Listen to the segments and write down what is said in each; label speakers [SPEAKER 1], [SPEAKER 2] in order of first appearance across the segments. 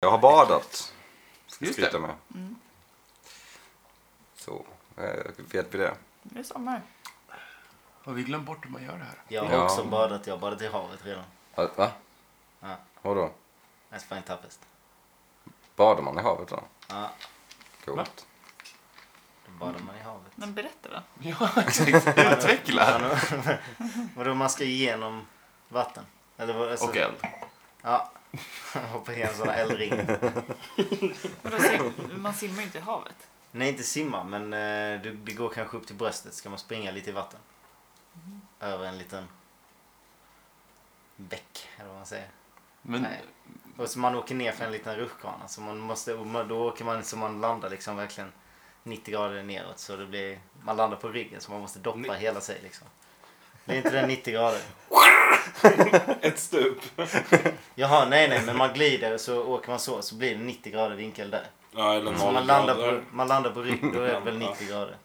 [SPEAKER 1] Jag har badat. Ska
[SPEAKER 2] Just
[SPEAKER 1] skryta
[SPEAKER 2] det. Mm.
[SPEAKER 1] med. Så eh, vet vi det.
[SPEAKER 3] Det är sommar.
[SPEAKER 2] Har vi glömt bort hur man gör det här?
[SPEAKER 4] Jag har
[SPEAKER 1] Ja.
[SPEAKER 4] också badat. Jag har badat i havet redan.
[SPEAKER 1] Ah, Va?
[SPEAKER 4] Ja,
[SPEAKER 1] Vadå?
[SPEAKER 4] that's fine toughest.
[SPEAKER 1] Badar man i havet då?
[SPEAKER 4] Ja,
[SPEAKER 2] Va?
[SPEAKER 1] Coolt.
[SPEAKER 4] då badar man i havet.
[SPEAKER 3] Men berätta då.
[SPEAKER 2] Ja, exakt. Utveckla!
[SPEAKER 4] Vadå, man ska igenom vatten? Eller vad? Alltså,
[SPEAKER 2] Och eld.
[SPEAKER 4] Ja. Hoppa igenom sådana eldringar.
[SPEAKER 3] Vadå, sim- man simmar ju inte i havet.
[SPEAKER 4] Nej, inte simma, men eh, du, det går kanske upp till bröstet. Ska man springa lite i vatten? Över en liten bäck, eller vad man säger.
[SPEAKER 2] Men
[SPEAKER 4] Nej. Och så man åker ner för en liten rutschkana. Så man måste, och man- då åker man så man landar liksom verkligen 90 grader neråt. Så det blir, man landar på ryggen så man måste doppa hela sig liksom. Det är inte den 90 grader.
[SPEAKER 2] ett stup.
[SPEAKER 4] Jaha, nej nej, men man glider och så åker man så. Så blir det 90 grader vinkel där.
[SPEAKER 5] Ja, eller
[SPEAKER 4] Så
[SPEAKER 2] Mm.
[SPEAKER 5] noll
[SPEAKER 4] man landar
[SPEAKER 5] grader.
[SPEAKER 4] på, man landar på rygg, då är det väl 90 grader.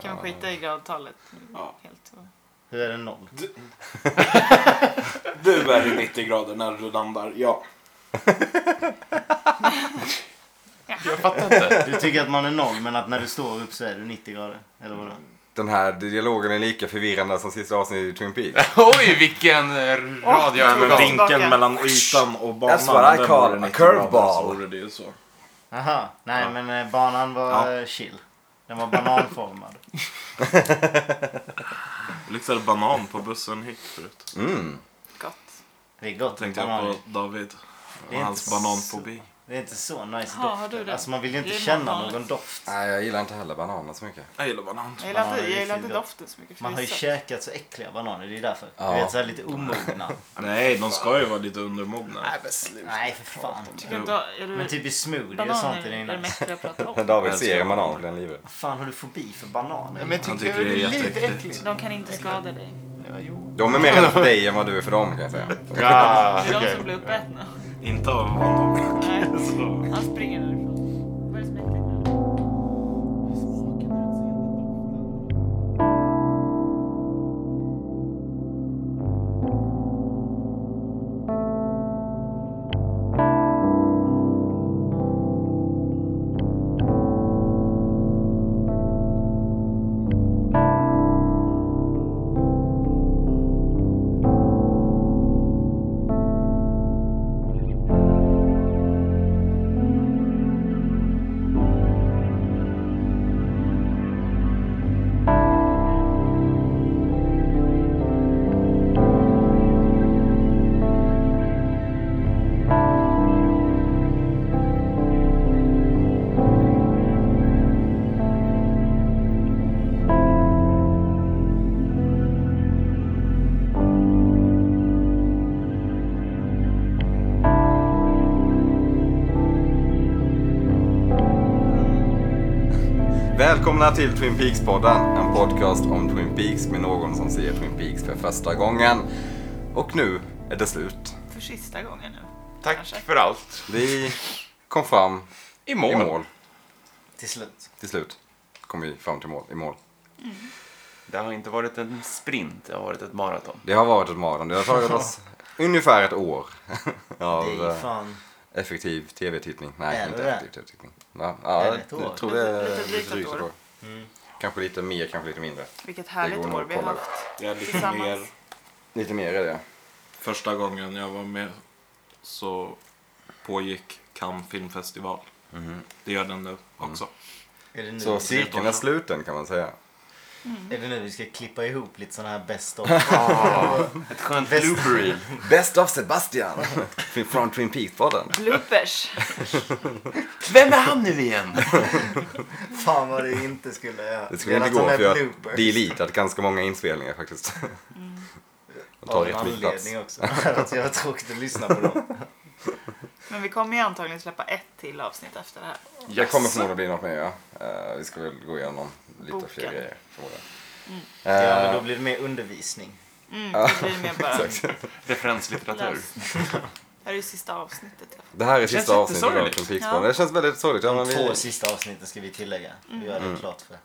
[SPEAKER 3] Kan man skita i gradtalet
[SPEAKER 5] Ja.
[SPEAKER 3] helt? och-
[SPEAKER 4] Hur är det noll?
[SPEAKER 5] Du är i 90 grader när du landar, ja.
[SPEAKER 2] Jag fattar inte.
[SPEAKER 4] Du tycker att man är noll men att när du står upp så är du 90 grader? Eller vadå?
[SPEAKER 1] Den här dialogen är lika förvirrande som sista avsnittet i Twin Peaks.
[SPEAKER 2] Oj, vilken eh, radioövergång.
[SPEAKER 3] men vink-
[SPEAKER 5] Vinkeln
[SPEAKER 3] Tillbaka.
[SPEAKER 5] mellan ytan och banan.
[SPEAKER 1] That's what I
[SPEAKER 5] den
[SPEAKER 1] call
[SPEAKER 5] vore
[SPEAKER 1] a
[SPEAKER 5] 90
[SPEAKER 1] curveball.
[SPEAKER 5] grader, så vore det ju så.
[SPEAKER 4] Aha, nej men eh, banan var eh, chill. Den var bananformad.
[SPEAKER 5] Det luktade banan på bussen hit förut.
[SPEAKER 1] Mm.
[SPEAKER 3] Gott.
[SPEAKER 4] Det är gott med
[SPEAKER 5] Tänkte jag
[SPEAKER 4] banan.
[SPEAKER 5] på David och
[SPEAKER 4] Det är
[SPEAKER 5] hans
[SPEAKER 4] inte så-
[SPEAKER 5] bananfobi.
[SPEAKER 4] Det är inte så nice
[SPEAKER 3] Ha, har
[SPEAKER 4] doft.
[SPEAKER 3] du det?
[SPEAKER 4] Alltså man vill ju inte
[SPEAKER 3] Det är
[SPEAKER 4] känna
[SPEAKER 3] bananligt.
[SPEAKER 4] någon doft.
[SPEAKER 1] Nej, jag gillar inte heller bananer så mycket.
[SPEAKER 5] Jag gillar banan.
[SPEAKER 3] Jag gillar inte,
[SPEAKER 4] det är
[SPEAKER 3] jag gillar inte
[SPEAKER 4] fint.
[SPEAKER 3] doften så mycket. för
[SPEAKER 4] Man har ju
[SPEAKER 3] det är
[SPEAKER 4] käkat så äckliga bananer, det är ju därför.
[SPEAKER 1] Ja.
[SPEAKER 4] Du vet såhär lite omogna.
[SPEAKER 5] Nej, de ska ju vara lite undermogna.
[SPEAKER 2] men sluta.
[SPEAKER 4] nej för fan.
[SPEAKER 3] sött. Kan du ta- är du-
[SPEAKER 4] Men typ i smoothie och sånt
[SPEAKER 3] Bananer
[SPEAKER 4] är det
[SPEAKER 3] är det
[SPEAKER 4] nice.
[SPEAKER 3] mesta jag pratar
[SPEAKER 1] När
[SPEAKER 3] om.
[SPEAKER 1] David
[SPEAKER 5] Jag
[SPEAKER 1] ser
[SPEAKER 5] älskar
[SPEAKER 1] en banan blir han livrädd.
[SPEAKER 4] Vad fan har du fobi för bananer?
[SPEAKER 2] Men jag
[SPEAKER 5] Han
[SPEAKER 2] tycker det är lite äckligt.
[SPEAKER 3] De kan inte skada dig.
[SPEAKER 2] Ja, jo.
[SPEAKER 1] De är mer rädda för dig än vad du är för dem kan jag säga.
[SPEAKER 2] Ja,
[SPEAKER 3] Det är de
[SPEAKER 2] okej.
[SPEAKER 3] som blir uppätna.
[SPEAKER 5] Inte av honom.
[SPEAKER 3] Nej,
[SPEAKER 5] Så.
[SPEAKER 3] han springer därifrån. Vad är det som händer nu?
[SPEAKER 1] Välkomna till Twin Peaks-podden, en podcast om Twin Peaks med någon som ser Twin Peaks för första gången. Och nu är det slut.
[SPEAKER 3] För sista gången nu.
[SPEAKER 2] Tack
[SPEAKER 3] Kanske.
[SPEAKER 2] för allt.
[SPEAKER 1] Vi kom fram
[SPEAKER 2] I
[SPEAKER 1] i
[SPEAKER 2] mål.
[SPEAKER 1] mål
[SPEAKER 4] Till slut.
[SPEAKER 1] till slut. Kom vi fram till mål, i mål.
[SPEAKER 2] Det har inte varit en sprint, det har varit ett maraton.
[SPEAKER 1] Det har varit ett maraton. Det har tagit oss ungefär ett år av
[SPEAKER 4] Det är ju
[SPEAKER 1] eh,
[SPEAKER 4] fan...
[SPEAKER 1] effektiv tv-tittning. Nej,
[SPEAKER 4] Är det
[SPEAKER 1] inte
[SPEAKER 4] det?
[SPEAKER 1] effektiv tv-tittning. Ja, ja,
[SPEAKER 4] Är det ett Mm. år?
[SPEAKER 1] jag tror det är
[SPEAKER 3] Lite- lite
[SPEAKER 1] lite
[SPEAKER 3] drygt
[SPEAKER 1] drygt
[SPEAKER 3] ett
[SPEAKER 1] ett
[SPEAKER 3] år.
[SPEAKER 1] år. Kanske lite mer, kanske lite mindre.
[SPEAKER 3] Vilket
[SPEAKER 1] Det
[SPEAKER 3] härligt
[SPEAKER 1] går nog
[SPEAKER 3] år
[SPEAKER 1] att
[SPEAKER 3] vi har
[SPEAKER 1] kolla.
[SPEAKER 3] haft.
[SPEAKER 5] Jag är lite
[SPEAKER 3] Tillsammans.
[SPEAKER 5] mer...
[SPEAKER 1] Lite mer är det.
[SPEAKER 5] Första gången jag var med så pågick Cannes filmfestival. Det gör den nu också.
[SPEAKER 4] Är det, Mm. nu,
[SPEAKER 1] Så cirkeln är sluten kan man säga.
[SPEAKER 4] är det nu vi ska klippa ihop lite såna här best of?
[SPEAKER 2] Ett skönt
[SPEAKER 4] Bäst-
[SPEAKER 2] blooper
[SPEAKER 1] Best of Sebastian från Twin Peaks-podden.
[SPEAKER 3] Bloopers.
[SPEAKER 2] Vem är han nu igen?
[SPEAKER 4] Fan vad det inte skulle alltså göra.
[SPEAKER 1] Det skulle inte gå för jag har deletat ganska många inspelningar faktiskt. Mm. De tar
[SPEAKER 4] Av en
[SPEAKER 1] rätt mycket plats.
[SPEAKER 4] anledning också. att jag var tråkigt att lyssna på dem.
[SPEAKER 3] Men vi kommer ju antagligen släppa ett till avsnitt efter det här.
[SPEAKER 1] Det kommer förmodligen bli något mer ja. Eh, vi ska väl gå igenom lite fler
[SPEAKER 3] Boken.
[SPEAKER 1] grejer förmodligen.
[SPEAKER 4] Ja,
[SPEAKER 1] Eh,
[SPEAKER 4] men då blir det mer undervisning.
[SPEAKER 3] Mm, det blir mer bara
[SPEAKER 2] Referenslitteratur.
[SPEAKER 3] läs. Det här är ju sista avsnittet. i alla fall.
[SPEAKER 1] det här är
[SPEAKER 2] Känns
[SPEAKER 1] sista avsnittet av
[SPEAKER 2] jättesorgligt.
[SPEAKER 1] Twin Peaks-podden.
[SPEAKER 3] Ja.
[SPEAKER 1] Det känns väldigt sorgligt. Ja, men,
[SPEAKER 4] De två
[SPEAKER 1] vi,
[SPEAKER 4] sista avsnitten ska vi tillägga. Vi gör
[SPEAKER 1] Mm.
[SPEAKER 4] det klart för.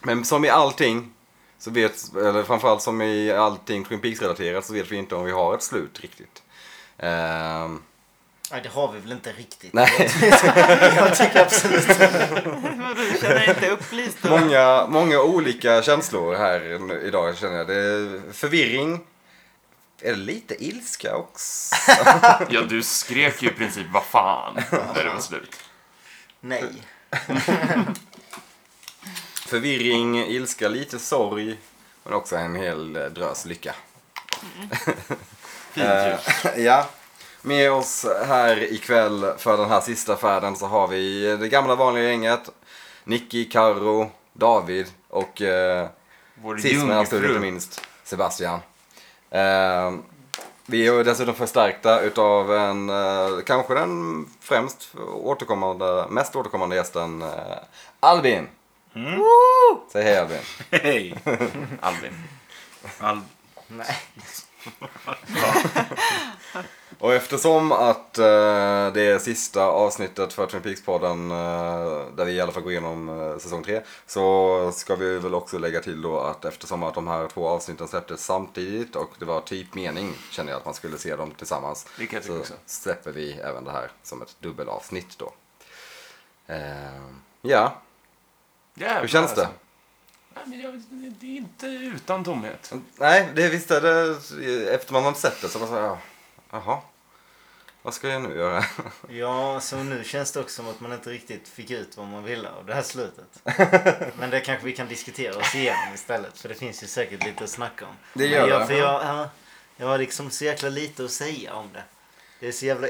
[SPEAKER 1] men som i allting, så vet, eller framförallt som i allting Twin Peaks-relaterat så vet vi inte om vi har ett slut riktigt. Eh,
[SPEAKER 4] Nej, det har vi väl inte riktigt.
[SPEAKER 1] Nej.
[SPEAKER 4] Jag tycker absolut
[SPEAKER 3] Vadå, du känner dig inte upplyst då?
[SPEAKER 1] Många, många olika känslor här nu- idag känner jag. Det är förvirring. Är det lite ilska också?
[SPEAKER 5] Ja, du skrek ju i princip vad fan när det var slut.
[SPEAKER 4] nej.
[SPEAKER 1] Förvirring, ilska, lite sorg. Men också en hel eh, drös lycka.
[SPEAKER 5] Fint ju.
[SPEAKER 1] Eh, ja. Med oss här ikväll för den här sista färden så har vi det gamla vanliga gänget. Nicky, Karo, David och eh,
[SPEAKER 5] Vår
[SPEAKER 1] sist men absolut inte
[SPEAKER 5] jungfru.
[SPEAKER 1] minst Sebastian. Eh, vi är ju dessutom förstärkta utav en, eh, kanske den främst återkommande, mest återkommande gästen eh, Albin.
[SPEAKER 5] Mm.
[SPEAKER 1] Woo! Säg hej Albin.
[SPEAKER 5] Hej! Albin. Al-
[SPEAKER 4] nej.
[SPEAKER 1] Och eftersom att eh, det är sista avsnittet för Twin Peaks-podden eh, där vi i alla fall går igenom eh, säsong 3 så ska vi väl också lägga till då att eftersom att de här två avsnitten släpptes samtidigt och det var typ mening kände jag att man skulle se dem tillsammans
[SPEAKER 5] Det kan jag tycka
[SPEAKER 1] så
[SPEAKER 5] också.
[SPEAKER 1] släpper vi även det här som ett dubbelavsnitt då. Eh, ja,
[SPEAKER 5] Jävlar,
[SPEAKER 1] hur känns det?
[SPEAKER 5] alltså. Nej, men jag, det är inte utan tomhet.
[SPEAKER 1] Nej, det visst är det efter man har sett det så man säger jaha, vad ska jag nu göra?
[SPEAKER 4] Ja, så nu känns det också som att man inte riktigt fick ut vad man ville av det här slutet. Men det kanske vi kan diskutera oss igenom istället. För det finns ju säkert lite att snacka om.
[SPEAKER 1] Det gör
[SPEAKER 4] Men
[SPEAKER 1] det.
[SPEAKER 4] jag, för jag, ja, jag har liksom så jäkla lite att säga om det. Det är så jävla...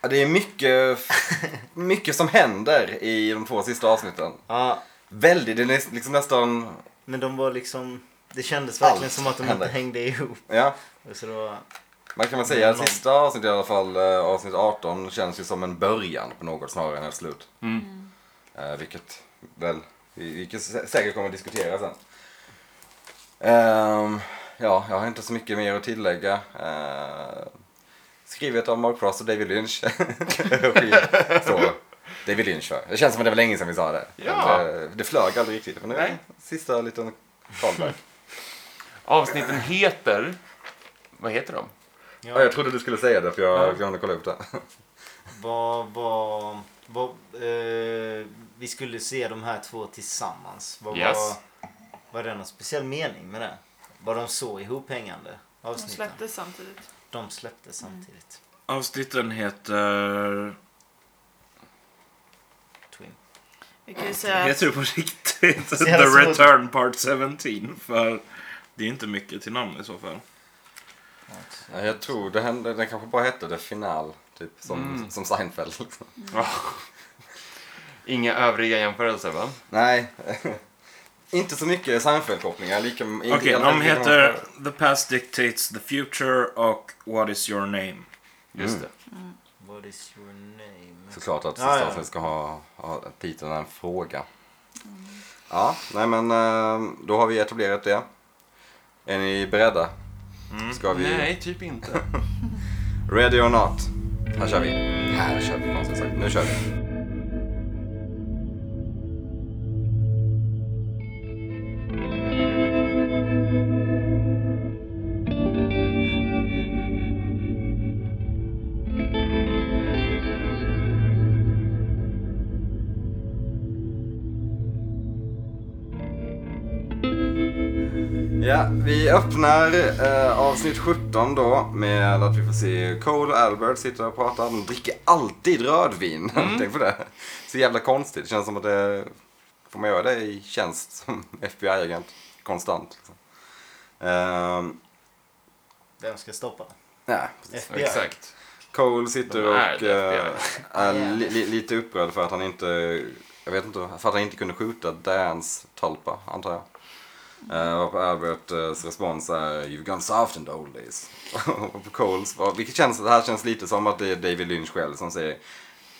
[SPEAKER 1] Ja, det är mycket, mycket som händer i de två sista avsnitten.
[SPEAKER 4] Ja,
[SPEAKER 1] Väldigt, det är nä- liksom nästan,
[SPEAKER 4] men de var liksom... Det kändes verkligen
[SPEAKER 1] Allt
[SPEAKER 4] som att de
[SPEAKER 1] hände.
[SPEAKER 4] inte hängde ihop.
[SPEAKER 1] ja,
[SPEAKER 4] Och Så det var,
[SPEAKER 1] man kan väl säga att
[SPEAKER 4] Mm.
[SPEAKER 1] sista avsnittet i alla fall, eh, avsnitt 18, känns ju som en början på något snarare än ett slut.
[SPEAKER 5] Mm.
[SPEAKER 1] Eh, vilket väl, vi- vilket sä- säkert kommer att diskutera sen. Ehm, ja, jag har inte så mycket mer att tillägga. Ehm, skrivet av Mark Frost och David Lynch. Regi står David Lynch för. Det känns som att det var länge sedan vi sa det.
[SPEAKER 5] Ja.
[SPEAKER 1] Men Det, det flög aldrig riktigt. Men det var
[SPEAKER 5] Nej.
[SPEAKER 1] sista liten callback.
[SPEAKER 5] Avsnitten heter... Vad heter de?
[SPEAKER 1] Ja,
[SPEAKER 4] ja,
[SPEAKER 1] jag trodde du skulle säga det för jag glömde kolla upp det.
[SPEAKER 4] vad, vad, vad, eh, vi skulle se de här två tillsammans. Vad,
[SPEAKER 5] Yes.
[SPEAKER 4] var, var det någon speciell mening med det? Var de så ihophängande?
[SPEAKER 3] De
[SPEAKER 4] Avsnitten?
[SPEAKER 3] släpptes samtidigt.
[SPEAKER 4] De släpptes samtidigt.
[SPEAKER 5] Avsnitten heter...
[SPEAKER 4] Twin.
[SPEAKER 3] Vi kan ju säga att
[SPEAKER 5] det på riktigt?
[SPEAKER 4] Eh, Så jävla svårt.
[SPEAKER 5] Part 17. För det är inte mycket till namn i så fall.
[SPEAKER 1] Ja, jag tror det hände, den kanske bara hette The Final. Typ som,
[SPEAKER 5] Mm.
[SPEAKER 1] som Seinfeld. Liksom.
[SPEAKER 5] Inga övriga jämförelser va?
[SPEAKER 1] Nej. Inte så mycket Seinfeld-kopplingar. Lika, Okej,
[SPEAKER 6] Okej, de heter The Past Dictates the Future och What Is Your Name.
[SPEAKER 5] Just
[SPEAKER 1] Mm.
[SPEAKER 5] det.
[SPEAKER 4] What is your name?
[SPEAKER 1] Såklart att
[SPEAKER 4] Ja,
[SPEAKER 1] sista
[SPEAKER 4] ja.
[SPEAKER 1] avsnittet ska ha, ha titeln en fråga. Ja, nej men eh, då har vi etablerat det. Är ni beredda? Ska vi...
[SPEAKER 5] Nej, typ inte.
[SPEAKER 1] Ready or not? Här kör vi. Här kör vi, fan, som sagt. Nu kör vi. Ja, vi öppnar eh, avsnitt 17 då med att vi får se Cole och Albert sitta och prata. De dricker alltid rödvin.
[SPEAKER 5] Mm.
[SPEAKER 1] Tänk på det. Så jävla konstigt. Det känns som att det... Får man göra det i tjänst som FBI-agent? Konstant. Liksom. Ehm,
[SPEAKER 4] Vem ska stoppa?
[SPEAKER 1] nej.
[SPEAKER 4] FBI.
[SPEAKER 5] Exakt.
[SPEAKER 1] Cole sitter
[SPEAKER 5] De är
[SPEAKER 1] och
[SPEAKER 5] det,
[SPEAKER 1] eh,
[SPEAKER 5] FBI.
[SPEAKER 1] är li, li, lite upprörd för att han inte... Jag vet inte. För att han inte kunde skjuta Dans talpa, antar jag. Uh, och på Alberts respons är You've gone soft in the old days. och på Coles, var- vilket känns, det här känns lite som att det är David Lynch själv som säger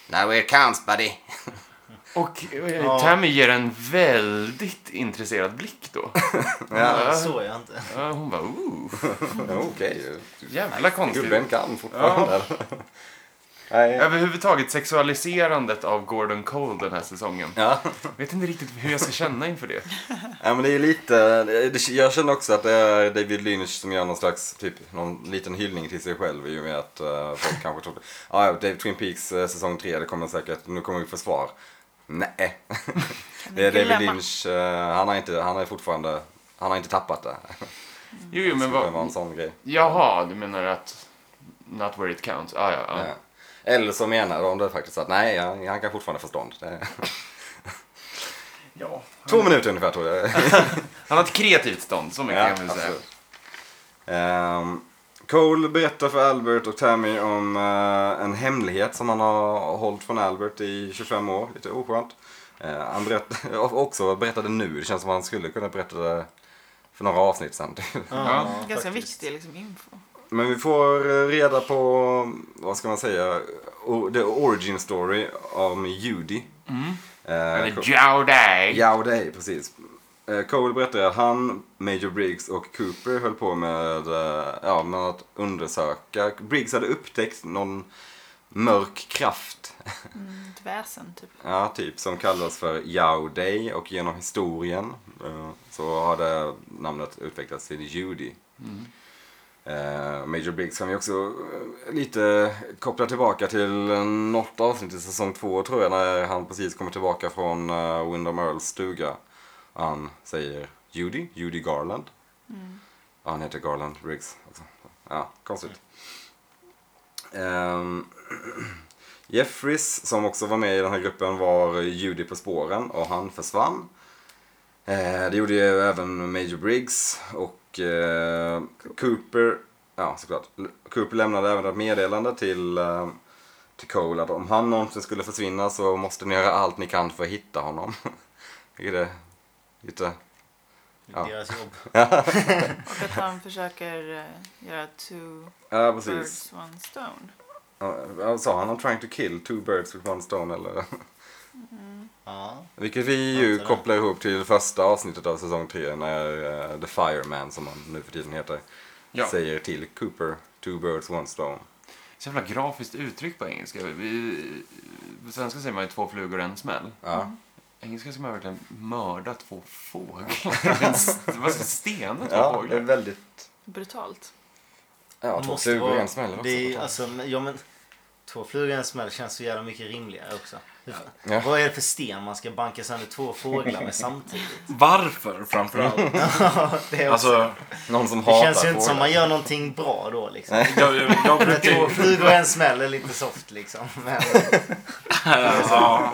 [SPEAKER 1] Now it counts buddy.
[SPEAKER 5] Och eh,
[SPEAKER 4] Ja.
[SPEAKER 5] Tammy ger en väldigt intresserad blick då.
[SPEAKER 1] ja,
[SPEAKER 4] Det såg jag inte.
[SPEAKER 5] Ja, Hon bara ooh,
[SPEAKER 1] okej.
[SPEAKER 5] jävla konstigt.
[SPEAKER 1] Gubben kan fortfarande. Nej.
[SPEAKER 2] Överhuvudtaget sexualiserandet av Gordon Cole den här säsongen.
[SPEAKER 1] Ja.
[SPEAKER 2] Jag vet inte riktigt hur jag ska känna inför det.
[SPEAKER 1] ja, men det är lite... det- Jag känner också att det är David Lynch som gör någon slags, typ, någon liten hyllning till sig själv i och med att eh, folk kanske trodde... Ah, ja, Dave Twin Peaks eh, säsong 3, det kommer säkert... Nu kommer vi få svar. Nej. Det är
[SPEAKER 3] ni
[SPEAKER 1] David
[SPEAKER 3] glömma?
[SPEAKER 1] Lynch, eh, han har inte, han har fortfarande... Han har inte tappat det.
[SPEAKER 2] Jo, jo men
[SPEAKER 1] det skulle vara en
[SPEAKER 2] vad...
[SPEAKER 1] sån grej.
[SPEAKER 2] Jaha, du menar att... Not where it counts. Ah, ja, ja.
[SPEAKER 1] Ja. Eller så menar de det faktiskt att nej, han, han kan fortfarande få stånd. Det-
[SPEAKER 2] ja.
[SPEAKER 1] Två minuter ungefär tror jag.
[SPEAKER 2] Han har ett kreativt stånd, så mycket
[SPEAKER 1] Ja,
[SPEAKER 2] kan vi säga.
[SPEAKER 1] absolut. Ehm, Cole berättar för Albert och Tammy om eh, en hemlighet som han har hållit från Albert i 25 år. Lite oskönt. Eh, han berätt, också berättade nu. Det känns som att han skulle kunna berätta det för några avsnitt sen.
[SPEAKER 2] Ja.
[SPEAKER 3] Ganska viktig liksom, info.
[SPEAKER 1] Men vi får eh, reda på, vad ska man säga, o- the origin story om Judy. Eh,
[SPEAKER 2] Eller
[SPEAKER 1] Cole-
[SPEAKER 2] Jowday.
[SPEAKER 1] Ja, och det är precis. Eh, Cole berättade att han, Major Briggs och Cooper höll på med, eh, ja, med att undersöka. Briggs hade upptäckt någon mörk kraft,
[SPEAKER 3] Ett väsen typ.
[SPEAKER 1] ja, typ, som kallas för Yao Day och genom historien eh, så har det namnet utvecklats till Judy. Eh, Major Briggs kan vi också eh, lite koppla tillbaka till eh, något avsnitt i säsong två tror jag när han precis kommer tillbaka från eh, Windham Earls stuga. Och han säger Judy, Judy Garland. Ja, han heter Garland Briggs också. Ja, konstigt. Ehm, Jeffries som också var med i den här gruppen var Judy på spåren och han försvann. Eh, det gjorde ju även Major Briggs och eh, Cooper. Ja, såklart. L- Cooper lämnade även ett meddelande till, eh, till Cole att om han någonsin skulle försvinna så måste ni göra allt ni kan för att hitta honom. Vilket är lite... Ja.
[SPEAKER 4] Deras jobb.
[SPEAKER 3] Och att han försöker eh, göra two
[SPEAKER 1] Ja, precis.
[SPEAKER 3] birds one stone.
[SPEAKER 1] Ja, Vad sa han? I'm trying to kill two birds with one stone eller?
[SPEAKER 4] Ja.
[SPEAKER 1] Vilket vi ju
[SPEAKER 4] Antar det.
[SPEAKER 1] kopplar ihop till första avsnittet av säsong 3 när eh, The Fireman, som han nu för tiden heter,
[SPEAKER 2] Ja.
[SPEAKER 1] säger till Cooper Two birds, one stone.
[SPEAKER 2] Så jävla grafiskt uttryck på engelska. Vi, på svenska säger man ju två flugor och en smäll.
[SPEAKER 1] Ja.
[SPEAKER 4] Mm.
[SPEAKER 2] Engelska ska man verkligen mörda två fåglar. En s- Vad ska stena två
[SPEAKER 1] Ja, det är
[SPEAKER 2] fåglar?
[SPEAKER 1] väldigt...
[SPEAKER 3] Brutalt.
[SPEAKER 1] Ja,
[SPEAKER 4] Det
[SPEAKER 1] två
[SPEAKER 4] måste
[SPEAKER 1] flugor
[SPEAKER 4] vara-
[SPEAKER 1] i en smäll också.
[SPEAKER 4] Det är, alltså, men- ja, men, två flugor i en smäll känns så jävla mycket rimligare också.
[SPEAKER 1] Ja.
[SPEAKER 4] Vad är det för sten man ska banka sönder två fåglar med samtidigt?
[SPEAKER 6] Varför framförallt?
[SPEAKER 4] Det, är också,
[SPEAKER 6] alltså,
[SPEAKER 1] Någon som
[SPEAKER 4] det
[SPEAKER 1] hatar
[SPEAKER 4] känns ju inte som
[SPEAKER 1] fåglar.
[SPEAKER 4] man gör någonting bra då liksom.
[SPEAKER 6] jag, jag, jag
[SPEAKER 4] Men
[SPEAKER 6] brukar
[SPEAKER 4] Två
[SPEAKER 6] ju...
[SPEAKER 4] flugor och en smäll är lite soft liksom. Men
[SPEAKER 6] Ja,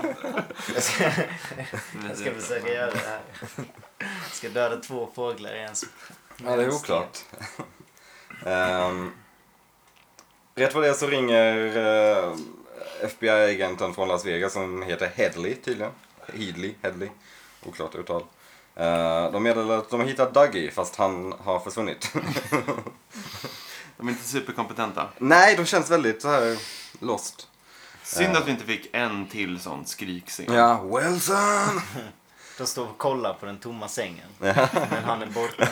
[SPEAKER 4] jag ska försöka göra det här. Jag ska döda två fåglar i en smäll.
[SPEAKER 1] Ja, det är oklart. Ehm, rätt vad det är så ringer eh, FBI-agenten från Las Vegas som heter Headley tydligen. Headley, Headley. Oklart uttal. Eh, de meddelar att de har hittat Dougie fast han har försvunnit.
[SPEAKER 2] De är inte superkompetenta.
[SPEAKER 1] Nej, de känns väldigt så här lost.
[SPEAKER 2] Synd att vi inte fick en till sån skrikscen.
[SPEAKER 1] Ja, Wilson!
[SPEAKER 4] De står och kollar på den tomma sängen. Men han är borta.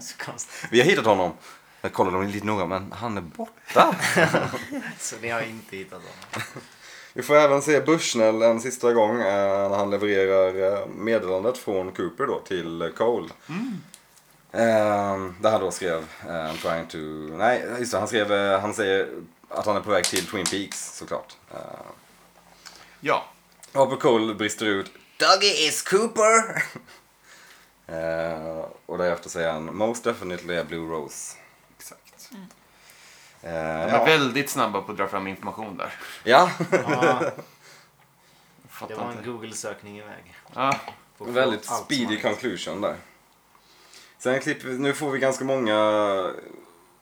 [SPEAKER 4] Så konstigt.
[SPEAKER 1] Vi har hittat honom. Jag kollade dem lite noga men han är borta.
[SPEAKER 4] Så ni har inte hittat honom.
[SPEAKER 1] Vi får även se Bushnell en sista gång eh, när han levererar eh, meddelandet från Cooper då till eh, Cole. Eh, där han då skrev eh, I'm trying to... Nej, just det, han skrev... eh, han säger att han är på väg till Twin Peaks såklart. Eh,
[SPEAKER 2] Ja.
[SPEAKER 1] och Cole brister ut Dougie is Cooper! eh, och därefter säger han Most definitely a blue rose.
[SPEAKER 2] Exakt.
[SPEAKER 1] Mm. Eh,
[SPEAKER 2] De är
[SPEAKER 1] ja.
[SPEAKER 2] väldigt snabba på att dra fram information där.
[SPEAKER 1] ja,
[SPEAKER 4] Ja,
[SPEAKER 2] Jag
[SPEAKER 4] det
[SPEAKER 2] Fattar
[SPEAKER 4] var en
[SPEAKER 2] inte.
[SPEAKER 4] google-sökning iväg.
[SPEAKER 2] Ja.
[SPEAKER 4] På
[SPEAKER 1] Väldigt
[SPEAKER 4] allt som
[SPEAKER 1] speedy
[SPEAKER 4] han-
[SPEAKER 1] conclusion där. Sen klipper vi, nu får vi ganska många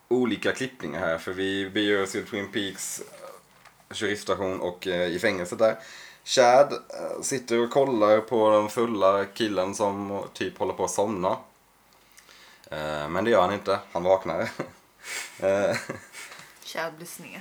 [SPEAKER 1] olika klippningar här för vi beger oss till Twin Peaks eh, sheriffstation och eh, i fängelset där. Chad eh, sitter och kollar på den fulla killen som typ håller på att somna. Eh, Men det gör han inte, han vaknar. Eh,
[SPEAKER 3] Chad blir sned.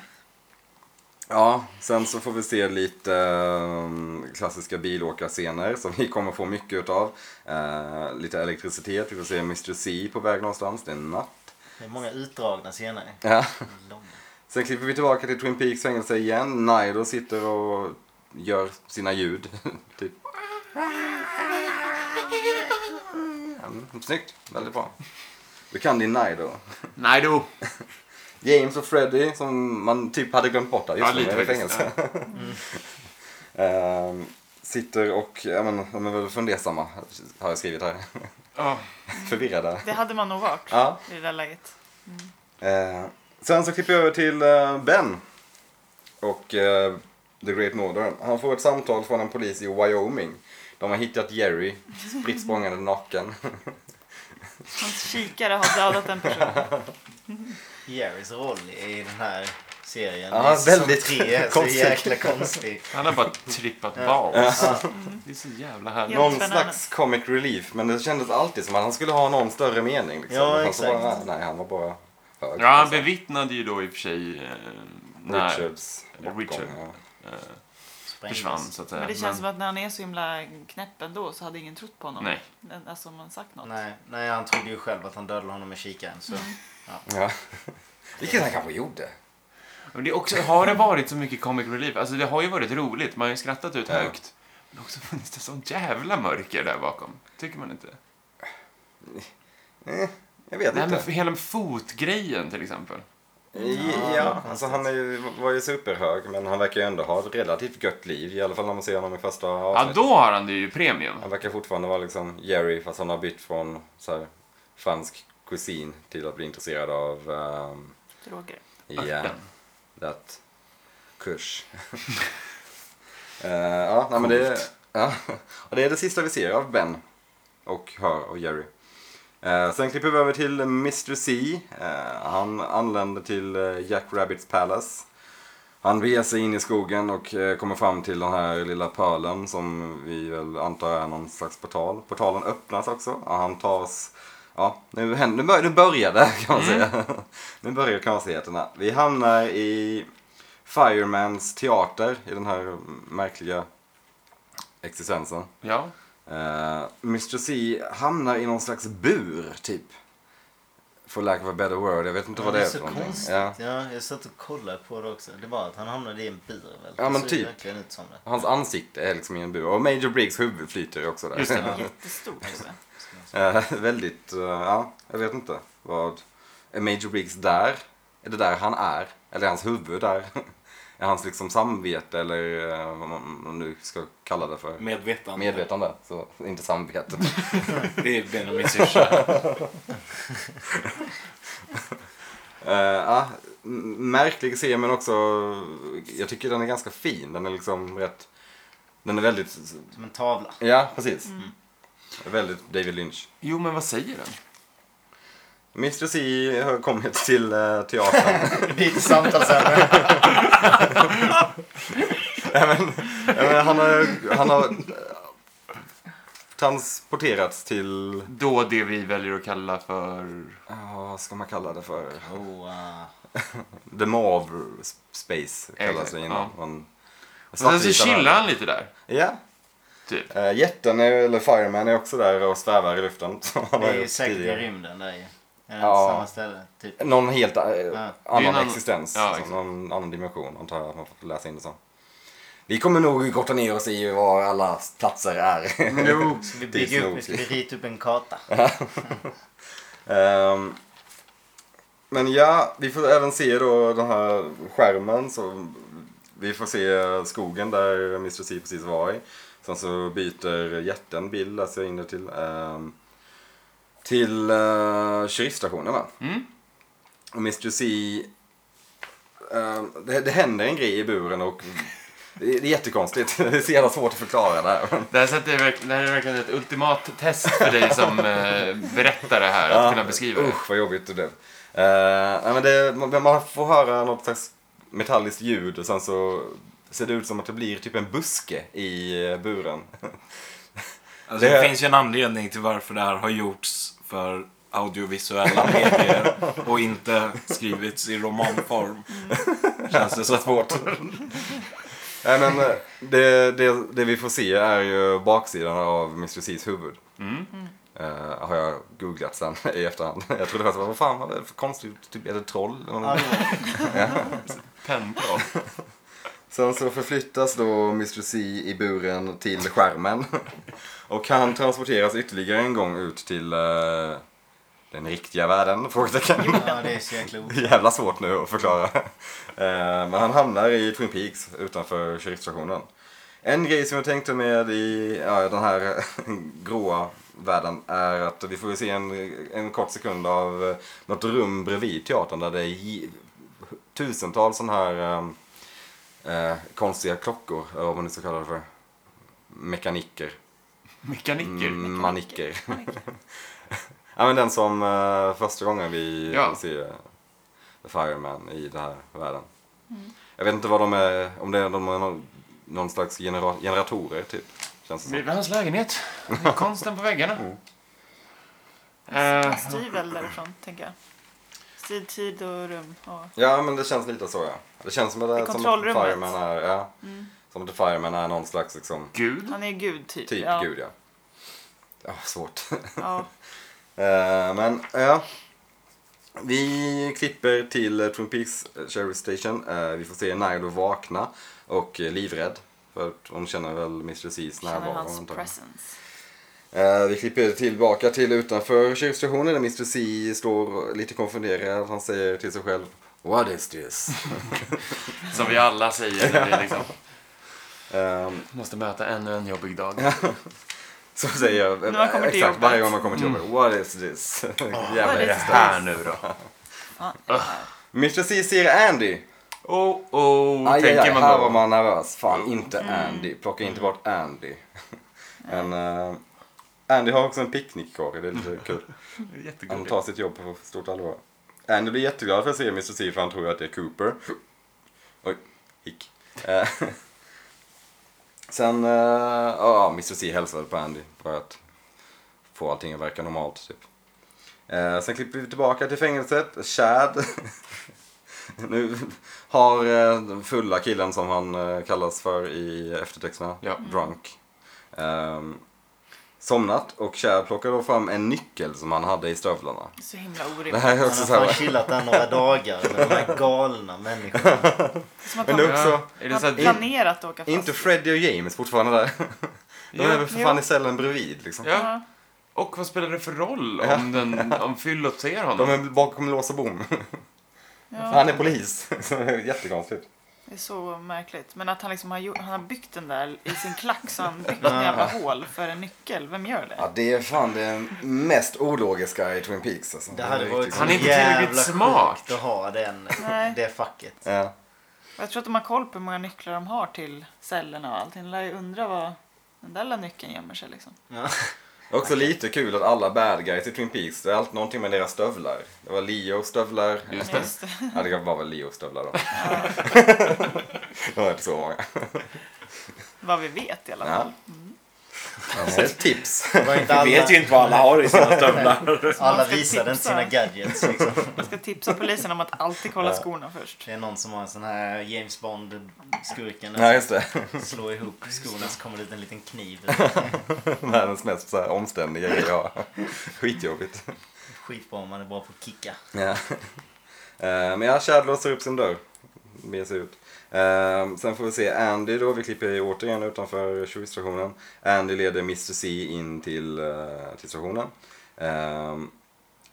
[SPEAKER 1] Ja, sen så får vi se lite ehm, klassiska bilåkarscener som vi kommer få mycket utav. Eh, lite elektricitet, vi får se Mr C på väg någonstans, det är natt.
[SPEAKER 4] Det är många utdragna scener.
[SPEAKER 1] Ja.
[SPEAKER 4] Långa.
[SPEAKER 1] Sen klipper vi tillbaka till Twin Peaks fängelse igen. Nido sitter och gör sina ljud. typ. Mm, Snyggt, väldigt bra. Du kan din Nido.
[SPEAKER 2] Nej då.
[SPEAKER 1] James och Freddy som man typ hade glömt bort där. Just
[SPEAKER 2] Ja,
[SPEAKER 1] nu,
[SPEAKER 2] lite
[SPEAKER 1] de är i
[SPEAKER 2] faktiskt,
[SPEAKER 1] fängelse. Ehm, sitter och, ja men de är väl fundersamma har jag skrivit här.
[SPEAKER 2] Ja.
[SPEAKER 1] Förvirrade.
[SPEAKER 3] Det hade man nog varit
[SPEAKER 1] Ja.
[SPEAKER 3] i det där läget.
[SPEAKER 1] Eh, sen så klipper jag över till eh, Ben. Och eh, The Great Northern. Han får ett samtal från en polis i Wyoming. De har hittat Jerry, spritt språngande naken.
[SPEAKER 3] Hans kikare har dödat en person.
[SPEAKER 4] Jerrys roll i den här serien.
[SPEAKER 1] Ja,
[SPEAKER 4] i säsong
[SPEAKER 1] väldigt
[SPEAKER 4] tre är så
[SPEAKER 1] konstig.
[SPEAKER 4] jäkla konstig.
[SPEAKER 2] Han har bara trippat bas. Det är så jävla härligt.
[SPEAKER 3] Ja.
[SPEAKER 1] Någon
[SPEAKER 3] spännande.
[SPEAKER 1] slags comic relief, men det kändes alltid som att han skulle ha någon större mening. Liksom.
[SPEAKER 4] Ja,
[SPEAKER 1] Han så
[SPEAKER 4] exakt.
[SPEAKER 1] Bara, nej, han var bara hög.
[SPEAKER 2] Ja, han bevittnade ju då i och för sig eh, när
[SPEAKER 1] Richards bortgång,
[SPEAKER 2] Richard.
[SPEAKER 1] ja.
[SPEAKER 2] eh, försvann så att säga.
[SPEAKER 3] Men det känns som att när han är så himla knäpp ändå så hade ingen trott på honom.
[SPEAKER 2] Nej.
[SPEAKER 3] Men, Alltså om man sagt något.
[SPEAKER 4] Nej, nej, han trodde ju själv att han dödade honom med kikaren. Så.
[SPEAKER 5] Mm.
[SPEAKER 1] Ja. Vilket han kanske gjorde.
[SPEAKER 2] Men det är också, har det varit så mycket comic relief? Alltså det har ju varit roligt, man har ju skrattat ut
[SPEAKER 1] Ja.
[SPEAKER 2] högt. Men också funnits det sån jävla mörker där bakom. Tycker man inte?
[SPEAKER 1] Eh, jag vet
[SPEAKER 2] Nej
[SPEAKER 1] inte.
[SPEAKER 2] men för hela fotgrejen till exempel.
[SPEAKER 1] Ja, alltså han är, ju- var ju superhög men han verkar ju ändå ha ett relativt gött liv. I alla fall när man ser honom i första
[SPEAKER 2] Ja,
[SPEAKER 1] avsnittet.
[SPEAKER 2] då har han det ju premium.
[SPEAKER 1] Han verkar fortfarande vara liksom Jerry fast han har bytt från så här, fransk kusin till att bli intresserad av um,
[SPEAKER 3] Droger.
[SPEAKER 1] yeah, that kurs. Eh, ja, nej, men det, ja, och det är det sista vi ser av Ben och hör och Jerry. Eh, sen klipper vi över till Mr C. Eh, han anländer till eh, Jack Rabbits Palace. Han beger sig in i skogen och eh, kommer fram till den här lilla pölen som vi väl antar är någon slags portal. Portalen öppnas också och han tas... Ja, nu, händer, nu, bör, nu börjar det kan man säga. nu börjar konstigheterna. Vi hamnar i Firemans teater i den här märkliga existensen.
[SPEAKER 2] Ja.
[SPEAKER 1] Eh, Mr C hamnar i någon slags bur, typ. For lack of a better word. Jag vet inte
[SPEAKER 4] Ja,
[SPEAKER 1] vad
[SPEAKER 4] det
[SPEAKER 1] det
[SPEAKER 4] är
[SPEAKER 1] är
[SPEAKER 4] så
[SPEAKER 1] för någonting.
[SPEAKER 4] konstigt.
[SPEAKER 1] Ja.
[SPEAKER 4] Ja. jag satt och kollade på det också. Det var att han hamnade i en bur väl?
[SPEAKER 1] Ja, men
[SPEAKER 4] Det ser ju
[SPEAKER 1] typ.
[SPEAKER 4] verkligen ut som det.
[SPEAKER 1] Hans ansikte är liksom i en bur. Och Major Briggs huvud flyter ju också där.
[SPEAKER 2] Just det.
[SPEAKER 3] Jättestort. tror jag.
[SPEAKER 1] Eh, väldigt, eh, ja, jag vet inte vad. Är Major Briggs där? Är det där han är? Eller är hans huvud där? är hans liksom samvete eller eh, vad man man nu ska kalla det för?
[SPEAKER 5] Medvetande.
[SPEAKER 1] Medvetande, så inte samvete.
[SPEAKER 5] Det är Benjamin syrsa.
[SPEAKER 1] Eh, ja, m- märklig scen men också, jag tycker den är ganska fin. Den är liksom rätt, den är väldigt,
[SPEAKER 4] Som en tavla.
[SPEAKER 1] ja precis. Väldigt David Lynch.
[SPEAKER 2] Jo, men vad säger den?
[SPEAKER 1] Mr C E har kommit till eh, teatern.
[SPEAKER 4] Lite samtalsämne.
[SPEAKER 1] Ja, men han har, han har eh, transporterats till,
[SPEAKER 2] Då det vi väljer att kalla för...
[SPEAKER 1] ja, vad ska man kalla det för?
[SPEAKER 4] Oh, uh,
[SPEAKER 1] The Mauve Space kallas det innan.
[SPEAKER 2] Exakt,
[SPEAKER 1] Man,
[SPEAKER 2] Sen Alltså, så chillar han lite där.
[SPEAKER 1] Ja.
[SPEAKER 2] Typ.
[SPEAKER 1] Eh, jätten, är, eller Fireman, är också där och svävar i luften. som han
[SPEAKER 4] det
[SPEAKER 1] har
[SPEAKER 4] är ju
[SPEAKER 1] gjort
[SPEAKER 4] säkert i
[SPEAKER 1] tidigare.
[SPEAKER 4] rymden där ju. Är det
[SPEAKER 1] Ja.
[SPEAKER 4] inte samma ställe? Typ.
[SPEAKER 1] Någon helt eh,
[SPEAKER 2] Det är
[SPEAKER 1] annan
[SPEAKER 2] en annan-
[SPEAKER 1] existens.
[SPEAKER 2] Ja,
[SPEAKER 1] liksom.
[SPEAKER 2] exakt.
[SPEAKER 1] någon annan dimension antar jag att man får läsa in det som. Vi kommer nog gotta ner oss i var alla platser är.
[SPEAKER 2] Jo.
[SPEAKER 4] Ska vi
[SPEAKER 1] Det är
[SPEAKER 4] bygga upp,
[SPEAKER 1] nog-
[SPEAKER 4] vi ska vi rita upp en karta.
[SPEAKER 1] Ehm, men ja, vi får även se då den här skärmen. Så vi får se skogen där Mr. C precis var i. Sen så byter jätten bild, läser jag in det till. ehm, till uh, sheriffstationen va?
[SPEAKER 2] Mm.
[SPEAKER 1] Och Mr. C... ehm, det, det händer en grej i buren och det är, det är jättekonstigt. det är så jävla svårt att förklara det här.
[SPEAKER 2] Det här, sätter jag verk- det här är verkligen ett ultimat test för dig som eh, berättare här, att kunna beskriva det.
[SPEAKER 1] Usch vad jobbigt det blev. Eh, nej, men det, man, man får höra något slags metalliskt ljud och sen så ser det ut som att det blir typ en buske i eh, buren.
[SPEAKER 5] Alltså,
[SPEAKER 1] Det-
[SPEAKER 5] det finns ju en anledning till varför det här har gjorts för audiovisuella medier och inte skrivits i romanform. Känns det så svårt?
[SPEAKER 1] Nej men eh, det, det, det vi får se är ju baksidan av Mr. C's huvud. Eh, har jag googlat sen i efterhand. Jag trodde först, vad fan var det för konstigt, typ, är det troll? Eller något?
[SPEAKER 4] Ja, det var-
[SPEAKER 2] Penndrag.
[SPEAKER 1] Sen så förflyttas då Mr C i buren till skärmen. Och han transporteras ytterligare en gång ut till eh, den riktiga världen? Frågetecken.
[SPEAKER 4] ja, det är så jäkla o-
[SPEAKER 1] Det är Jävla svårt nu att förklara. Eh, Men han hamnar i Twin Peaks utanför sheriffstationen. En grej som jag tänkte med i ja, den här gråa världen är att vi får ju se en, en kort sekund av eh, något rum bredvid teatern där det är gi- tusentals sådana här eh, eh, konstiga klockor, eller vad man nu ska kalla det för. Mekaniker.
[SPEAKER 2] Mekaniker.
[SPEAKER 1] Mm, maniker. ja, men den som eh, första gången vi
[SPEAKER 2] Ja.
[SPEAKER 1] ser eh, The Fireman i den här världen.
[SPEAKER 3] Mm.
[SPEAKER 1] Jag vet inte vad de är, om det är, de är någon, någon slags genera- generatorer typ. Känns det som.
[SPEAKER 2] Bredvid hans lägenhet. Det är Konsten på väggarna.
[SPEAKER 1] Mm.
[SPEAKER 2] Eh,
[SPEAKER 3] Han styr väl därifrån, tänker jag. Styr tid och rum. Och...
[SPEAKER 1] Ja, men det känns lite så ja. Det känns som att det
[SPEAKER 3] I
[SPEAKER 1] är som att The
[SPEAKER 3] kontrollrummet. Mm.
[SPEAKER 1] Fireman är, ja. Som att The Fireman är någon slags liksom,
[SPEAKER 2] Gud.
[SPEAKER 3] Han är ju gud, typ.
[SPEAKER 1] typ
[SPEAKER 3] ja.
[SPEAKER 1] gud ja. Ja, svårt.
[SPEAKER 3] Ja.
[SPEAKER 1] Eh, men ja. Vi klipper till eh, Twin Peaks eh, Sheriff Station. Eh, vi får se Nilo vakna och eh, livrädd. För att hon känner väl Mr. C's
[SPEAKER 3] Känner
[SPEAKER 1] närvaro.
[SPEAKER 3] hans
[SPEAKER 1] antagligen.
[SPEAKER 3] presence.
[SPEAKER 1] Eh, vi klipper tillbaka till utanför sheriffstationen där Mr. C står lite konfunderad. Han säger till sig själv What is this?
[SPEAKER 2] Som vi alla säger när vi liksom
[SPEAKER 1] Ehm,
[SPEAKER 2] måste möta ännu en jobbig dag.
[SPEAKER 1] så säger jag
[SPEAKER 3] När man kommer till
[SPEAKER 1] exakt
[SPEAKER 3] jobbet. Mm.
[SPEAKER 1] varje gång man kommer till jobbet. What is this?
[SPEAKER 2] Vad
[SPEAKER 1] Jävla
[SPEAKER 2] är det
[SPEAKER 1] häst.
[SPEAKER 2] här nu då?
[SPEAKER 1] Mr. C ser Andy.
[SPEAKER 2] Oh, oh,
[SPEAKER 1] Aj, aj,
[SPEAKER 2] tänker
[SPEAKER 1] aj,
[SPEAKER 2] man
[SPEAKER 1] här
[SPEAKER 2] då.
[SPEAKER 1] var man nervös. Fan, inte Andy. Plocka inte bort Andy. Men, eh, Andy har också en picknickkorg, det är lite kul. Han
[SPEAKER 2] Jättegulligt.
[SPEAKER 1] tar sitt jobb på stort allvar. Andy blir jätteglad för att se Mr. C för han tror ju att det är Cooper. Oj, hick. Eh, Sen, eh, ja, Mr. C hälsade på Andy för att få allting att verka normalt typ. Eh, sen klipper vi tillbaka till fängelset, Chad. nu har eh, den fulla killen som han eh, kallas för i eftertexterna,
[SPEAKER 2] Ja.
[SPEAKER 1] Drunk, ehm, somnat och Chad plockar då fram en nyckel som han hade i stövlarna.
[SPEAKER 3] Så himla
[SPEAKER 1] Det
[SPEAKER 3] orimligt.
[SPEAKER 1] här är
[SPEAKER 4] Han
[SPEAKER 1] också
[SPEAKER 4] har
[SPEAKER 1] så här,
[SPEAKER 4] fan chillat där några dagar med de här galna människorna.
[SPEAKER 3] Som
[SPEAKER 1] Men
[SPEAKER 3] att han
[SPEAKER 1] det är
[SPEAKER 3] har
[SPEAKER 1] också,
[SPEAKER 2] Är det så att,
[SPEAKER 3] planerat att åka fast.
[SPEAKER 1] inte Freddy och James fortfarande där? De är väl för
[SPEAKER 3] Jo.
[SPEAKER 1] fan i cellen bredvid liksom.
[SPEAKER 2] ja.
[SPEAKER 3] Ja.
[SPEAKER 2] Och vad spelar det för roll om, den, om fyllot ser honom?
[SPEAKER 1] De är bakom lås och bom.
[SPEAKER 3] Ja,
[SPEAKER 1] Han är polis. Så det är Jättekonstigt.
[SPEAKER 3] det är så märkligt. Men att han liksom har, gjort, han har byggt den där i sin klack så han byggt en jävla hål för en nyckel. Vem gör det?
[SPEAKER 1] Ja, det är fan det mest ologiska i Twin Peaks. Alltså.
[SPEAKER 4] Det hade
[SPEAKER 1] är
[SPEAKER 4] varit
[SPEAKER 1] riktigt-
[SPEAKER 2] Han är inte
[SPEAKER 4] jävla
[SPEAKER 2] tillräckligt smart.
[SPEAKER 4] sjukt att ha den,
[SPEAKER 3] Nej.
[SPEAKER 4] det facket.
[SPEAKER 1] Ja.
[SPEAKER 3] Och Jag tror att de har koll på hur många nycklar de har till cellerna och allting. De lär ju undra var den där lilla nyckeln gömmer sig liksom.
[SPEAKER 1] Också lite kul att alla bad guys i Twin Peaks, det är alltid någonting med deras stövlar. Det var Leos stövlar.
[SPEAKER 2] Just det.
[SPEAKER 3] Just det.
[SPEAKER 1] Ja, det var väl Leos stövlar då. det var inte så många.
[SPEAKER 3] Vad vi vet i alla
[SPEAKER 1] Ja.
[SPEAKER 3] fall.
[SPEAKER 1] Så ett tips.
[SPEAKER 4] Det var inte alla,
[SPEAKER 6] Vi vet ju inte vad alla har i sina stövlar.
[SPEAKER 4] alla
[SPEAKER 3] Man ska
[SPEAKER 4] visade inte
[SPEAKER 3] tipsa.
[SPEAKER 4] sina gadgets. Liksom.
[SPEAKER 3] Jag ska tipsa polisen om att alltid kolla skorna först.
[SPEAKER 4] Det är någon som har en sån här James Bond-skurken.
[SPEAKER 1] Ja, just det.
[SPEAKER 4] slå ihop skorna så kommer det ut en liten kniv.
[SPEAKER 1] Världens mest så här, omständiga grej jag har. Skitjobbigt.
[SPEAKER 4] Skitbra om man är bra på att kicka.
[SPEAKER 1] Ja. Eh, Men ja, Chad låser upp sin dörr. Beger sig ut. Eh, Sen får vi se Andy då. Vi klipper ju återigen utanför tjuvstationen. Andy leder Mr. C in till, eh, till stationen. Eh,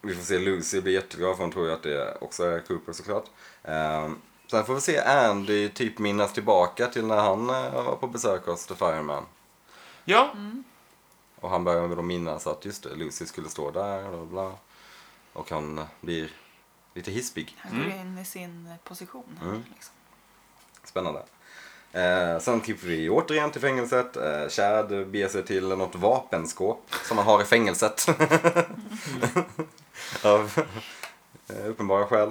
[SPEAKER 1] Vi får se Lucy bli jätteglad för hon tror ju att det också är Cooper såklart. Eh, Sen får vi se Andy typ minnas tillbaka till när han eh, var på besök hos The Fireman.
[SPEAKER 2] Ja,
[SPEAKER 1] Och han börjar väl då minnas att just det, Lucy skulle stå där och bla. Och han blir lite hispig.
[SPEAKER 3] Han går in i sin eh, position. här,
[SPEAKER 1] Mm.
[SPEAKER 3] Liksom.
[SPEAKER 1] Spännande. Eh, sen klipper vi återigen till fängelset. Eh, Chad beger sig till något vapenskåp som man har i fängelset. Av eh, uppenbara skäl.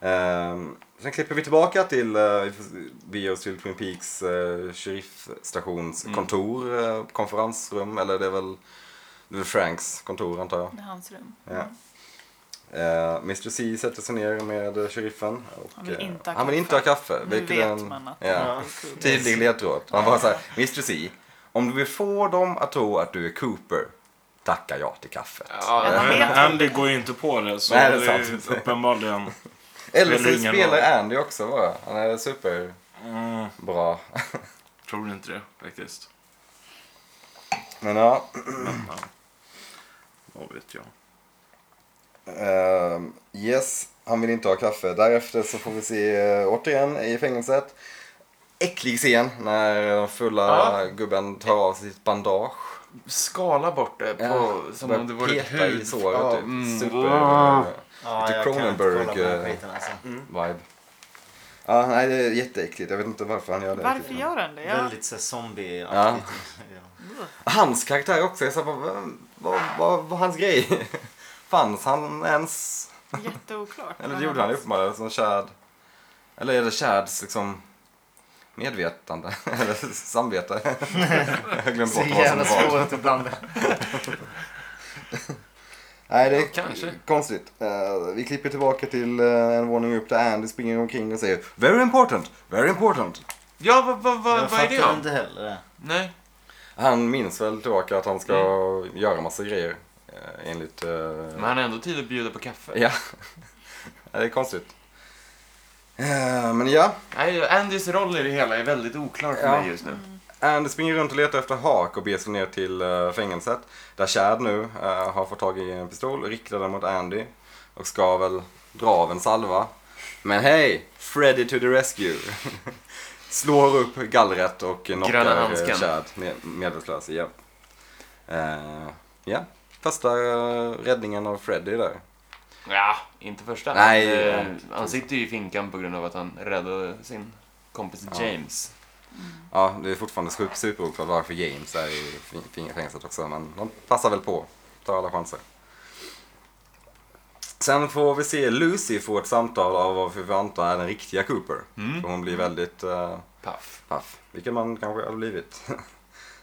[SPEAKER 1] Eh, sen klipper vi tillbaka till, eh, vi får- beger oss till Twin Peaks eh, sheriffstationskontor, eh, konferensrum, eller det är väl det är väl Franks kontor antar jag.
[SPEAKER 3] Det är hans rum. Mm.
[SPEAKER 1] Ja. Eh, Mr C sätter sig ner med eh, sheriffen. Och,
[SPEAKER 3] Han vill
[SPEAKER 1] eh,
[SPEAKER 3] inte ha
[SPEAKER 1] han vill inte
[SPEAKER 3] kaffe.
[SPEAKER 1] ha kaffe.
[SPEAKER 3] Nu
[SPEAKER 1] vilket
[SPEAKER 3] vet
[SPEAKER 1] är en-
[SPEAKER 3] man att
[SPEAKER 1] ja.
[SPEAKER 3] han är Cooper.
[SPEAKER 1] Tydlig ledtråd. Han bara såhär, Mr C. Om du vill få dem att tro att du är Cooper, tackar ja till kaffet.
[SPEAKER 2] Ja,
[SPEAKER 3] han vet väl
[SPEAKER 6] Andy går ju inte på det, så
[SPEAKER 1] Nej, det är
[SPEAKER 6] det är
[SPEAKER 1] sant.
[SPEAKER 6] uppenbarligen...
[SPEAKER 1] Eller
[SPEAKER 6] spelar
[SPEAKER 1] så
[SPEAKER 6] ingen
[SPEAKER 1] spelar
[SPEAKER 6] roll.
[SPEAKER 1] Andy också bra. Han är superbra.
[SPEAKER 6] Mm, tror inte det, faktiskt.
[SPEAKER 1] Men ja.
[SPEAKER 6] Vad vet jag.
[SPEAKER 1] Ehm, yes, han vill inte ha kaffe. Därefter så får vi se eh, återigen i fängelset. Äcklig scen när den fulla
[SPEAKER 2] Ja.
[SPEAKER 1] gubben tar av sitt bandage.
[SPEAKER 2] skala bort det på,
[SPEAKER 1] Ja,
[SPEAKER 2] som
[SPEAKER 1] börjar
[SPEAKER 2] om det vore
[SPEAKER 1] peta i
[SPEAKER 2] hud.
[SPEAKER 1] såret.
[SPEAKER 2] Ja,
[SPEAKER 1] typ.
[SPEAKER 2] mm.
[SPEAKER 1] Super Ah.
[SPEAKER 4] Ja,
[SPEAKER 1] Lite
[SPEAKER 4] jag kan inte kolla på den
[SPEAKER 1] Cronenberg,
[SPEAKER 4] här
[SPEAKER 1] eh,
[SPEAKER 4] skiten alltså.
[SPEAKER 1] vibe. Ja, nej, det är jätteäckligt. Jag vet inte varför han gör det. typ.
[SPEAKER 3] Varför gör han det? Ja.
[SPEAKER 4] Väldigt så här zombie-aktigt.
[SPEAKER 1] Ja.
[SPEAKER 4] Ja.
[SPEAKER 1] Hans karaktär också. Jag sa bara, vad, vad, vad, vad hans grej? Fanns han ens?
[SPEAKER 3] Jätteoklart.
[SPEAKER 1] Eller det gjorde han ju uppenbarligen som Chad. Eller är det Chads liksom medvetande? Eller samvete? Jag glömde
[SPEAKER 4] Så
[SPEAKER 1] bort vad som
[SPEAKER 4] jävla
[SPEAKER 1] var.
[SPEAKER 4] svårt att blanda.
[SPEAKER 1] Nej, det är
[SPEAKER 2] kanske.
[SPEAKER 1] konstigt. Eh, vi klipper tillbaka till eh, en våning upp där Andy springer omkring och säger Very important, very important.
[SPEAKER 2] Ja, vad, vad, vad,
[SPEAKER 4] Jag
[SPEAKER 2] vad är det
[SPEAKER 4] fattar
[SPEAKER 2] om?
[SPEAKER 4] inte heller det.
[SPEAKER 2] Nej.
[SPEAKER 1] Han minns väl tillbaka att han ska göra massa grejer eh, enligt... eh,
[SPEAKER 2] Men han har ändå tid att bjuda på kaffe.
[SPEAKER 1] Ja, Ja, det är konstigt. Eh, Men ja,
[SPEAKER 2] Nej, Andys roll i det hela är väldigt oklar för
[SPEAKER 1] Ja.
[SPEAKER 2] mig just nu.
[SPEAKER 1] Andy springer runt och letar efter Hak och beger sig ner till eh, fängelset. Där Chad nu eh, har fått tag i en pistol, riktar den mot Andy och ska väl dra av en salva. Men hej! Freddy to the rescue! Slår upp gallret och
[SPEAKER 2] Gröna
[SPEAKER 1] knockar eh,
[SPEAKER 2] handsken.
[SPEAKER 1] Chad med, medvetslös. Ja. Eh, ja, första eh, räddningen av Freddy där.
[SPEAKER 2] Ja, inte första.
[SPEAKER 1] Nej,
[SPEAKER 2] Eh,
[SPEAKER 1] ja.
[SPEAKER 2] han sitter ju i finkan på grund av att han räddade sin kompis James.
[SPEAKER 1] Ja, det är fortfarande super- superoklart varför James är i fing- fing- fängelset också, men de passar väl på. Tar alla chanser. Sen får vi se Lucy få ett samtal av vad vi får anta är den riktiga Cooper.
[SPEAKER 2] Mm.
[SPEAKER 1] För hon blir väldigt eh,
[SPEAKER 2] Paff.
[SPEAKER 1] paff, vilket man kanske hade blivit.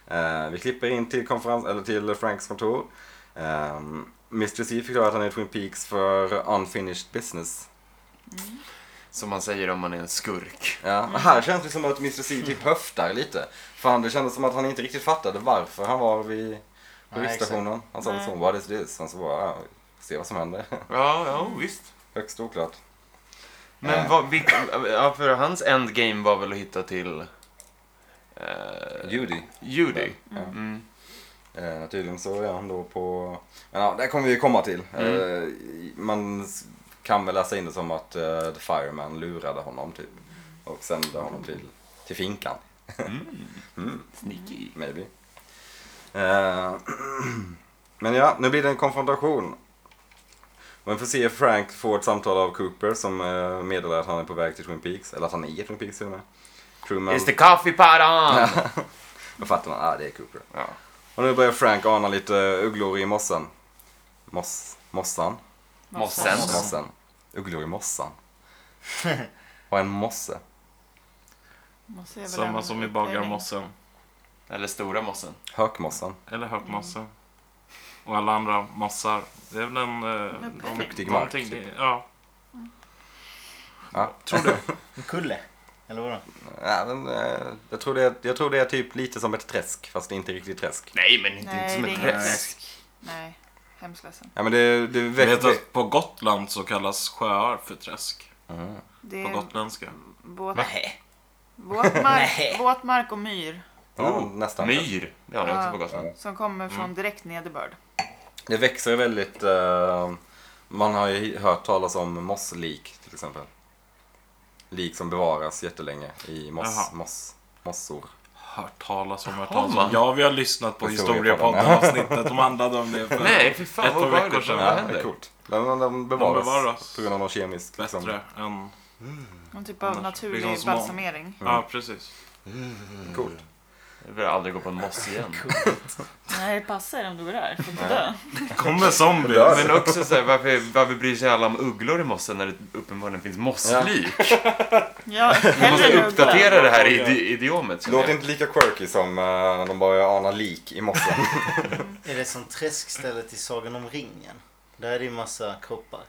[SPEAKER 1] Eh, vi klipper in till, konferens, eller till Franks kontor. Eh, Mr. C förklarar att han är i Twin Peaks för unfinished business.
[SPEAKER 2] Som man säger om man är en skurk.
[SPEAKER 1] Ja, och här känns det som att Mr. C typ höftar lite. För han, det kändes som att han inte riktigt fattade varför han var vid
[SPEAKER 4] Nej,
[SPEAKER 1] polisstationen. Han sa
[SPEAKER 3] Nej.
[SPEAKER 1] liksom what is this? Han så bara, ja, se vad som händer.
[SPEAKER 2] Ja, ja visst.
[SPEAKER 1] Högst oklart.
[SPEAKER 2] Men
[SPEAKER 1] Eh.
[SPEAKER 2] vad, vilk, ja, för hans endgame var väl att hitta till... Eh,
[SPEAKER 1] Judy.
[SPEAKER 2] Judy.
[SPEAKER 1] Ja.
[SPEAKER 2] Mm.
[SPEAKER 1] Eh, tydligen så är han då på, men ja, det kommer vi komma till.
[SPEAKER 2] Mm.
[SPEAKER 1] Eh, man s- kan väl läsa in det som att eh, The Fireman lurade honom typ. Och sände honom till, till finkan.
[SPEAKER 2] Mm.
[SPEAKER 1] Mm.
[SPEAKER 2] Sneaky.
[SPEAKER 1] Maybe. Eh, men ja, nu blir det en konfrontation. Man får se Frank få ett samtal av Cooper som eh, meddelar att han är på väg till Twin Peaks. Eller att han är i Twin Peaks till och med. Crewman.
[SPEAKER 2] Is the coffee pot on?
[SPEAKER 1] Då fattar man, ah det är Cooper.
[SPEAKER 2] Ja.
[SPEAKER 1] Och nu börjar Frank ana lite ugglor i mossen. Moss, mossan?
[SPEAKER 2] Mossen.
[SPEAKER 1] Mossen. Ugglor i mossan. Vad är en mosse?
[SPEAKER 6] Samma som i bagarmossen.
[SPEAKER 2] Eller stora mossen.
[SPEAKER 1] Hökmossan.
[SPEAKER 6] Eller höpmossen. Och alla andra mossar. Det är väl en... Eh, de-
[SPEAKER 1] Fruktig mark,
[SPEAKER 6] någonting-
[SPEAKER 1] typ.
[SPEAKER 6] Ja.
[SPEAKER 1] Ja.
[SPEAKER 4] En kulle? Eller vadå?
[SPEAKER 1] Ja, men, eh, jag, tror det är, jag tror det är typ lite som ett träsk, fast det är inte riktigt träsk.
[SPEAKER 2] Nej, men inte, inte
[SPEAKER 3] Nej,
[SPEAKER 2] som
[SPEAKER 3] det är
[SPEAKER 2] ett
[SPEAKER 3] inget
[SPEAKER 2] träsk.
[SPEAKER 3] träsk. Nej, hemskt ledsen.
[SPEAKER 1] Ja, men det, det
[SPEAKER 6] Jag
[SPEAKER 1] väck,
[SPEAKER 6] vet att på Gotland så kallas sjöar för träsk.
[SPEAKER 3] Det
[SPEAKER 6] På
[SPEAKER 3] är
[SPEAKER 6] gotländska.
[SPEAKER 3] båt,
[SPEAKER 4] Nej.
[SPEAKER 3] våtmark, våtmark och myr
[SPEAKER 1] ja, nästan.
[SPEAKER 2] Myr. Det har ni också
[SPEAKER 3] Ja.
[SPEAKER 2] på Gotland.
[SPEAKER 3] som kommer från
[SPEAKER 6] Mm.
[SPEAKER 3] direkt nederbörd.
[SPEAKER 1] Det växer väldigt... eh, man har ju hört talas om mosslik till exempel. Lik som bevaras jättelänge i moss,
[SPEAKER 6] Jaha.
[SPEAKER 1] moss, mossor.
[SPEAKER 6] Hört talas om, hört
[SPEAKER 2] Har
[SPEAKER 6] talas om.
[SPEAKER 2] man?
[SPEAKER 6] Ja, vi har lyssnat på
[SPEAKER 1] Historiepodden.
[SPEAKER 6] historiepodden-avsnittet. De handlade om det för
[SPEAKER 2] Nej, fy fan
[SPEAKER 6] ett par
[SPEAKER 2] vad bra
[SPEAKER 6] veckor
[SPEAKER 2] det
[SPEAKER 6] sedan.
[SPEAKER 2] Vad
[SPEAKER 1] Ja,
[SPEAKER 2] händer?
[SPEAKER 1] det är coolt. De, de, bevaras
[SPEAKER 6] De bevaras.
[SPEAKER 1] på grund av någon kemisk...
[SPEAKER 6] bättre
[SPEAKER 1] Liksom.
[SPEAKER 6] än...
[SPEAKER 3] Någon typ av
[SPEAKER 6] Annars
[SPEAKER 3] naturlig
[SPEAKER 6] blir de små.
[SPEAKER 3] balsamering.
[SPEAKER 6] Ja, precis.
[SPEAKER 1] Coolt.
[SPEAKER 2] Jag vill aldrig gå på en moss igen.
[SPEAKER 3] Nej, passa er om du går där. Får inte dö.
[SPEAKER 6] Kommer zombies.
[SPEAKER 2] Men också så här, varför, varför bryr sig alla om ugglor i mossen när det uppenbarligen finns mosslik?
[SPEAKER 3] Ja,
[SPEAKER 2] Vi måste
[SPEAKER 3] hellre uggla.
[SPEAKER 2] uppdatera det här idi idiomet. känner
[SPEAKER 1] Låter
[SPEAKER 2] jag.
[SPEAKER 1] inte lika quirky som eh, när de börjar ana lik i mossen.
[SPEAKER 4] Är det som träskstället i Sagan om ringen? Där är det ju massa kroppar.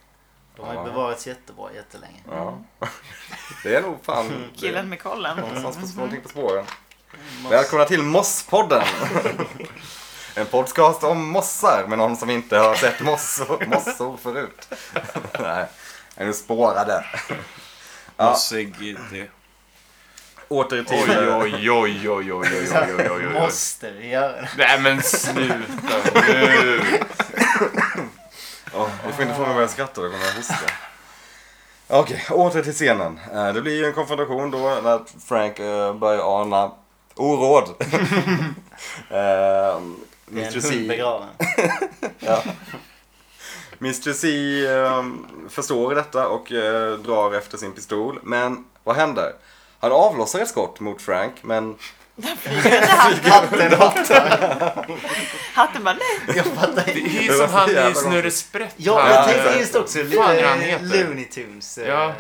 [SPEAKER 4] De har ju
[SPEAKER 1] Ja.
[SPEAKER 4] bevarats jättebra jättelänge.
[SPEAKER 1] ja. Det är nog fan...
[SPEAKER 3] Killen med
[SPEAKER 6] Mm.
[SPEAKER 3] kollen.
[SPEAKER 1] Någonstans på, någonting på spåren. Välkomna till Mosspodden! En podcast om mossar med någon som inte har sett mossor, mossor förut. Nej, är nu spårade. Ja.
[SPEAKER 5] Mossig idé.
[SPEAKER 1] Åter till...
[SPEAKER 2] Oj, oj, oj, oj, oj, oj, oj, oj, oj, oj.
[SPEAKER 4] Måste vi göra det?
[SPEAKER 2] Nej men sluta nu.
[SPEAKER 1] Ja, du får inte fråga vad jag skrattar, jag kommer att hosta. Okej, åter till scenen. Eh, Det blir ju en konfrontation då när Frank eh, börjar ana oråd. Eh,
[SPEAKER 4] Det är
[SPEAKER 1] Mr.
[SPEAKER 4] en hund
[SPEAKER 1] C,
[SPEAKER 4] begraven.
[SPEAKER 1] Mr. C eh, förstår detta och eh, drar efter sin pistol. Men vad händer? Han avlossar ett skott mot Frank, men
[SPEAKER 4] Hatten hattar.
[SPEAKER 3] Hatten bara nej.
[SPEAKER 4] Jag fattar inte.
[SPEAKER 1] Det
[SPEAKER 2] Det är
[SPEAKER 1] var
[SPEAKER 2] som
[SPEAKER 1] så
[SPEAKER 2] han
[SPEAKER 1] jävla
[SPEAKER 2] i Snurre Sprätt.
[SPEAKER 4] Ja,
[SPEAKER 2] här.
[SPEAKER 4] jag tänkte just också. eh,
[SPEAKER 2] Fan, han heter.
[SPEAKER 4] Looney Tunes. eh,
[SPEAKER 2] Ja.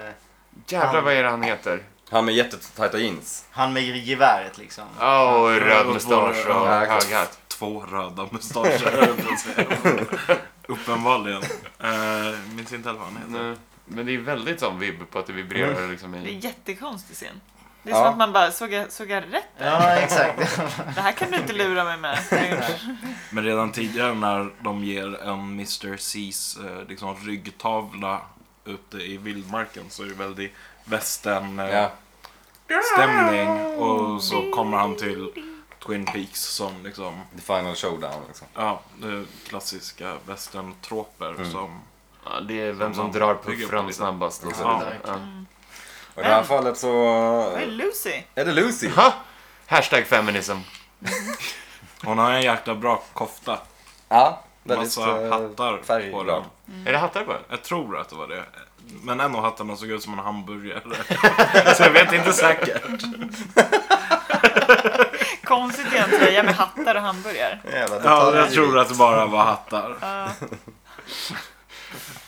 [SPEAKER 2] Jävlar vad är det han heter?
[SPEAKER 1] han med jättetajta jeans.
[SPEAKER 4] Han med geväret liksom.
[SPEAKER 2] Ja, och röd
[SPEAKER 5] och
[SPEAKER 2] mustasch och
[SPEAKER 5] våra-
[SPEAKER 1] ja,
[SPEAKER 2] hög hatt.
[SPEAKER 5] Två röda mustascher. höll jag på att säga. Uppenbarligen. Uh, minns inte heller vad han heter.
[SPEAKER 2] Nej, Men det är väldigt sån vibb på att det vibrerar liksom
[SPEAKER 3] Det är
[SPEAKER 6] Mm.
[SPEAKER 2] i...
[SPEAKER 3] en jättekonstig scen. Det är
[SPEAKER 1] Ja.
[SPEAKER 3] som att man bara, såg jag, såg jag rätt?
[SPEAKER 4] Ja, exakt.
[SPEAKER 3] Det här kan du inte lura mig med.
[SPEAKER 5] Men redan tidigare när de ger en Mr. C's eh, liksom, ryggtavla ute i vildmarken så är det väldigt västern eh,
[SPEAKER 1] Ja.
[SPEAKER 5] stämning och så kommer han till Twin Peaks som liksom
[SPEAKER 1] The final showdown liksom.
[SPEAKER 5] ja, eh, klassiska västerntråper
[SPEAKER 1] Mm.
[SPEAKER 5] som
[SPEAKER 2] Ja, det är vem som drar puffran snabbast. Liksom.
[SPEAKER 5] Ja.
[SPEAKER 2] Ja.
[SPEAKER 1] Och i det här fallet så
[SPEAKER 3] Vad är Lucy?
[SPEAKER 1] är det Lucy.
[SPEAKER 2] Ha! Hashtag feminism.
[SPEAKER 5] Hon har en jäkla bra kofta.
[SPEAKER 1] Ja, väldigt
[SPEAKER 5] Massa
[SPEAKER 1] eh,
[SPEAKER 5] hattar på
[SPEAKER 1] färgglad.
[SPEAKER 5] den.
[SPEAKER 2] Är det hattar på den?
[SPEAKER 5] Jag tror att det var det. Men en av hattarna såg ut som en hamburgare. så jag vet inte säkert.
[SPEAKER 3] Konstigt i en tröja med hattar och hamburgare.
[SPEAKER 1] Jävla
[SPEAKER 5] Ja, jag
[SPEAKER 1] detaljer.
[SPEAKER 5] tror att det bara var hattar.
[SPEAKER 3] Ja.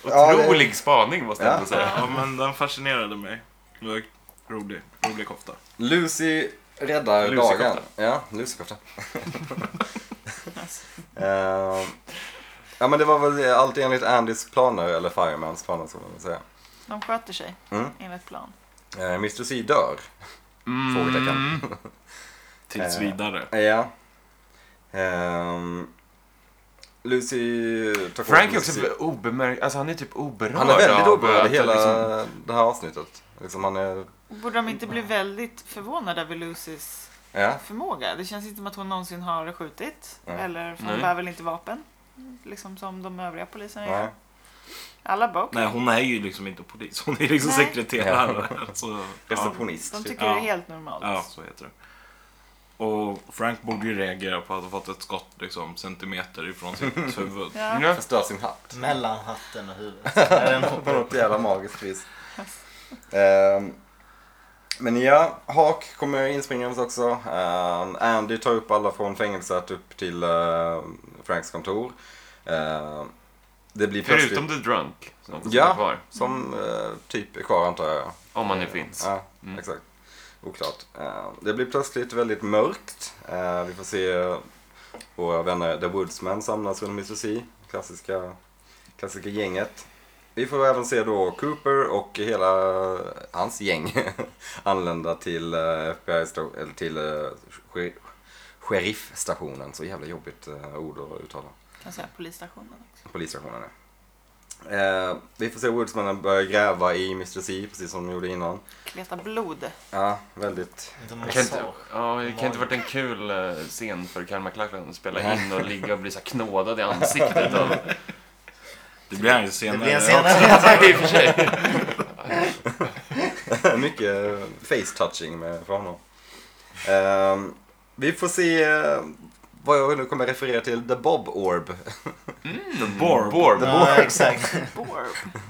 [SPEAKER 1] Ja, det-
[SPEAKER 2] Otrolig spaning måste jag
[SPEAKER 1] Ja.
[SPEAKER 2] ändå säga.
[SPEAKER 5] Ja, men den fascinerade mig. Det var Rolig. Rolig kofta.
[SPEAKER 1] Lucy räddar
[SPEAKER 2] Lucy-kofta.
[SPEAKER 1] dagen. Ja, Lucy-kofta. Eh, ja men det var väl allt enligt Andys planer, eller Firemans planer som man vill säga.
[SPEAKER 3] De sköter sig
[SPEAKER 1] Mm.
[SPEAKER 3] enligt plan.
[SPEAKER 1] Eh, Mr C dör.
[SPEAKER 2] Mm.
[SPEAKER 1] Frågetecken.
[SPEAKER 5] Tills
[SPEAKER 1] Eh.
[SPEAKER 5] vidare.
[SPEAKER 1] Ja. Ehm, Lucy tar kort
[SPEAKER 2] Frank
[SPEAKER 1] på
[SPEAKER 2] är
[SPEAKER 1] Mr. C.
[SPEAKER 2] också obemärkt, alltså han är typ oberörd
[SPEAKER 1] Han är väldigt
[SPEAKER 2] av
[SPEAKER 1] oberörd i
[SPEAKER 2] att
[SPEAKER 1] hela
[SPEAKER 2] liksom-
[SPEAKER 1] det här avsnittet. Liksom han är...
[SPEAKER 3] Borde de inte bli väldigt förvånade över Lucys
[SPEAKER 1] Ja.
[SPEAKER 3] förmåga? Det känns inte som att hon någonsin har skjutit.
[SPEAKER 1] Nej.
[SPEAKER 3] Eller för
[SPEAKER 2] Nej.
[SPEAKER 3] hon bär väl inte vapen? Liksom som de övriga poliserna
[SPEAKER 1] Nej.
[SPEAKER 3] gör. Alla bara okej.
[SPEAKER 5] Nej, hon är ju liksom inte polis. Hon är liksom
[SPEAKER 3] Nej.
[SPEAKER 5] sekreterare. Så, ja.
[SPEAKER 1] Receptionist.
[SPEAKER 3] De
[SPEAKER 1] typ.
[SPEAKER 3] tycker
[SPEAKER 5] Ja.
[SPEAKER 3] det är helt normalt.
[SPEAKER 5] ja, så heter det. Och Frank borde ju reagera på att ha fått ett skott liksom, centimeter ifrån sitt huvud.
[SPEAKER 3] Ja.
[SPEAKER 2] Ja.
[SPEAKER 1] Förstör sin hatt.
[SPEAKER 4] Mellan hatten och huvudet. När den
[SPEAKER 1] På
[SPEAKER 4] hoppar upp.
[SPEAKER 1] något jävla magiskt vis. Ehm, men ja, Hawk kommer inspringandes också. Ehm, Andy tar upp alla från fängelset upp till eh, Franks kontor. Ehm, det blir plötsligt...
[SPEAKER 2] Förutom The Drunk, som som
[SPEAKER 1] Ja.
[SPEAKER 2] är kvar.
[SPEAKER 1] Som eh, typ är kvar antar jag.
[SPEAKER 2] Om han nu finns.
[SPEAKER 1] Ja, exakt. Oklart. Eh, det blir plötsligt väldigt mörkt. Eh, vi får se eh, våra vänner The Woodsman samlas runt Mr. C. Klassiska, klassiska gänget. Vi får även se då Cooper och hela hans gäng anlända till eh, FBI sto- eller till eh, sh- sheriffstationen. Så jävla jobbigt eh, ord att uttala.
[SPEAKER 3] Kan säga polisstationen också.
[SPEAKER 1] Polisstationen är. Eh, vi får se Woodsmannen börja gräva i Mr. C precis som de gjorde innan.
[SPEAKER 3] Kleta blod.
[SPEAKER 1] Ja, väldigt
[SPEAKER 4] De
[SPEAKER 2] Det
[SPEAKER 4] har
[SPEAKER 2] kan inte,
[SPEAKER 4] sår.
[SPEAKER 2] ja, det kan inte varit en kul eh, scen för Kalmar McLachlan att spela in och ligga och bli så här knådad i ansiktet av...
[SPEAKER 5] Det blir han ju
[SPEAKER 4] Det
[SPEAKER 5] senare.
[SPEAKER 4] blir en senare.
[SPEAKER 2] I och för sig.
[SPEAKER 1] Mycket face-touching med, för honom. Ehm, vi får se eh, vad jag nu kommer referera till, The Bob Orb.
[SPEAKER 5] The Borb.
[SPEAKER 2] Borb.
[SPEAKER 4] Ja, exakt.
[SPEAKER 3] Borb.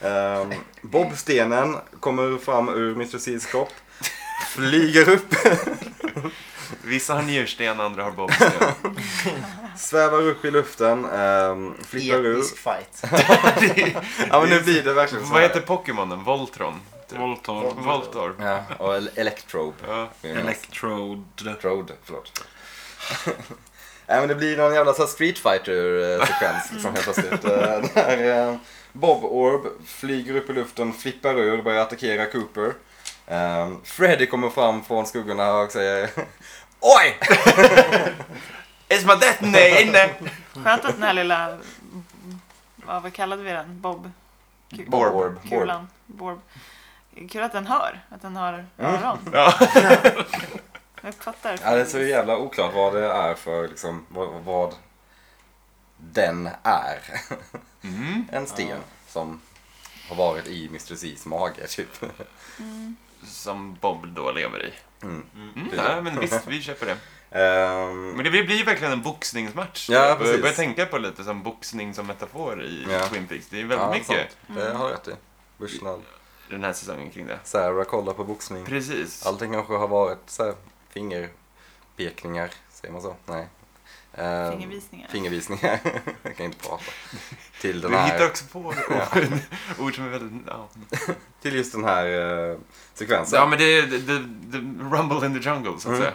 [SPEAKER 1] Ehm, Bob-stenen kommer fram ur Mr. C's kropp, flyger upp,
[SPEAKER 2] Vissa har njursten, andra har bobsten.
[SPEAKER 1] svävar upp i luften, um, flippar ur.
[SPEAKER 4] Episk fight.
[SPEAKER 1] Ja men nu blir det verkligen så
[SPEAKER 2] Vad
[SPEAKER 1] här.
[SPEAKER 2] heter Pokémonen? Voltron? Typ.
[SPEAKER 5] Voltorb.
[SPEAKER 2] Voltorb.
[SPEAKER 1] Ja, och el- Electrobe.
[SPEAKER 2] Ja.
[SPEAKER 5] Electrode.
[SPEAKER 1] Electrode, förlåt. Nej men det blir någon jävla så här Street Fighter-sekvens liksom helt plötsligt. Eh, Där eh, Bob Orb flyger upp i luften, flippar ur och börjar attackera Cooper. Eh, Freddy kommer fram från skuggorna och säger Oj!
[SPEAKER 2] It's Eh, my death day inne!
[SPEAKER 3] Skönt att den här lilla, vad vad kallade vi den? Bob? Ku-
[SPEAKER 2] Borb.
[SPEAKER 3] Kulan? Borb. Kul att den hör, att den
[SPEAKER 1] Mm.
[SPEAKER 3] har öron. Jag uppfattar.
[SPEAKER 1] Ja, det är så jävla oklart vad det är för liksom, vad, vad den är. en sten som har varit i Mr. Z's mage typ.
[SPEAKER 3] Mm.
[SPEAKER 2] Som Bob då lever i.
[SPEAKER 1] Mm.
[SPEAKER 2] Mm, nej, men visst, vi köper det.
[SPEAKER 1] Ehm,
[SPEAKER 2] Men det blir ju verkligen en boxningsmatch.
[SPEAKER 1] Ja,
[SPEAKER 2] jag
[SPEAKER 1] precis.
[SPEAKER 2] börjar tänka på lite som boxning som metafor i
[SPEAKER 1] Ja.
[SPEAKER 2] Twin Peaks. Det är
[SPEAKER 1] ja,
[SPEAKER 2] väldigt mycket Mm.
[SPEAKER 1] sant. Det har du rätt i. Bushnell.
[SPEAKER 2] den här säsongen kring det.
[SPEAKER 1] Sarah kollar på boxning.
[SPEAKER 2] Precis.
[SPEAKER 1] Allting kanske har varit så här, fingerpekningar, säger man så? Nej. Ehm,
[SPEAKER 3] Fingervisningar.
[SPEAKER 1] Fingervisningar. jag kan inte prata. Till den
[SPEAKER 2] Du
[SPEAKER 1] här...
[SPEAKER 2] hittar också på ord, ord som är väldigt... Ja,
[SPEAKER 1] Till just den här eh, sekvensen.
[SPEAKER 2] ja men det är the, the rumble in the jungle, så att
[SPEAKER 1] Mm.
[SPEAKER 2] säga.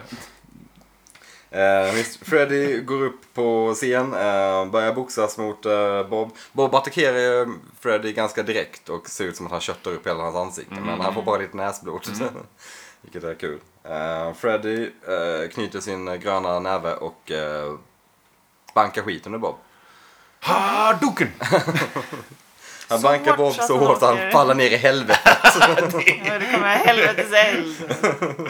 [SPEAKER 1] Eh, Mr. Freddy går upp på scen, eh, börjar boxas mot eh, Bob. Bob attackerar ju Freddy ganska direkt och ser ut som att han köttar upp hela hans ansikte. Men han får bara lite näsblod. Vilket är kul. Eh, Freddy eh, knyter sin eh, gröna näve och eh, bankar skiten ur Bob.
[SPEAKER 2] Ha, Ah, duken!
[SPEAKER 1] Han
[SPEAKER 3] Så
[SPEAKER 1] bankar
[SPEAKER 3] hårt
[SPEAKER 1] Bob
[SPEAKER 3] så att
[SPEAKER 1] så
[SPEAKER 3] han
[SPEAKER 1] hårt att han
[SPEAKER 3] åker.
[SPEAKER 1] faller ner i helvetet.
[SPEAKER 3] Ja, det kommer helvetes eld.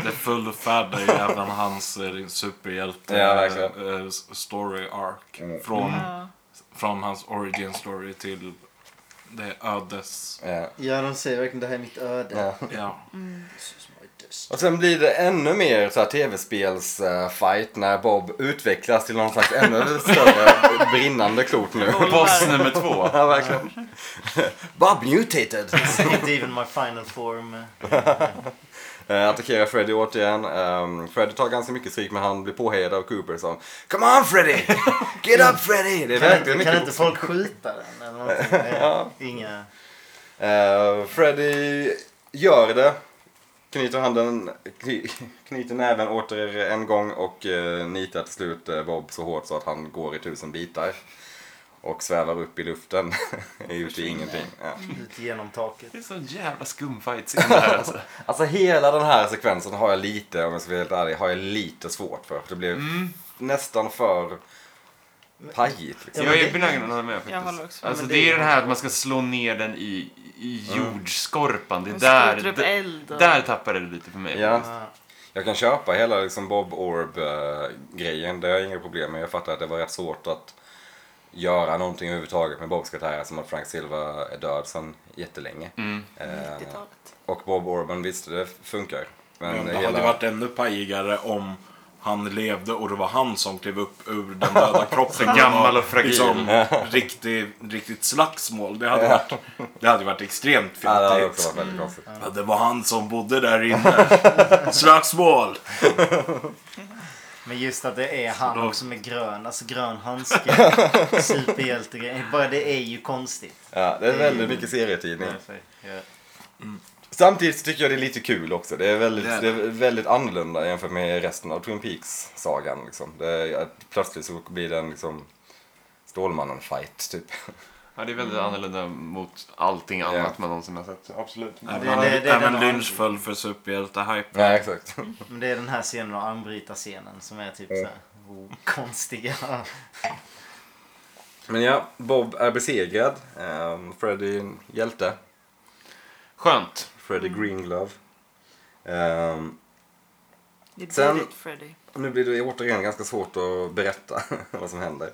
[SPEAKER 5] Det fullfärdar ju även hans eh, superhjälte
[SPEAKER 1] Ja, verkligen. Mm.
[SPEAKER 5] eh, s- story arc. Från,
[SPEAKER 4] Mm.
[SPEAKER 3] Ja.
[SPEAKER 5] från hans origin story till det ödes...
[SPEAKER 1] Eh,
[SPEAKER 4] Ja, de säger verkligen det här är mitt öde.
[SPEAKER 1] ja.
[SPEAKER 5] Ja.
[SPEAKER 1] Och sen blir det ännu mer så här tv-spels-fight när Bob utvecklas till någon slags ännu större brinnande klot nu.
[SPEAKER 2] Boss nummer två.
[SPEAKER 1] Ja, verkligen. Bob mutated.
[SPEAKER 4] Inte even my final form.
[SPEAKER 1] Eh, attackerar Freddy återigen. Um, Freddy tar ganska mycket stryk men han blir påhejad av Cooper som Come on Freddy! Get up Freddy! Det är
[SPEAKER 4] Kan,
[SPEAKER 1] verkligen
[SPEAKER 4] inte- kan
[SPEAKER 1] mycket
[SPEAKER 4] inte folk skjuta den? Eller någonting? Nej, Inga...
[SPEAKER 1] Eh, Freddy gör det. Knyter handen, kny- knyter näven åter en gång och eh, nitar till slut eh, Bob så hårt så att han går i tusen bitar. Och svävar upp i luften. är ute i ingenting. Ja.
[SPEAKER 4] Ut genom taket.
[SPEAKER 2] Det är sån jävla skumfight-scen det här alltså.
[SPEAKER 1] Alltså hela den här sekvensen har jag lite, om jag ska vara helt ärlig, har jag lite svårt för. Det blev nästan för pajigt. Liksom.
[SPEAKER 2] jag är benägen att hålla med faktiskt.
[SPEAKER 3] Jag håller också med,
[SPEAKER 2] Alltså,
[SPEAKER 3] men
[SPEAKER 2] det,
[SPEAKER 3] det
[SPEAKER 2] är
[SPEAKER 3] är-
[SPEAKER 2] den här att man ska slå ner den i, i
[SPEAKER 1] Mm.
[SPEAKER 2] jordskorpan. Det är
[SPEAKER 3] Den
[SPEAKER 2] där,
[SPEAKER 3] sprutar upp
[SPEAKER 2] d-
[SPEAKER 3] eld och-
[SPEAKER 2] där tappar det lite för mig.
[SPEAKER 1] Ja,
[SPEAKER 4] Ja.
[SPEAKER 1] jag kan köpa hela liksom Bob Orb-grejen, det har jag inga problem med. Jag fattar att det var rätt svårt att göra någonting överhuvudtaget med Bobs karaktär som att Frank Silva är död sedan jättelänge.
[SPEAKER 2] Mm.
[SPEAKER 1] Eh,
[SPEAKER 3] 90-talet.
[SPEAKER 1] och Bob Orban, visst det funkar. Men
[SPEAKER 5] Men det
[SPEAKER 1] Mm, hela...
[SPEAKER 5] hade varit ännu pajigare om han levde och det var han som klev upp ur den döda kroppen.
[SPEAKER 2] Så gammal
[SPEAKER 5] Det var
[SPEAKER 2] och fragil.
[SPEAKER 5] Liksom, riktig, riktigt slagsmål. Det hade varit, det hade varit extremt fint.
[SPEAKER 1] Ja, det hade också varit väldigt konstigt.
[SPEAKER 5] Ja, det var han som bodde där inne. Slagsmål!
[SPEAKER 4] Men just att det är han också med grön, alltså grön handske. Superhjältegrej. Bara det är ju konstigt.
[SPEAKER 1] Ja, det är väldigt mycket serietidning.
[SPEAKER 2] Mm.
[SPEAKER 4] Därför, ja.
[SPEAKER 1] Samtidigt så tycker jag det är lite kul också. Det är väldigt,
[SPEAKER 5] Det är
[SPEAKER 1] det är väldigt annorlunda jämfört med resten av Twin Peaks-sagan. Liksom. Det är, att plötsligt så blir det en liksom, Stålmannen-fight, typ.
[SPEAKER 2] Ja, det är väldigt annorlunda mot allting annat man någonsin har sett. Absolut.
[SPEAKER 5] Även,
[SPEAKER 4] det- det är
[SPEAKER 5] även
[SPEAKER 4] den
[SPEAKER 5] Lynch föll för superhjälte-hype.
[SPEAKER 1] Ja, exakt.
[SPEAKER 4] Men det är den här scenen och armbrytarscenen som är typ så här oh, konstiga.
[SPEAKER 1] Men ja, Bob är besegrad. Um, Freddy är en hjälte.
[SPEAKER 2] Skönt.
[SPEAKER 1] Freddy Greenglove. Ehm,
[SPEAKER 3] You did
[SPEAKER 1] Sen-
[SPEAKER 3] it Freddy.
[SPEAKER 1] nu blir det återigen ganska svårt att berätta vad som händer.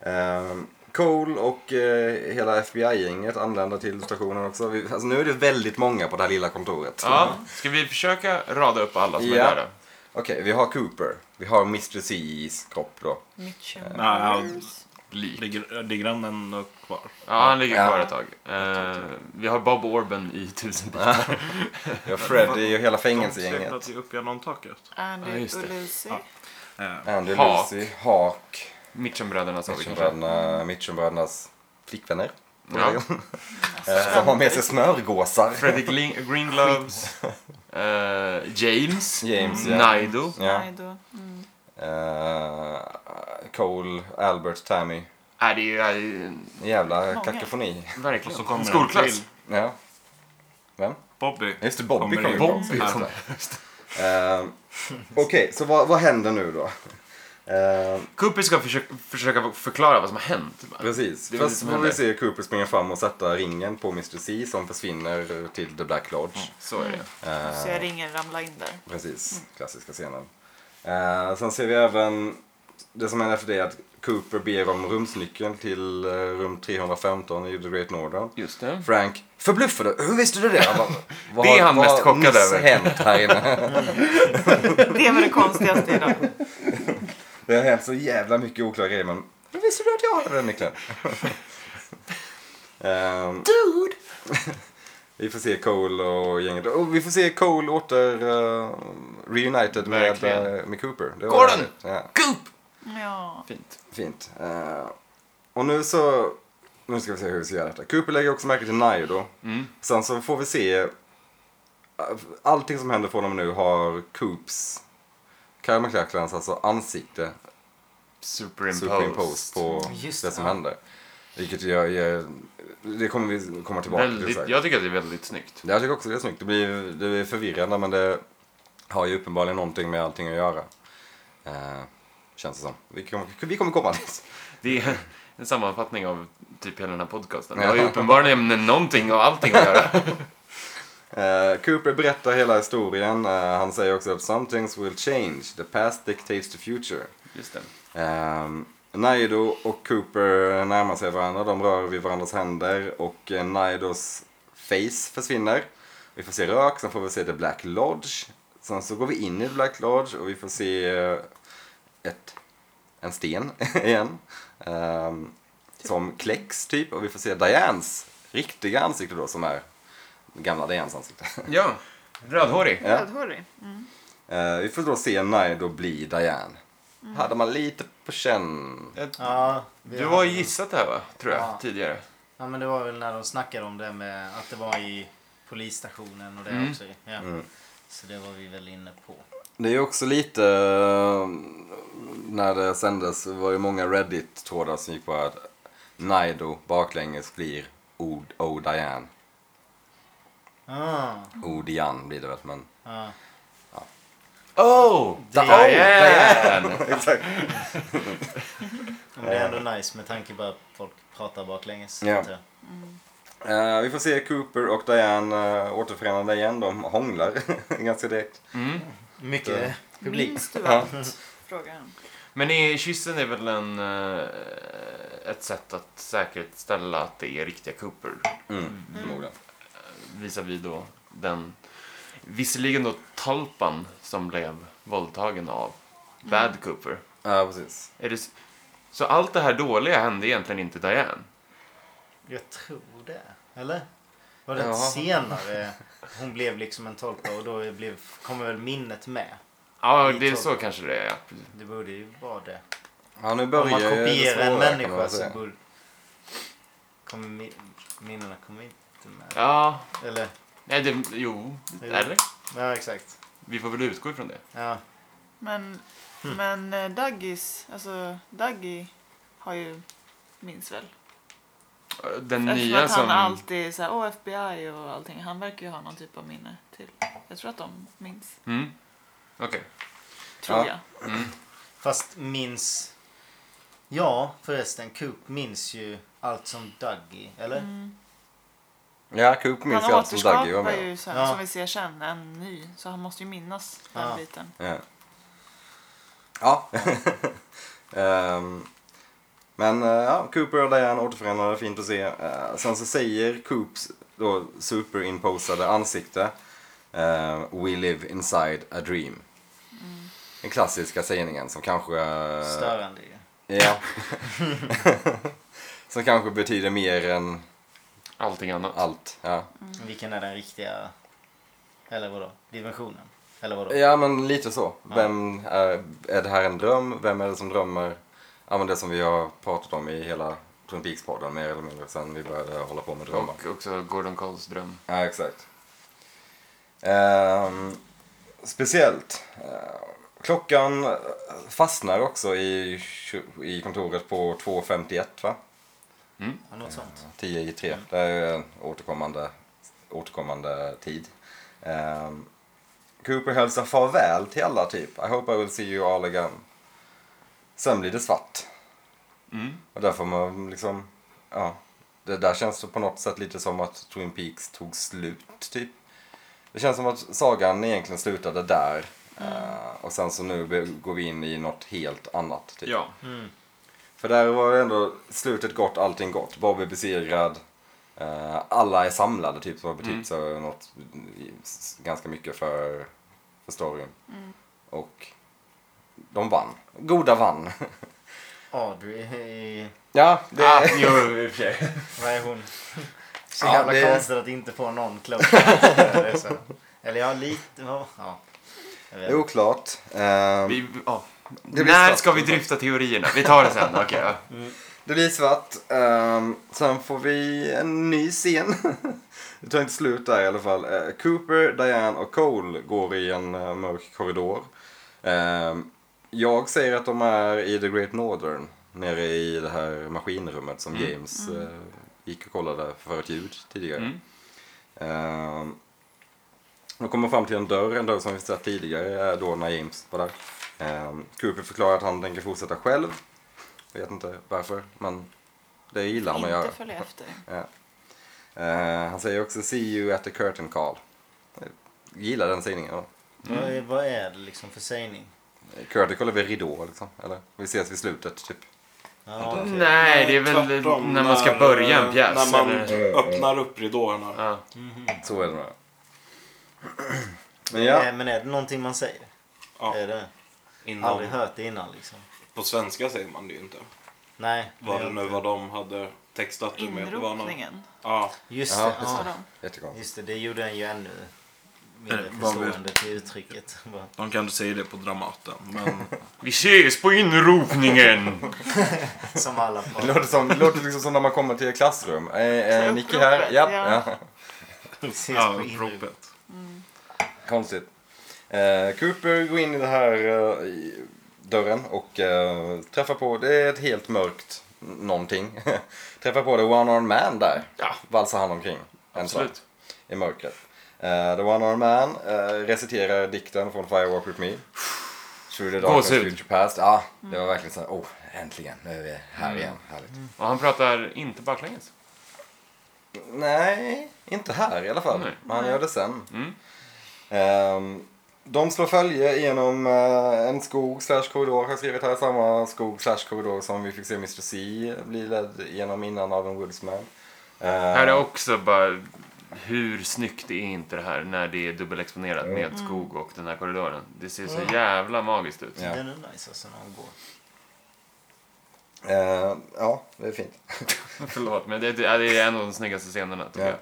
[SPEAKER 1] Ehm, Cole och eh, hela FBI-gänget anländer till stationen också. Vi, alltså, nu är det väldigt många på det här lilla kontoret.
[SPEAKER 2] Ja, ska vi försöka rada upp alla som
[SPEAKER 1] Ja.
[SPEAKER 2] är där då?
[SPEAKER 1] Okej, vi har Cooper. Vi har Mr. C's kropp då.
[SPEAKER 3] Mitchum.
[SPEAKER 5] ja.
[SPEAKER 3] Rose.
[SPEAKER 2] Lik.
[SPEAKER 5] Ligger, ligger han ändå kvar?
[SPEAKER 2] Ja, han ligger
[SPEAKER 1] Ja.
[SPEAKER 2] kvar ett tag. Eh, vi har Bob Orban i tusen bitar.
[SPEAKER 1] Vi har Freddy och hela
[SPEAKER 5] De
[SPEAKER 1] fängelsegänget.
[SPEAKER 5] klättrade ju upp genom taket.
[SPEAKER 2] Ja,
[SPEAKER 3] Andy
[SPEAKER 2] just det.
[SPEAKER 3] och Lucy.
[SPEAKER 5] Ja. Eh,
[SPEAKER 1] Andy,
[SPEAKER 2] Hak.
[SPEAKER 1] Lucy, Hak.
[SPEAKER 2] Mitchumbröderna sa vi kanske.
[SPEAKER 1] Mitchumbröderna, Mitchumbrödernas flickvänner.
[SPEAKER 2] Ja.
[SPEAKER 1] Eh, Som har med sig smörgåsar.
[SPEAKER 2] Freddy Glin- Greengloves. eh, James.
[SPEAKER 1] James, ja.
[SPEAKER 2] Nido.
[SPEAKER 1] Ja.
[SPEAKER 3] Nej, då. Mm.
[SPEAKER 1] Eh, Cole, Albert, Tammy.
[SPEAKER 2] Äh, det är ju äh,
[SPEAKER 1] Jävla
[SPEAKER 3] Många.
[SPEAKER 1] kakofoni.
[SPEAKER 2] verkligen
[SPEAKER 5] Och så kommer en
[SPEAKER 2] skolklass.
[SPEAKER 5] till.
[SPEAKER 1] Ja. Vem?
[SPEAKER 5] Bobby.
[SPEAKER 1] Just det, Bobby
[SPEAKER 5] Kommer
[SPEAKER 1] kommer
[SPEAKER 5] in.
[SPEAKER 1] ju
[SPEAKER 2] Bobby
[SPEAKER 1] också.
[SPEAKER 2] kommer.
[SPEAKER 1] Eh, Okej, så vad, vad händer nu då? Eh,
[SPEAKER 2] Cooper ska försöka, försöka förklara vad som har hänt.
[SPEAKER 1] Precis.
[SPEAKER 2] Det är väl det
[SPEAKER 1] Först
[SPEAKER 2] som
[SPEAKER 1] får vi
[SPEAKER 2] händer.
[SPEAKER 1] se Cooper springa fram och sätta ringen på Mr. C som försvinner till The Black Lodge.
[SPEAKER 2] Så är det.
[SPEAKER 1] Eh,
[SPEAKER 3] Så jag ringer ramla in där.
[SPEAKER 1] Precis, klassiska scenen. Eh, sen ser vi även, det som händer efter det är att Cooper ber om rumsnyckeln till eh, rum 315 i The Great Northern.
[SPEAKER 2] Just det.
[SPEAKER 1] Frank, förbluffade Hur visste du det? Han bara, "Vad
[SPEAKER 2] Det är
[SPEAKER 1] har-
[SPEAKER 2] han
[SPEAKER 1] vad
[SPEAKER 2] mest
[SPEAKER 1] har
[SPEAKER 2] chockad
[SPEAKER 1] nyss
[SPEAKER 2] över."
[SPEAKER 1] hänt här inne.
[SPEAKER 3] Det var det konstigaste idag.
[SPEAKER 1] Det har hänt så jävla mycket oklara grejer men hur visste du att jag hade den nyckeln? Ehm,
[SPEAKER 3] Dude!
[SPEAKER 1] vi får se Cole och gänget. Och vi får se Cole åter eh, reunited med,
[SPEAKER 2] Verkligen.
[SPEAKER 1] eh, med Cooper. Det var
[SPEAKER 2] Gordon!
[SPEAKER 1] härligt. Ja.
[SPEAKER 2] Coop!
[SPEAKER 3] Ja.
[SPEAKER 2] Fint.
[SPEAKER 1] Fint. Eh, och nu så... Nu ska vi se hur vi ska göra detta. Cooper lägger också märke till Nayo då.
[SPEAKER 2] Mm.
[SPEAKER 1] Sen så får vi se... eh, Allting som händer från honom nu har Coops, Kyle MacLachlans alltså ansikte
[SPEAKER 2] Superimpose.
[SPEAKER 1] superimposed på
[SPEAKER 4] Just
[SPEAKER 1] det
[SPEAKER 4] det,
[SPEAKER 1] som
[SPEAKER 4] ja.
[SPEAKER 1] händer. Vilket jag, jag, det kommer vi komma tillbaka till.
[SPEAKER 2] Väldigt,
[SPEAKER 1] säkert.
[SPEAKER 2] jag tycker att det är väldigt snyggt.
[SPEAKER 1] Jag tycker också det är snyggt. Det blir, det blir förvirrande men det har ju uppenbarligen någonting med allting att göra. Eh, känns det som. Vi kommer, vi kommer komma dit.
[SPEAKER 2] Det är en sammanfattning av typ hela den här podcasten. Det har ju uppenbarligen någonting och allting att göra.
[SPEAKER 1] Eh, Cooper berättar hela historien. Eh, han säger också att some things will change. The past dictates the future.
[SPEAKER 2] Just det.
[SPEAKER 1] Um, Naido och Cooper närmar sig varandra. De rör vid varandras händer och eh, Naidos face försvinner. Vi får se rök, sen får vi se The Black Lodge. Sen så går vi in i The Black Lodge och vi får se eh, ett, en sten igen. Ehm, som kläcks typ och vi får se Dianes riktiga ansikte då som är gamla Dianes ansikte.
[SPEAKER 2] Ja, rödhårig.
[SPEAKER 1] Ja.
[SPEAKER 3] Rödhårig.
[SPEAKER 1] Eh, vi får då se Naido bli Diane. Hade man lite på känn.
[SPEAKER 2] Ett-
[SPEAKER 4] Ja, vi
[SPEAKER 2] Eh, Du
[SPEAKER 4] har-
[SPEAKER 2] har ju gissat det här va? Tror jag,
[SPEAKER 4] Ja.
[SPEAKER 2] tidigare.
[SPEAKER 4] Ja, men det var väl när de snackade om det med att det var i polisstationen och det
[SPEAKER 1] Mm.
[SPEAKER 4] också. Ja. Så det var vi väl inne på.
[SPEAKER 1] Det är ju också lite, eh, när det sändes så var det många Reddit-trådar som gick på att Naido baklänges blir O, o Diane.
[SPEAKER 4] Ah,
[SPEAKER 1] O Diane blir det väl, men...
[SPEAKER 4] ah.
[SPEAKER 2] Oh!
[SPEAKER 1] Da-
[SPEAKER 4] Diane.
[SPEAKER 2] Diane!
[SPEAKER 4] Men det är ändå nice med tanke på att folk pratar baklänges.
[SPEAKER 1] Eh. Ja.
[SPEAKER 4] antar jag.
[SPEAKER 1] Eh, vi får se Cooper och Diane uh, återförenade igen. De hånglar ganska direkt.
[SPEAKER 4] Mycket publik.
[SPEAKER 3] Minns du allt? Frågar han.
[SPEAKER 2] Men är, kyssen är väl en, eh, ett sätt att säkerställa att det är riktiga Cooper.
[SPEAKER 1] Mm, förmodligen.
[SPEAKER 2] Visar vi då den, visserligen då talpan som blev våldtagen av
[SPEAKER 4] Mm.
[SPEAKER 2] Bad Cooper.
[SPEAKER 1] Ja, precis.
[SPEAKER 2] Är det, s- så allt det här dåliga hände egentligen inte Diane?
[SPEAKER 4] Jag tror det. Eller? Var det
[SPEAKER 1] Ja.
[SPEAKER 4] senare hon blev liksom en tolpa och då blev, kommer väl minnet med?
[SPEAKER 2] Ja,
[SPEAKER 4] I
[SPEAKER 2] det är
[SPEAKER 4] tal-
[SPEAKER 2] så kanske det är. ja.
[SPEAKER 4] Det borde ju vara det.
[SPEAKER 1] Ja, nu
[SPEAKER 4] Om
[SPEAKER 1] börjar
[SPEAKER 4] man
[SPEAKER 1] ju det
[SPEAKER 4] kopierar en
[SPEAKER 1] svåra, kan man
[SPEAKER 4] människa
[SPEAKER 1] väl
[SPEAKER 4] så
[SPEAKER 1] säga.
[SPEAKER 4] borde... Kommer mi- minnena kommer inte med.
[SPEAKER 2] Ja,
[SPEAKER 4] Eller?
[SPEAKER 2] nej det, jo,
[SPEAKER 4] Jo.
[SPEAKER 2] eller?
[SPEAKER 4] Ja, exakt.
[SPEAKER 2] Vi får väl utgå ifrån det.
[SPEAKER 4] Ja.
[SPEAKER 3] Men,
[SPEAKER 1] Mm.
[SPEAKER 3] men eh, Daggis, alltså Daggy har ju, minns väl?
[SPEAKER 2] Den
[SPEAKER 3] Eftersom
[SPEAKER 2] nya
[SPEAKER 3] att han
[SPEAKER 2] som...
[SPEAKER 3] alltid är såhär, åh FBI och allting. Han verkar ju ha någon typ av minne till. Jag tror att de minns.
[SPEAKER 2] Mm. Okej.
[SPEAKER 3] Tror
[SPEAKER 1] Ja.
[SPEAKER 3] jag.
[SPEAKER 4] Fast minns... Ja, förresten. Coop minns ju allt som Dougie, eller?
[SPEAKER 1] Ja, Cooper minns ju
[SPEAKER 3] Han
[SPEAKER 1] allt som Dougie var
[SPEAKER 3] återskapar
[SPEAKER 1] med
[SPEAKER 3] ju, så här,
[SPEAKER 4] Ja.
[SPEAKER 3] som vi ser sen, en ny. Så han måste ju minnas den
[SPEAKER 4] Ja.
[SPEAKER 3] biten.
[SPEAKER 1] Ja. ja. Ehm, men eh, ja, Cooper och Diane återförenade, fint att se. Eh, sen så säger Coops då superimposade ansikte eh, We live inside a dream. Den klassiska sägningen som kanske... eh,
[SPEAKER 4] Störande ju.
[SPEAKER 1] Ja. som kanske betyder mer än
[SPEAKER 2] Allting annat.
[SPEAKER 1] allt. Ja.
[SPEAKER 4] Vilken är den riktiga... Eller vadå? Dimensionen? Eller
[SPEAKER 5] Eh.
[SPEAKER 4] vadå?
[SPEAKER 1] Ja, men lite så. Vem är, är det här en dröm? Vem är det som drömmer? Ja, men det som vi har pratat om i hela Twin Peaks-podden mer eller mindre sen vi började hålla på med drömmar.
[SPEAKER 2] Och också Gordon Coles dröm.
[SPEAKER 1] Ja, exakt. Ehm, speciellt. eh, klockan fastnar också i, tju- i kontoret på 2.51, va?
[SPEAKER 4] Ja, något sånt.
[SPEAKER 1] 10 i 3. Det är ju en återkommande, återkommande tid. Ehm, Cooper hälsar farväl till alla typ. I hope I will see you all again. Sen blir det svart.
[SPEAKER 2] Mm.
[SPEAKER 1] Och där får man liksom, ja. Det där känns så på något sätt lite som att Twin Peaks tog slut, typ. Det känns som att sagan egentligen slutade där. eh, och sen så nu be- går vi in i något helt annat, typ.
[SPEAKER 2] Ja.
[SPEAKER 1] För där var det ändå slutet gott, allting gott. Bobby är besegrad. eh, alla är samlade, typ. Som har betytt så något i- s- ganska mycket för, för storyn. Och de vann. Goda vann.
[SPEAKER 4] Audrey i...
[SPEAKER 1] ja, det...
[SPEAKER 2] Ah, jo, i och för sig.
[SPEAKER 4] Vad är hon? Så
[SPEAKER 1] Ja,
[SPEAKER 4] jävla
[SPEAKER 1] ah, det-
[SPEAKER 4] konstigt att inte få någon close Eller ja, lite... Ja. ja. Jag vet.
[SPEAKER 1] Det är oklart. Ehm,
[SPEAKER 2] Vi, ja.
[SPEAKER 1] blir
[SPEAKER 2] När
[SPEAKER 1] svart.
[SPEAKER 2] ska vi drifta teorierna? Vi tar det sen. Okej. ja.
[SPEAKER 1] Det blir svart. ehm, sen får vi en ny scen. det tar inte slut där i alla fall. Eh, Cooper, Diane och Cole går i en eh, mörk korridor. Ehm, jag säger att de är i The Great Northern. Nere i det här maskinrummet som James eh, gick och kollade för ett ljud tidigare.
[SPEAKER 2] Mm.
[SPEAKER 1] Ehm, de kommer fram till en dörr, en dörr som vi sett tidigare eh, då när James var där. Ehm, Cooper förklarar att han tänker fortsätta själv. Jag vet inte varför, men det gillar han att göra.
[SPEAKER 3] Inte följa efter.
[SPEAKER 1] Eh, han säger också “See you at the curtain call”. Jag gillar den sägningen. ja.
[SPEAKER 4] Vad, är, vad är det liksom för sägning?
[SPEAKER 1] Curtain call är väl ridå, liksom? Eller? Vi ses vid slutet, typ.
[SPEAKER 4] Ja, okej.
[SPEAKER 2] Nej, det är väl
[SPEAKER 5] Tvärtom,
[SPEAKER 2] när man ska börja en pjäs.
[SPEAKER 5] När man
[SPEAKER 2] eller?
[SPEAKER 5] öppnar upp ridåerna.
[SPEAKER 2] Ja.
[SPEAKER 1] Så är det nog. Men ja,
[SPEAKER 4] Nej, men är det någonting man säger?
[SPEAKER 5] Ja.
[SPEAKER 4] Är det? Aldrig
[SPEAKER 5] Innan,
[SPEAKER 4] hört det innan liksom.
[SPEAKER 5] på svenska säger man det ju inte.
[SPEAKER 4] Nej.
[SPEAKER 5] Vad
[SPEAKER 4] det
[SPEAKER 5] det
[SPEAKER 4] är
[SPEAKER 5] nu
[SPEAKER 4] inte.
[SPEAKER 5] var de hade textat det med. Det var någon,
[SPEAKER 3] Inropningen.
[SPEAKER 5] ja,
[SPEAKER 4] Just
[SPEAKER 1] Ja,
[SPEAKER 4] det.
[SPEAKER 1] just
[SPEAKER 4] Ja,
[SPEAKER 1] jättekonstigt.
[SPEAKER 4] just det, det gjorde den ju ännu
[SPEAKER 5] Eh,
[SPEAKER 4] mindre
[SPEAKER 5] vad vi-
[SPEAKER 4] förstående till uttrycket. Bara,
[SPEAKER 5] de kan inte säga det på Dramaten. Men
[SPEAKER 2] Vi ses på inropningen!
[SPEAKER 4] Som alla på.
[SPEAKER 1] Det låter, som, det låter liksom som när man kommer till ett klassrum. Eh, eh, Nicky här, ja.
[SPEAKER 3] Ja.
[SPEAKER 1] ja.
[SPEAKER 4] Ses
[SPEAKER 5] ja,
[SPEAKER 4] på inrutan.
[SPEAKER 5] propet.
[SPEAKER 1] Konstigt. Eh, Cooper går in i den här eh, i dörren och eh, träffar på, det är ett helt mörkt n- någonting. träffar på The One-Armed Man där.
[SPEAKER 2] Ja.
[SPEAKER 1] Valsar han omkring. ensam
[SPEAKER 2] Absolut.
[SPEAKER 1] I mörkret. Eh, the One-Armed Man eh, reciterar dikten från Firewalk With Me. Through the darkness
[SPEAKER 2] Gåshud.
[SPEAKER 1] future past. Ja, det var verkligen så här, oh, äntligen, nu är vi här
[SPEAKER 2] Mm.
[SPEAKER 1] igen. Härligt.
[SPEAKER 2] Och han pratar inte baklänges.
[SPEAKER 1] Nej, inte här i alla fall.
[SPEAKER 2] Nej.
[SPEAKER 1] Men han gör det sen.
[SPEAKER 2] Mm.
[SPEAKER 1] Ehm, de slår följe genom eh, en skog slash korridor, har jag skrivit här. Samma skog slash korridor som vi fick se Mr. C bli ledd genom innan av en Woodsman. Ehm,
[SPEAKER 2] Här är också bara hur snyggt är inte det här när det är dubbelexponerat med skog och den här korridoren. Det ser så jävla magiskt ut.
[SPEAKER 1] Ja.
[SPEAKER 4] Den är nice alltså när hon går.
[SPEAKER 1] ehm, ja, det är fint.
[SPEAKER 2] Förlåt, men det, det är en av de snyggaste scenerna
[SPEAKER 1] Ja.
[SPEAKER 2] tycker jag.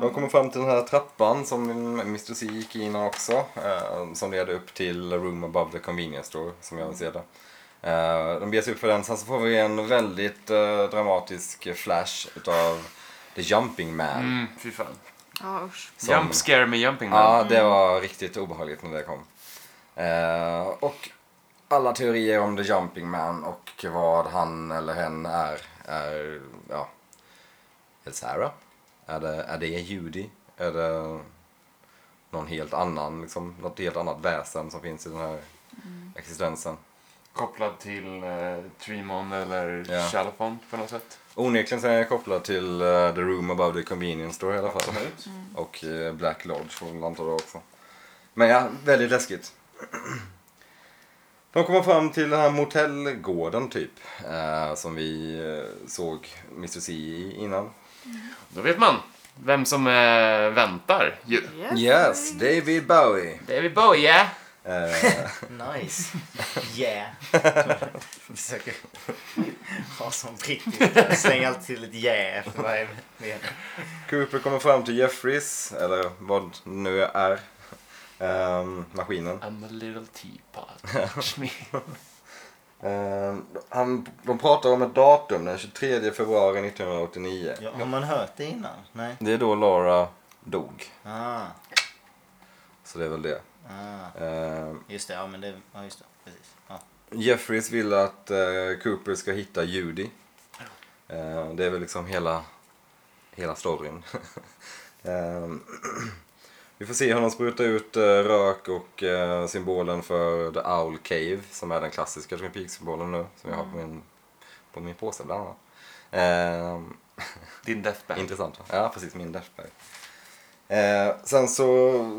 [SPEAKER 1] De kommer fram till den här trappan som Mr. C gick in också. eh, som leder upp till A Room Above the Convenience Store, som jag ser det. Eh, de beger sig upp för den, sen så får vi en väldigt eh, dramatisk flash utav The Jumping Man.
[SPEAKER 2] Mm, fy fan.
[SPEAKER 3] Ja, usch.
[SPEAKER 1] Som-
[SPEAKER 2] Jump scare med jumping man.
[SPEAKER 1] Ja, det var riktigt obehagligt när det kom. Eh, och alla teorier om The Jumping Man och vad han eller hen är, är ja, är det Sarah? Är det, är det Judy? Är det någon helt annan, liksom, något helt annat väsen som finns i den här existensen?
[SPEAKER 2] Kopplad till eh, Tremon eller
[SPEAKER 1] Ja.
[SPEAKER 2] Chalafon på något sätt.
[SPEAKER 1] Onekligen så är jag kopplad till eh, The Room Above the Convenience Store i alla fall.
[SPEAKER 2] Absolut.
[SPEAKER 1] Och eh, Black Lodge får man anta då också. Men ja, väldigt läskigt. De kommer fram till den här motellgården typ. Eh, som vi eh, såg Mr. C i innan.
[SPEAKER 2] Då vet man vem som eh, väntar ju.
[SPEAKER 3] Yes.
[SPEAKER 1] Yes, David Bowie.
[SPEAKER 2] David Bowie!
[SPEAKER 1] Eh,
[SPEAKER 4] Nice. Yeah. Försöker ha som brittiskt. Släng alltid till ett yeah efter varje mening.
[SPEAKER 1] Cooper kommer fram till Jeffries, eller vad det nu är. Ehm, maskinen.
[SPEAKER 2] I'm a little teapot. Touch me.
[SPEAKER 1] Ehm, han, de pratar om ett datum, den 23 februari 1989.
[SPEAKER 4] Ja, har man hört det innan? Nej.
[SPEAKER 1] Det är då Laura dog.
[SPEAKER 4] Ah,
[SPEAKER 1] Så det är väl det.
[SPEAKER 4] ah.
[SPEAKER 1] Ehm,
[SPEAKER 4] Just det, ja men det... Ja, just det. Precis. Ja.
[SPEAKER 1] Jeffries vill att eh, Cooper ska hitta Judy. Eh, det är väl liksom hela, hela storyn. Eh, Vi får se hur de sprutar ut eh, rök och eh, symbolen för The Owl Cave som är den klassiska Twin Peaks-symbolen nu som jag har på min, på min påse bland annat. Ehm,
[SPEAKER 2] Din deathband.
[SPEAKER 1] Intressant. va? Ja, precis. Min Dashberg. Eh, sen så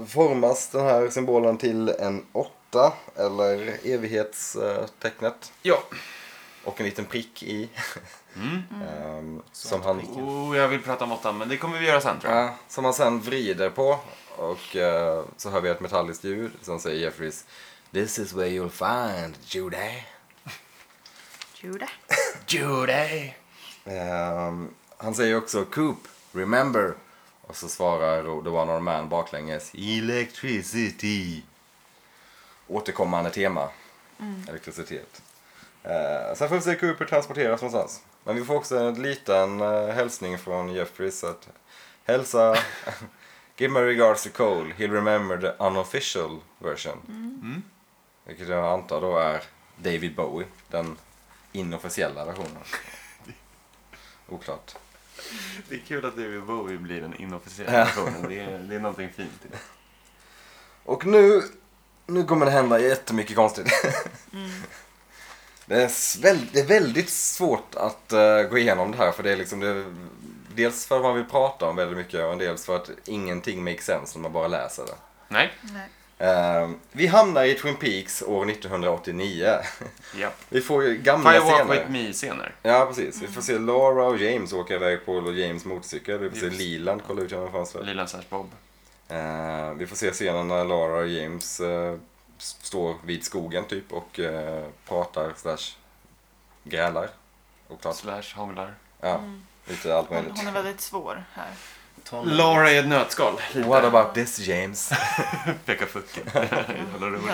[SPEAKER 1] formas den här symbolen till en åtta, eller evighetstecknet.
[SPEAKER 2] Ja.
[SPEAKER 1] Och en liten prick i. Ehm, som, han,
[SPEAKER 2] Oh, jag vill prata om åttan, men det kommer vi göra sen tror jag.
[SPEAKER 1] ja, som han sen vrider på. Och eh, så hör vi ett metalliskt ljud. Sen säger Jeffries This is where you'll find Judah.
[SPEAKER 3] Judah.
[SPEAKER 2] Judy!
[SPEAKER 1] Ehm, han säger också Coop, remember. Och så svarar The One Armed Man baklänges Electricity. Återkommande tema. Elektricitet. Eh, sen får vi se hur Cooper transporteras någonstans. Men vi får också en liten eh, hälsning från Jeffries att hälsa Give my regards to Cole. He'll remember the unofficial version. Vilket jag antar då är David Bowie. Den inofficiella versionen. Oklart.
[SPEAKER 2] Det är kul att David Bowie blir den inofficiella versionen. Det är, det är någonting fint i det.
[SPEAKER 1] Och nu, nu kommer det hända jättemycket konstigt. Det, är sväl, det är väldigt svårt att eh, gå igenom det här för det är liksom det, dels för att man vill prata om väldigt mycket och dels för att ingenting makes sense när man bara läser det.
[SPEAKER 2] Nej.
[SPEAKER 3] Nej.
[SPEAKER 1] Eh, vi hamnar i Twin Peaks år 1989.
[SPEAKER 2] Ja.
[SPEAKER 1] Vi får ju gamla
[SPEAKER 2] Firewalk
[SPEAKER 1] scener.
[SPEAKER 2] with me-scener.
[SPEAKER 1] Ja, precis. Vi får se Laura och James åka iväg på James motorcykel. Vi får se
[SPEAKER 2] Just.
[SPEAKER 1] Leland kolla ut genom fönstret.
[SPEAKER 2] Lilan slash Bob.
[SPEAKER 1] Eh, vi får se scenen när Lara och James eh, s- står vid skogen typ och eh, pratar slash grälar. Oklart.
[SPEAKER 2] Slash hånglar.
[SPEAKER 1] Ja, lite allt
[SPEAKER 3] Hon,
[SPEAKER 1] möjligt.
[SPEAKER 3] hon är väldigt svår här.
[SPEAKER 4] Tonåring.
[SPEAKER 2] Laura i ett nötskal.
[SPEAKER 1] What about this James?
[SPEAKER 2] Peka fucken. Jävla rolig.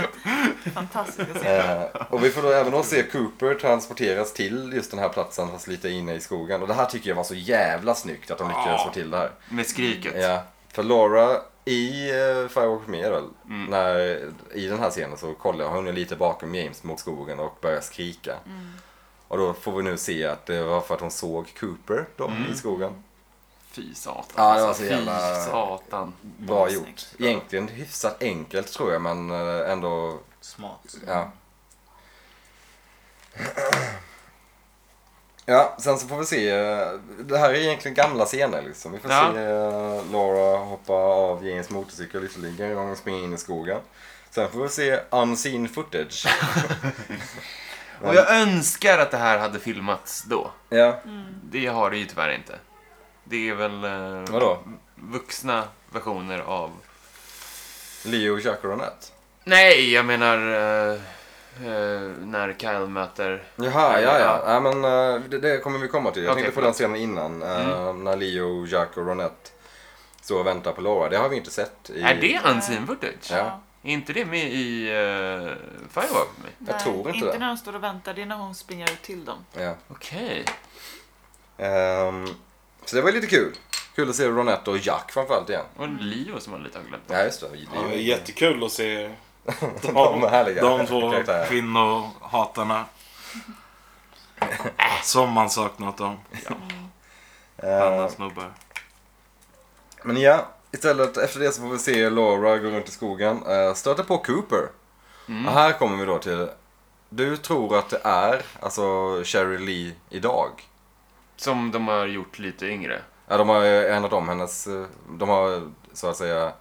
[SPEAKER 3] Fantastiska scener.
[SPEAKER 1] Eh, och vi får då även då se Cooper transporteras till just den här platsen fast lite inne i skogen. Och det här tycker jag var så jävla snyggt att de lyckades
[SPEAKER 2] Ja.
[SPEAKER 1] få till det här.
[SPEAKER 2] Med skriket.
[SPEAKER 1] Ja, för Laura i uh, Firewalk Me väl, när, i den här scenen så kollar hon är lite bakom James mot skogen och börjar skrika. Och då får vi nu se att det var för att hon såg Cooper då i skogen.
[SPEAKER 2] Fy satan.
[SPEAKER 1] Ja, det var så
[SPEAKER 2] Fy
[SPEAKER 1] jävla-
[SPEAKER 2] satan.
[SPEAKER 1] Bra
[SPEAKER 3] snyggt.
[SPEAKER 1] gjort. Egentligen hyfsat enkelt tror jag men eh, ändå,
[SPEAKER 4] Smart.
[SPEAKER 1] ja. Ja, sen så får vi se. eh, Det här är egentligen gamla scener liksom. Vi får
[SPEAKER 2] Ja.
[SPEAKER 1] se eh, Laura hoppa av James motorcykel ytterligare och springa in i skogen. Sen får vi se unseen footage.
[SPEAKER 2] Och jag önskar att det här hade filmats då.
[SPEAKER 1] ja,
[SPEAKER 2] Mm. Det har det ju tyvärr inte. Det är väl eh,
[SPEAKER 1] vadå?
[SPEAKER 2] vuxna versioner av...
[SPEAKER 1] Leo och Chuck och Ronette.
[SPEAKER 2] Nej, jag menar eh, eh, när Kyle möter...
[SPEAKER 1] Jaha, ja, ja.
[SPEAKER 2] Ja.
[SPEAKER 1] ja men, eh, det, det kommer vi komma till. Jag
[SPEAKER 2] Okej,
[SPEAKER 1] tänkte på den
[SPEAKER 2] förlåt. Mm.
[SPEAKER 1] scenen innan. eh, När Leo, Jack och Ronette står och väntar på Laura. Det har vi inte sett. I...
[SPEAKER 2] Är det unseen footage?
[SPEAKER 1] Ja.
[SPEAKER 2] Är inte det med i uh, Firewalk med mig?
[SPEAKER 1] Jag tror inte
[SPEAKER 3] inte
[SPEAKER 1] det.
[SPEAKER 3] när de står och väntar, det är när hon springer ut till dem.
[SPEAKER 1] Ja.
[SPEAKER 2] Okej.
[SPEAKER 1] Ehm, så det var lite kul. Kul att se Ronette och Jack framförallt igen.
[SPEAKER 2] Var det Leo som man lite har glömt?
[SPEAKER 1] Ja, just det. Leo.
[SPEAKER 5] Ja, det är jättekul att se
[SPEAKER 1] De är härliga.
[SPEAKER 5] de två
[SPEAKER 1] karaktärer.
[SPEAKER 5] kvinnohatarna. Som man saknat dem.
[SPEAKER 1] Ehm,
[SPEAKER 5] Andra snubbar.
[SPEAKER 1] Men ja, istället efter det så får vi se Laura gå runt i skogen. eh, Stöter på Cooper. Och här kommer vi då till... Du tror att det är alltså Sherry Lee idag.
[SPEAKER 2] Som de har gjort lite yngre.
[SPEAKER 1] Ja, de har ju ändrat om hennes... eh, De har så att säga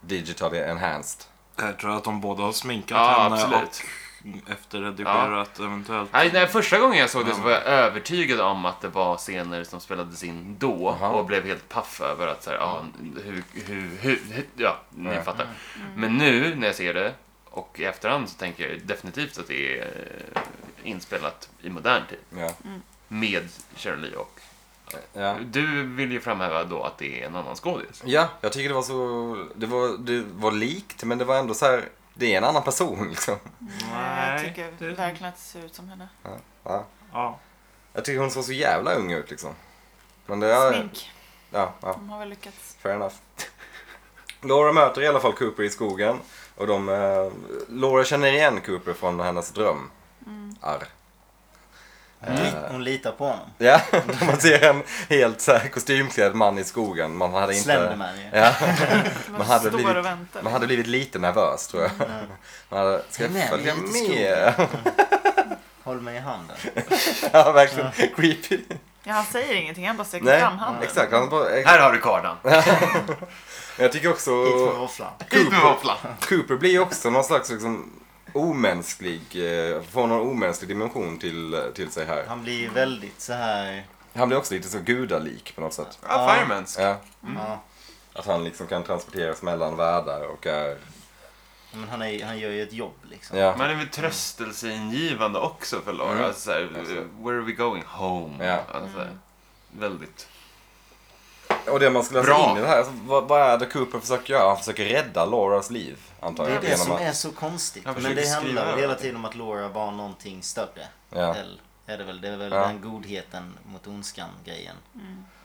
[SPEAKER 1] digitally enhanced.
[SPEAKER 5] Jag tror att de båda har sminkat
[SPEAKER 2] Ja,
[SPEAKER 5] henne
[SPEAKER 2] absolut.
[SPEAKER 5] och efterredigerat eventuellt.
[SPEAKER 2] Nej, nej, första gången jag såg det så var jag övertygad om att det var scener som spelades in då
[SPEAKER 1] Aha.
[SPEAKER 2] och blev helt paff över att så här, ja, hur, hur, hur, hur, ja, ni
[SPEAKER 1] Ja.
[SPEAKER 2] fattar. Men nu när jag ser det och i efterhand så tänker jag definitivt att det är eh, inspelat i modern tid
[SPEAKER 1] Ja.
[SPEAKER 2] med Shirley och
[SPEAKER 1] Ja.
[SPEAKER 2] du vill ju framhäva då att det är en annan skådis.
[SPEAKER 1] ja, jag tycker det var så... Det var, det var likt, men det var ändå så här... Det är en annan person liksom.
[SPEAKER 3] Nej, jag tycker
[SPEAKER 5] det-
[SPEAKER 3] verkligen att det ser ut som henne.
[SPEAKER 1] Ja.
[SPEAKER 5] Ja.
[SPEAKER 1] Jag tycker hon såg så jävla ung ut liksom. Men det är...
[SPEAKER 3] Smink.
[SPEAKER 1] Ja, ja.
[SPEAKER 3] De har väl lyckats.
[SPEAKER 1] Fair enough. Laura möter i alla fall Cooper i skogen. Och de, eh, Laura känner igen Cooper från hennes dröm. Arr.
[SPEAKER 4] Li- Hon litar på honom.
[SPEAKER 1] Ja, man ser en helt så här, kostymklädd man i skogen. Man hade inte...
[SPEAKER 4] Slenderman ju.
[SPEAKER 1] Ja,
[SPEAKER 3] Man,
[SPEAKER 1] Man hade
[SPEAKER 3] står
[SPEAKER 1] blivit-
[SPEAKER 3] och väntar.
[SPEAKER 1] man hade blivit lite nervös tror jag. Man hade, ska
[SPEAKER 4] Häng med
[SPEAKER 1] jag följa
[SPEAKER 4] mig ut i
[SPEAKER 1] med?
[SPEAKER 4] Håll mig i handen.
[SPEAKER 1] Ja, verkligen creepy.
[SPEAKER 3] Ja, han säger ingenting, han bara sträcker
[SPEAKER 1] Nej,
[SPEAKER 3] fram handen.
[SPEAKER 1] exakt. Han bara,
[SPEAKER 2] Här har du kardan.
[SPEAKER 1] jag tycker också...
[SPEAKER 4] Hit med våfflan.
[SPEAKER 2] Hit med våfflan.
[SPEAKER 1] Cooper blir också någon slags liksom omänsklig, eh, får någon omänsklig dimension till, till sig här.
[SPEAKER 4] Han blir ju väldigt så här...
[SPEAKER 1] Han blir också lite så gudalik på något sätt.
[SPEAKER 2] Ja, Firemansk.
[SPEAKER 1] Ja,
[SPEAKER 4] Ja,
[SPEAKER 1] att han liksom kan transporteras mellan världar och är...
[SPEAKER 4] men han, är, han gör ju ett jobb liksom.
[SPEAKER 1] Ja,
[SPEAKER 2] Man är väl tröstelseingivande också för Laura.
[SPEAKER 1] Mm.
[SPEAKER 2] Alltså, så här,
[SPEAKER 1] Absolut.
[SPEAKER 2] where are we going? Home.
[SPEAKER 1] Ja.
[SPEAKER 2] Alltså, Väldigt.
[SPEAKER 1] och det man skulle läsa
[SPEAKER 2] Bra.
[SPEAKER 1] in i det här, alltså, vad, vad är det Cooper försöker göra? Han försöker rädda Lauras liv, antar
[SPEAKER 4] Det är
[SPEAKER 1] jag.
[SPEAKER 4] det som är så konstigt.
[SPEAKER 2] Han
[SPEAKER 4] Men
[SPEAKER 2] försöker
[SPEAKER 4] det handlar
[SPEAKER 2] skriva
[SPEAKER 4] väl hela
[SPEAKER 2] över.
[SPEAKER 4] tiden om att Laura var någonting större.
[SPEAKER 1] Ja.
[SPEAKER 4] Eller, är det, väl, det är väl
[SPEAKER 1] Ja.
[SPEAKER 4] den godheten mot ondskan grejen.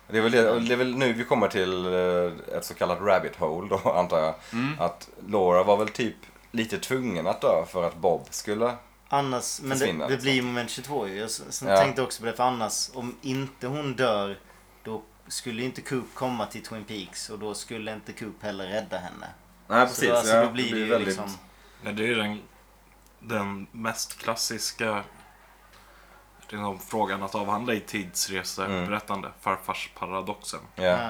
[SPEAKER 1] Det är, väl det, och det är väl nu vi kommer till eh, ett så kallat rabbit hole då, antar jag.
[SPEAKER 4] Mm.
[SPEAKER 1] Att Laura var väl typ lite tvungen att dö för att Bob skulle...
[SPEAKER 4] Annars, men
[SPEAKER 1] Försvinna,
[SPEAKER 4] det, det
[SPEAKER 1] liksom.
[SPEAKER 4] blir ju moment 22 ju. Jag s- sen
[SPEAKER 1] Ja.
[SPEAKER 4] tänkte också på det, för annars om inte hon dör då skulle ju inte Coop komma till Twin Peaks och då skulle inte Coop heller rädda henne.
[SPEAKER 1] Nej,
[SPEAKER 4] så då, alltså, då blir det, ju liksom...
[SPEAKER 5] Ja, det är ju den, den mest klassiska liksom, frågan att avhandla i tidsreseberättande. Farfarsparadoxen.
[SPEAKER 1] Ja.
[SPEAKER 4] Ja.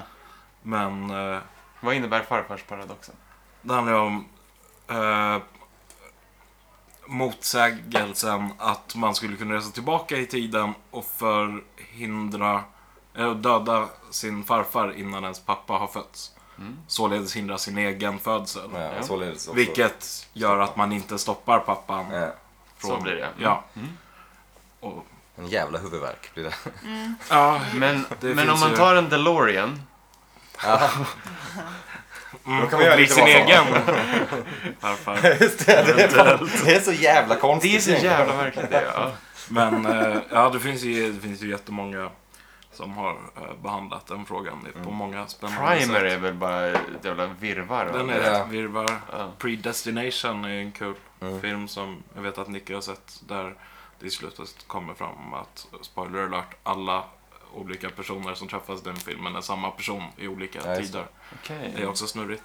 [SPEAKER 5] Men eh,
[SPEAKER 2] Vad innebär farfarsparadoxen?
[SPEAKER 5] det handlar ju om eh, motsägelsen att man skulle kunna resa tillbaka i tiden och förhindra eh, döda sin farfar innan ens pappa har fötts.
[SPEAKER 2] Mm.
[SPEAKER 5] Således hindra sin egen födsel.
[SPEAKER 1] Ja,
[SPEAKER 2] Ja.
[SPEAKER 1] således också.
[SPEAKER 5] Vilket gör att man inte stoppar pappan.
[SPEAKER 1] Ja.
[SPEAKER 5] från-
[SPEAKER 2] Så blir det, ja. Mm.
[SPEAKER 5] Ja. Och,
[SPEAKER 1] En jävla huvudvärk blir det.
[SPEAKER 5] ja. mm.
[SPEAKER 2] Men,
[SPEAKER 5] Det
[SPEAKER 2] men om
[SPEAKER 5] finns
[SPEAKER 2] man
[SPEAKER 5] ju-
[SPEAKER 2] tar en DeLorean.
[SPEAKER 5] Mm,
[SPEAKER 1] Då kan
[SPEAKER 5] och
[SPEAKER 1] man göra
[SPEAKER 5] blir
[SPEAKER 1] lite
[SPEAKER 5] sin
[SPEAKER 1] vad som
[SPEAKER 5] egen farfar.
[SPEAKER 1] Just det, det är, fan, det är så jävla konstigt.
[SPEAKER 2] Det är så jävla verkligt det. Ja.
[SPEAKER 5] Men eh, ja, det finns, ju, det finns ju jättemånga som har eh, behandlat den frågan på
[SPEAKER 1] Mm.
[SPEAKER 5] många spännande
[SPEAKER 2] Primer
[SPEAKER 5] sätt.
[SPEAKER 2] är väl bara ett jävla virrvarr. va?
[SPEAKER 5] Den är
[SPEAKER 1] Ja.
[SPEAKER 5] ett virrvarr.
[SPEAKER 2] Ja.
[SPEAKER 5] Predestination är en kul
[SPEAKER 1] Mm.
[SPEAKER 5] film som jag vet att Nicky har sett. Där det i slutet kommer fram att, spoiler alert, alla olika personer som träffas i den filmen är samma person i olika
[SPEAKER 1] Ja, just det.
[SPEAKER 5] tider.
[SPEAKER 2] Okej.
[SPEAKER 5] Det är också snurrigt.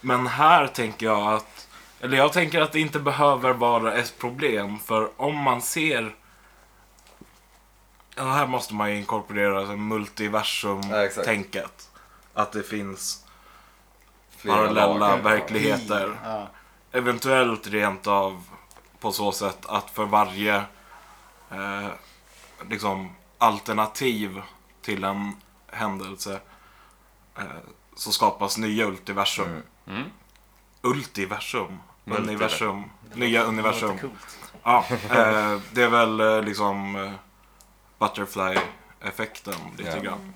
[SPEAKER 5] Men här tänker jag att, eller jag tänker att det inte behöver vara ett problem. För om man ser, ja, här måste man ju inkorporera alltså,
[SPEAKER 1] Ja, exakt.
[SPEAKER 5] multiversum-tänket. Att det finns
[SPEAKER 1] Flera
[SPEAKER 5] parallella
[SPEAKER 1] lager.
[SPEAKER 5] verkligheter.
[SPEAKER 4] Ja.
[SPEAKER 5] Eventuellt rent av på så sätt att för varje eh, liksom alternativ till en händelse eh, så skapas nya ultiversum.
[SPEAKER 1] Mm.
[SPEAKER 2] Mm.
[SPEAKER 5] Ultiversum?
[SPEAKER 2] Multiver-
[SPEAKER 5] Universum? Nya
[SPEAKER 4] Det
[SPEAKER 5] universum?
[SPEAKER 4] låter coolt.
[SPEAKER 5] Ja, eh, det är väl eh, liksom eh, butterfly-effekten lite
[SPEAKER 1] Ja.
[SPEAKER 5] grann.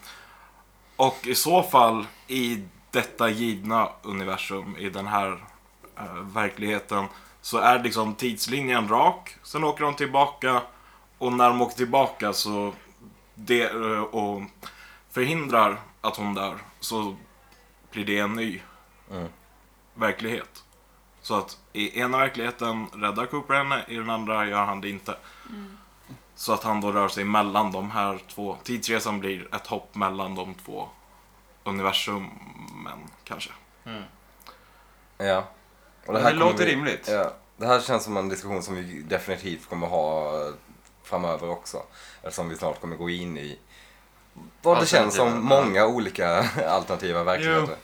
[SPEAKER 5] Och i så fall i detta givna universum, i den här eh, verkligheten, så är liksom tidslinjen rak. Sen åker de tillbaka och när de åker tillbaka så det, eh, och förhindrar att hon dör så blir det en ny
[SPEAKER 1] Mm.
[SPEAKER 5] verklighet. Så att i ena verkligheten räddar Cooper henne, i den andra gör han det inte. Så att han då rör sig mellan de här två. Tidsresan blir ett hopp mellan de två universumen kanske.
[SPEAKER 1] Ja. Och
[SPEAKER 2] Det,
[SPEAKER 1] här kommer
[SPEAKER 2] låter
[SPEAKER 1] vi-
[SPEAKER 2] rimligt.
[SPEAKER 1] Ja. Det här känns som en diskussion som vi definitivt kommer ha eh, framöver också. Eftersom vi snart kommer gå in i vad det känns som
[SPEAKER 2] Alternativen, ja.
[SPEAKER 1] många olika alternativa verkligheter.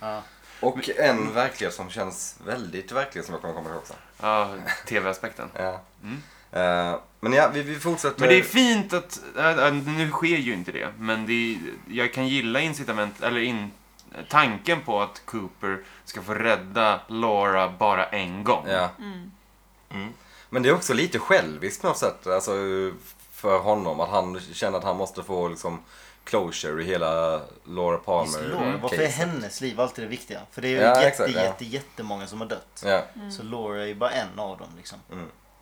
[SPEAKER 4] Ja.
[SPEAKER 1] Och en verklighet som känns väldigt verklig som jag kommer komma ihåg också.
[SPEAKER 2] Ja, tv-aspekten.
[SPEAKER 1] Ja. Eh, Men ja, vi, vi fortsätter.
[SPEAKER 2] Men det är fint att, äh, äh, nu sker ju inte det, men det är, jag kan gilla incitament, eller in, tanken på att Cooper ska få rädda Laura bara en gång.
[SPEAKER 1] Ja.
[SPEAKER 5] Mm.
[SPEAKER 1] Men det är också lite själviskt på något sätt alltså, för honom. Att han känner att han måste få liksom, closure i hela Laura
[SPEAKER 4] Visst, Laura,
[SPEAKER 1] Palmer
[SPEAKER 4] varför är hennes liv alltid det viktiga? För det är ju
[SPEAKER 1] Ja,
[SPEAKER 4] jätte,
[SPEAKER 1] exakt, ja.
[SPEAKER 4] jätte, jättemånga som har dött.
[SPEAKER 1] Ja.
[SPEAKER 3] Mm.
[SPEAKER 4] Så Laura är ju bara en av dem liksom.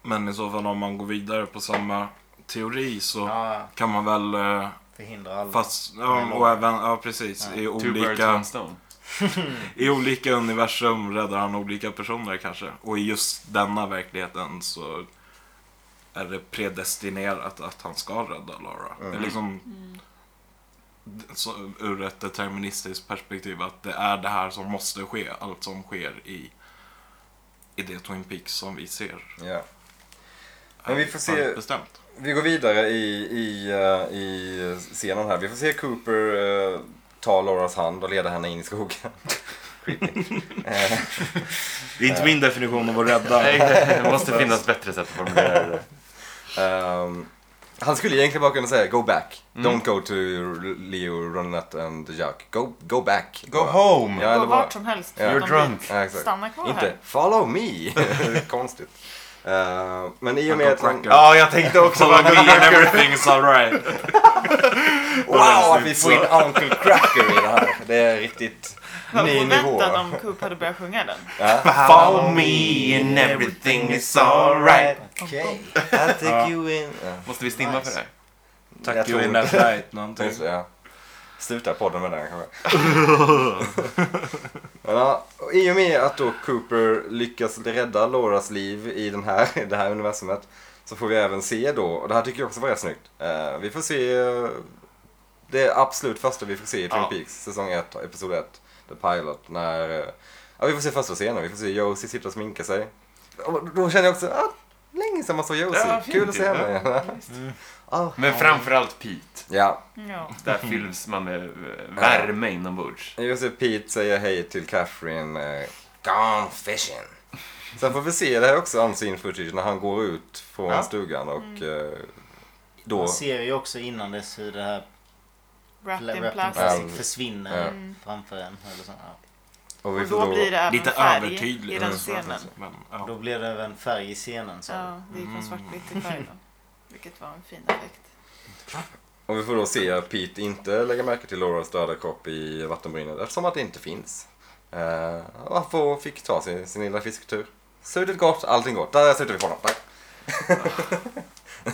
[SPEAKER 5] Men i så fall om man går vidare på samma teori så
[SPEAKER 4] Ja,
[SPEAKER 5] kan man väl eh,
[SPEAKER 4] förhindra alla.
[SPEAKER 5] Fast, ja, och även, ja precis. I,
[SPEAKER 2] Two birds, one
[SPEAKER 5] olika,
[SPEAKER 2] stone.
[SPEAKER 5] I olika universum räddar han olika personer kanske. Och i just denna verkligheten så är det predestinerat att han ska rädda Lara. Det är
[SPEAKER 1] Mm.
[SPEAKER 5] liksom
[SPEAKER 3] Mm.
[SPEAKER 5] så, ur ett deterministiskt perspektiv att det är det här som måste ske. Allt som sker i, i det Twin Peaks som vi ser.
[SPEAKER 1] Ja. Men vi får se-
[SPEAKER 5] Väldigt Bestämt.
[SPEAKER 1] Vi går vidare i, i, eh, i scenen här. Vi får se Cooper eh, ta Lauras hand och leda henne in i skogen.
[SPEAKER 6] Det är inte min definition av att rädda.
[SPEAKER 2] Nej, det måste finnas bättre sätt att formulera det.
[SPEAKER 1] Ehm, han skulle egentligen bara kunna säga go back.
[SPEAKER 4] Mm.
[SPEAKER 1] Don't go to Leo, Ronette and Jack. Go, go back.
[SPEAKER 2] Go home!
[SPEAKER 1] Ja,
[SPEAKER 3] Gå
[SPEAKER 1] eller bara,
[SPEAKER 3] vart som helst.
[SPEAKER 1] Ja.
[SPEAKER 2] You're
[SPEAKER 3] utom
[SPEAKER 2] drunk.
[SPEAKER 3] dit.
[SPEAKER 1] ja, exakt.
[SPEAKER 3] Stanna kvar
[SPEAKER 1] Inte
[SPEAKER 3] här.
[SPEAKER 1] follow me. Konstigt. Eh, men i och
[SPEAKER 5] Han
[SPEAKER 1] med
[SPEAKER 5] kom
[SPEAKER 1] att han... Ah,
[SPEAKER 5] cracker.
[SPEAKER 2] jag tänkte också
[SPEAKER 5] Follow me and everything's alright.
[SPEAKER 1] Wow, att vi får in Uncle Cracker i det här. Det är riktigt
[SPEAKER 3] Vad
[SPEAKER 1] ny nivå.
[SPEAKER 3] oväntat om Coop hade börjat sjunga den.
[SPEAKER 2] Follow me and everything is alright.
[SPEAKER 1] Okej, I'll take you in. Ja.
[SPEAKER 2] Måste vi stimma för det här?
[SPEAKER 1] Jag
[SPEAKER 6] Tack
[SPEAKER 1] tror
[SPEAKER 6] you in
[SPEAKER 1] inte.
[SPEAKER 6] that night någonting.
[SPEAKER 1] Just det, ja. Sluta podden med den kanske. Men ja, och I och med att då Cooper lyckas rädda Lauras liv i den här, i det här universumet så får vi även se då, och det här tycker jag också var rätt snyggt. Eh, vi får se, eh, det är absolut första vi får se i Twin
[SPEAKER 2] Ja.
[SPEAKER 1] Peaks, säsong 1, episod 1, The Pilot, när, eh, ja vi får se första scenen, vi får se Josie sitta och sminka sig. Och då känner jag också, ah, länge sedan man såg Josie,
[SPEAKER 2] Ja, fint
[SPEAKER 1] kul att
[SPEAKER 2] ju.
[SPEAKER 1] se henne igen. Ah,
[SPEAKER 2] Men framförallt Pete.
[SPEAKER 1] ja,
[SPEAKER 3] Ja.
[SPEAKER 2] Där fylls man med eh, värme inombords.
[SPEAKER 1] Josef Pete säger hej till Catherine. eh, Gone fishing. Sen får vi se det här också, unseen footage, när han går ut från
[SPEAKER 2] Ja.
[SPEAKER 1] stugan och eh, då...
[SPEAKER 4] Man ser ju också innan dess hur det här
[SPEAKER 3] Wrapped
[SPEAKER 4] pla-
[SPEAKER 3] in
[SPEAKER 4] wrapped in
[SPEAKER 3] plastic.
[SPEAKER 4] plastic
[SPEAKER 1] Ja.
[SPEAKER 4] försvinner
[SPEAKER 3] Mm.
[SPEAKER 4] framför en. Eller så. Ja.
[SPEAKER 1] Och vi
[SPEAKER 3] Och
[SPEAKER 1] får Mm.
[SPEAKER 3] då blir det även
[SPEAKER 5] Lite
[SPEAKER 3] färg
[SPEAKER 5] övertydligt.
[SPEAKER 3] i den scenen.
[SPEAKER 5] Men, ja.
[SPEAKER 4] Då blir det även färg i scenen. Så.
[SPEAKER 3] Ja, det gick från svartvitt till färg
[SPEAKER 1] Mm.
[SPEAKER 3] då. Vilket var en fin effekt.
[SPEAKER 1] Och vi får då se att Pete inte lägga märke till Lauras döda kropp i vattenbrynet eftersom att det inte finns. Eh, och han får, fick ta sin, sin lilla fisktur. Suttit gott, allting gott. Där slutar vi på honom. Tack.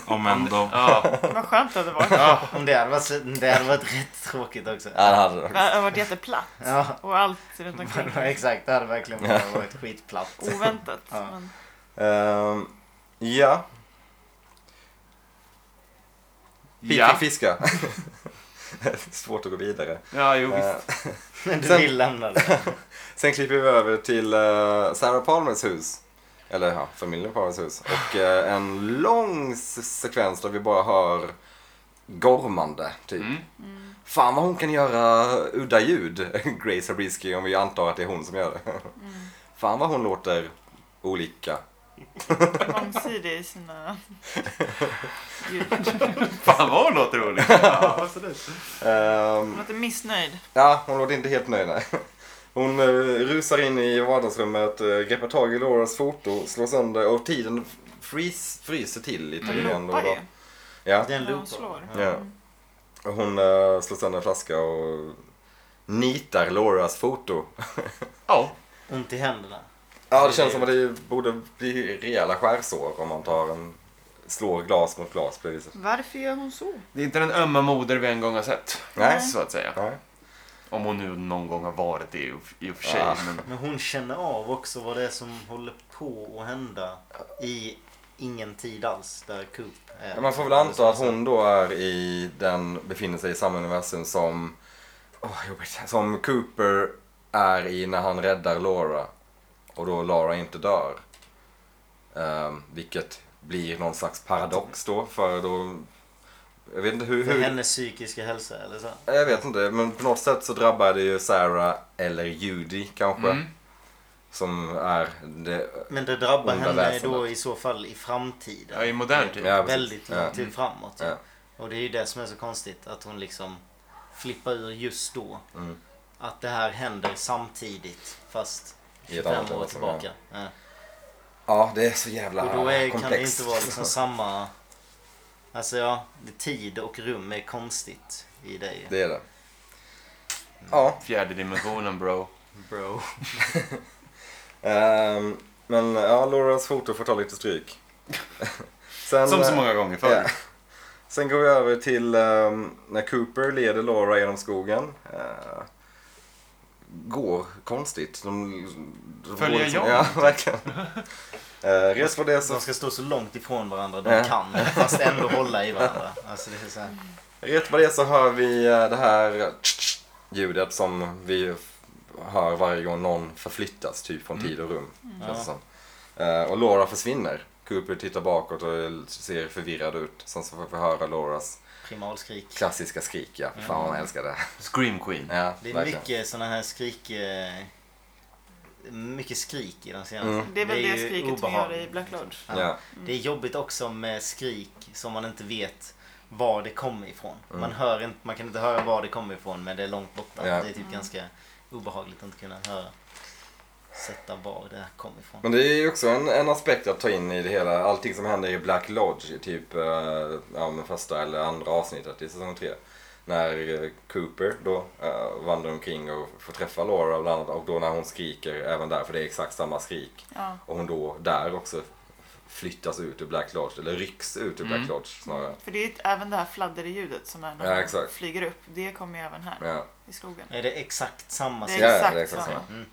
[SPEAKER 5] Om ändå.
[SPEAKER 2] Ja,
[SPEAKER 3] Vad skönt det hade varit.
[SPEAKER 4] Om det hade, varit, det hade varit rätt tråkigt också.
[SPEAKER 1] Ja, det hade
[SPEAKER 3] Det
[SPEAKER 1] det.
[SPEAKER 3] hade varit jätteplatt.
[SPEAKER 4] Ja,
[SPEAKER 3] Och allt runt omkring.
[SPEAKER 4] exakt. Det hade verkligen bara varit skitplatt.
[SPEAKER 3] Oh. Oväntat.
[SPEAKER 4] Ja.
[SPEAKER 3] Men
[SPEAKER 1] Ehm, ja, Pete
[SPEAKER 2] ja.
[SPEAKER 1] fick fiska. Svårt att gå vidare.
[SPEAKER 2] ja jo visst.
[SPEAKER 1] Eh,
[SPEAKER 4] Du
[SPEAKER 1] Sen-
[SPEAKER 4] vill lämna det.
[SPEAKER 1] Sen klipper vi över till eh, Sarah Palmers hus. Eller ja, familjen Palmers hus. Och eh, en lång s- sekvens där vi bara hör gormande, typ.
[SPEAKER 2] Mm.
[SPEAKER 1] Fan vad hon kan göra udda ljud, Grace Habrisky, om vi antar att det är hon som gör det.
[SPEAKER 3] mm.
[SPEAKER 1] Fan vad hon låter olika.
[SPEAKER 3] mångsidig i sina ljud.
[SPEAKER 2] Fan vad hon låter rolig. Ja, absolut.
[SPEAKER 1] Ehm,
[SPEAKER 3] Hon låter missnöjd.
[SPEAKER 1] Ja, hon låter inte helt nöjd. Nej. Hon eh, rusar in i vardagsrummet, eh, greppar tag i Lauras foto, slår sönder och tiden frys, fryser till lite
[SPEAKER 3] Hon
[SPEAKER 1] grann. då och
[SPEAKER 3] loopar
[SPEAKER 1] då.
[SPEAKER 3] ju.
[SPEAKER 1] Ja.
[SPEAKER 4] Det är en
[SPEAKER 3] När hon
[SPEAKER 4] loop.
[SPEAKER 3] slår.
[SPEAKER 1] ja. Och Hon eh, slår sönder en flaska och nitar Lauras foto.
[SPEAKER 2] Ja.
[SPEAKER 4] Ont i händerna.
[SPEAKER 1] Ja, det känns som att det borde bli rejäla skärsår om man tar en, slår glas mot glas på det viset.
[SPEAKER 3] Varför gör hon så?
[SPEAKER 2] Det är inte den ömma moder vi en gång har sett.
[SPEAKER 1] Nej.
[SPEAKER 2] Så att säga.
[SPEAKER 1] Nej.
[SPEAKER 2] Om hon nu någon gång har varit det i och- i och för sig.
[SPEAKER 1] Ja.
[SPEAKER 2] Men,
[SPEAKER 4] Men hon känner av också vad det är som håller på att hända i ingen tid alls där Coop är.
[SPEAKER 1] Ja, Man får väl anta att hon då är i den, befinner sig i samma universum som, åh, jobbigt, som Cooper är i när han räddar Laura. Och då Laura inte dör. Ehm, vilket blir någon slags paradox då för då, jag vet inte hur,
[SPEAKER 4] För
[SPEAKER 1] hur
[SPEAKER 4] hennes psykiska hälsa eller så.
[SPEAKER 1] Eh, jag vet inte men på något sätt så drabbar det ju Sarah eller Judy kanske.
[SPEAKER 2] mm.
[SPEAKER 1] Som är det,
[SPEAKER 4] Men det drabbar
[SPEAKER 1] Onda
[SPEAKER 4] henne
[SPEAKER 1] väsendet.
[SPEAKER 4] då i så fall i framtiden.
[SPEAKER 2] Ja, i modern tid.
[SPEAKER 1] Ja, precis.
[SPEAKER 4] Väldigt lång
[SPEAKER 1] Ja. Mm.
[SPEAKER 4] tid framåt.
[SPEAKER 1] Ja.
[SPEAKER 4] Och det är ju det som är så konstigt att hon liksom flippar ur just då.
[SPEAKER 1] Mm.
[SPEAKER 4] Att det här händer samtidigt fast
[SPEAKER 1] I ett
[SPEAKER 4] 25
[SPEAKER 1] annat
[SPEAKER 4] år
[SPEAKER 1] land,
[SPEAKER 4] tillbaka. Ja.
[SPEAKER 1] ja det är så jävla
[SPEAKER 4] Och då är, kan det
[SPEAKER 1] komplext.
[SPEAKER 4] inte vara liksom samma... Alltså ja, det- tid och rum är konstigt i dig.
[SPEAKER 1] Det är det. Ja.
[SPEAKER 2] Fjärde dimensionen bro.
[SPEAKER 4] Bro.
[SPEAKER 1] Ehm, men ja, Lauras foto får ta lite stryk. Sen,
[SPEAKER 2] Som så många gånger förr.
[SPEAKER 1] eh, ja. Sen går vi över till ehm, när Cooper leder Laura genom skogen. Eh, går konstigt. De, de
[SPEAKER 2] Följer
[SPEAKER 1] går liksom-
[SPEAKER 2] jag
[SPEAKER 1] Ja,
[SPEAKER 2] inte?
[SPEAKER 1] verkligen. Eh, res var det så
[SPEAKER 4] De ska stå så långt ifrån varandra de
[SPEAKER 1] Ja.
[SPEAKER 4] kan, fast ändå hålla i varandra. Alltså det är så här.
[SPEAKER 1] Rätt vad det är så hör vi eh, det här ljudet som vi hör varje gång någon förflyttas typ från tid och rum.
[SPEAKER 4] Mm.
[SPEAKER 1] känns det som. Eh, Och Laura försvinner. Cooper tittar bakåt och ser förvirrad ut. Sen så får vi höra Lauras
[SPEAKER 4] Primalskrik.
[SPEAKER 1] klassiska skrik. Ja, fan vad man älskar det.
[SPEAKER 2] Scream Queen.
[SPEAKER 1] Ja,
[SPEAKER 4] Det är
[SPEAKER 1] verkligen.
[SPEAKER 4] mycket såna här skrik... eh, Mycket skrik i den senaste.
[SPEAKER 1] Mm.
[SPEAKER 3] Det är väl det,
[SPEAKER 4] ju
[SPEAKER 3] skriket vi gör
[SPEAKER 4] obehagligt,
[SPEAKER 3] i Black
[SPEAKER 4] liksom.
[SPEAKER 3] Lodge.
[SPEAKER 1] Ja,
[SPEAKER 4] Det är jobbigt också med skrik som man inte vet var det kommer ifrån.
[SPEAKER 1] Mm.
[SPEAKER 4] Man, hör inte, man kan inte höra var det kommer ifrån men det är långt borta.
[SPEAKER 1] Ja.
[SPEAKER 4] Det är typ ganska obehagligt att inte kunna höra. Sätta var det kommer ifrån.
[SPEAKER 1] men det är ju också en, en aspekt att ta in i det hela. Allting som händer i Black Lodge i typ eh, ja, men första eller andra avsnittet i säsong tre. När eh, Cooper då eh, vandrar omkring och får träffa Laura bland annat. Och då när hon skriker även där, för det är exakt samma skrik.
[SPEAKER 3] Ja.
[SPEAKER 1] Och hon då där också flyttas ut ur Black Lodge, eller rycks ut ur Black Lodge snarare.
[SPEAKER 3] För det är ju även det här fladderljudet som är när
[SPEAKER 1] Ja,
[SPEAKER 3] man
[SPEAKER 1] exakt.
[SPEAKER 3] flyger upp. Det kommer ju även här
[SPEAKER 1] Ja.
[SPEAKER 3] i skogen.
[SPEAKER 4] Är det exakt samma
[SPEAKER 3] Det
[SPEAKER 4] sak?
[SPEAKER 1] Ja,
[SPEAKER 3] är
[SPEAKER 1] ja,
[SPEAKER 3] exakt,
[SPEAKER 1] det är exakt
[SPEAKER 3] samma.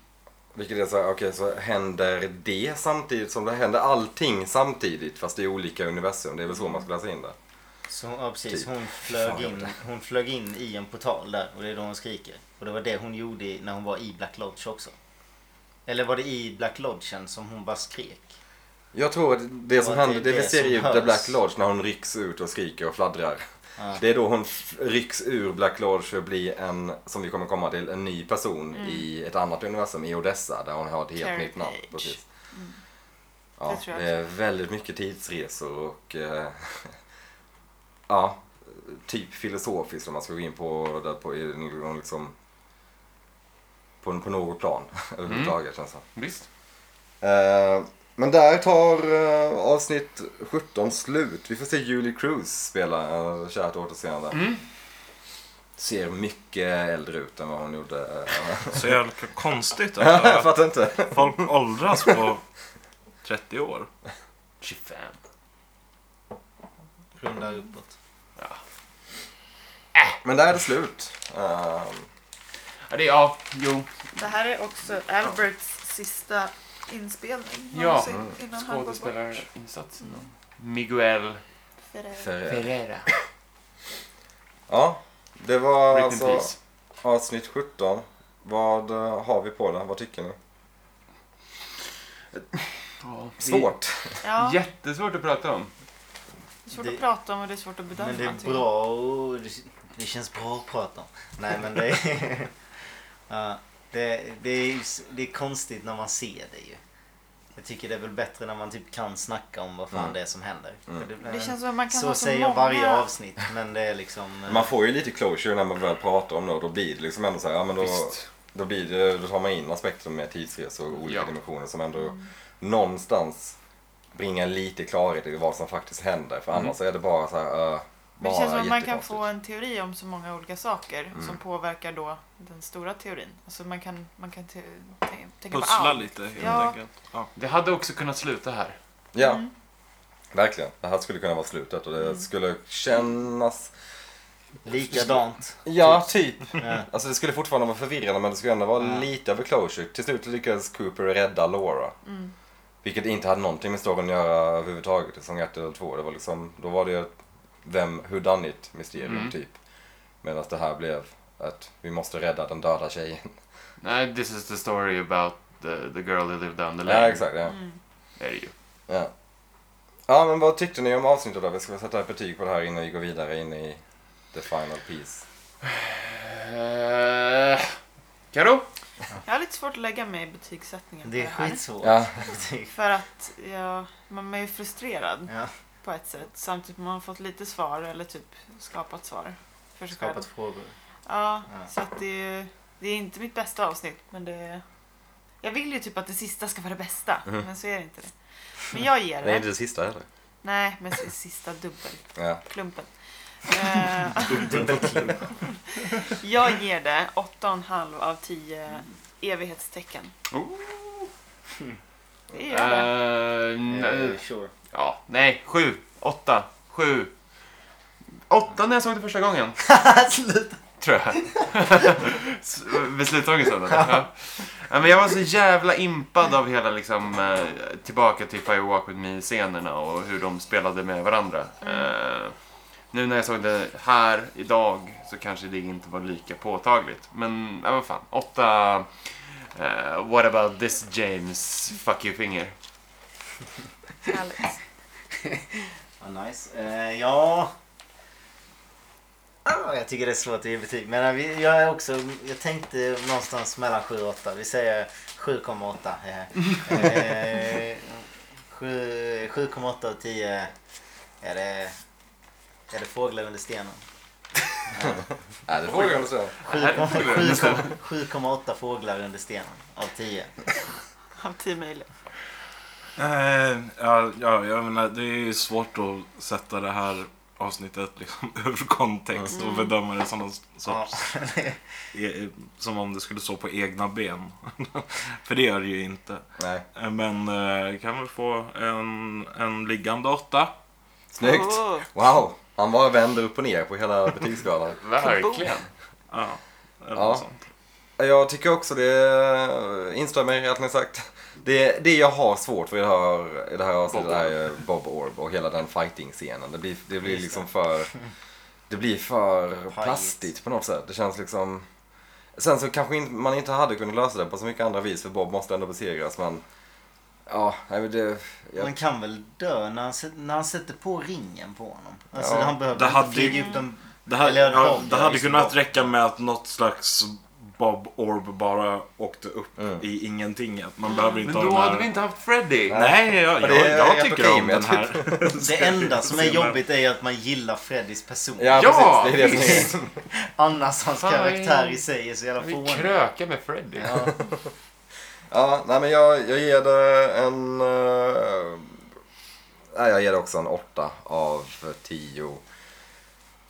[SPEAKER 1] Vilket är så här, okej så händer det samtidigt som det händer allting samtidigt fast i olika universum. Det är väl så man ska läsa in det.
[SPEAKER 4] Så, ja, precis.
[SPEAKER 1] Typ.
[SPEAKER 4] Hon, flög
[SPEAKER 1] Fan, jag
[SPEAKER 4] in, hon flög in i en portal där och det är då hon skriker. Och det var det hon gjorde i- när hon var i Black Lodge också. Eller var det i Black Lodgen som hon bara skrek?
[SPEAKER 1] Jag tror att det som
[SPEAKER 4] Och att det
[SPEAKER 1] händer, det
[SPEAKER 4] är
[SPEAKER 1] vi
[SPEAKER 4] det
[SPEAKER 1] ser
[SPEAKER 4] som
[SPEAKER 1] i The
[SPEAKER 4] hörs.
[SPEAKER 1] Black Lodge när hon rycks ut och skriker och fladdrar.
[SPEAKER 4] Ja.
[SPEAKER 1] Det är då hon f- rycks ur Black Lodge för att bli en, som vi kommer komma till, en ny person
[SPEAKER 3] Mm.
[SPEAKER 1] i ett annat universum i Odessa där hon har ett helt
[SPEAKER 3] Carrie
[SPEAKER 1] nytt namn.
[SPEAKER 3] Page.
[SPEAKER 1] Precis.
[SPEAKER 3] Mm. Det
[SPEAKER 1] Ja,
[SPEAKER 3] tror
[SPEAKER 1] det,
[SPEAKER 3] jag
[SPEAKER 1] är väldigt mycket tidsresor och eh, ja, typ filosofiskt om man ska gå in på, där på, i någon liksom, på, på något plan överhuvudtaget
[SPEAKER 4] Mm.
[SPEAKER 1] känns det
[SPEAKER 2] Visst.
[SPEAKER 1] Eh, men där tar eh, avsnitt 17 slut. Vi får se Julie Cruz spela eh, kärt återseende.
[SPEAKER 2] Mm.
[SPEAKER 1] Ser mycket äldre ut än vad hon gjorde. eh,
[SPEAKER 5] Så jävla konstigt
[SPEAKER 1] Jag
[SPEAKER 5] alltså,
[SPEAKER 1] fattar inte.
[SPEAKER 5] att folk åldras på 30 år.
[SPEAKER 2] 25.
[SPEAKER 4] Runda uppåt.
[SPEAKER 1] Men där är det slut. Eh,
[SPEAKER 2] Ja, det är, ja, jo.
[SPEAKER 3] Det här är också Alberts sista inspelning
[SPEAKER 2] Ja.
[SPEAKER 3] någonsin innan han går bort.
[SPEAKER 2] Skådespelarinsatsen. Miguel.
[SPEAKER 3] För det-
[SPEAKER 1] för, eh,
[SPEAKER 4] Ferrera.
[SPEAKER 1] ja, det var
[SPEAKER 2] Rest in
[SPEAKER 1] alltså
[SPEAKER 2] peace.
[SPEAKER 1] avsnitt 17. Vad eh, har vi på det? Vad tycker ni?
[SPEAKER 2] Ja, det är
[SPEAKER 1] Svårt.
[SPEAKER 3] Ja, det
[SPEAKER 2] Jättesvårt att prata om.
[SPEAKER 3] är svårt
[SPEAKER 4] Det-
[SPEAKER 3] att prata om och det är svårt att bedöma.
[SPEAKER 4] Men det
[SPEAKER 3] tycker
[SPEAKER 4] är
[SPEAKER 3] jag.
[SPEAKER 4] bra och det, det känns bra att prata om. Nej men det är... ja, det, det, är ju s- det är konstigt när man ser det ju. Jag tycker det är väl bättre när man typ kan snacka om vad fan
[SPEAKER 1] Mm.
[SPEAKER 4] det är som händer. För
[SPEAKER 3] Det känns som att man kan
[SPEAKER 4] så
[SPEAKER 3] ha så
[SPEAKER 4] säger
[SPEAKER 3] många...
[SPEAKER 4] varje avsnitt men det är liksom... eh,
[SPEAKER 1] Man får ju lite closure när man väl pratar om det och då blir det liksom ändå så här, ja men då,
[SPEAKER 2] Visst.
[SPEAKER 1] då, blir det, då tar man in aspekter med tidsresor och olika
[SPEAKER 2] Ja.
[SPEAKER 1] dimensioner som ändå
[SPEAKER 3] Mm.
[SPEAKER 1] någonstans bringar lite klarhet i vad som faktiskt händer
[SPEAKER 2] Mm.
[SPEAKER 1] för annars är det bara så här, uh,
[SPEAKER 3] Men
[SPEAKER 1] bara
[SPEAKER 3] det känns som att man kan
[SPEAKER 1] jättekonstigt. Mm.
[SPEAKER 3] få en teori om så många olika saker som påverkar då den stora teorin. Alltså man kan, man kan te- te- tänka på
[SPEAKER 5] Pussla
[SPEAKER 3] allt.
[SPEAKER 5] lite helt
[SPEAKER 3] Ja.
[SPEAKER 5] enkelt. Ja.
[SPEAKER 2] Det hade också kunnat sluta här.
[SPEAKER 1] Ja,
[SPEAKER 3] Mm.
[SPEAKER 1] verkligen. Det här skulle kunna vara slutet och det skulle kännas...
[SPEAKER 4] Likadant.
[SPEAKER 2] Mm.
[SPEAKER 1] Ja, typ.
[SPEAKER 4] Ja.
[SPEAKER 1] Alltså det skulle fortfarande vara förvirrande men det skulle ändå vara lite över closure. Till slut lyckades Cooper rädda Laura. Vilket inte hade någonting med storyn att göra överhuvudtaget i säsong 1 eller 2. Det var liksom, då var det ju ett vem, who done it mysterium
[SPEAKER 2] Mm.
[SPEAKER 1] typ. Medan det här blev att vi måste rädda den döda tjejen.
[SPEAKER 2] Nej, this is the story about the, the girl who lived down the lane.
[SPEAKER 1] Ja, exakt. Ja.
[SPEAKER 3] Mm.
[SPEAKER 2] Är det ju.
[SPEAKER 1] Ja. ja, men vad tyckte ni om avsnittet då? Vi ska väl sätta ett betyg på det här innan vi går vidare in i the final piece.
[SPEAKER 2] Eh, Karo?
[SPEAKER 3] Jag har lite svårt att lägga mig i betygssättningen
[SPEAKER 4] Det är
[SPEAKER 3] på det här.
[SPEAKER 4] skitsvårt.
[SPEAKER 1] Ja.
[SPEAKER 3] För att jag, man är ju frustrerad
[SPEAKER 4] Ja,
[SPEAKER 3] på ett sätt. Samtidigt som man har fått lite svar eller typ skapat svar. För sig själv.
[SPEAKER 4] skapat frågor.
[SPEAKER 3] Ja,
[SPEAKER 4] Ja.
[SPEAKER 3] så att det är, det är inte mitt bästa avsnitt, men det är... Jag vill ju typ att det sista ska vara det bästa, men så är det inte det. Men jag ger
[SPEAKER 1] Det är
[SPEAKER 3] det.
[SPEAKER 1] inte Mm. det sista heller.
[SPEAKER 3] Nej, men s- sista dubbelklumpen.
[SPEAKER 1] Ja.
[SPEAKER 3] Eh, jag ger det 8,5 av 10 evighetstecken.
[SPEAKER 2] Oh.
[SPEAKER 3] Det
[SPEAKER 2] Eh,
[SPEAKER 3] gör det.
[SPEAKER 2] nej.
[SPEAKER 4] Eh, Sure.
[SPEAKER 2] Ja, nej, sju. Åtta. Sju. Åtta när jag såg det första gången.
[SPEAKER 4] Sluta.
[SPEAKER 2] tror jag. S- Beslutsångest av den. Ja. Ja, men jag var så jävla impad av hela liksom, eh, tillbaka till Fire Walk With Me-scenerna och hur de spelade med varandra. Eh, nu när jag såg det här idag så kanske det inte var lika påtagligt. Men ja, vad fan, åtta eh, What about this James fuck you finger.
[SPEAKER 3] Alex.
[SPEAKER 4] Vad nice. Eh, ja... Ah, jag tycker det är svårt att ge betyg. Men eh, vi- jag, är också, jag tänkte någonstans mellan 7 och 8. Vi säger 7,8. Eh, eh, sju- 7,8 av 10 är det, är det fåglar under stenen.
[SPEAKER 1] Nej, det får jag inte säga.
[SPEAKER 4] 7,8 fåglar under stenen av 10.
[SPEAKER 3] Av tio möjliga.
[SPEAKER 5] Eh, ja, ja, jag menar, det är ju svårt att sätta det här avsnittet liksom, ur kontext
[SPEAKER 3] Mm.
[SPEAKER 5] och bedöma det som någon
[SPEAKER 4] Ja.
[SPEAKER 5] sorts... eh, Som om det skulle stå på egna ben. För det gör det ju inte.
[SPEAKER 1] Nej.
[SPEAKER 5] Eh, Men eh, kan vi få en, en liggande åtta?
[SPEAKER 1] Snyggt.
[SPEAKER 3] Oh,
[SPEAKER 1] Wow. Han bara vänder upp och ner på hela betygsskalan.
[SPEAKER 2] Verkligen.
[SPEAKER 5] Ja, eller
[SPEAKER 1] Ja.
[SPEAKER 5] något sånt.
[SPEAKER 1] Jag tycker också det, instämmer i allt ni har sagt. Det, det jag har svårt för i det här, i det här avsnittet
[SPEAKER 2] Bob Orb.
[SPEAKER 1] är ju Bob Orb och hela den fighting-scenen. Det blir, det blir liksom för, det blir för plastigt på något sätt. Det känns liksom... Sen så kanske inte- man inte hade kunnat lösa det på så mycket andra vis för Bob måste ändå besegras men... Ja, nej men det... Jag,
[SPEAKER 4] Man kan väl dö när han, sätter- när han sätter på ringen på honom. Alltså,
[SPEAKER 1] Ja.
[SPEAKER 4] han behöver
[SPEAKER 5] Det
[SPEAKER 4] inte
[SPEAKER 5] hade
[SPEAKER 4] flyga
[SPEAKER 5] ju-
[SPEAKER 4] upp den
[SPEAKER 5] Det, här,
[SPEAKER 4] Eller
[SPEAKER 5] ja,
[SPEAKER 4] Bob,
[SPEAKER 5] det
[SPEAKER 4] ja,
[SPEAKER 5] hade
[SPEAKER 4] just
[SPEAKER 5] kunnat
[SPEAKER 4] Bob.
[SPEAKER 5] räcka med att något slags Bob Orb bara åkte upp
[SPEAKER 1] Mm.
[SPEAKER 5] i ingentinget. Man behöver
[SPEAKER 2] Mm. Men
[SPEAKER 5] inte
[SPEAKER 2] då
[SPEAKER 5] ha den
[SPEAKER 2] hade
[SPEAKER 5] här...
[SPEAKER 2] vi inte haft Freddy.
[SPEAKER 5] Nej, jag,
[SPEAKER 1] Och det är
[SPEAKER 5] jag, jag
[SPEAKER 1] helt
[SPEAKER 5] tycker
[SPEAKER 1] okej
[SPEAKER 5] om
[SPEAKER 1] med
[SPEAKER 5] den här.
[SPEAKER 4] Det enda som är
[SPEAKER 5] Scenen.
[SPEAKER 4] jobbigt är ju att man gillar Freddys person.
[SPEAKER 1] ja,
[SPEAKER 2] Ja,
[SPEAKER 1] precis, det är det som är...
[SPEAKER 2] visst.
[SPEAKER 4] Annars hans
[SPEAKER 2] Fan,
[SPEAKER 4] karaktär
[SPEAKER 2] vi-
[SPEAKER 4] i sig är så jävla
[SPEAKER 2] Vi
[SPEAKER 4] fånig.
[SPEAKER 2] krökar med Freddy.
[SPEAKER 4] Ja.
[SPEAKER 1] Ja, nej men jag, jag ger det en... eh, nej, jag ger det också en 8 av 10.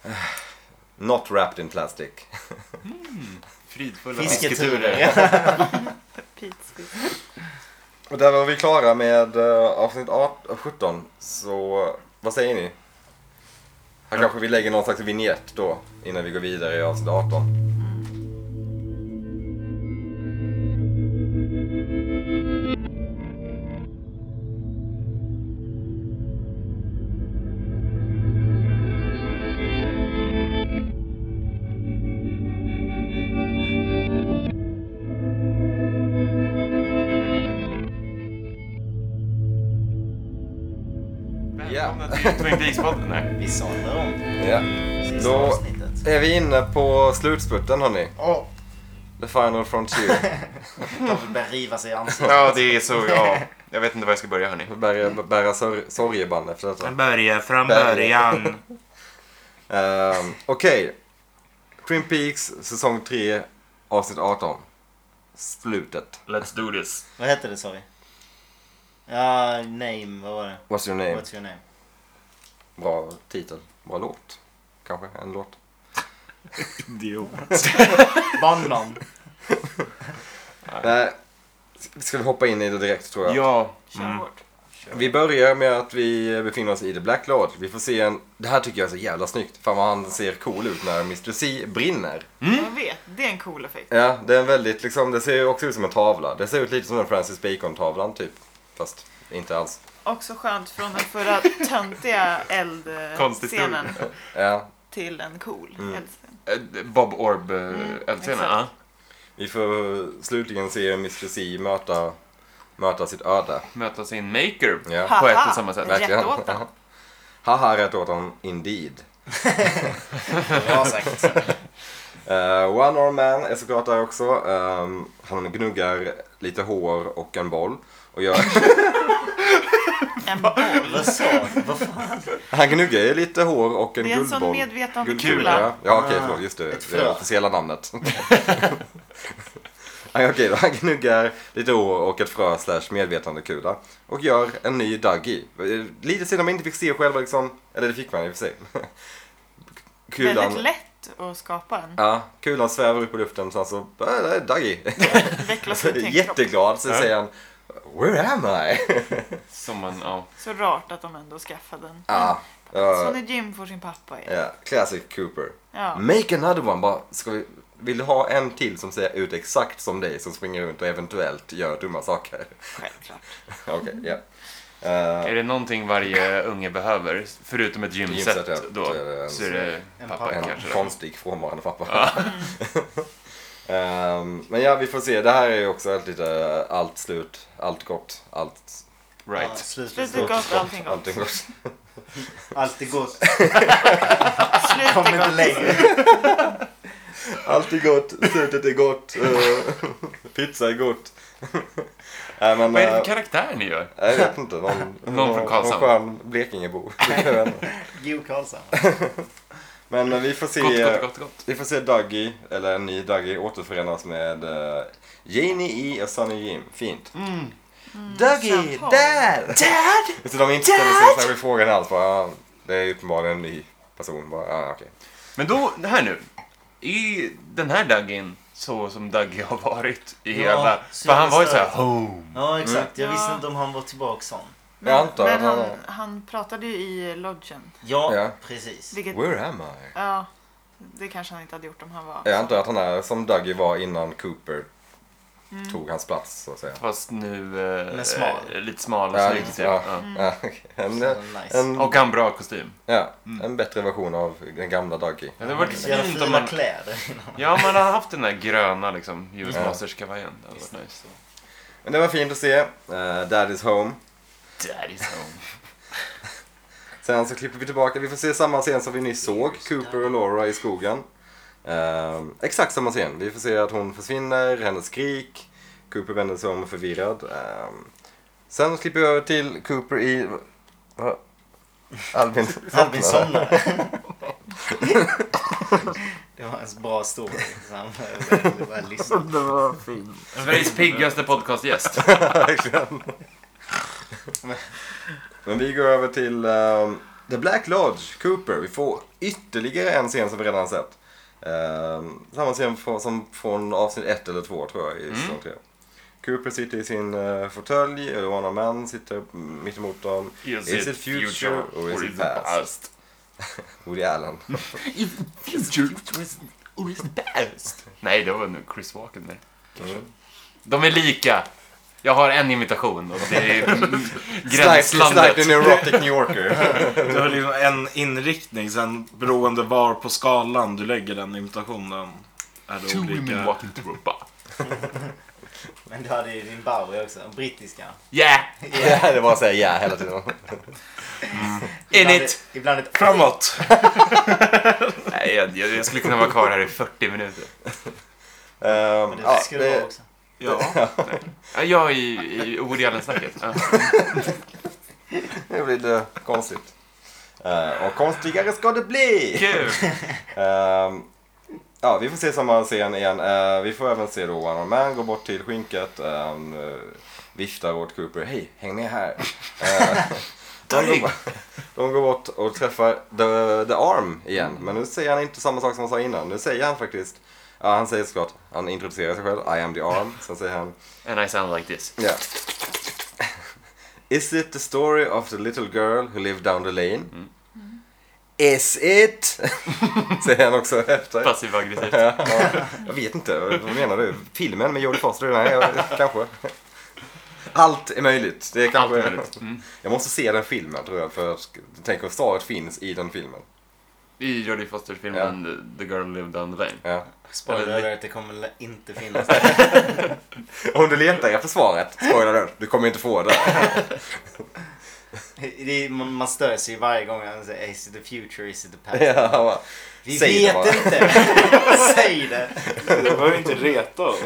[SPEAKER 1] Eh, Not wrapped in plastic.
[SPEAKER 2] Fridfulla
[SPEAKER 4] Fisketurer.
[SPEAKER 2] fisketurer.
[SPEAKER 3] Pete
[SPEAKER 1] Och där var vi klara med eh, avsnitt 18, 17. Så vad säger ni? Här kanske vi lägger någon slags vignett då innan vi går vidare i avsnitt 18.
[SPEAKER 2] Välkomna till Twin Peaks-podden. Nej.
[SPEAKER 4] Vi sadlar om
[SPEAKER 1] Ja.
[SPEAKER 4] sista
[SPEAKER 1] Då-
[SPEAKER 4] avsnittet.
[SPEAKER 1] Är vi inne på slutspurten hörni?
[SPEAKER 4] Åh,
[SPEAKER 1] The final frontier.
[SPEAKER 4] de börjar riva sig i ansiktet.
[SPEAKER 2] Ja, det är så. Ja. Jag vet inte var jag ska börja, hörni.
[SPEAKER 1] Bära, bära sor- sorgeband efter detta.
[SPEAKER 5] Börja från
[SPEAKER 1] början. Ehm, Okej. Twin Peaks säsong 3 avsnitt 18. Slutet.
[SPEAKER 2] Let's do this.
[SPEAKER 4] Vad hette det sa vi? Ja, name, vad var det?
[SPEAKER 1] What's your name?
[SPEAKER 4] What's your name?
[SPEAKER 1] Bra titel. Bra låt. Kanske en låt.
[SPEAKER 5] Idiot.
[SPEAKER 4] Bandnamn.
[SPEAKER 1] Nej. s- Ska vi hoppa in i det direkt tror jag.
[SPEAKER 2] Ja.
[SPEAKER 3] Kör hårt.
[SPEAKER 1] Vi börjar med att vi befinner oss i The Black Lodge. Vi får se en... Det här tycker jag är så jävla snyggt. Fan vad han ser cool ut när Mr. C brinner.
[SPEAKER 3] Jag vet, det är en cool effekt.
[SPEAKER 1] Ja, det är en väldigt liksom... Det ser ju också ut som en tavla. Det ser ut lite som en Francis Bacon-tavlan typ. Fast inte alls.
[SPEAKER 3] Också skönt från den förra töntiga
[SPEAKER 2] Konstigt nog.
[SPEAKER 3] eldscenen
[SPEAKER 1] Ja,
[SPEAKER 3] till en cool eldsten.
[SPEAKER 2] Eh, Bob Orb eh,
[SPEAKER 4] Mm,
[SPEAKER 2] eldscenen.
[SPEAKER 3] exakt.
[SPEAKER 2] ja.
[SPEAKER 1] Vi får slutligen se Mr. C möta, möta sitt öde.
[SPEAKER 2] Möta sin maker.
[SPEAKER 1] Ja,
[SPEAKER 3] Ha.
[SPEAKER 2] På ett
[SPEAKER 3] Haha,
[SPEAKER 2] och samma sätt.
[SPEAKER 3] rätt
[SPEAKER 1] verkligen.
[SPEAKER 3] åt honom.
[SPEAKER 1] Haha, rätt åt honom, indeed.
[SPEAKER 4] Bra sagt.
[SPEAKER 1] Eh, One Arm Man är såklart där också. Ehm, han gnuggar lite hår och en boll. Och gör,
[SPEAKER 3] En boll.
[SPEAKER 4] Vad sa du? Vad fan?
[SPEAKER 1] han gnuggar ju lite hår och en
[SPEAKER 3] Det är en
[SPEAKER 1] guldboll.
[SPEAKER 3] sån medveten
[SPEAKER 1] Guldkula.
[SPEAKER 3] kula.
[SPEAKER 1] Ja, ja okej, förlåt. Just det.
[SPEAKER 4] Ah. Ett
[SPEAKER 1] Det är det
[SPEAKER 4] frö.
[SPEAKER 1] officiella namnet. Nej, okej, då. han gnuggar lite hår och ett frö slash medvetandekula. Och gör en ny Dougie. Eh, Lite synd att man inte fick se själva liksom, eller det fick man i och för sig.
[SPEAKER 3] Väldigt lätt att skapa en.
[SPEAKER 1] Ja, kulan svävar upp i luften sen så, äh, det är Dougie.
[SPEAKER 3] Alltså, Vecklas ut till en kropp.
[SPEAKER 1] Jätteglad, så säger han Where am I?
[SPEAKER 2] Som man, ja.
[SPEAKER 3] Så rart att de ändå skaffade den.
[SPEAKER 1] ja, det var-
[SPEAKER 3] Sonny Jim får sin pappa igen.
[SPEAKER 1] ja, Mm. classic Cooper.
[SPEAKER 3] Ja.
[SPEAKER 1] Make another one. Bara, ska vi, vill du ha en till som ser ut exakt som dig som springer runt och eventuellt gör dumma saker?
[SPEAKER 3] Självklart.
[SPEAKER 1] Okej, ja. Eh,
[SPEAKER 2] Är det någonting varje unge behöver, förutom ett
[SPEAKER 1] Gymset,
[SPEAKER 2] gymset
[SPEAKER 1] ja.
[SPEAKER 2] då,
[SPEAKER 1] Så är det en-
[SPEAKER 2] så är det
[SPEAKER 4] en
[SPEAKER 2] pappa
[SPEAKER 4] pappa.
[SPEAKER 2] kanske.
[SPEAKER 1] eh, en
[SPEAKER 2] då.
[SPEAKER 1] konstig frånvarande pappa. Ehm, men ja, vi får se. Det här är ju också ett lite eh, allt slut, allt gott, allt...
[SPEAKER 4] Ja,
[SPEAKER 2] Right.
[SPEAKER 4] slutet
[SPEAKER 3] Slutet
[SPEAKER 4] gott.
[SPEAKER 3] gott, allting gott.
[SPEAKER 1] Allting gott.
[SPEAKER 4] Allt är gott.
[SPEAKER 3] Slutet
[SPEAKER 4] Kom inte
[SPEAKER 3] gott.
[SPEAKER 4] längre.
[SPEAKER 1] Allt är gott, slutet är gott, eh, pizza är gott. Nej, men,
[SPEAKER 2] Vad är det för
[SPEAKER 1] eh,
[SPEAKER 2] karaktär ni gör?
[SPEAKER 1] jag vet inte. Någon,
[SPEAKER 2] Någon från Karlshamn.
[SPEAKER 1] skön Blekingebo. Jag vet inte.
[SPEAKER 4] Geo Karlsson.
[SPEAKER 1] men eh, vi får se.
[SPEAKER 2] Gott,
[SPEAKER 1] eh,
[SPEAKER 2] gott, gott, gott.
[SPEAKER 1] Vi får se Dougie, eller en ny Dougie, återförenas med uh, Janie E och Sunny Jim. Fint.
[SPEAKER 2] Mm.
[SPEAKER 1] Dougie,
[SPEAKER 3] samtal.
[SPEAKER 1] dad! Dad! Så de inte ställer sig särskilt frågan alls. Bara, ah, det är uppenbarligen en ny person. Bara, ah, okej.
[SPEAKER 2] Men då, det här nu. I den här Duggin, så som Dougie har varit i
[SPEAKER 4] Ja,
[SPEAKER 2] hela...
[SPEAKER 4] så
[SPEAKER 2] För han var ju
[SPEAKER 4] jävla
[SPEAKER 2] såhär
[SPEAKER 4] stört.
[SPEAKER 2] home.
[SPEAKER 4] Ja, exakt.
[SPEAKER 1] Mm.
[SPEAKER 4] Jag visste
[SPEAKER 3] Ja.
[SPEAKER 4] inte om han var tillbaka sån.
[SPEAKER 1] Jag antar
[SPEAKER 3] men
[SPEAKER 1] att han-
[SPEAKER 3] han, han pratade ju i lodgen.
[SPEAKER 4] Ja,
[SPEAKER 1] Ja.
[SPEAKER 4] precis.
[SPEAKER 3] Vilket,
[SPEAKER 1] Where am I?
[SPEAKER 3] ja, det kanske han inte hade gjort om han var...
[SPEAKER 1] Jag antar att han är som Dougie var innan Cooper tog hans plats, så att säga.
[SPEAKER 2] Fast nu... Eh,
[SPEAKER 4] Men smal.
[SPEAKER 2] eh, Lite smal och
[SPEAKER 1] Ja,
[SPEAKER 2] snygg.
[SPEAKER 1] lite-
[SPEAKER 2] typ.
[SPEAKER 1] ja.
[SPEAKER 2] Ja.
[SPEAKER 1] Ja, Ah, okej. en, eh,
[SPEAKER 4] Så nice.
[SPEAKER 1] en,
[SPEAKER 2] Och Mm. han bra kostym.
[SPEAKER 1] ja, en bättre version av den gamla Dougie.
[SPEAKER 2] Ja, det var
[SPEAKER 4] Så jävla
[SPEAKER 2] lite fint
[SPEAKER 4] fina
[SPEAKER 2] om man...
[SPEAKER 4] kläder innan.
[SPEAKER 2] Ja, man hade haft den där gröna liksom, US Masters-kavajen. Det hade varit nice.
[SPEAKER 1] Men det var fint att se. Eh, Daddy's home.
[SPEAKER 2] Daddy's home.
[SPEAKER 1] Sen så klipper vi tillbaka. Vi får se samma scen som vi nyss såg. Cooper och Laura i skogen. Ehm, exakt samma scen. Vi får se att hon försvinner, hennes skrik. Cooper vänder sig om förvirrad. Ehm, sen klipper vi över till Cooper i... Va? Albin
[SPEAKER 4] Albin
[SPEAKER 1] somnade.
[SPEAKER 4] somnade. Det var en bra story. Så han började bara lyssna.
[SPEAKER 2] Sveriges piggaste podcastgäst.
[SPEAKER 1] Verkligen. Men vi går över till ehm, The Black Lodge, Cooper. Vi får ytterligare en scen som vi redan har sett. Ehm, samma scen från, som från avsnitt 1 eller 2 tror jag i säsong 3. Cooper sitter i sin uh, fåtölj, Ilona Mann sitter mitt emot dem.
[SPEAKER 2] Is,
[SPEAKER 1] it future or is it past? Woody Allen.
[SPEAKER 2] Is it future or is, or is it past? Mm. Nej, det var nu Chris Walken där. De är lika. Jag har en imitation och det är mm,
[SPEAKER 1] Slightly
[SPEAKER 2] gränslandet.
[SPEAKER 1] slightly neurotic New Yorker.
[SPEAKER 5] Du har liksom en inriktning, sen beroende var på skalan du lägger den imitationen är det
[SPEAKER 2] Two women
[SPEAKER 5] olika.
[SPEAKER 2] walking through a bar.
[SPEAKER 4] Men du hade ju din Bowie också, den brittiska.
[SPEAKER 2] Yeah!
[SPEAKER 1] ja, det var att säga ja hela tiden. Ehm,
[SPEAKER 2] In
[SPEAKER 4] Ibland
[SPEAKER 2] it!
[SPEAKER 4] ett- Ibland ett...
[SPEAKER 5] Framåt!
[SPEAKER 2] Nej, jag, jag, jag skulle kunna vara kvar här i 40 minuter.
[SPEAKER 1] Ehm,
[SPEAKER 4] Men
[SPEAKER 1] ja,
[SPEAKER 4] det skulle
[SPEAKER 1] det-
[SPEAKER 4] vara också.
[SPEAKER 5] Ja.
[SPEAKER 2] Ja, Jag i, i Woody Allen-snacket. Ja.
[SPEAKER 1] Nu blir det konstigt. Eh, och konstigare ska det bli!
[SPEAKER 2] Kul!
[SPEAKER 1] Ehm, ja, vi får se samma scen igen. Eh, vi får även se då One on Man gå bort till skinket. ehm, eh, viftar åt Cooper. Hej, häng med här. Eh, de, går, de går bort och träffar The, the Arm igen. Men nu säger han inte samma sak som han sa innan. Nu säger han faktiskt Ja, han säger såklart, han introducerar sig själv, I am the arm. Sen säger han,
[SPEAKER 2] And I sound like this.
[SPEAKER 1] ja. Is it the story of the little girl who lived down the lane? Is it? säger han också efter.
[SPEAKER 2] Passiv aggressivt.
[SPEAKER 1] Jag vet inte, vad menar du? Filmen med Jodie Foster? Nej, jag, kanske. Allt är möjligt. Det är
[SPEAKER 2] Allt
[SPEAKER 1] kanske...
[SPEAKER 2] är möjligt. Mm.
[SPEAKER 1] Jag måste se den filmen tror jag, för att- tänk om svaret finns i den filmen.
[SPEAKER 2] I Jodie Foster-filmen The Girl Lived Down the Lane.
[SPEAKER 1] Ja.
[SPEAKER 4] Spoiler
[SPEAKER 2] Eller-
[SPEAKER 4] alert, det kommer inte finnas.
[SPEAKER 1] Om du letar efter svaret, spoiler alert, du kommer inte få det.
[SPEAKER 4] Det är, man, man stör sig ju varje gång han säger Is it the future, is it the past?
[SPEAKER 1] Ja, va.
[SPEAKER 4] Vi
[SPEAKER 1] Säg det
[SPEAKER 4] vet
[SPEAKER 1] bara.
[SPEAKER 4] inte! Säg det!
[SPEAKER 5] Du behöver inte reta oss.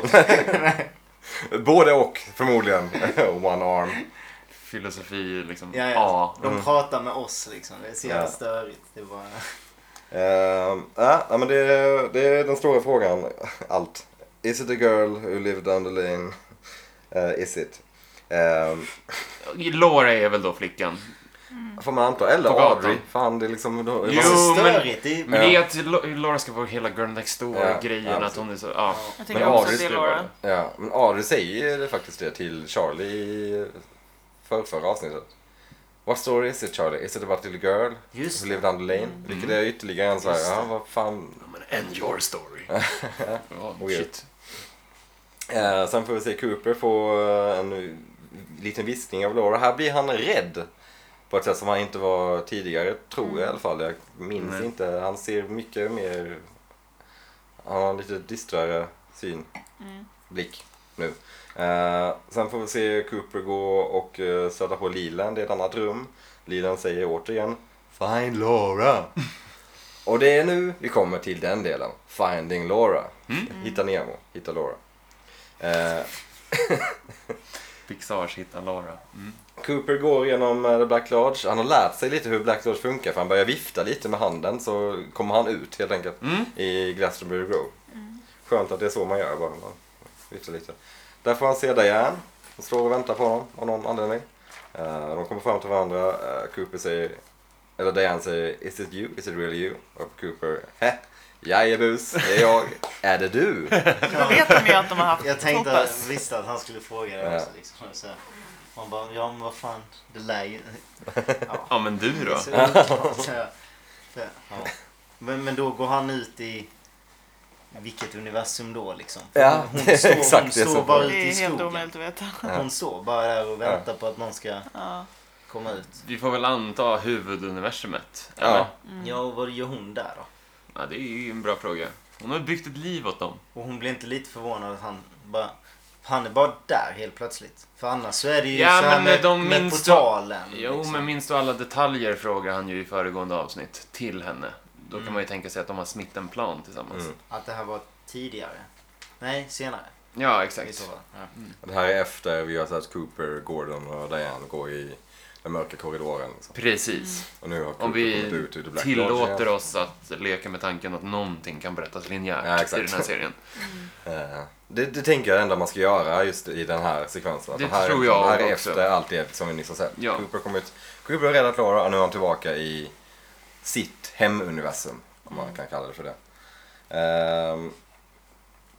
[SPEAKER 1] Både och, förmodligen. One arm.
[SPEAKER 2] Filosofi, liksom.
[SPEAKER 4] Ja, ja.
[SPEAKER 2] A.
[SPEAKER 4] De pratar med oss liksom. Det är så jävla
[SPEAKER 1] Ja.
[SPEAKER 4] störigt. Det är bara...
[SPEAKER 1] Ehm, ja, ja, men det, det är den stora frågan. Allt. Is it a girl who lived down the lane? Eh, is it? Ehm,
[SPEAKER 2] Laura är väl då flickan.
[SPEAKER 1] Får man anta. Eller
[SPEAKER 2] På gatan.
[SPEAKER 1] Audrey. Fan, det är liksom... Då,
[SPEAKER 2] Jo,
[SPEAKER 4] Det är så
[SPEAKER 2] men-
[SPEAKER 4] störigt. Det är,
[SPEAKER 2] Men det är att Lo- Laura ska få hela Girl Next
[SPEAKER 1] Ja,
[SPEAKER 2] Door-grejen.
[SPEAKER 1] ja,
[SPEAKER 2] att hon är så... Ja.
[SPEAKER 3] Jag tycker
[SPEAKER 1] Men
[SPEAKER 3] också
[SPEAKER 1] Audrey
[SPEAKER 3] att det är
[SPEAKER 2] skulle vara
[SPEAKER 3] Laura.
[SPEAKER 2] det.
[SPEAKER 1] Ja, men Audrey säger ju faktiskt det till Charlie i för, förra avsnittet. What story is it Charlie? Is it about little girl
[SPEAKER 4] Just
[SPEAKER 1] who lived down the lane?
[SPEAKER 2] Mm.
[SPEAKER 1] Vilket är ytterligare en så här,
[SPEAKER 4] Just det.
[SPEAKER 1] ja vad fan.
[SPEAKER 2] Men end your story. Ja,
[SPEAKER 1] Weird.
[SPEAKER 2] shit.
[SPEAKER 1] Eh, sen får vi se Cooper få eh, en liten viskning av Laura. Här blir han rädd. På ett sätt som han inte var tidigare, tror jag i alla fall. Jag minns
[SPEAKER 2] Nej.
[SPEAKER 1] inte. Han ser mycket mer... Han har en lite dystrare syn.
[SPEAKER 3] Mm.
[SPEAKER 1] blick nu. Eh, sen får vi se Cooper gå och uh, stöta på Leland i ett annat rum. Leland säger återigen Find Laura. och det är nu vi kommer till den delen. Finding Laura. Hitta Nemo, hitta Laura. Eh,
[SPEAKER 2] Pixars hittar Laura.
[SPEAKER 1] Cooper går genom eh, The Black Lodge. Han har lärt sig lite hur Black Lodge funkar för han börjar vifta lite med handen så kommer han ut helt enkelt
[SPEAKER 2] Mm.
[SPEAKER 1] i Glastonbury Grove. Skönt att det är så man gör bara. Man viftar lite. Där får han se Diane. Hon står och väntar på honom av någon anledning. Eh, de kommer fram till varandra. Eh, Cooper säger, eller Diane säger Is it you? Is it really you? Och Cooper, hä? Jajebus, det är jag. är det du?
[SPEAKER 3] Då vet de ju att de har haft
[SPEAKER 4] jag tänkte
[SPEAKER 3] hoppas.
[SPEAKER 4] att, visst att han skulle fråga det
[SPEAKER 1] Ja.
[SPEAKER 4] också. Liksom. Så man bara, ja men vad fan, det lär ju...
[SPEAKER 2] Ja, men du då?
[SPEAKER 4] Så, ja. Det, ja. Men, men då går han ut i vilket universum då liksom? För
[SPEAKER 1] Ja,
[SPEAKER 4] hon
[SPEAKER 1] det är
[SPEAKER 4] står,
[SPEAKER 1] exakt
[SPEAKER 4] hon
[SPEAKER 1] det som-
[SPEAKER 4] står bara ute
[SPEAKER 3] Det
[SPEAKER 4] i
[SPEAKER 3] är helt
[SPEAKER 4] skogen.
[SPEAKER 3] omöjligt att veta.
[SPEAKER 1] Ja.
[SPEAKER 4] Hon står bara där och väntar på att någon ska
[SPEAKER 3] Ja.
[SPEAKER 4] komma ut.
[SPEAKER 2] Vi får väl anta huvuduniversumet.
[SPEAKER 1] Ja.
[SPEAKER 2] eller?
[SPEAKER 4] Ja, och vad gör hon där då?
[SPEAKER 2] ja. Det är ju en bra fråga. Hon har byggt ett liv åt dem.
[SPEAKER 4] Och hon blir inte lite förvånad att han bara... Han är bara där helt plötsligt. För annars så är det ju
[SPEAKER 2] Ja,
[SPEAKER 4] så
[SPEAKER 2] men
[SPEAKER 4] här
[SPEAKER 2] eh,
[SPEAKER 4] med,
[SPEAKER 2] de
[SPEAKER 4] med
[SPEAKER 2] minns-
[SPEAKER 4] portalen.
[SPEAKER 2] Jo,
[SPEAKER 4] liksom.
[SPEAKER 2] men minns du alla detaljer frågar han ju i föregående avsnitt till henne. Då kan man ju tänka sig att de har smitt en plan tillsammans.
[SPEAKER 1] Mm.
[SPEAKER 4] Att det här var tidigare. Nej, senare.
[SPEAKER 2] Ja,
[SPEAKER 4] I så
[SPEAKER 2] exakt.
[SPEAKER 4] fall. Ja.
[SPEAKER 1] Det här är efter vi har sett Cooper, Gordon och Diane gå i den mörka korridoren. Liksom.
[SPEAKER 2] Precis.
[SPEAKER 1] Och typ nu har
[SPEAKER 2] Om
[SPEAKER 1] Cooper kommit
[SPEAKER 2] vi
[SPEAKER 1] ut ur The Black
[SPEAKER 2] tillåter
[SPEAKER 1] Lodge igen.
[SPEAKER 2] oss att leka med tanken att någonting kan berättas linjärt
[SPEAKER 1] Ja,
[SPEAKER 2] i
[SPEAKER 1] exakt.
[SPEAKER 2] den här serien.
[SPEAKER 1] Eh, Det, det tänker jag ändå man ska göra just i den här sekvensen. Att
[SPEAKER 2] Det
[SPEAKER 1] här,
[SPEAKER 2] tror jag
[SPEAKER 1] det här är
[SPEAKER 2] också.
[SPEAKER 1] efter allt det som vi nyss har sett.
[SPEAKER 2] Ja.
[SPEAKER 1] Cooper har kommit, Cooper har räddat Laura och nu är han tillbaka i sitt hemuniversum. Om man kan kalla det för det. Ehm,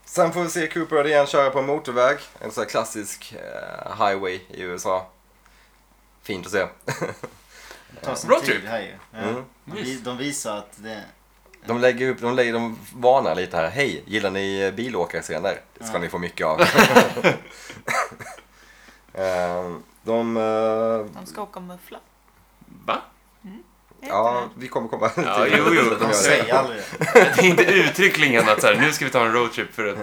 [SPEAKER 1] sen får vi se Cooper igen köra på en motorväg. En sån här klassisk eh, highway i USA. Fint att se.
[SPEAKER 4] Det tar sin
[SPEAKER 2] Roadtrip.
[SPEAKER 4] tid här ju. Ja.
[SPEAKER 1] Mm.
[SPEAKER 4] De, vi- de visar att det...
[SPEAKER 1] De lägger upp, de, lägger, de varnar lite här. Hej, gillar ni bilåkarscener? Det ska
[SPEAKER 4] Ja.
[SPEAKER 1] ni få mycket av. Ehm, de... eh,
[SPEAKER 3] De ska åka och muffla.
[SPEAKER 2] Va?
[SPEAKER 1] ja, vi kommer komma till
[SPEAKER 2] Ja, jo, jo,
[SPEAKER 1] de
[SPEAKER 2] de
[SPEAKER 1] gör
[SPEAKER 4] De
[SPEAKER 1] det.
[SPEAKER 4] säger aldrig det.
[SPEAKER 2] Det är inte uttryckligen att så här, nu ska vi ta en roadtrip för att...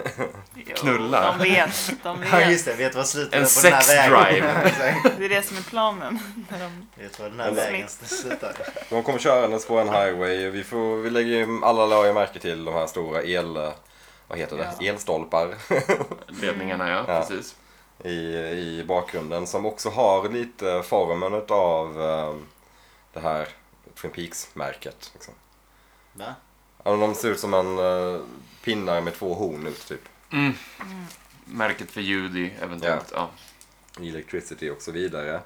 [SPEAKER 3] Jo,
[SPEAKER 2] Knulla.
[SPEAKER 3] De vet. De
[SPEAKER 4] Ja,
[SPEAKER 3] vet.
[SPEAKER 4] just det. Vet du vad slutet
[SPEAKER 2] En
[SPEAKER 4] är på den här
[SPEAKER 2] sex
[SPEAKER 4] vägen?
[SPEAKER 2] drive.
[SPEAKER 4] Exakt.
[SPEAKER 3] Det är det som är planen. När de...
[SPEAKER 4] vet du vad den här
[SPEAKER 1] Eller-
[SPEAKER 4] vägen slutar?
[SPEAKER 1] De kommer körandes på en highway. Vi, får, vi lägger ju alla lager märke till de här stora el... Vad heter det? Elstolpar
[SPEAKER 2] Ledningarna, ja.
[SPEAKER 1] Ja.
[SPEAKER 2] Precis.
[SPEAKER 1] i, i bakgrunden som också har lite formen av eh, det här Twin Peaks-märket. Liksom.
[SPEAKER 4] Va?
[SPEAKER 1] Ja, de ser ut som en eh, pinnar med två horn ut typ.
[SPEAKER 2] Mm. Märket för Judy, eventuellt. Ja.
[SPEAKER 1] Electricity och så vidare.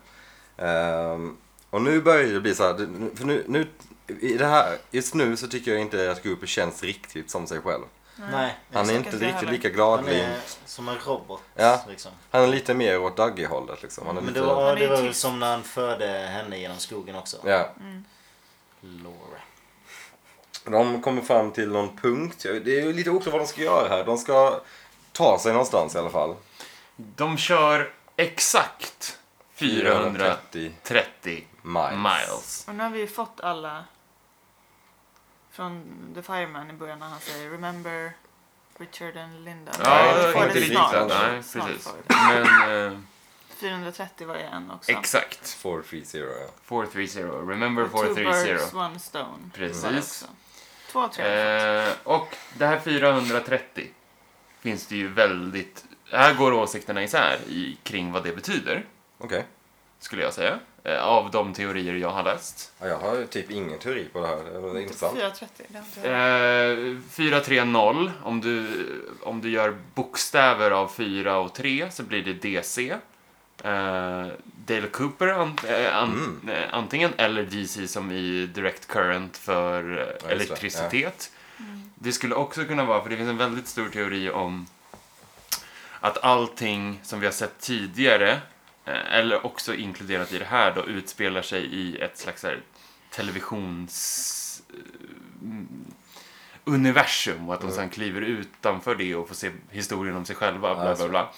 [SPEAKER 1] Ehm, och nu börjar det bli så här, det- för nu, nu, i det här, just nu så tycker jag inte att Cooper känns riktigt som sig själv.
[SPEAKER 4] Nej.
[SPEAKER 1] Han är
[SPEAKER 3] Jag
[SPEAKER 1] inte
[SPEAKER 3] tycker inte
[SPEAKER 1] riktigt
[SPEAKER 3] heller.
[SPEAKER 1] lika
[SPEAKER 4] Han
[SPEAKER 1] gladlig.
[SPEAKER 4] är som en robot.
[SPEAKER 1] Ja.
[SPEAKER 4] Liksom.
[SPEAKER 1] Han är lite mer åt Dougie-hållet liksom. Han är
[SPEAKER 4] Men
[SPEAKER 1] lite,
[SPEAKER 4] det var,
[SPEAKER 3] Han är
[SPEAKER 4] det var väl
[SPEAKER 3] tyst.
[SPEAKER 4] som när han förde henne genom skogen också.
[SPEAKER 1] Ja,
[SPEAKER 4] Mm. Laura.
[SPEAKER 1] de kommer fram till någon punkt. Jag- Det är ju lite oklart vad de ska göra här. De ska ta sig någonstans i alla fall.
[SPEAKER 2] De kör exakt 430
[SPEAKER 1] miles.
[SPEAKER 2] miles.
[SPEAKER 3] Och nu har vi ju fått alla från The Fireman i början när han säger Remember Richard and Linda.
[SPEAKER 1] Nej,
[SPEAKER 2] Ja,
[SPEAKER 1] inte
[SPEAKER 3] Vi får
[SPEAKER 2] inte
[SPEAKER 1] det
[SPEAKER 2] riktigt.
[SPEAKER 1] snart.
[SPEAKER 2] Nej,
[SPEAKER 3] Snart
[SPEAKER 2] precis.
[SPEAKER 3] får vi det.
[SPEAKER 2] Men eh,
[SPEAKER 3] 430 var ju en också.
[SPEAKER 2] exakt.
[SPEAKER 1] 430 ja.
[SPEAKER 2] 430. Remember
[SPEAKER 3] Och Two birds,
[SPEAKER 2] 430.
[SPEAKER 3] one stone.
[SPEAKER 2] Precis.
[SPEAKER 3] var det också. Två av tre. har vi fått.
[SPEAKER 2] Eh, och det här 430 finns det ju väldigt... Här går åsikterna isär i, kring vad det betyder,
[SPEAKER 1] Okej.
[SPEAKER 2] skulle jag säga. Eh, av de teorier jag har läst.
[SPEAKER 1] Ja, jag har ju typ ingen teori på det här. Det är intressant.
[SPEAKER 3] 430, det har inte jag.
[SPEAKER 2] Eh, 430 om du, om du gör bokstäver av 4 och 3 så blir det DC. Eh, Dale Cooper an, eh, an, eh, antingen eller DC som i Direct Current för eh,
[SPEAKER 1] det.
[SPEAKER 2] elektricitet.
[SPEAKER 3] Mm.
[SPEAKER 2] Det skulle också kunna vara, för det finns en väldigt stor teori om att allting som vi har sett tidigare, eh, eller också inkluderat i det här då, utspelar sig i ett slags så här, televisions... eh, mm, universum och att de sen kliver utanför det och får se historien om sig själva. Bla, bla, bla.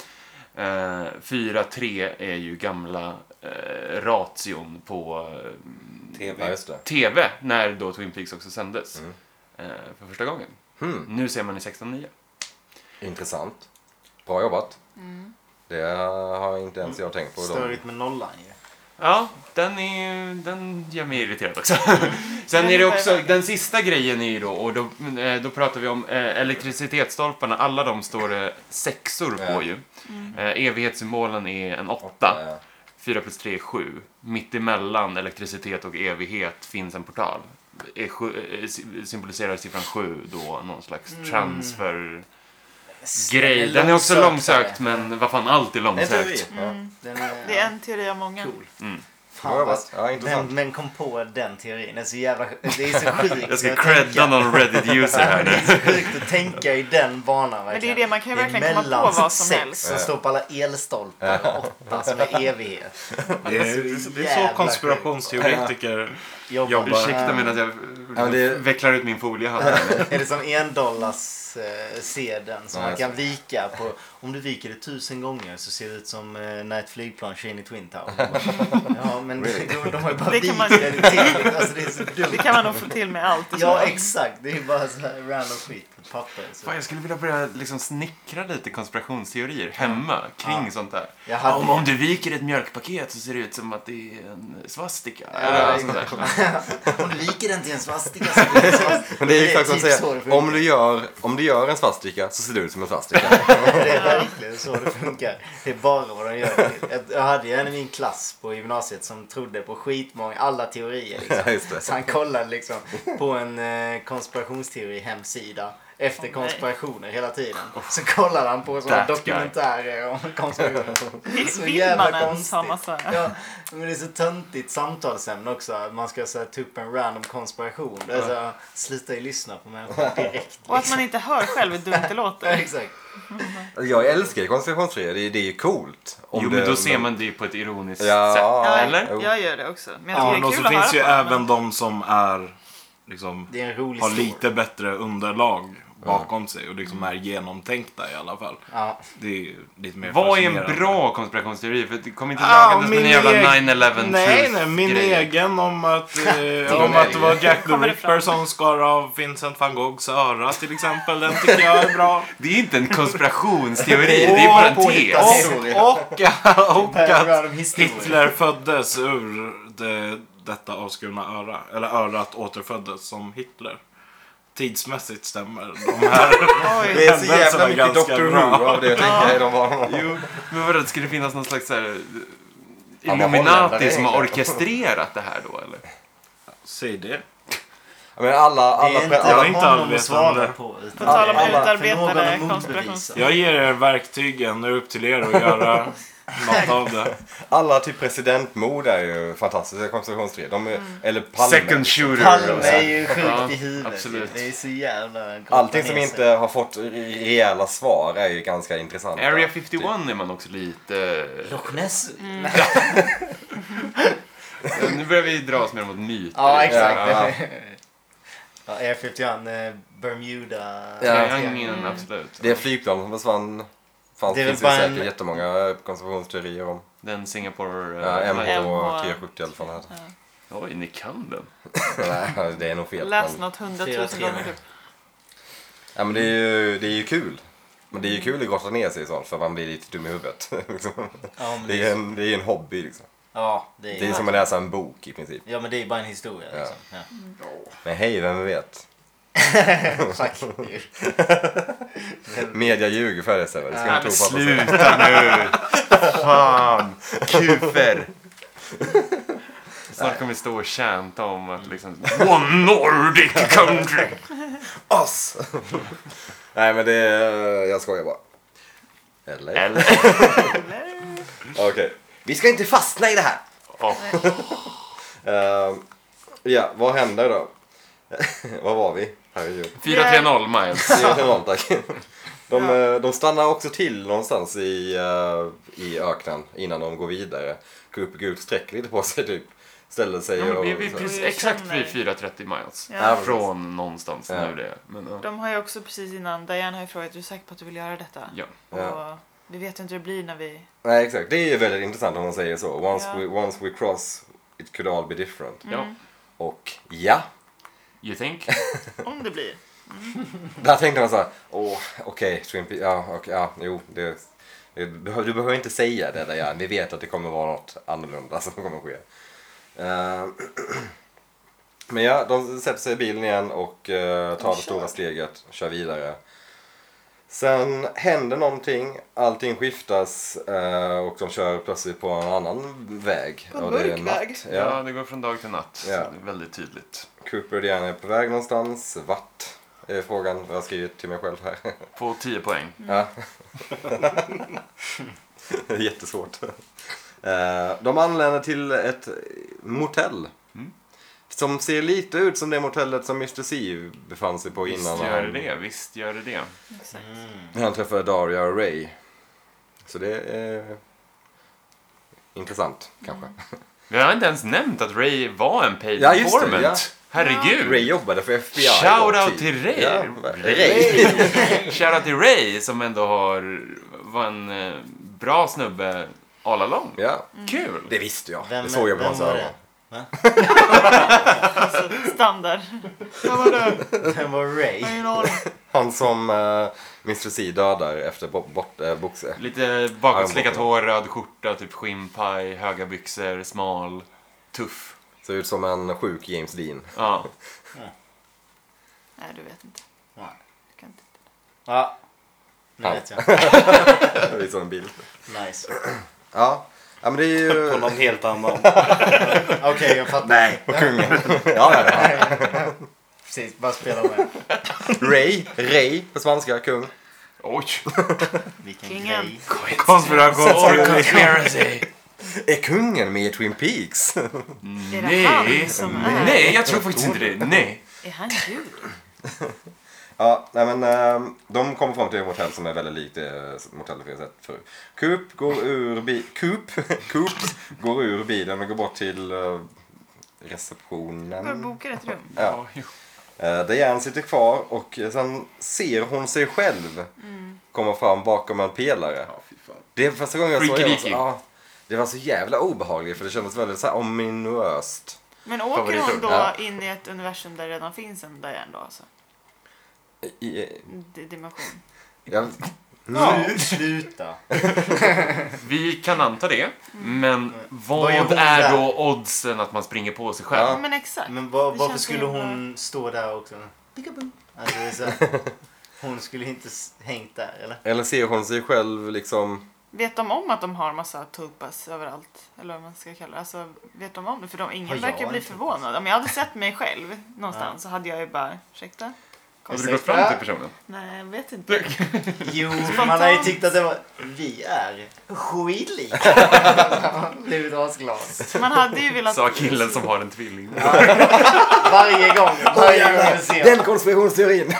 [SPEAKER 2] Eh, 4-3 är ju gamla eh, ration på eh,
[SPEAKER 1] Ja, just det.
[SPEAKER 2] TV när då Twin Peaks också sändes eh, för första gången. Nu ser man i 16.9.
[SPEAKER 1] Hmm. Intressant. Bra jobbat.
[SPEAKER 3] Mm.
[SPEAKER 1] Det har inte ens jag tänkt på.
[SPEAKER 4] Störigt med nollan ju.
[SPEAKER 2] Ja, den, är, den gör mig irriterad också. Sen är det också, den sista grejen är ju då, och då, eh, då pratar vi om eh, elektricitetsstolparna, alla de står det sexor
[SPEAKER 1] Ja.
[SPEAKER 2] på ju. Eh, evighetssymbolen är en åtta.
[SPEAKER 1] Ja.
[SPEAKER 2] 4 plus 3 är 7. Mitt emellan elektricitet och evighet finns en portal. Är sju, eh, sy- symboliserar siffran 7 då någon slags transfer-grej. Den är också långsökt, men vad fan, allt är
[SPEAKER 4] Det är en
[SPEAKER 2] långsökt.
[SPEAKER 4] teori. Den är,
[SPEAKER 3] Det är en teori av många.
[SPEAKER 4] cool.
[SPEAKER 2] Mm.
[SPEAKER 1] Bra
[SPEAKER 4] Fan vad...
[SPEAKER 1] jobbat. Ja, intressant.
[SPEAKER 4] Vem, vem kom på den teorin? Den är så jävla... Det är så sjukt.
[SPEAKER 2] Jag ska
[SPEAKER 4] att tänka.
[SPEAKER 2] credda någon Reddit-user här
[SPEAKER 4] Det
[SPEAKER 2] nu.
[SPEAKER 4] är så sjukt att tänka i den
[SPEAKER 3] Men
[SPEAKER 4] banan
[SPEAKER 3] det är
[SPEAKER 4] verkligen.
[SPEAKER 3] det, man kan ju
[SPEAKER 4] Det är
[SPEAKER 3] verkligen komma på
[SPEAKER 4] mellan
[SPEAKER 3] vad som
[SPEAKER 4] sex
[SPEAKER 3] helst.
[SPEAKER 4] som står på alla elstolpar och åtta som är evighet.
[SPEAKER 5] Det är, det är så konspirationsteoretiker...
[SPEAKER 4] Jobbar.
[SPEAKER 2] Ursäkta medan jag
[SPEAKER 1] Ja, men det-
[SPEAKER 2] vecklar ut min foliehatt. här.
[SPEAKER 4] Är det som en dollars eh, sedeln som
[SPEAKER 1] Ja,
[SPEAKER 4] man
[SPEAKER 1] jag
[SPEAKER 4] kan vika på. Om du viker det tusen gånger så ser det ut som eh, när ett flygplan kör in i Twin Tower. Ja men
[SPEAKER 1] Really?
[SPEAKER 4] de, de har ju bara
[SPEAKER 3] Det
[SPEAKER 4] det
[SPEAKER 3] kan
[SPEAKER 4] vikt
[SPEAKER 3] man-
[SPEAKER 4] det till. Alltså det är så
[SPEAKER 3] Det
[SPEAKER 4] dumt.
[SPEAKER 3] kan man nog få till med allt. i så
[SPEAKER 4] Ja
[SPEAKER 3] fall.
[SPEAKER 4] exakt. Det är ju bara så här random skit på ett papper. Så.
[SPEAKER 2] Fan, jag skulle vilja börja liksom snickra lite konspirationsteorier hemma kring sånt där.
[SPEAKER 4] Jag hade-
[SPEAKER 2] Om, om du viker ett mjölkpaket så ser det ut som att det är en svastika. Alltså,
[SPEAKER 4] Ja,
[SPEAKER 2] Eller något sånt där.
[SPEAKER 4] Om du viker den till en svastika så blir det en svastika.
[SPEAKER 1] Men det är exakt som att
[SPEAKER 4] typ så det
[SPEAKER 1] säga,
[SPEAKER 4] funkar.
[SPEAKER 1] om du, gör, om du gör en svastika så ser du ut som en svastika.
[SPEAKER 4] Det är verkligen så det funkar. Det är bara vad de gör. Jag hade ju en i min klass på gymnasiet som trodde på skitmånga, alla teorier.
[SPEAKER 1] Ja,
[SPEAKER 4] Liksom.
[SPEAKER 1] just det.
[SPEAKER 4] Så han kollade liksom på en eh, konspirationsteori hemsida efter
[SPEAKER 3] Åh, nej.
[SPEAKER 4] konspirationer hela tiden. Så kollade han på sådana
[SPEAKER 2] That guy.
[SPEAKER 4] dokumentärer om konspirationer. Så
[SPEAKER 3] Vill man
[SPEAKER 4] jävla
[SPEAKER 3] ens ha
[SPEAKER 4] konstigt.
[SPEAKER 3] massa...
[SPEAKER 4] Ja, men det är så töntigt samtalsämne också. att Man ska så här, ta upp en random konspiration. Det är så här, sluta ju lyssna på människor direkt.
[SPEAKER 3] Och att man inte hör själv hur dumt det
[SPEAKER 4] Ja,
[SPEAKER 3] låter.
[SPEAKER 4] Exakt.
[SPEAKER 1] Jag älskar ju konspirationsteorier, det, är- det är ju coolt. Om
[SPEAKER 2] Jo, men
[SPEAKER 1] det-
[SPEAKER 2] då ser man det ju på ett ironiskt
[SPEAKER 1] Ja.
[SPEAKER 2] sätt.
[SPEAKER 3] Ja,
[SPEAKER 2] Eller?
[SPEAKER 1] Jo.
[SPEAKER 3] Jag gör det också. Men jag
[SPEAKER 5] Ja, men
[SPEAKER 3] tycker
[SPEAKER 5] och
[SPEAKER 3] det är
[SPEAKER 5] så
[SPEAKER 3] kul att
[SPEAKER 5] finns ju
[SPEAKER 3] höra på.
[SPEAKER 5] även de som är liksom...
[SPEAKER 4] Det är en rolig
[SPEAKER 5] har
[SPEAKER 4] story.
[SPEAKER 5] lite bättre underlag bakom sig och liksom är genomtänkta i alla fall.
[SPEAKER 4] Ja.
[SPEAKER 5] Det är ju lite mer
[SPEAKER 2] Vad är en
[SPEAKER 5] fascinerande.
[SPEAKER 2] bra konspirationsteori? För det kommer inte
[SPEAKER 5] Ah,
[SPEAKER 2] dragandes med
[SPEAKER 5] min
[SPEAKER 2] en jävla
[SPEAKER 5] egen-
[SPEAKER 2] 9-11
[SPEAKER 5] Nej,
[SPEAKER 2] truth
[SPEAKER 5] nej, min
[SPEAKER 2] grej.
[SPEAKER 5] egen om att, eh, om att det var Jack the
[SPEAKER 3] Kommer det fram?
[SPEAKER 5] Ripper som skar av Vincent van Goghs öra till exempel. Den tycker jag är bra.
[SPEAKER 2] Det är inte en konspirationsteori, det är bara en tes.
[SPEAKER 1] påhittat.
[SPEAKER 5] Och, och, och att
[SPEAKER 4] Random history.
[SPEAKER 5] Hitler föddes ur det, detta avskurna öra. Eller örat återföddes som Hitler. Tidsmässigt stämmer de här
[SPEAKER 1] Det är så jävla
[SPEAKER 5] Händelserna
[SPEAKER 1] mycket
[SPEAKER 5] ganska
[SPEAKER 1] Dr.
[SPEAKER 5] bra.
[SPEAKER 1] Who av det, tänker jag. De var...
[SPEAKER 2] Jo, men vadå, ska det finnas någon slags så här, eh,
[SPEAKER 1] Han var holländare
[SPEAKER 2] Illuminati som har
[SPEAKER 1] egentligen.
[SPEAKER 2] orkestrerat det här då, eller?
[SPEAKER 5] Säg det.
[SPEAKER 1] Ja, Men alla, alla,
[SPEAKER 4] det är inte
[SPEAKER 5] jag är
[SPEAKER 1] alla,
[SPEAKER 5] inte
[SPEAKER 4] honom
[SPEAKER 5] allvetande.
[SPEAKER 4] att svara på. Utan
[SPEAKER 3] På tal om
[SPEAKER 4] det är alla förmågan
[SPEAKER 3] utarbetade
[SPEAKER 4] att
[SPEAKER 3] konspirations...
[SPEAKER 4] motbevisa.
[SPEAKER 5] Jag ger er verktygen, nu är det upp till er att göra något av det.
[SPEAKER 1] alla typ presidentmord är ju fantastiska konspirationsteorier. De är, Eller Palme.
[SPEAKER 2] Second shooter.
[SPEAKER 4] Palme är ju sjukt
[SPEAKER 2] Ja,
[SPEAKER 4] i huvudet.
[SPEAKER 2] absolut.
[SPEAKER 4] Det är så jävla gott
[SPEAKER 1] Allting som
[SPEAKER 4] ner sig.
[SPEAKER 1] inte har fått re- rejäla svar är ju ganska intressant.
[SPEAKER 2] Area 51 är man också lite...
[SPEAKER 4] Loch Ness.
[SPEAKER 2] Nu börjar vi dra oss mer mot myter.
[SPEAKER 4] Ja, exakt.
[SPEAKER 1] Ja.
[SPEAKER 4] Ja, Air 51, eh, Bermuda.
[SPEAKER 2] Triangeln, absolut.
[SPEAKER 1] Det flygplan som försvann fanns,
[SPEAKER 4] Det är väl
[SPEAKER 1] finns ju
[SPEAKER 4] bara en-
[SPEAKER 1] säkert jättemånga konspirationsteorier om.
[SPEAKER 2] Den Singapore...
[SPEAKER 1] Ja,
[SPEAKER 2] eh,
[SPEAKER 1] MH och
[SPEAKER 3] MH.
[SPEAKER 1] T70 i alla fall. Här.
[SPEAKER 2] Oj, ni kan den.
[SPEAKER 1] Nej, det är nog fel.
[SPEAKER 3] Läs
[SPEAKER 1] Men,
[SPEAKER 3] något hundratusen
[SPEAKER 4] 4-3.
[SPEAKER 3] gånger typ.
[SPEAKER 1] ja, men det, är ju, det är ju kul. Men det är ju kul att grotta ner sig i sånt för man blir lite dum i huvudet. liksom.
[SPEAKER 4] Ja, men
[SPEAKER 1] det, är ju en, det är ju en hobby liksom.
[SPEAKER 4] Ja, det
[SPEAKER 1] Det är
[SPEAKER 4] är...
[SPEAKER 1] som att läsa en bok i princip.
[SPEAKER 4] Ja, men det är ju bara en historia. Liksom. Ja.
[SPEAKER 1] Men hej, vem vet?
[SPEAKER 4] Fuck you.
[SPEAKER 1] Media ljuger för det Sebbe. Det ska man
[SPEAKER 2] Nej,
[SPEAKER 1] tro
[SPEAKER 2] men
[SPEAKER 1] på. att de säger.
[SPEAKER 2] sluta nu! Fan! Kufer! Snart kommer vi stå och tjänta om att liksom... One Nordic country!
[SPEAKER 1] Oss! Nej men det är... Jag skojar bara. Eller?
[SPEAKER 2] Eller?
[SPEAKER 1] Okej. Vi ska inte fastna i det här.
[SPEAKER 2] Ja.
[SPEAKER 1] Eh, ja, vad händer då? vad var vi? Herregud.
[SPEAKER 2] 4-3-0 Miles.
[SPEAKER 1] Det är enormt, tack. De, eh, de stannar också till någonstans i, eh, i öknen innan de går vidare. Gup Gud sträcker lite på sig typ. Ställer sig
[SPEAKER 2] Ja, men vi är vi
[SPEAKER 1] och...
[SPEAKER 2] är precis, exakt vid 4.30 miles.
[SPEAKER 3] Ja.
[SPEAKER 1] Ja,
[SPEAKER 2] Från någonstans
[SPEAKER 1] Ja.
[SPEAKER 2] nu det är. Men, eh, ja.
[SPEAKER 3] De har ju också precis innan, Diane har ju frågat, är du säker på att du vill göra detta?
[SPEAKER 2] ja.
[SPEAKER 3] Och vi vet ju inte hur det blir när vi...
[SPEAKER 1] Nej, exakt. Det är ju väldigt intressant om man säger så. Once,
[SPEAKER 3] Ja.
[SPEAKER 1] we, once we cross, it could all be different.
[SPEAKER 2] ja.
[SPEAKER 1] Och ja,
[SPEAKER 2] You think?
[SPEAKER 3] Om det blir.
[SPEAKER 1] där tänkte man så här, åh, okej, Twin Peaks, ja, okej, ja, jo, det, det, du, behöver- du behöver inte säga det där, ja. vi vet att det kommer vara något annorlunda som kommer ske. Eh, men ja, de sätter sig i bilen igen och eh, tar det stora steget, kör vidare. Sen händer någonting, allting skiftas eh, och de kör plötsligt på en annan väg.
[SPEAKER 3] På en
[SPEAKER 1] Och det är
[SPEAKER 3] mörk väg.
[SPEAKER 1] natt, Ja.
[SPEAKER 2] Ja, det går från dag till natt.
[SPEAKER 1] Ja.
[SPEAKER 2] Det är väldigt tydligt.
[SPEAKER 1] Cooper och Diana är på väg någonstans. Vart? Är frågan jag har skrivit till mig själv här.
[SPEAKER 2] På 10 poäng.
[SPEAKER 1] Ja. Det är Jättesvårt. Eh, De anländer till ett motell.
[SPEAKER 2] Mm.
[SPEAKER 1] Som ser lite ut som det motellet som Mr. C befann sig på innan
[SPEAKER 2] Visst gör det det. Visst gör det det.
[SPEAKER 3] Exakt.
[SPEAKER 1] han, han träffade Daria och Ray. Så det är intressant kanske.
[SPEAKER 4] Mm.
[SPEAKER 2] Vi har inte ens nämnt att Ray var en paid
[SPEAKER 1] Ja, just det,
[SPEAKER 2] informant.
[SPEAKER 1] ja.
[SPEAKER 2] Herregud.
[SPEAKER 1] Ray jobbade för FBI.
[SPEAKER 2] Shout
[SPEAKER 1] då,
[SPEAKER 2] out till Ray.
[SPEAKER 1] Ja, Ray.
[SPEAKER 2] Ray. Shoutout till Ray som ändå har, var en eh, bra snubbe all along.
[SPEAKER 1] Ja,
[SPEAKER 2] Kul!
[SPEAKER 1] det visste jag.
[SPEAKER 4] Vem-
[SPEAKER 1] det såg jag på
[SPEAKER 4] vem
[SPEAKER 1] hans
[SPEAKER 4] var
[SPEAKER 1] ögon.
[SPEAKER 4] det?
[SPEAKER 3] Alltså, standard. Vad var det?
[SPEAKER 4] Den var Ray.
[SPEAKER 3] Jag har ingen aning.
[SPEAKER 1] Han som uh, Mr. C dödar efter bo- bort, eh, boxe.
[SPEAKER 2] Lite bakåtslickat hår, röd skjorta, typ skinnpaj, höga byxor, smal, tuff.
[SPEAKER 1] Ser ut som en sjuk James Dean.
[SPEAKER 2] Ja.
[SPEAKER 3] Nej, du vet inte.
[SPEAKER 4] Nej.
[SPEAKER 3] Du kan inte.
[SPEAKER 4] Ja, nu
[SPEAKER 1] Ja.
[SPEAKER 4] vet jag.
[SPEAKER 1] Det är som en bild.
[SPEAKER 4] Nice.
[SPEAKER 1] Ja. ja, men det är
[SPEAKER 6] På
[SPEAKER 1] ju...
[SPEAKER 6] någon helt annan.
[SPEAKER 4] Okej, jag fattar.
[SPEAKER 6] Nej.
[SPEAKER 1] Ja, ja, ja.
[SPEAKER 4] Precis, bara spela med.
[SPEAKER 1] Ray, Ray på svenska, kung.
[SPEAKER 2] Oj!
[SPEAKER 4] Vilken
[SPEAKER 3] Kingen.
[SPEAKER 4] grej.
[SPEAKER 2] Or
[SPEAKER 6] Konspiration.
[SPEAKER 2] conspiracy!
[SPEAKER 1] Är kungen med i Twin Peaks?
[SPEAKER 3] Är det
[SPEAKER 2] Nej!
[SPEAKER 3] han som är?
[SPEAKER 2] Nej, jag tror faktiskt inte det. Nej.
[SPEAKER 3] Är han gud?
[SPEAKER 1] Ja, nej men ehm, de kommer fram till ett motell som är väldigt likt det motellet vi har sett förut. Coop går ur bi- Coop, Coop går ur bilen och går bort till eh,
[SPEAKER 3] Bara
[SPEAKER 1] receptionen.
[SPEAKER 3] boka ett rum.
[SPEAKER 1] Ja.
[SPEAKER 2] Ja, jo.
[SPEAKER 1] Eh, Diane sitter kvar och sen ser hon sig själv komma fram bakom en pelare.
[SPEAKER 2] Ja, fy fan.
[SPEAKER 1] Det är första gången jag såg
[SPEAKER 2] Freaky
[SPEAKER 1] det. jag var så-
[SPEAKER 2] deaky.
[SPEAKER 1] ja, Det var så jävla obehagligt för det kändes väldigt så här ominöst.
[SPEAKER 3] Men åker hon
[SPEAKER 2] Favoritrum.
[SPEAKER 3] då
[SPEAKER 1] Ja.
[SPEAKER 3] in i ett universum där det redan finns en Diane då alltså?
[SPEAKER 1] I, i-
[SPEAKER 3] D- dimension.
[SPEAKER 1] jag, Mm.
[SPEAKER 4] Ja, sluta.
[SPEAKER 2] Vi kan anta det, men
[SPEAKER 4] Mm. Vad gör
[SPEAKER 2] vad
[SPEAKER 4] hon
[SPEAKER 2] är
[SPEAKER 4] där?
[SPEAKER 2] då oddsen att man springer på sig själv?
[SPEAKER 3] Ja, men exakt.
[SPEAKER 4] Men var,
[SPEAKER 3] Det
[SPEAKER 4] varför
[SPEAKER 3] känns
[SPEAKER 4] skulle
[SPEAKER 3] himla-
[SPEAKER 4] hon stå där också? Alltså, det är så här, hon skulle inte s- hängt där, eller?
[SPEAKER 1] eller ser hon sig själv liksom...
[SPEAKER 3] Vet de om att de har massa tulpas överallt? Eller vad man ska kalla det. Alltså, vet de om det? För de,
[SPEAKER 4] Har
[SPEAKER 3] ingen
[SPEAKER 4] jag
[SPEAKER 3] verkar bli
[SPEAKER 4] en tulpas?
[SPEAKER 3] förvånad. Om jag hade sett mig själv någonstans så hade jag ju bara, ursäkta?
[SPEAKER 2] Hade du gått fram till personen?
[SPEAKER 3] Nej, jag vet inte.
[SPEAKER 4] Jo, man har ju tyckt att det var... Vi är skitlika. Blivit asglad.
[SPEAKER 3] Man hade ju velat...
[SPEAKER 2] Sa killen som har en tvilling.
[SPEAKER 4] Varje gång. Varje gång jag ser
[SPEAKER 1] Den konspirationsteorin!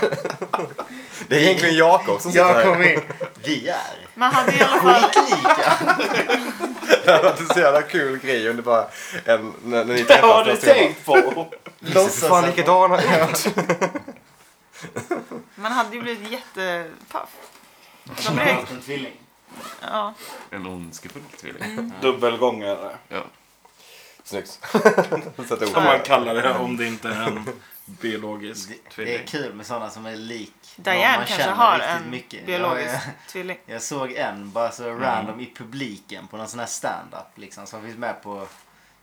[SPEAKER 1] det är egentligen Jakob som sitter
[SPEAKER 4] Jag
[SPEAKER 1] här.
[SPEAKER 4] kom in. Vi är
[SPEAKER 3] Man hade i alla fall...
[SPEAKER 4] skitlika.
[SPEAKER 1] Det hade varit en så jävla kul grej om det bara... En, när, när ni träffas nästa gång.
[SPEAKER 4] på?
[SPEAKER 1] De ser fan likadana ut.
[SPEAKER 3] Man hade ju blivit jättepaff. De är...
[SPEAKER 4] En tvilling.
[SPEAKER 3] Ja.
[SPEAKER 2] En ondskefull
[SPEAKER 4] Mm.
[SPEAKER 2] tvilling.
[SPEAKER 6] Dubbelgångare.
[SPEAKER 2] Ja.
[SPEAKER 1] Snyggt. Sätt ihop
[SPEAKER 5] Som man
[SPEAKER 1] det.
[SPEAKER 5] kallar det om det inte är en biologisk
[SPEAKER 4] Det, det är
[SPEAKER 5] tvilling.
[SPEAKER 4] kul med sådana som är lik. någon
[SPEAKER 3] Diane
[SPEAKER 4] man
[SPEAKER 3] kanske
[SPEAKER 4] känner
[SPEAKER 3] har
[SPEAKER 4] riktigt
[SPEAKER 3] en
[SPEAKER 4] mycket.
[SPEAKER 3] biologisk
[SPEAKER 4] Jag,
[SPEAKER 3] tvilling.
[SPEAKER 4] jag såg en bara så
[SPEAKER 1] Mm.
[SPEAKER 4] random i publiken på någon sån här stand-up liksom som finns med på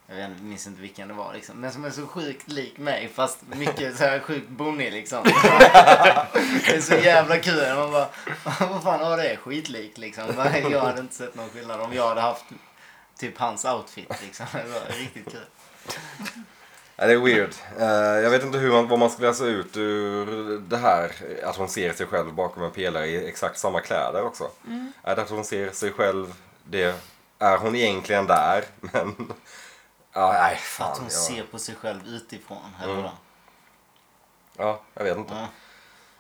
[SPEAKER 4] jag vet, inte, minns inte vilken det var liksom. Men som är så sjukt lik mig fast mycket så här sjukt bonnig liksom. det är så jävla kul. Man bara, vad fan har det är skitlik liksom. Bara, Jag hade inte sett någon skillnad om jag hade haft typ hans outfit liksom. Det var riktigt kul.
[SPEAKER 1] Ja, det är weird. Eh, jag vet inte hur man, vad man skulle läsa ut ur det här. Att hon ser sig
[SPEAKER 4] Mm.
[SPEAKER 1] själv bakom en pelare i exakt samma kläder också. Är det att hon ser sig själv det är hon egentligen där? Men... Ja, nej, fan.
[SPEAKER 4] Att hon
[SPEAKER 1] jag,
[SPEAKER 4] ser på sig själv utifrån. Här mm.
[SPEAKER 1] Ja, jag vet inte.
[SPEAKER 4] Ja.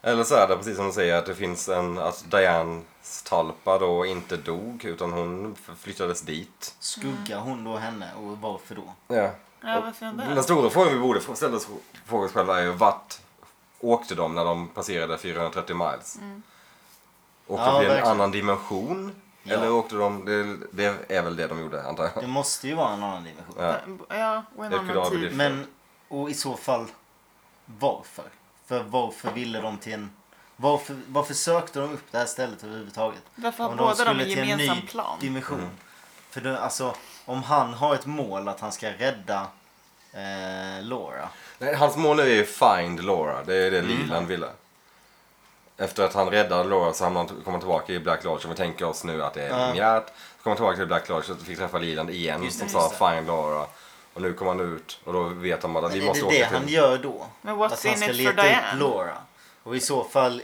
[SPEAKER 1] Eller så är det precis som du säger att det finns en, att Dianes talpa då inte dog utan hon flyttades dit.
[SPEAKER 4] Skuggar hon då henne och varför då?
[SPEAKER 1] Ja.
[SPEAKER 3] Ja, varför är hon
[SPEAKER 1] Den
[SPEAKER 3] där?
[SPEAKER 1] stora frågan vi borde få- ställa oss frågor oss själva är ju vart åkte de när de passerade 430 miles?
[SPEAKER 4] Mm.
[SPEAKER 1] Åkte
[SPEAKER 4] Ja,
[SPEAKER 1] de till en
[SPEAKER 4] verkligen.
[SPEAKER 1] annan dimension?
[SPEAKER 4] Ja.
[SPEAKER 1] Eller åkte de, det, det är väl det de gjorde antar jag.
[SPEAKER 4] Det måste ju vara en annan dimension.
[SPEAKER 1] Ja.
[SPEAKER 3] Ja, och en
[SPEAKER 1] Jag skulle
[SPEAKER 3] annan typ.
[SPEAKER 1] avbryta.
[SPEAKER 3] tid.
[SPEAKER 4] Men, och i så fall varför? För varför ville de till en... Varför, varför sökte de upp det här stället överhuvudtaget?
[SPEAKER 3] Varför har
[SPEAKER 4] Om
[SPEAKER 3] båda de
[SPEAKER 4] skulle
[SPEAKER 3] en
[SPEAKER 4] till en
[SPEAKER 3] gemensam
[SPEAKER 4] ny
[SPEAKER 3] plan?
[SPEAKER 4] dimension.
[SPEAKER 1] Mm.
[SPEAKER 4] För det, alltså, om han har ett mål att han ska rädda eh, Laura.
[SPEAKER 1] Nej, hans mål nu är ju Find Laura, det är
[SPEAKER 4] Mm.
[SPEAKER 1] det Leland ville. Efter att han räddade Laura så hamnade han kommer han tillbaka i Black Lodge och vi tänker oss nu att det är
[SPEAKER 4] Ja.
[SPEAKER 1] linjärt. Så kommer han tillbaka till Black Lodge och fick träffa Leland igen
[SPEAKER 4] Just
[SPEAKER 1] som
[SPEAKER 4] det,
[SPEAKER 1] sa
[SPEAKER 4] just
[SPEAKER 1] Find Laura. Och nu kommer han ut och då vet han bara att
[SPEAKER 4] Men
[SPEAKER 1] vi
[SPEAKER 4] är
[SPEAKER 1] måste
[SPEAKER 4] det det
[SPEAKER 1] åka
[SPEAKER 4] han
[SPEAKER 1] till...
[SPEAKER 4] gör då?
[SPEAKER 3] Men what's
[SPEAKER 4] att han
[SPEAKER 3] in
[SPEAKER 4] ska
[SPEAKER 3] it for
[SPEAKER 4] leta upp
[SPEAKER 3] Diane?
[SPEAKER 4] Laura? Och i så fall,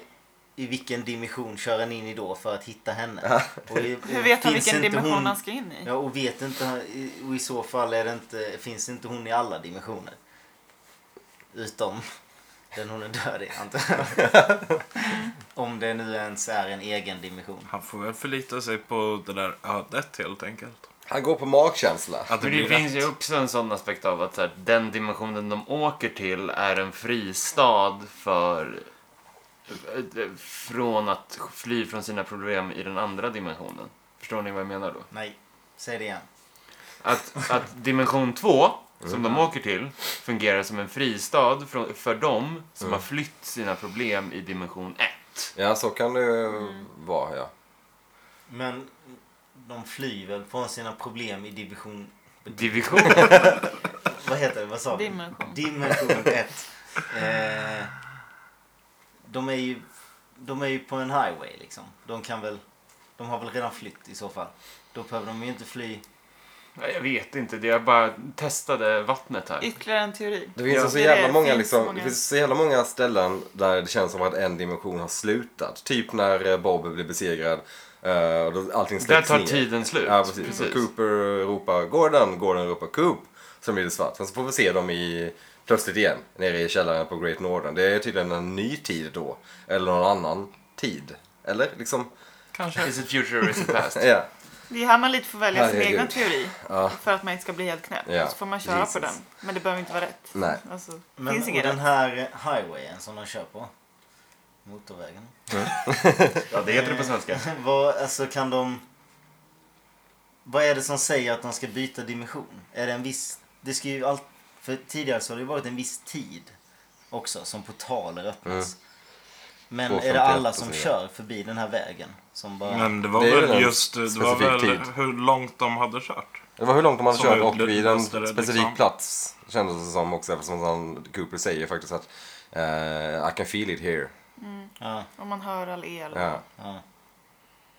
[SPEAKER 4] i vilken dimension kör han in i då för att hitta henne? Och i,
[SPEAKER 3] Hur vet han
[SPEAKER 4] finns
[SPEAKER 3] vilken
[SPEAKER 4] inte
[SPEAKER 3] dimension
[SPEAKER 4] hon-
[SPEAKER 3] han ska in i?
[SPEAKER 4] Ja, och vet inte han- i- och i så fall är det inte, finns inte hon i alla dimensioner. Utom den hon är död i, antar jag. Om det nu ens är en egen dimension.
[SPEAKER 5] Han får väl förlita sig på det där ödet helt enkelt.
[SPEAKER 1] Han går på magkänsla.
[SPEAKER 5] Att
[SPEAKER 2] Men det finns ju också en sån aspekt av att så här, den dimensionen de åker till är en fristad för eh, från att fly från sina problem i den andra dimensionen. Förstår ni vad jag menar då?
[SPEAKER 4] Nej, säg det igen.
[SPEAKER 2] Att, att dimension 2, som de åker till, fungerar som en fristad för, för dem som har flytt sina problem i dimension 1.
[SPEAKER 1] Ja, så kan det ju
[SPEAKER 3] Mm.
[SPEAKER 1] vara ja.
[SPEAKER 4] Men de flyr väl från sina problem i division...
[SPEAKER 2] Division.
[SPEAKER 4] Vad heter det? Vad sa vi?
[SPEAKER 3] Dimension.
[SPEAKER 4] Dimension 1. Eh, de är ju... De är ju på en highway liksom. De kan väl... De har väl redan flytt i så fall. Då behöver de ju inte fly.
[SPEAKER 2] Nej, Jag vet inte, det jag bara testade vattnet här.
[SPEAKER 3] Ytterligare en teori. Alltså,
[SPEAKER 1] Det finns
[SPEAKER 2] Ja.
[SPEAKER 1] ju så
[SPEAKER 3] Det
[SPEAKER 1] jävla
[SPEAKER 3] finns
[SPEAKER 1] många,
[SPEAKER 3] så
[SPEAKER 1] liksom,
[SPEAKER 3] många.
[SPEAKER 1] Det finns så jävla många ställen där det känns som att en dimension har slutat. Typ när eh, Bob blir besegrad eh, och då allting
[SPEAKER 2] Där
[SPEAKER 1] släcks
[SPEAKER 2] tar
[SPEAKER 1] ner.
[SPEAKER 2] tiden slut.
[SPEAKER 1] Ja, precis. Så Cooper ropar Gordon, Gordon ropar Coop. Sen blir det svart. Sen så får vi se dem i, plötsligt igen nere i källaren på Great Northern. Det är tydligen en ny tid då. Eller någon annan tid. Eller liksom,
[SPEAKER 2] Kanske. Is it future, is it past?
[SPEAKER 1] ja.
[SPEAKER 3] Det är här man lite får välja sin
[SPEAKER 1] Herregud.
[SPEAKER 3] egen teori.
[SPEAKER 1] Ja.
[SPEAKER 3] För att man inte ska bli helt knäpp.
[SPEAKER 1] Ja.
[SPEAKER 3] Så får man köra
[SPEAKER 1] Jesus.
[SPEAKER 3] på den. Men det behöver inte vara rätt.
[SPEAKER 1] Nej.
[SPEAKER 3] Alltså,
[SPEAKER 4] Men
[SPEAKER 3] finns
[SPEAKER 4] och
[SPEAKER 3] ingen
[SPEAKER 4] den
[SPEAKER 3] rätt.
[SPEAKER 4] här highwayen som de kör på. Motorvägen.
[SPEAKER 2] Ja, det heter det på svenska.
[SPEAKER 4] vad, alltså kan de... Vad är det som säger att de ska byta dimension? Är det en viss... Det ska ju allt... För tidigare så har det ju varit en viss tid också som portaler öppnas. Men är
[SPEAKER 1] 2.51
[SPEAKER 4] det alla
[SPEAKER 1] och så
[SPEAKER 4] som
[SPEAKER 1] vidare.
[SPEAKER 4] kör förbi den här vägen? Som bara...
[SPEAKER 5] Men det var
[SPEAKER 1] Det är väl
[SPEAKER 5] väl
[SPEAKER 1] en
[SPEAKER 5] just det var
[SPEAKER 1] specifik
[SPEAKER 5] väl
[SPEAKER 1] tid.
[SPEAKER 5] hur långt de hade kört.
[SPEAKER 1] Det var hur långt de hade
[SPEAKER 5] Som
[SPEAKER 1] kört
[SPEAKER 5] utlöste
[SPEAKER 1] och vid en
[SPEAKER 5] det, liksom.
[SPEAKER 1] specifik plats kändes det som också eftersom han, Cooper säger faktiskt att eh, I can feel it here.
[SPEAKER 4] Ja,
[SPEAKER 3] Om man hör all el.
[SPEAKER 1] Ja.
[SPEAKER 4] ja.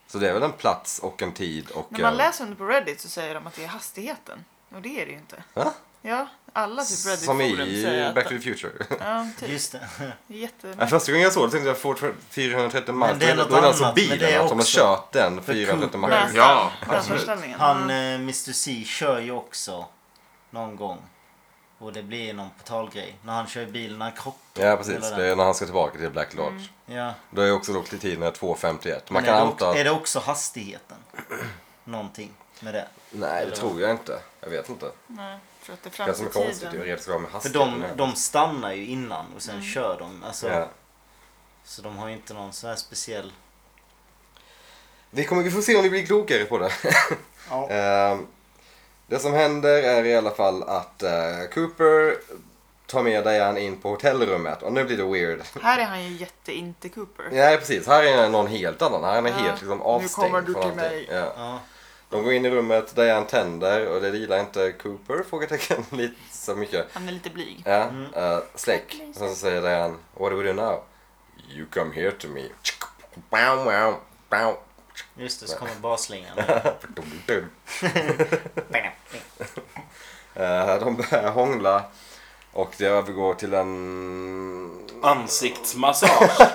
[SPEAKER 1] Så det är väl en plats och en tid och...
[SPEAKER 3] När man
[SPEAKER 1] eh,
[SPEAKER 3] läser om det på Reddit så säger de att det är hastigheten. Och det är det ju inte.
[SPEAKER 1] Va?
[SPEAKER 3] Ja, alla typ
[SPEAKER 1] som
[SPEAKER 3] Reddit-forum säger
[SPEAKER 1] i
[SPEAKER 3] att...
[SPEAKER 1] Back to the Future.
[SPEAKER 3] Ja, typ.
[SPEAKER 4] Just det.
[SPEAKER 1] Ja,
[SPEAKER 3] Jättemärkligt.
[SPEAKER 1] första gången jag såg det tänkte jag Ford 430 miles.
[SPEAKER 4] Men det är något
[SPEAKER 1] Då är det alltså
[SPEAKER 4] annat, men
[SPEAKER 1] bilen
[SPEAKER 4] det är
[SPEAKER 1] att de har
[SPEAKER 4] också-
[SPEAKER 1] kört den
[SPEAKER 4] för
[SPEAKER 1] 430
[SPEAKER 4] Cooper.
[SPEAKER 1] miles.
[SPEAKER 2] Ja,
[SPEAKER 3] Nästan. Den förställningen.
[SPEAKER 4] Han,
[SPEAKER 3] Ja.
[SPEAKER 4] eh, Mr C kör ju också någon gång. Och det blir någon portalgrej. När han kör bilen, när han krockar.
[SPEAKER 1] Ja precis, det är när han ska tillbaka till Black Lodge.
[SPEAKER 4] Ja.
[SPEAKER 1] Då är också då tiden är 2.51. Man
[SPEAKER 4] Mm. Men
[SPEAKER 1] kan
[SPEAKER 4] är, det
[SPEAKER 1] anta
[SPEAKER 4] också,
[SPEAKER 1] att...
[SPEAKER 4] är det också hastigheten? Någonting med det.
[SPEAKER 1] Nej det
[SPEAKER 4] eller-
[SPEAKER 1] tror jag inte. Jag vet inte.
[SPEAKER 3] Nej, för att det är
[SPEAKER 1] Det som är
[SPEAKER 3] fram
[SPEAKER 1] konstigt
[SPEAKER 3] till
[SPEAKER 1] är
[SPEAKER 3] tiden.
[SPEAKER 1] ju att det med
[SPEAKER 4] För
[SPEAKER 1] hastigheten.
[SPEAKER 4] de, de stannar ju innan och sen kör de. Alltså,
[SPEAKER 1] Ja.
[SPEAKER 4] Så de har ju inte någon så här speciell...
[SPEAKER 1] Vi, kommer, vi får se om vi blir klokare på det.
[SPEAKER 4] Ja.
[SPEAKER 1] Ehm, det som händer är i alla fall att eh, Cooper tar med Diane in på hotellrummet och nu blir det weird.
[SPEAKER 3] Här är han ju jätte-inte Cooper.
[SPEAKER 1] Nej precis, här är någon helt annan. Här är han
[SPEAKER 3] Ja.
[SPEAKER 1] helt liksom,
[SPEAKER 3] Nu
[SPEAKER 1] avstängd.
[SPEAKER 3] kommer du
[SPEAKER 1] från
[SPEAKER 3] till
[SPEAKER 1] allting.
[SPEAKER 3] mig.
[SPEAKER 1] Ja.
[SPEAKER 4] Ja.
[SPEAKER 1] De går in i rummet, Diane tänder och det gillar inte Cooper? Frågetecken lite så mycket.
[SPEAKER 3] Han är lite blyg.
[SPEAKER 1] Ja, eh, släck. Sen så säger Diane, what do we do now? You come here to me. Bow, wow, bow.
[SPEAKER 4] Just det, så kommer basslingan.
[SPEAKER 1] Eh, De börjar hångla och det övergår till en...
[SPEAKER 6] Ansiktsmassage.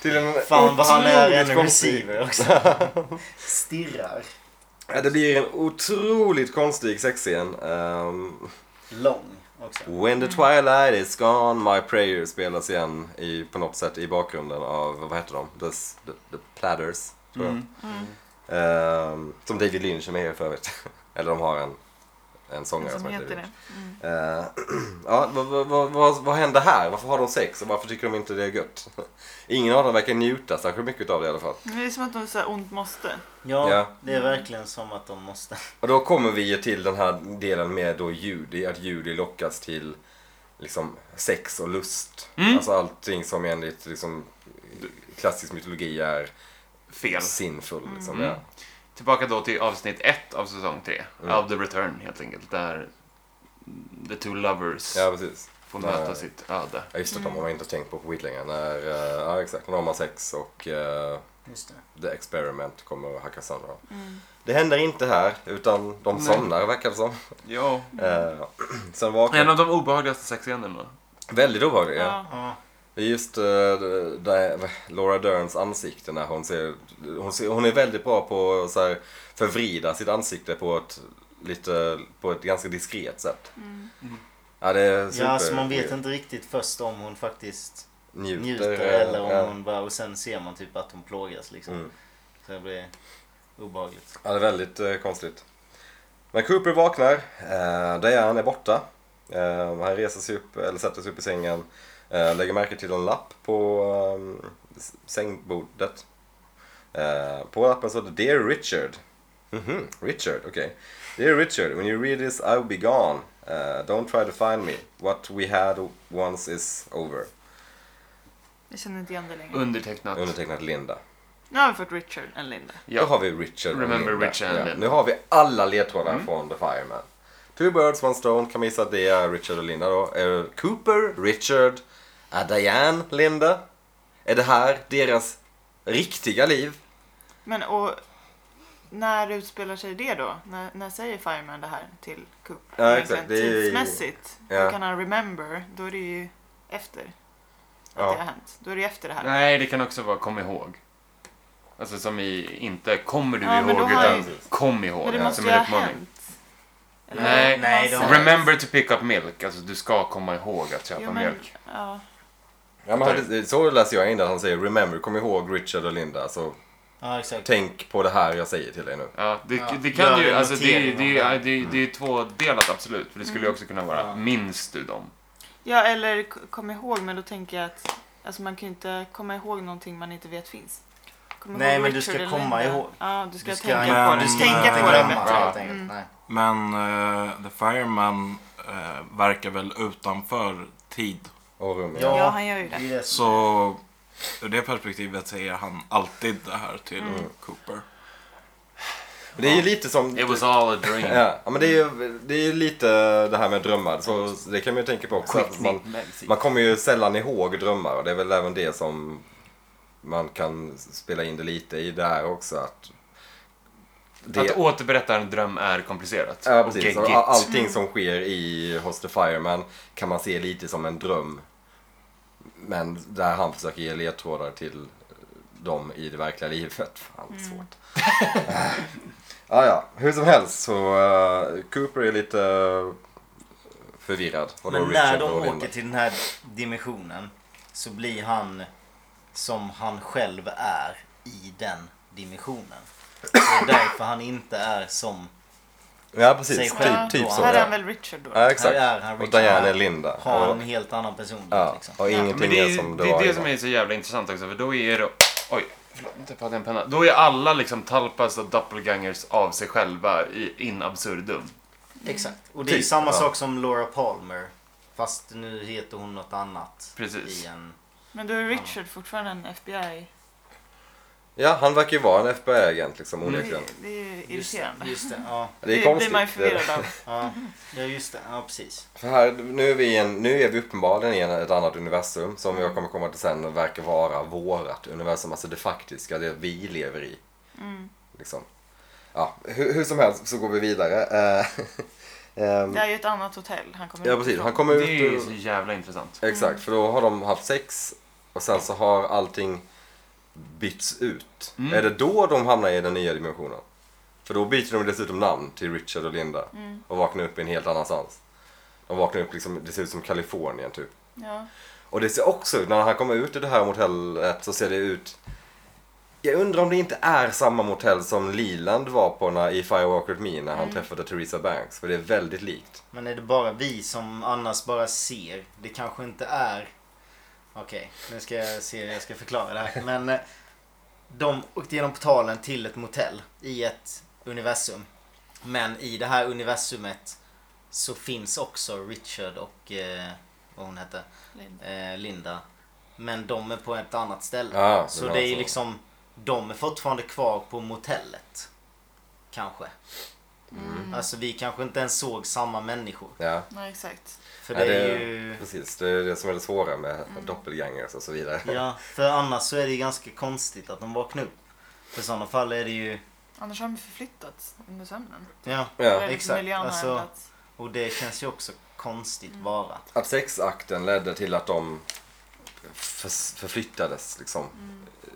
[SPEAKER 1] Till en
[SPEAKER 4] Fan vad han är
[SPEAKER 1] otroligt
[SPEAKER 4] en
[SPEAKER 1] konstig-
[SPEAKER 4] receiver också. Stirrar.
[SPEAKER 1] Ja, det blir en otroligt konstig sexscen. Ehm,
[SPEAKER 4] Lång också.
[SPEAKER 1] When the twilight is gone, my prayer spelas igen i, på något sätt i bakgrunden av, vad heter de? The, s- the, the Platters, tror jag. Ehm, som David Lynch är med i för övrigt. Eller de har en, en sångare
[SPEAKER 3] Som heter
[SPEAKER 1] David
[SPEAKER 3] det. Mm.
[SPEAKER 1] Lynch. Eh, ja, vad, vad, vad, vad, vad händer här? Varför har de sex och varför tycker de inte det är gött? Ingen av dem verkar njuta särskilt mycket av det i alla fall.
[SPEAKER 3] Men det är som att de är så här ont måste.
[SPEAKER 4] Ja,
[SPEAKER 1] Ja.
[SPEAKER 4] det är verkligen som att de måste.
[SPEAKER 1] Och då kommer vi ju till den här delen med då Judy, att Judy lockas till liksom sex och lust. Alltså allting som enligt liksom, klassisk mytologi är
[SPEAKER 2] Fel.
[SPEAKER 1] sinful. Liksom, ja.
[SPEAKER 2] Tillbaka då till avsnitt ett av säsong tre. Av The Return helt enkelt. Där the two lovers
[SPEAKER 1] ja, precis.
[SPEAKER 2] får
[SPEAKER 1] Där-
[SPEAKER 2] möta sitt öde.
[SPEAKER 1] Ja, just det, de har man inte tänkt på på skitlänge. När, eh, ja, exakt, när de har sex och eh,
[SPEAKER 4] Just det.
[SPEAKER 1] The Experiment kommer att hacka sönder dem.
[SPEAKER 3] Mm.
[SPEAKER 1] Det händer inte här, utan de
[SPEAKER 2] Nej.
[SPEAKER 1] somnar verkar det som.
[SPEAKER 2] Ja.
[SPEAKER 1] Eh, sen
[SPEAKER 2] En
[SPEAKER 1] vaknar...
[SPEAKER 2] av de obehagligaste sexscenerna.
[SPEAKER 1] Väldigt obehaglig, ja.
[SPEAKER 3] Ja.
[SPEAKER 4] Ja.
[SPEAKER 1] Det är just eh, där Laura Derns ansikte när hon ser, hon ser... Hon är väldigt bra på att så här, förvrida sitt ansikte på ett, lite, på ett ganska diskret sätt. Ja, det är super...
[SPEAKER 4] Mm. Ja, alltså man vet inte riktigt först om hon faktiskt
[SPEAKER 1] Njuter,
[SPEAKER 4] njuter
[SPEAKER 1] eh,
[SPEAKER 4] eller om
[SPEAKER 1] ja.
[SPEAKER 4] hon bara... Och sen ser man typ att hon plågas liksom.
[SPEAKER 1] Mm.
[SPEAKER 4] Så det blir obehagligt.
[SPEAKER 1] Ja, det är väldigt eh, konstigt. Men Cooper vaknar. Eh, Diane är borta. Eh, han reser sig upp, eller sätter sig upp i sängen. Eh, lägger märke till en lapp på eh, s- sängbordet. Eh, på lappen står det Dear Richard. Mhm, Richard, okej. Dear Richard, when you read this I'll be gone. Eh, don't try to find me. What we had once is over.
[SPEAKER 3] Jag känner inte igen det längre.
[SPEAKER 2] Undertecknat.
[SPEAKER 1] Undertecknat Linda.
[SPEAKER 3] Nu har vi fått Richard än Linda.
[SPEAKER 1] Då
[SPEAKER 2] Ja.
[SPEAKER 1] har vi Richard och
[SPEAKER 2] Remember
[SPEAKER 1] Linda.
[SPEAKER 2] Richard and Linda. Mm.
[SPEAKER 1] Nu har vi alla ledtrådar från The Fireman. Two birds, one stone. Kan vi gissa att det är Richard och Linda då? Är det Cooper, Richard, är Diane, Linda? Är det här deras riktiga liv?
[SPEAKER 3] Men och när utspelar sig det då? När, när säger Fireman det här till Coop? Alltså,
[SPEAKER 1] Ja, exakt. Det är ju-
[SPEAKER 3] Tidsmässigt,
[SPEAKER 1] Ja.
[SPEAKER 3] då kan han remember, då är det ju efter att
[SPEAKER 1] Ja.
[SPEAKER 3] det har hänt. Då är det ju efter det här.
[SPEAKER 2] Nej, det kan också vara kom ihåg. Alltså som i, inte kommer du
[SPEAKER 3] Ja, men
[SPEAKER 2] ihåg,
[SPEAKER 3] då har
[SPEAKER 2] utan
[SPEAKER 3] ju-
[SPEAKER 2] kom ihåg. alltså,
[SPEAKER 3] Men det måste
[SPEAKER 2] som
[SPEAKER 3] ju
[SPEAKER 2] en
[SPEAKER 3] ha
[SPEAKER 2] uppmaning.
[SPEAKER 3] hänt. Eller
[SPEAKER 2] Nej,
[SPEAKER 3] vad
[SPEAKER 4] nej, Alltså.
[SPEAKER 3] han
[SPEAKER 4] då-
[SPEAKER 3] säger.
[SPEAKER 2] Remember to pick up milk. Alltså du ska komma ihåg att köpa
[SPEAKER 3] Jo, men,
[SPEAKER 2] mjölk.
[SPEAKER 3] ja.
[SPEAKER 1] Ja, men han- det- så läser jag in det. Han säger remember, kom ihåg Richard och Linda. Så
[SPEAKER 4] Ja, exakt.
[SPEAKER 1] tänk på det här jag säger till dig nu.
[SPEAKER 2] Ja, det,
[SPEAKER 4] Ja.
[SPEAKER 2] det kan
[SPEAKER 4] Gör
[SPEAKER 2] ju,
[SPEAKER 4] en
[SPEAKER 2] alltså det, är ju- det,
[SPEAKER 4] notering
[SPEAKER 2] är
[SPEAKER 4] av
[SPEAKER 2] ju- det, är ju- det är ju tvådelat absolut. För det skulle ju
[SPEAKER 3] Mm.
[SPEAKER 2] också kunna vara, minns du dem?
[SPEAKER 3] ja, eller k- kom ihåg, men då tänker jag att alltså, man kan ju inte komma ihåg någonting man inte vet finns. Kom
[SPEAKER 4] Nej,
[SPEAKER 3] ihåg
[SPEAKER 4] men du
[SPEAKER 3] Richard
[SPEAKER 4] ska
[SPEAKER 3] eller
[SPEAKER 4] komma
[SPEAKER 3] Linda.
[SPEAKER 4] ihåg.
[SPEAKER 3] Ja, du ska,
[SPEAKER 4] Du ska
[SPEAKER 3] tänka på
[SPEAKER 5] Men,
[SPEAKER 3] det.
[SPEAKER 4] du ska
[SPEAKER 5] eh,
[SPEAKER 4] inte
[SPEAKER 3] tänka på det
[SPEAKER 4] glömma
[SPEAKER 3] bättre.
[SPEAKER 4] helt enkelt. Nej.
[SPEAKER 5] Men eh, The Fireman eh, verkar väl utanför tid.
[SPEAKER 1] Och rum.
[SPEAKER 4] Ja.
[SPEAKER 3] Ja, han gör ju
[SPEAKER 4] Det är
[SPEAKER 3] det.
[SPEAKER 4] ju det som-
[SPEAKER 5] Så ur det perspektivet säger han alltid det här till
[SPEAKER 4] Mm.
[SPEAKER 5] Cooper.
[SPEAKER 1] Det är ju lite som...
[SPEAKER 2] It was all a dream.
[SPEAKER 1] Ja, ja, men det är ju det är ju lite det här med drömmar. Så det kan man ju tänka på också. att man, man kommer ju sällan ihåg drömmar och det är väl även det som man kan spela in det lite i där också. Att det,
[SPEAKER 2] Att återberätta en dröm är komplicerat.
[SPEAKER 1] ja,
[SPEAKER 2] och
[SPEAKER 1] precis,
[SPEAKER 2] geggigt.
[SPEAKER 1] och all- allting som sker i Hos the Fireman kan man se lite som en dröm. Men där han försöker ge ledtrådar till dem i det verkliga livet. Fan
[SPEAKER 4] Mm.
[SPEAKER 1] vad svårt. ah, ja, hur som helst så eh, Cooper är lite eh, förvirrad. Och då
[SPEAKER 4] Men när
[SPEAKER 1] Richard
[SPEAKER 4] de
[SPEAKER 1] och Linda.
[SPEAKER 4] åker till den här dimensionen så blir han som han själv är i den dimensionen. Så det är därför han inte är som...
[SPEAKER 1] Ja,
[SPEAKER 4] sig
[SPEAKER 1] precis.
[SPEAKER 4] själv
[SPEAKER 1] Typ,
[SPEAKER 3] Ja,
[SPEAKER 1] typ så.
[SPEAKER 3] Här är
[SPEAKER 1] Ja.
[SPEAKER 3] han väl Richard då?
[SPEAKER 1] Ja, exakt.
[SPEAKER 4] Här är han
[SPEAKER 1] och
[SPEAKER 4] Richard.
[SPEAKER 1] Diane är Linda.
[SPEAKER 4] Har
[SPEAKER 1] och,
[SPEAKER 4] en helt annan personlighet
[SPEAKER 1] ja,
[SPEAKER 4] liksom.
[SPEAKER 1] och
[SPEAKER 2] Ja,
[SPEAKER 1] ingenting
[SPEAKER 2] men det
[SPEAKER 1] är som det
[SPEAKER 2] det,
[SPEAKER 1] var
[SPEAKER 2] är det
[SPEAKER 1] innan.
[SPEAKER 2] som är så jävla intressant också. För då är det... Oj, förlåt, nu tappade jag en penna. Då är alla liksom talpas och doppelgangers av sig själva i, in absurdum.
[SPEAKER 4] Exakt. Och det är
[SPEAKER 1] Typ,
[SPEAKER 4] samma
[SPEAKER 1] ja.
[SPEAKER 4] sak som Laura Palmer. Fast nu heter hon något annat.
[SPEAKER 2] Precis.
[SPEAKER 4] I en...
[SPEAKER 3] Men då är Richard fortfarande en FBI.
[SPEAKER 1] Ja, han verkar ju vara en FBI-agent liksom
[SPEAKER 3] Det,
[SPEAKER 1] onekligen.
[SPEAKER 3] det är ju
[SPEAKER 4] Just det,
[SPEAKER 3] irriterande.
[SPEAKER 4] just det. Ja,
[SPEAKER 1] Det är
[SPEAKER 3] Mm. blir
[SPEAKER 1] konstigt.
[SPEAKER 3] man ju förvirrad av.
[SPEAKER 4] ja, ja just det. Ja, precis.
[SPEAKER 1] För här, nu, är vi i en, nu är vi uppenbarligen i en- ett annat universum som jag kommer komma till sen och verkar vara vårat universum. Alltså det faktiska, det vi lever i. Liksom. Ja, hur, hur som helst så går vi vidare. Eh, ehm,
[SPEAKER 3] Det är ju ett annat hotell han kommer
[SPEAKER 1] ja,
[SPEAKER 3] ut
[SPEAKER 1] precis.
[SPEAKER 3] ifrån.
[SPEAKER 1] Han kommer
[SPEAKER 2] Det är
[SPEAKER 1] ut
[SPEAKER 2] ju
[SPEAKER 1] ur...
[SPEAKER 2] så jävla intressant.
[SPEAKER 1] Exakt, för då har de haft sex och sen så har allting bytts ut.
[SPEAKER 2] Mm.
[SPEAKER 1] Är det då de hamnar i den nya dimensionen? För då byter de dessutom namn till Richard och Linda och vaknar upp i en helt annanstans. De vaknar upp liksom, det ser ut som Kalifornien typ.
[SPEAKER 3] Ja.
[SPEAKER 1] Och det ser också ut, när han kommer ut i det här motellet så ser det ut... Jag undrar om det inte är samma motell som Leland var på när, i Firewalk with Me när han träffade Theresa Banks. För det är väldigt likt.
[SPEAKER 4] Men är det bara vi som annars bara ser? Det kanske inte är... Okej, nu ska jag se hur jag ska förklara det här. Men eh, de åkte genom portalen till ett motell i ett universum. Men i det här universumet så finns också Richard och eh, vad hon hette,
[SPEAKER 3] Linda.
[SPEAKER 4] eh, Linda. Men de är på ett annat ställe.
[SPEAKER 1] Ah, det
[SPEAKER 4] så
[SPEAKER 1] var
[SPEAKER 4] det är ju
[SPEAKER 1] så.
[SPEAKER 4] liksom, de är fortfarande kvar på motellet. Kanske.
[SPEAKER 5] Mm.
[SPEAKER 4] Alltså vi kanske inte ens såg samma människor.
[SPEAKER 1] Ja,
[SPEAKER 3] Nej, exakt.
[SPEAKER 4] För
[SPEAKER 1] Nej,
[SPEAKER 4] det är
[SPEAKER 1] det-
[SPEAKER 4] ju...
[SPEAKER 1] precis. Det är det som är det svåra med doppelgangers och så vidare.
[SPEAKER 4] Ja, för annars så är det ju ganska konstigt att de vaknar upp. För i sådana fall är det ju...
[SPEAKER 3] Annars har de förflyttats under sömnen.
[SPEAKER 4] Ja,
[SPEAKER 1] Ja.
[SPEAKER 3] Eller liksom
[SPEAKER 4] exakt.
[SPEAKER 3] miljön har
[SPEAKER 4] Alltså-
[SPEAKER 3] ändrats.
[SPEAKER 4] och det känns ju också konstigt
[SPEAKER 5] Mm.
[SPEAKER 4] bara.
[SPEAKER 1] Att sexakten ledde till att de förs- förflyttades liksom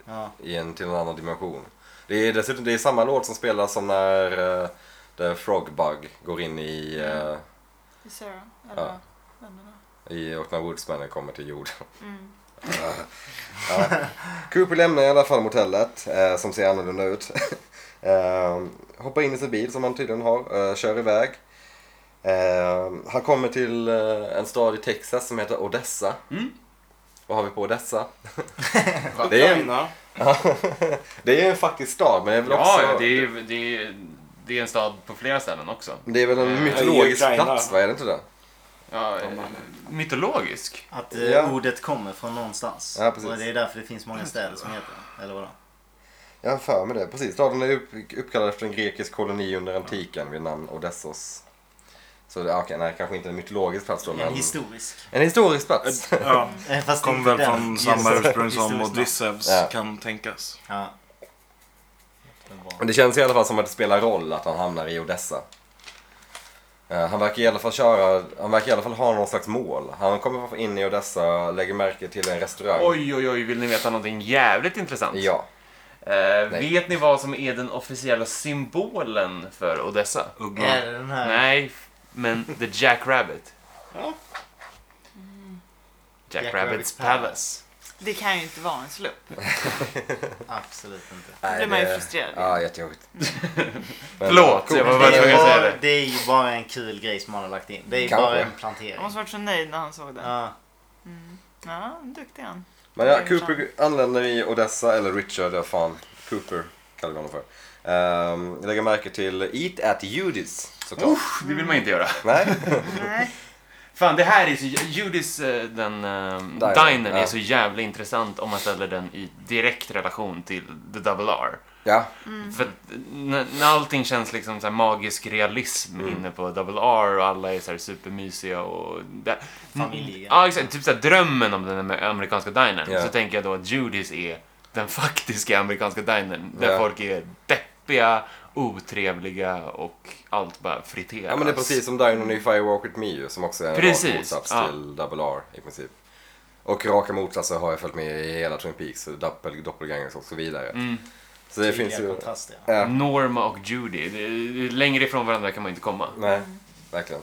[SPEAKER 4] Ja,
[SPEAKER 1] i en, till en annan dimension. Det är dessutom det är samma låt som spelas som när uh, The Frogbug går in i, eh,
[SPEAKER 3] I Sarah. Eller
[SPEAKER 1] Ja.
[SPEAKER 3] ja. vem det var.
[SPEAKER 1] i och när Woodsmannen kommer till jorden.
[SPEAKER 3] Mm.
[SPEAKER 1] Cooper lämnar i alla fall motellet eh, som ser annorlunda ut. eh, hoppar in i sin bil som han tydligen har, eh, kör iväg. Eh, han kommer till eh, en stad i Texas som heter Odessa.
[SPEAKER 2] Mm.
[SPEAKER 1] Vad har vi på Odessa? det, är en,
[SPEAKER 5] Ukraina.
[SPEAKER 1] det är en faktisk stad men det är väl
[SPEAKER 2] Ja,
[SPEAKER 1] också...
[SPEAKER 2] ja, det är, ju- det, är, det är en stad på flera ställen också.
[SPEAKER 1] det är väl en
[SPEAKER 2] Eh,
[SPEAKER 1] mytologisk
[SPEAKER 5] Ukraina.
[SPEAKER 1] plats va, är det inte det?
[SPEAKER 2] Ja, eh, mytologisk.
[SPEAKER 4] att eh,
[SPEAKER 1] Ja.
[SPEAKER 4] ordet kommer från någonstans.
[SPEAKER 1] Ja, precis.
[SPEAKER 4] Och det är därför det finns många städer som heter det. Eller vadå?
[SPEAKER 1] Jag har för mig det. Precis, staden är upp, uppkallad efter en grekisk koloni under antiken vid namn Odessos. Så det, ja, okej, nej, kanske inte en mytologisk plats då men...
[SPEAKER 4] En historisk.
[SPEAKER 1] en historisk plats.
[SPEAKER 5] Ja,
[SPEAKER 4] Eh, Fast
[SPEAKER 5] kom
[SPEAKER 4] inte
[SPEAKER 5] väl
[SPEAKER 4] den.
[SPEAKER 5] från
[SPEAKER 4] Just-
[SPEAKER 5] samma ursprung som
[SPEAKER 4] historiskt
[SPEAKER 5] Odysseus
[SPEAKER 1] Ja.
[SPEAKER 5] kan tänkas.
[SPEAKER 4] namn. Ja. Den var-
[SPEAKER 1] Men det känns i alla fall som att det spelar roll att han hamnar i Odessa. Eh, Han verkar i alla fall köra, han verkar i alla fall ha någon slags mål. Han kommer in i Odessa, lägger märke till en restaurang.
[SPEAKER 2] Oj, oj, oj, vill ni veta någonting jävligt intressant?
[SPEAKER 1] Ja.
[SPEAKER 2] Eh, vet ni vad som är den officiella symbolen för Odessa?
[SPEAKER 5] Ugglan.
[SPEAKER 4] Är det den här?
[SPEAKER 2] Nej, men The Jack Rabbit.
[SPEAKER 5] Ja.
[SPEAKER 2] Jack,
[SPEAKER 4] Jack
[SPEAKER 2] Rabbits
[SPEAKER 4] Rabbits
[SPEAKER 2] Palace.
[SPEAKER 3] Det kan ju inte vara en slump.
[SPEAKER 4] Absolut inte.
[SPEAKER 1] Nej,
[SPEAKER 3] blir man ju frustrerad.
[SPEAKER 1] Ja, jättejobbigt. Men,
[SPEAKER 2] Förlåt,
[SPEAKER 1] ja, coolt.
[SPEAKER 2] jag var bara
[SPEAKER 4] Det är
[SPEAKER 2] tvungen att säga
[SPEAKER 4] bara-
[SPEAKER 2] det.
[SPEAKER 4] Det är ju bara en kul grej som man har lagt in. Det är ju
[SPEAKER 1] Kanske.
[SPEAKER 4] bara en
[SPEAKER 3] Han
[SPEAKER 4] plantering.
[SPEAKER 3] måste varit så nöjd när han såg den.
[SPEAKER 4] Ja.
[SPEAKER 3] Ja, duktig han.
[SPEAKER 1] Men ja, Cooper anländer i Odessa, eller Richard, ja fan. Cooper kallar vi honom för. Ehm, lägger märke till Eat at Judis, såklart.
[SPEAKER 2] Usch, det vill man inte göra.
[SPEAKER 1] Nej?
[SPEAKER 3] Nej.
[SPEAKER 2] Fan, det här är så... Judis, eh, den eh,
[SPEAKER 1] Diner,
[SPEAKER 2] dinern, är
[SPEAKER 1] ja.
[SPEAKER 2] så jävla intressant om man ställer den i direkt relation till The Double R.
[SPEAKER 1] Ja,
[SPEAKER 2] För att n- när allting känns liksom så här magisk realism inne på Double R och alla är så här supermysiga och... Det...
[SPEAKER 4] Familjen.
[SPEAKER 2] Ja, exakt. Typ så här drömmen om den amer- amerikanska dinern.
[SPEAKER 1] Ja.
[SPEAKER 2] Så tänker jag då att Judys är den faktiska amerikanska dinern. Där
[SPEAKER 1] Ja.
[SPEAKER 2] folk är deppiga, otrevliga och allt bara friteras.
[SPEAKER 1] ja men det är precis som Dinon i Firewalk with Me ju, som också är en
[SPEAKER 2] Precis,
[SPEAKER 1] rak motsats
[SPEAKER 2] ja.
[SPEAKER 1] till Double R i princip. Och raka motsatser har jag följt med i hela Twin Peaks, så doppel, doppelgangers och så vidare.
[SPEAKER 2] Mm.
[SPEAKER 1] Så det
[SPEAKER 4] Tydliga
[SPEAKER 1] finns ju...
[SPEAKER 4] kontraster. ja.
[SPEAKER 1] Ja,
[SPEAKER 2] Norma och Judy. Det- Längre ifrån varandra kan man inte komma.
[SPEAKER 1] nej, verkligen.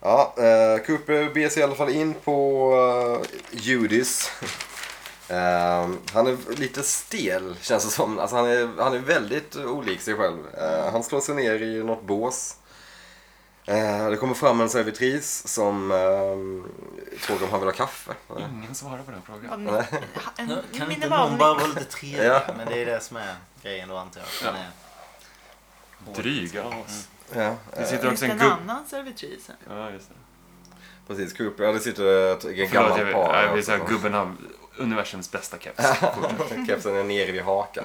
[SPEAKER 1] Ja, eh, Cooper beger sig i alla fall in på eh, Judis. Eh, han är lite stel känns det som. Alltså, han, är, han är väldigt olik sig själv. Eh, han slår sig ner i något bås. Eh, det kommer fram en servitris som eh, frågar om han vill ha kaffe.
[SPEAKER 2] Ingen svarar på den frågan.
[SPEAKER 3] Han, han,
[SPEAKER 4] Ja, Kan inte
[SPEAKER 3] minne var
[SPEAKER 4] någon
[SPEAKER 3] hon-
[SPEAKER 4] bara vara lite trevlig?
[SPEAKER 1] Ja.
[SPEAKER 4] Men det är det som är grejen då antar jag.
[SPEAKER 2] Ja.
[SPEAKER 4] Den är-
[SPEAKER 2] Dryga av
[SPEAKER 5] Mm.
[SPEAKER 2] oss.
[SPEAKER 1] Ja, eh,
[SPEAKER 2] Det sitter
[SPEAKER 3] Finns
[SPEAKER 2] också
[SPEAKER 3] det
[SPEAKER 2] en
[SPEAKER 3] en
[SPEAKER 2] gubb...
[SPEAKER 3] annan servitris här?
[SPEAKER 2] Ja, just det.
[SPEAKER 1] precis. Cooper, ja, det sitter ett, ett
[SPEAKER 2] Förlåt,
[SPEAKER 1] gammalt
[SPEAKER 2] jag,
[SPEAKER 1] par.
[SPEAKER 2] jag, jag vill säga gubben har universums bästa keps.
[SPEAKER 1] Kepsen är nere vid hakan.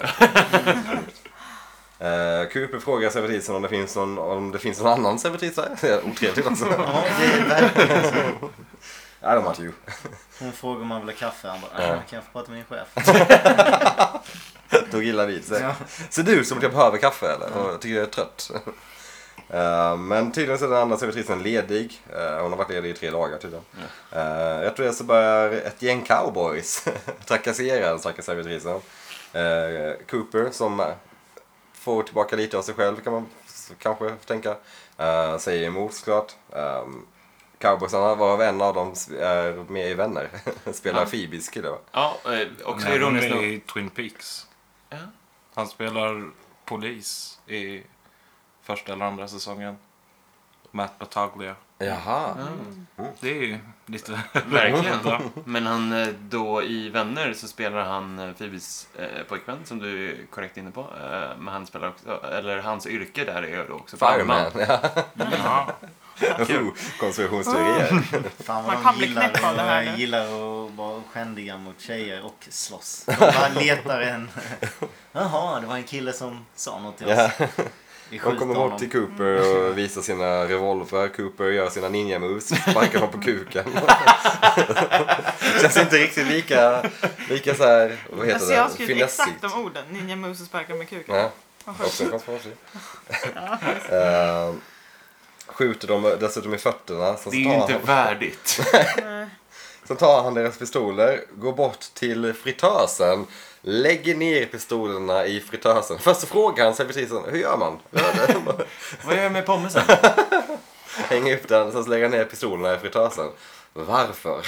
[SPEAKER 1] Eh, Cooper frågar servitrisen om det finns någon, om det finns någon annan servitris där. Det är Otrevligt alltså. också.
[SPEAKER 4] Ja, eh, det är verkligen-
[SPEAKER 1] I don't want you.
[SPEAKER 4] Hon frågar om man vill ha kaffe. Han bara, "Ah, kan jag få prata med din chef?
[SPEAKER 1] Tog illa vid sig.
[SPEAKER 4] Ja.
[SPEAKER 1] Mm. Ser du ut som att jag behöver kaffe eller? Och tycker jag är trött. Eh, Men tydligen så är den andra servitrisen ledig. Eh, Hon har varit ledig i tre dagar tydligen. Eh, Rätt och det så börjar ett gäng cowboys trakassera den stackars servitrisen. Eh, Cooper som eh, får tillbaka lite av sig själv kan man s- kanske tänka. Eh, Säger emot såklart. Eh, Cowboysarna, varav en av dem s- är med i Vänner. Spelar
[SPEAKER 2] Ja.
[SPEAKER 1] Phoebes kille va?
[SPEAKER 2] Ja, eh, också
[SPEAKER 5] Nej, hon
[SPEAKER 2] ironiskt
[SPEAKER 5] är
[SPEAKER 2] nog.
[SPEAKER 5] i Twin Peaks.
[SPEAKER 2] Ja.
[SPEAKER 5] Han spelar polis i första eller andra säsongen. Matt Bataglia.
[SPEAKER 1] Jaha.
[SPEAKER 5] Det är ju lite...
[SPEAKER 2] Verkligen. Men han eh, då i Vänner så spelar han eh, Phoebes eh, pojkvän som du är korrekt inne på. Eh, Men han spelar också, eller hans yrke där är ju då också
[SPEAKER 1] Fireman. Ja.
[SPEAKER 5] ja.
[SPEAKER 1] Oh, Konspirationsteorier.
[SPEAKER 4] Fan
[SPEAKER 3] Man
[SPEAKER 4] vad
[SPEAKER 3] kan
[SPEAKER 4] de
[SPEAKER 3] bli
[SPEAKER 4] gillar,
[SPEAKER 3] knäpp av det här
[SPEAKER 4] eh,
[SPEAKER 3] nu.
[SPEAKER 4] gillar att vara skändiga mot tjejer och slåss. De bara letar en... Jaha, det var en kille som sa något till oss.
[SPEAKER 1] Ja.
[SPEAKER 4] Vi
[SPEAKER 1] De
[SPEAKER 4] skjuter
[SPEAKER 1] kommer
[SPEAKER 4] honom.
[SPEAKER 1] bort till Cooper och visar sina revolver. Cooper gör sina ninja moves, sparkar honom på kuken. Känns inte riktigt lika, lika så här, vad heter
[SPEAKER 3] Alltså
[SPEAKER 1] det?
[SPEAKER 3] jag har skrivit
[SPEAKER 1] Finessigt.
[SPEAKER 3] exakt de orden. Ninja Moose och sparkar med kuken.
[SPEAKER 1] Ja,
[SPEAKER 3] Vad skönt.
[SPEAKER 1] också en konspiration. Eh, Skjuter dem dessutom i fötterna. Sen så
[SPEAKER 2] Det är ju
[SPEAKER 1] tar,
[SPEAKER 2] inte
[SPEAKER 1] han,
[SPEAKER 2] värdigt.
[SPEAKER 1] sen tar han deras pistoler, går bort till fritösen, lägger ner pistolerna i fritösen. Först så frågar han servitrisen, hur gör man?
[SPEAKER 2] Vad gör jag med pommesen?
[SPEAKER 1] Hänga upp den, sen så lägga ner pistolerna i fritösen. Varför?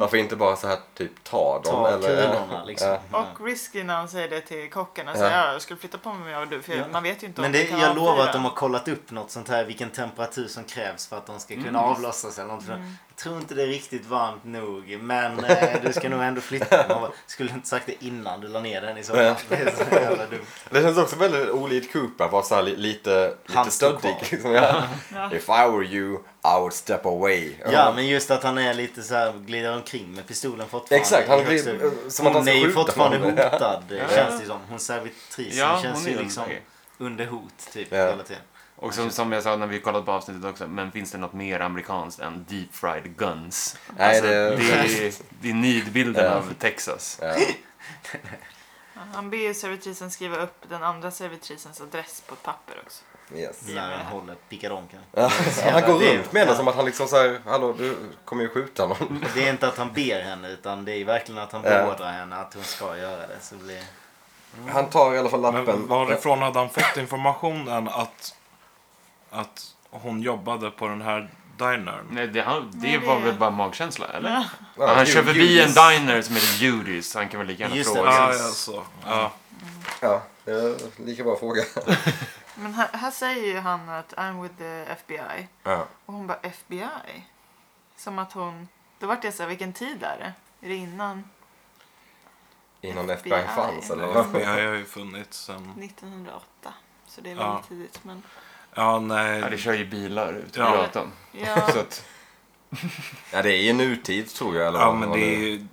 [SPEAKER 1] Varför inte bara så här typ ta dem?
[SPEAKER 4] Ta
[SPEAKER 1] eller,
[SPEAKER 4] kulorna liksom. Ja.
[SPEAKER 3] Och risky när han säger det till kocken. Alltså,
[SPEAKER 1] Ja.
[SPEAKER 3] ja. Jag skulle flytta på mig om jag var du. För jag- man vet ju inte
[SPEAKER 4] Men
[SPEAKER 3] om
[SPEAKER 4] det,
[SPEAKER 3] vi kan
[SPEAKER 4] jag lovar
[SPEAKER 3] avfyra.
[SPEAKER 4] att de har kollat upp något sånt här, vilken temperatur som krävs för att de ska kunna avlossas eller något. Jag tror inte det är riktigt varmt nog, men eh, du ska nog ändå flytta den. Man bara, Skulle inte sagt det innan du la ner den i så fall. Det är så jävla dumt.
[SPEAKER 1] Det känns också väldigt olikt Cooper, bara så här li- lite, lite
[SPEAKER 4] Han stod
[SPEAKER 1] stöddig.
[SPEAKER 4] kvar.
[SPEAKER 1] Liksom, ja. If I were you, I would step away.
[SPEAKER 4] Ja, men just att han är lite så här, glider omkring med pistolen fortfarande.
[SPEAKER 1] Exakt, han
[SPEAKER 4] Det är också-
[SPEAKER 1] blir- eh, som att han
[SPEAKER 4] hon
[SPEAKER 1] ska
[SPEAKER 4] är ju
[SPEAKER 1] skjuta
[SPEAKER 4] fortfarande
[SPEAKER 1] honom.
[SPEAKER 4] hotad, eh, känns det som. Hon servitrisen
[SPEAKER 2] Ja,
[SPEAKER 4] känns
[SPEAKER 2] hon är
[SPEAKER 4] ju
[SPEAKER 2] under-
[SPEAKER 4] liksom under hot, typ,
[SPEAKER 1] Ja.
[SPEAKER 4] hela tiden.
[SPEAKER 2] Och som, som jag sa när vi kollade på avsnittet också, men finns det något mer amerikanskt än deep fried guns?
[SPEAKER 1] Nej,
[SPEAKER 2] alltså,
[SPEAKER 1] det-
[SPEAKER 2] det... är, det är nidbilden
[SPEAKER 1] Ja.
[SPEAKER 2] av Texas.
[SPEAKER 1] Ja.
[SPEAKER 3] Ja, Han ber ju servitrisen skriva upp den andra servitrisens adress på ett papper också.
[SPEAKER 1] Yes.
[SPEAKER 4] När han håller pickadonken.
[SPEAKER 1] Han går
[SPEAKER 4] Det är-
[SPEAKER 1] runt med det
[SPEAKER 4] ja.
[SPEAKER 1] som att han liksom så här, hallå du kommer ju skjuta någon.
[SPEAKER 4] Det är inte att han ber henne, utan det är verkligen att han
[SPEAKER 1] Ja.
[SPEAKER 4] beordrar henne att hon ska göra det. Så blir...
[SPEAKER 1] Han tar i alla fall lappen.
[SPEAKER 5] Men varifrån hade han fått informationen att, att hon jobbade på den här dinern?
[SPEAKER 2] Nej, det, han, det
[SPEAKER 3] Nej, det-
[SPEAKER 2] var väl bara magkänsla, eller?
[SPEAKER 1] Ja,
[SPEAKER 2] han
[SPEAKER 1] ju-
[SPEAKER 2] kör förbi
[SPEAKER 1] Judas.
[SPEAKER 2] en diner som heter Judy's, så han kan väl lika gärna
[SPEAKER 4] Just det.
[SPEAKER 2] fråga.
[SPEAKER 5] Ja, ja, så. Ja.
[SPEAKER 1] Ja, det är lika bra fråga.
[SPEAKER 3] Men här, här säger ju han att I'm with the FBI.
[SPEAKER 1] Ja.
[SPEAKER 3] Och hon bara FBI? Som att hon... Då vart jag så här, vilken tid är det? Är det innan
[SPEAKER 1] Innan FBI fanns eller? vad?
[SPEAKER 5] Jag har ju funnits sen...
[SPEAKER 3] 1908? Så det är
[SPEAKER 5] Ja.
[SPEAKER 3] väldigt tidigt. Men...
[SPEAKER 5] Ja,
[SPEAKER 2] Ja, det
[SPEAKER 5] nej.
[SPEAKER 2] kör ju bilar ute på
[SPEAKER 5] Ja.
[SPEAKER 2] gatan.
[SPEAKER 3] Ja,
[SPEAKER 2] Så att,
[SPEAKER 1] Ja, det är ju nutid tror jag. Eller
[SPEAKER 5] Ja,
[SPEAKER 1] vad
[SPEAKER 5] men
[SPEAKER 1] man
[SPEAKER 5] det
[SPEAKER 1] nu-
[SPEAKER 5] är ju...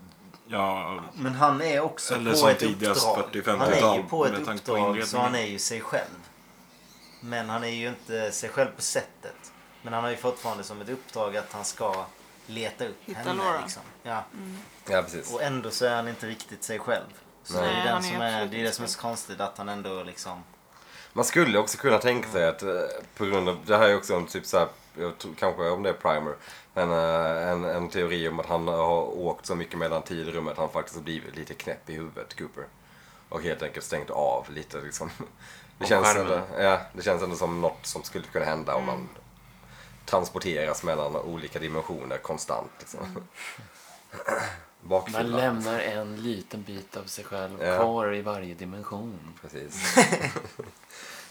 [SPEAKER 5] Ja,
[SPEAKER 4] Men han är också
[SPEAKER 5] Eller
[SPEAKER 4] på
[SPEAKER 5] som
[SPEAKER 4] ett
[SPEAKER 5] tidigast
[SPEAKER 4] uppdrag.
[SPEAKER 5] 40-50-tal,
[SPEAKER 4] han är ju på ett
[SPEAKER 5] med tanke på
[SPEAKER 4] uppdrag, så
[SPEAKER 5] inredningen.
[SPEAKER 4] han är ju sig själv. Men han är ju inte sig själv på sättet. Men han har ju fortfarande som ett uppdrag att han ska leta upp
[SPEAKER 3] Hitta
[SPEAKER 4] henne.
[SPEAKER 3] Laura. Mm.
[SPEAKER 4] Liksom. Ja.
[SPEAKER 1] Ja, precis.
[SPEAKER 4] Och ändå så är han inte riktigt sig själv. Så
[SPEAKER 3] Nej.
[SPEAKER 4] det är,
[SPEAKER 3] Nej,
[SPEAKER 4] den
[SPEAKER 3] han är
[SPEAKER 4] som är,
[SPEAKER 3] absolut
[SPEAKER 4] det är
[SPEAKER 3] inte
[SPEAKER 4] det som är så konstigt att han ändå liksom...
[SPEAKER 1] Man skulle också kunna tänka sig att eh, på grund av, det här är också en typ så här, jag tror, kanske om det är primer, men eh, en, en teori om att han har åkt så mycket mellan tid och rum att han faktiskt har blivit lite knäpp i huvudet, Cooper. Och helt enkelt stängt av lite liksom. Det
[SPEAKER 2] Och
[SPEAKER 1] känns, ändå,
[SPEAKER 2] skärmen.
[SPEAKER 1] ja, det känns ändå som något som skulle kunna hända om man transporteras mellan olika dimensioner konstant. Liksom.
[SPEAKER 5] Mm.
[SPEAKER 1] Bakfylla.
[SPEAKER 2] lämnar en liten bit av sig själv
[SPEAKER 1] Ja.
[SPEAKER 2] kvar i varje dimension.
[SPEAKER 1] Precis.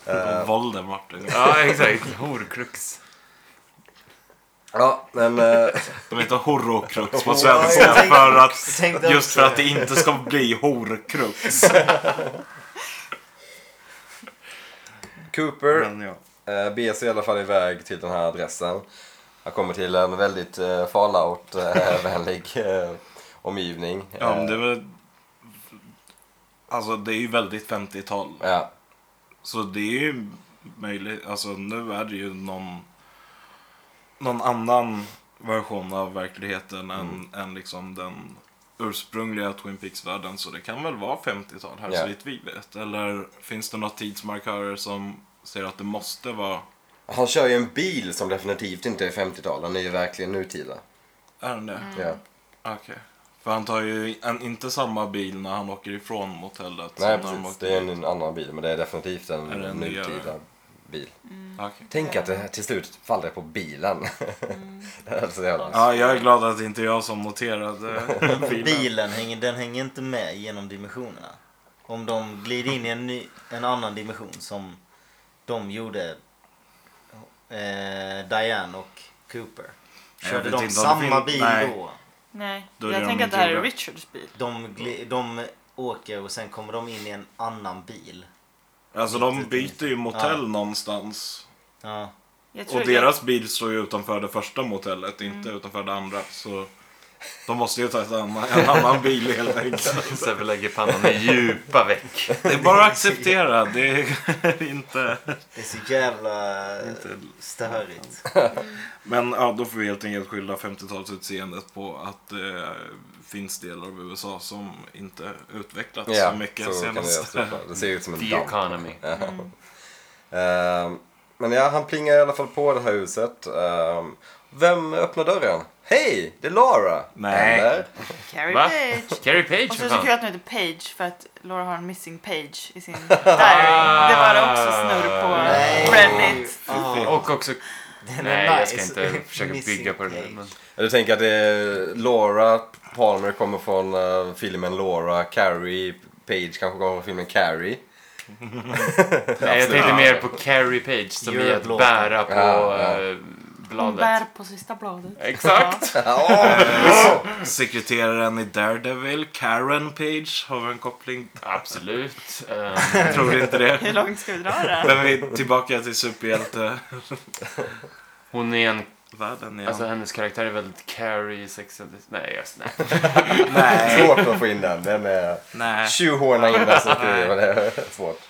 [SPEAKER 4] Eh.
[SPEAKER 5] Voldemort. liksom.
[SPEAKER 2] Ja, exakt. Horcrux.
[SPEAKER 1] Ja, men... eh,
[SPEAKER 5] De heter horrocrux på
[SPEAKER 1] Ja,
[SPEAKER 5] svenska
[SPEAKER 4] jag tänkte-
[SPEAKER 5] för att,
[SPEAKER 4] tänkte
[SPEAKER 5] just för
[SPEAKER 4] också-
[SPEAKER 5] att det inte ska bli horcrux.
[SPEAKER 1] Cooper
[SPEAKER 5] Men ja.
[SPEAKER 1] Eh, beger sig i alla fall iväg till den här adressen. Han kommer till en väldigt eh, fallout-vänlig eh, omgivning.
[SPEAKER 5] Ja, men
[SPEAKER 1] Eh,
[SPEAKER 5] det var... Alltså det är ju väldigt 50-tal.
[SPEAKER 1] Eh, ja.
[SPEAKER 5] Så det är ju möjligt. Alltså nu är det ju någon, någon annan version av verkligheten
[SPEAKER 1] Mm.
[SPEAKER 5] än, än liksom den ursprungliga Twin Peaks-världen. Så det kan väl vara 50-tal här
[SPEAKER 1] Ja.
[SPEAKER 5] så vitt vi vet. Eller finns det några tidsmarkörer som säger att det måste vara
[SPEAKER 1] Han kör ju en bil som definitivt inte är 50-tal. Han är ju verkligen nutida.
[SPEAKER 5] Mm. Är den det?
[SPEAKER 1] Ja.
[SPEAKER 5] Okej. För han tar ju en, inte samma bil när han åker ifrån motellet.
[SPEAKER 1] Nej,
[SPEAKER 5] som när han
[SPEAKER 1] precis.
[SPEAKER 5] åker-
[SPEAKER 1] Det är en, en annan bil, men det är definitivt en,
[SPEAKER 5] Är det en
[SPEAKER 1] nutida
[SPEAKER 5] nyare?
[SPEAKER 1] bil.
[SPEAKER 5] Okej.
[SPEAKER 1] Tänk att det här till slut faller på bilen. det är så jävla...
[SPEAKER 5] Mm. Ja, jag är glad att det inte är jag som noterade bilen.
[SPEAKER 4] Bilen hänger, den hänger inte med genom dimensionerna. Om de glider in i en, ny, en annan dimension som de gjorde eh, Diane och Cooper.
[SPEAKER 5] Jag
[SPEAKER 4] Körde
[SPEAKER 5] vet
[SPEAKER 4] de
[SPEAKER 5] inte om det
[SPEAKER 4] samma
[SPEAKER 5] finns-
[SPEAKER 4] bil
[SPEAKER 5] nej.
[SPEAKER 4] då?
[SPEAKER 3] Nej,
[SPEAKER 5] Då är det
[SPEAKER 3] jag
[SPEAKER 5] de
[SPEAKER 3] tänker att
[SPEAKER 5] inte
[SPEAKER 3] det här är
[SPEAKER 5] gjorda.
[SPEAKER 3] Richards bil.
[SPEAKER 4] De, gli, de åker och sen kommer de in i en annan bil.
[SPEAKER 5] Alltså de byter ju motell någonstans.
[SPEAKER 4] Ja.
[SPEAKER 3] Jag tror
[SPEAKER 5] Och deras bil står ju utanför det första motellet, inte utanför det andra. Så de måste ju ta ett annan, en annan bil helt enkelt.
[SPEAKER 2] Sebbe lägger pannan i djupa veck.
[SPEAKER 5] Det är bara att acceptera. Det är inte...
[SPEAKER 4] Det är så jävla
[SPEAKER 5] Inte-
[SPEAKER 4] störigt.
[SPEAKER 5] Men ja, då får vi helt enkelt skylla 50-talsutseendet på att det finns delar av USA som inte utvecklats
[SPEAKER 1] Ja,
[SPEAKER 5] så mycket
[SPEAKER 1] så kan det
[SPEAKER 5] senast.
[SPEAKER 1] göras. Det ser ut som en
[SPEAKER 2] The
[SPEAKER 1] damm.
[SPEAKER 2] economy.
[SPEAKER 1] Ja. Ehm, men ja, han plingar i alla fall på det här huset. Ehm, vem öppnar dörren? Hej, det är Laura!
[SPEAKER 5] Nej.
[SPEAKER 1] Eller?
[SPEAKER 3] Carrie
[SPEAKER 2] Va?
[SPEAKER 3] Page.
[SPEAKER 2] Carrie Page för
[SPEAKER 3] Och så är det så kul
[SPEAKER 2] fan.
[SPEAKER 3] att hon heter Page för att Laura har en missing page i sin diary. Det var det också snurr
[SPEAKER 2] Ah,
[SPEAKER 3] på
[SPEAKER 4] Nej.
[SPEAKER 3] Reddit.
[SPEAKER 4] Ah,
[SPEAKER 2] Och också...
[SPEAKER 4] den
[SPEAKER 2] Nej, jag ska
[SPEAKER 4] nice.
[SPEAKER 2] inte försöka bygga på det där.
[SPEAKER 4] Missing
[SPEAKER 2] Men...
[SPEAKER 1] Du tänker att det är Laura Palmer kommer från eh, filmen Laura, Carrie Page kanske kommer från filmen Carrie.
[SPEAKER 2] Nej, jag tänkte
[SPEAKER 1] Absolut.
[SPEAKER 2] mer på Carrie Page som
[SPEAKER 4] You're
[SPEAKER 2] i
[SPEAKER 4] a
[SPEAKER 2] att
[SPEAKER 4] blå.
[SPEAKER 2] bära på
[SPEAKER 1] Ja, ja.
[SPEAKER 2] eh,
[SPEAKER 3] Hon
[SPEAKER 2] bladet.
[SPEAKER 3] bär på sista bladet.
[SPEAKER 2] Exakt!
[SPEAKER 5] Eh, Sekreteraren i Daredevil, Karen Page, har vi en koppling?
[SPEAKER 2] Absolut. Ehm,
[SPEAKER 5] Jag tror inte det.
[SPEAKER 3] Hur långt ska vi dra det?
[SPEAKER 5] Men vi är tillbaka till superhjältevärlden
[SPEAKER 2] hon är en...
[SPEAKER 5] igen.
[SPEAKER 2] Alltså hennes karaktär är väldigt Carrie, sex and the- Nej, just nej.
[SPEAKER 5] nej.
[SPEAKER 1] Svårt att få in den. Den är...
[SPEAKER 5] nej.
[SPEAKER 1] Tjohorna in den så skriver jag, det är svårt.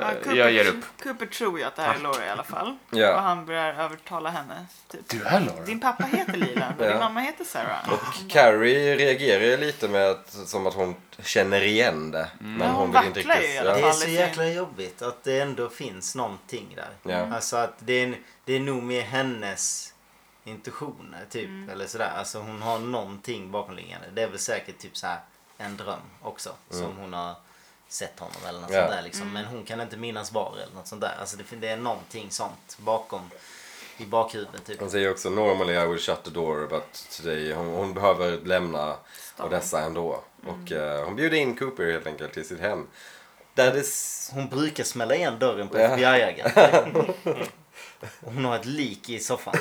[SPEAKER 3] Ja, Cooper,
[SPEAKER 2] jag ger upp. Ah.
[SPEAKER 3] Cooper tror ju att det här är Laura i alla fall. Och
[SPEAKER 1] Ja.
[SPEAKER 3] han börjar övertala henne. Typ.
[SPEAKER 2] Du är Laura.
[SPEAKER 3] Din pappa heter Leland och
[SPEAKER 1] Ja.
[SPEAKER 3] din mamma heter Sarah.
[SPEAKER 1] Och Carrie reagerar ju lite med att, som att hon känner igen det. Men
[SPEAKER 3] Ja,
[SPEAKER 1] hon
[SPEAKER 3] hon
[SPEAKER 1] vill inte
[SPEAKER 3] vacklar ju
[SPEAKER 1] riktigt...
[SPEAKER 3] i alla
[SPEAKER 1] Ja.
[SPEAKER 4] Det
[SPEAKER 3] fall.
[SPEAKER 4] är så jäkla jobbigt att det ändå finns någonting där.
[SPEAKER 1] Ja. Mm.
[SPEAKER 4] Alltså att det är, det är nog mer hennes intuitioner typ.
[SPEAKER 3] Mm.
[SPEAKER 4] Eller sådär. Alltså hon har någonting bakomliggande. Det är väl säkert typ så här en dröm också. Som hon har sett honom eller något
[SPEAKER 1] Mm. Ja.
[SPEAKER 4] sånt där liksom. Men
[SPEAKER 3] Mm.
[SPEAKER 4] hon kan inte minnas var eller något sånt där. Alltså det, fin- det är någonting sånt bakom. I bakhuvudet typ.
[SPEAKER 1] Hon säger också normally I will shut the door but today hon, hon behöver lämna Odessa ändå.
[SPEAKER 4] Mm.
[SPEAKER 1] Och eh, hon bjuder in Cooper helt enkelt till sitt hem. Där det... s-
[SPEAKER 4] Hon brukar smälla igen dörren på
[SPEAKER 1] Ja.
[SPEAKER 4] FBI-agenten. Hon har ett lik i soffan.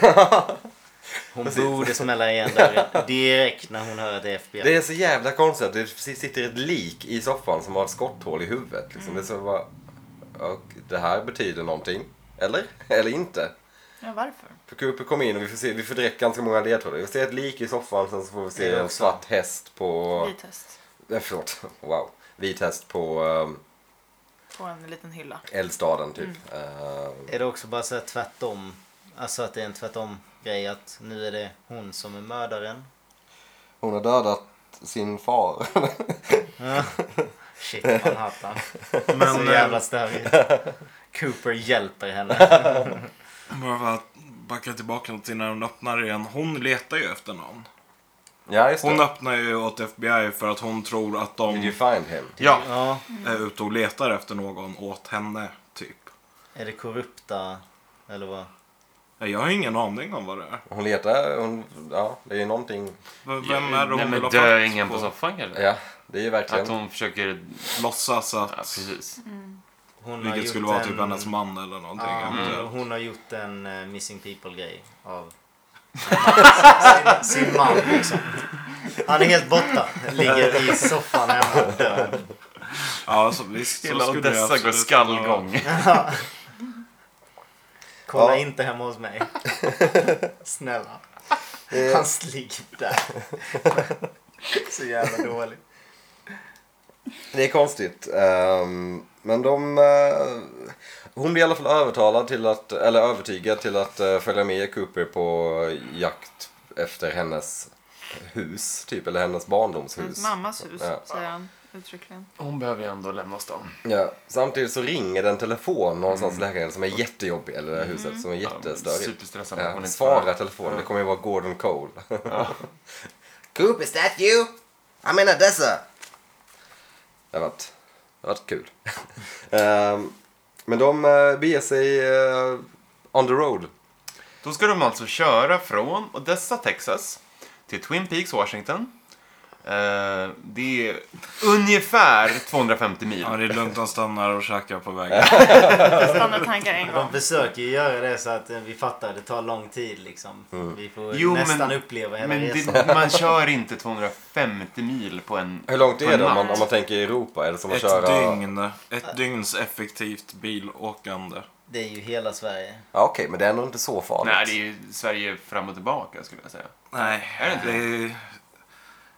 [SPEAKER 4] Hon borde smälla igen dörren direkt när hon hör att det är FBI.
[SPEAKER 1] Det är så jävla konstigt att det sitter ett lik i soffan som har ett skotthål i huvudet. Liksom.
[SPEAKER 4] Mm.
[SPEAKER 1] Det är så bara... Och det här betyder någonting. Eller? Eller inte.
[SPEAKER 3] Ja, varför?
[SPEAKER 1] För Cooper kom in och vi får se, vi får direkt ganska många ledtrådar. Vi får se ett lik i soffan sen så får vi
[SPEAKER 4] Det
[SPEAKER 1] se
[SPEAKER 4] är
[SPEAKER 1] en
[SPEAKER 4] också.
[SPEAKER 1] svart häst på...
[SPEAKER 3] Vi test
[SPEAKER 1] Eh, förlåt, wow. Vit häst på um,
[SPEAKER 3] på en liten hylla.
[SPEAKER 1] eldstaden typ.
[SPEAKER 4] Mm.
[SPEAKER 1] Eh,
[SPEAKER 4] Är det också bara så här tvärtom? Alltså att det är en tvärtom grej att nu är det hon som är mördaren.
[SPEAKER 1] hon har dödat sin far.
[SPEAKER 4] Shit fan hattan.
[SPEAKER 5] Men,
[SPEAKER 4] Så
[SPEAKER 5] eh,
[SPEAKER 4] jävla störigt. Cooper hjälper henne.
[SPEAKER 5] Bara för att backa tillbaka till när hon öppnar igen. Hon letar ju efter någon.
[SPEAKER 1] ja, just
[SPEAKER 5] Hon
[SPEAKER 1] det.
[SPEAKER 5] öppnar ju åt FBI för att hon tror att
[SPEAKER 1] Did you
[SPEAKER 5] de
[SPEAKER 1] find him?
[SPEAKER 2] Ja,
[SPEAKER 4] Ja.
[SPEAKER 5] är ute och letar efter någon åt henne, typ.
[SPEAKER 4] Är det korrupta? Eller vad?
[SPEAKER 5] Nej, Jag har ingen aning om vad det är.
[SPEAKER 1] Hon letar, hon, ja det är ju någonting.
[SPEAKER 5] V- Vem är det hon
[SPEAKER 2] Nej,
[SPEAKER 5] vill
[SPEAKER 2] men
[SPEAKER 5] ha
[SPEAKER 2] dö
[SPEAKER 5] fatt
[SPEAKER 2] ingen på soffan kanske?
[SPEAKER 1] Ja, det är ju verkligen.
[SPEAKER 2] Att hon försöker...
[SPEAKER 5] Låtsas
[SPEAKER 2] Ja,
[SPEAKER 5] att...
[SPEAKER 2] precis.
[SPEAKER 4] Hon har
[SPEAKER 5] Vilket
[SPEAKER 4] gjort
[SPEAKER 5] skulle vara typ
[SPEAKER 4] en-
[SPEAKER 5] hennes man eller någonting.
[SPEAKER 4] Ja,
[SPEAKER 1] Mm.
[SPEAKER 5] eventuellt.
[SPEAKER 4] hon har gjort en eh, Missing People-grej av sin, sin man liksom. Han är helt borta. Ligger i soffan hemma död.
[SPEAKER 5] Ja, så, visst. Så
[SPEAKER 2] Hela
[SPEAKER 5] skulle jag
[SPEAKER 2] Odessa går
[SPEAKER 5] absolut kunna-
[SPEAKER 2] skallgång.
[SPEAKER 4] Kolla
[SPEAKER 1] Ja.
[SPEAKER 4] inte hemma hos mig. Snälla.
[SPEAKER 1] Eh,
[SPEAKER 4] Hans ligg där. Så jävla dåligt.
[SPEAKER 1] Det är konstigt. ehm, men de... eh, hon blir i alla fall övertalad till att, eller övertygad till att eh, följa med Cooper på jakt efter hennes hus, typ. Eller hennes barndomshus.
[SPEAKER 3] Hennes mammas hus,
[SPEAKER 1] Ja.
[SPEAKER 3] säger han. uttryckligen.
[SPEAKER 2] Hon behöver ju ändå lämna stan.
[SPEAKER 1] Ja. Samtidigt så ringer den telefon någonstans i lägenheten som är jättejobbig, eller det här huset, som är jättestörig.
[SPEAKER 2] Superstressande. att
[SPEAKER 1] Mm.
[SPEAKER 2] hon
[SPEAKER 1] Ja,
[SPEAKER 2] inte
[SPEAKER 1] svara
[SPEAKER 2] svarar.
[SPEAKER 1] telefonen, det kommer ju vara Gordon Cole. Coop, is that you? I'm in Odessa. Det har varit, det har varit kul. Ehm, men de uh, beger sig eh, on the road.
[SPEAKER 2] Då ska de alltså köra från Odessa, Texas till Twin Peaks, Washington. Eh, det är ungefär 250 mil.
[SPEAKER 5] Ja, det är lugnt, de stannar och käkar på vägen.
[SPEAKER 3] Standardtankar en gång.
[SPEAKER 4] De försöker ju göra det så att eh, vi fattar, det tar lång tid liksom.
[SPEAKER 1] Mm.
[SPEAKER 4] Vi får
[SPEAKER 2] Jo, men-
[SPEAKER 4] nästan uppleva hela
[SPEAKER 2] Men
[SPEAKER 4] resan.
[SPEAKER 2] det, man kör inte 250 mil på en...
[SPEAKER 1] Hur långt
[SPEAKER 2] på
[SPEAKER 1] är
[SPEAKER 2] en
[SPEAKER 1] det om
[SPEAKER 2] natt.
[SPEAKER 1] man, om man tänker Europa? Är det som att
[SPEAKER 5] Ett
[SPEAKER 1] köra...
[SPEAKER 5] dygn. Ett dygns effektivt bilåkande.
[SPEAKER 4] Det är ju hela Sverige.
[SPEAKER 1] Ja, okej, men det är nog inte så farligt.
[SPEAKER 2] Nej, det är ju Sverige fram och tillbaka skulle jag säga.
[SPEAKER 5] Nej,
[SPEAKER 2] Är det inte?
[SPEAKER 5] är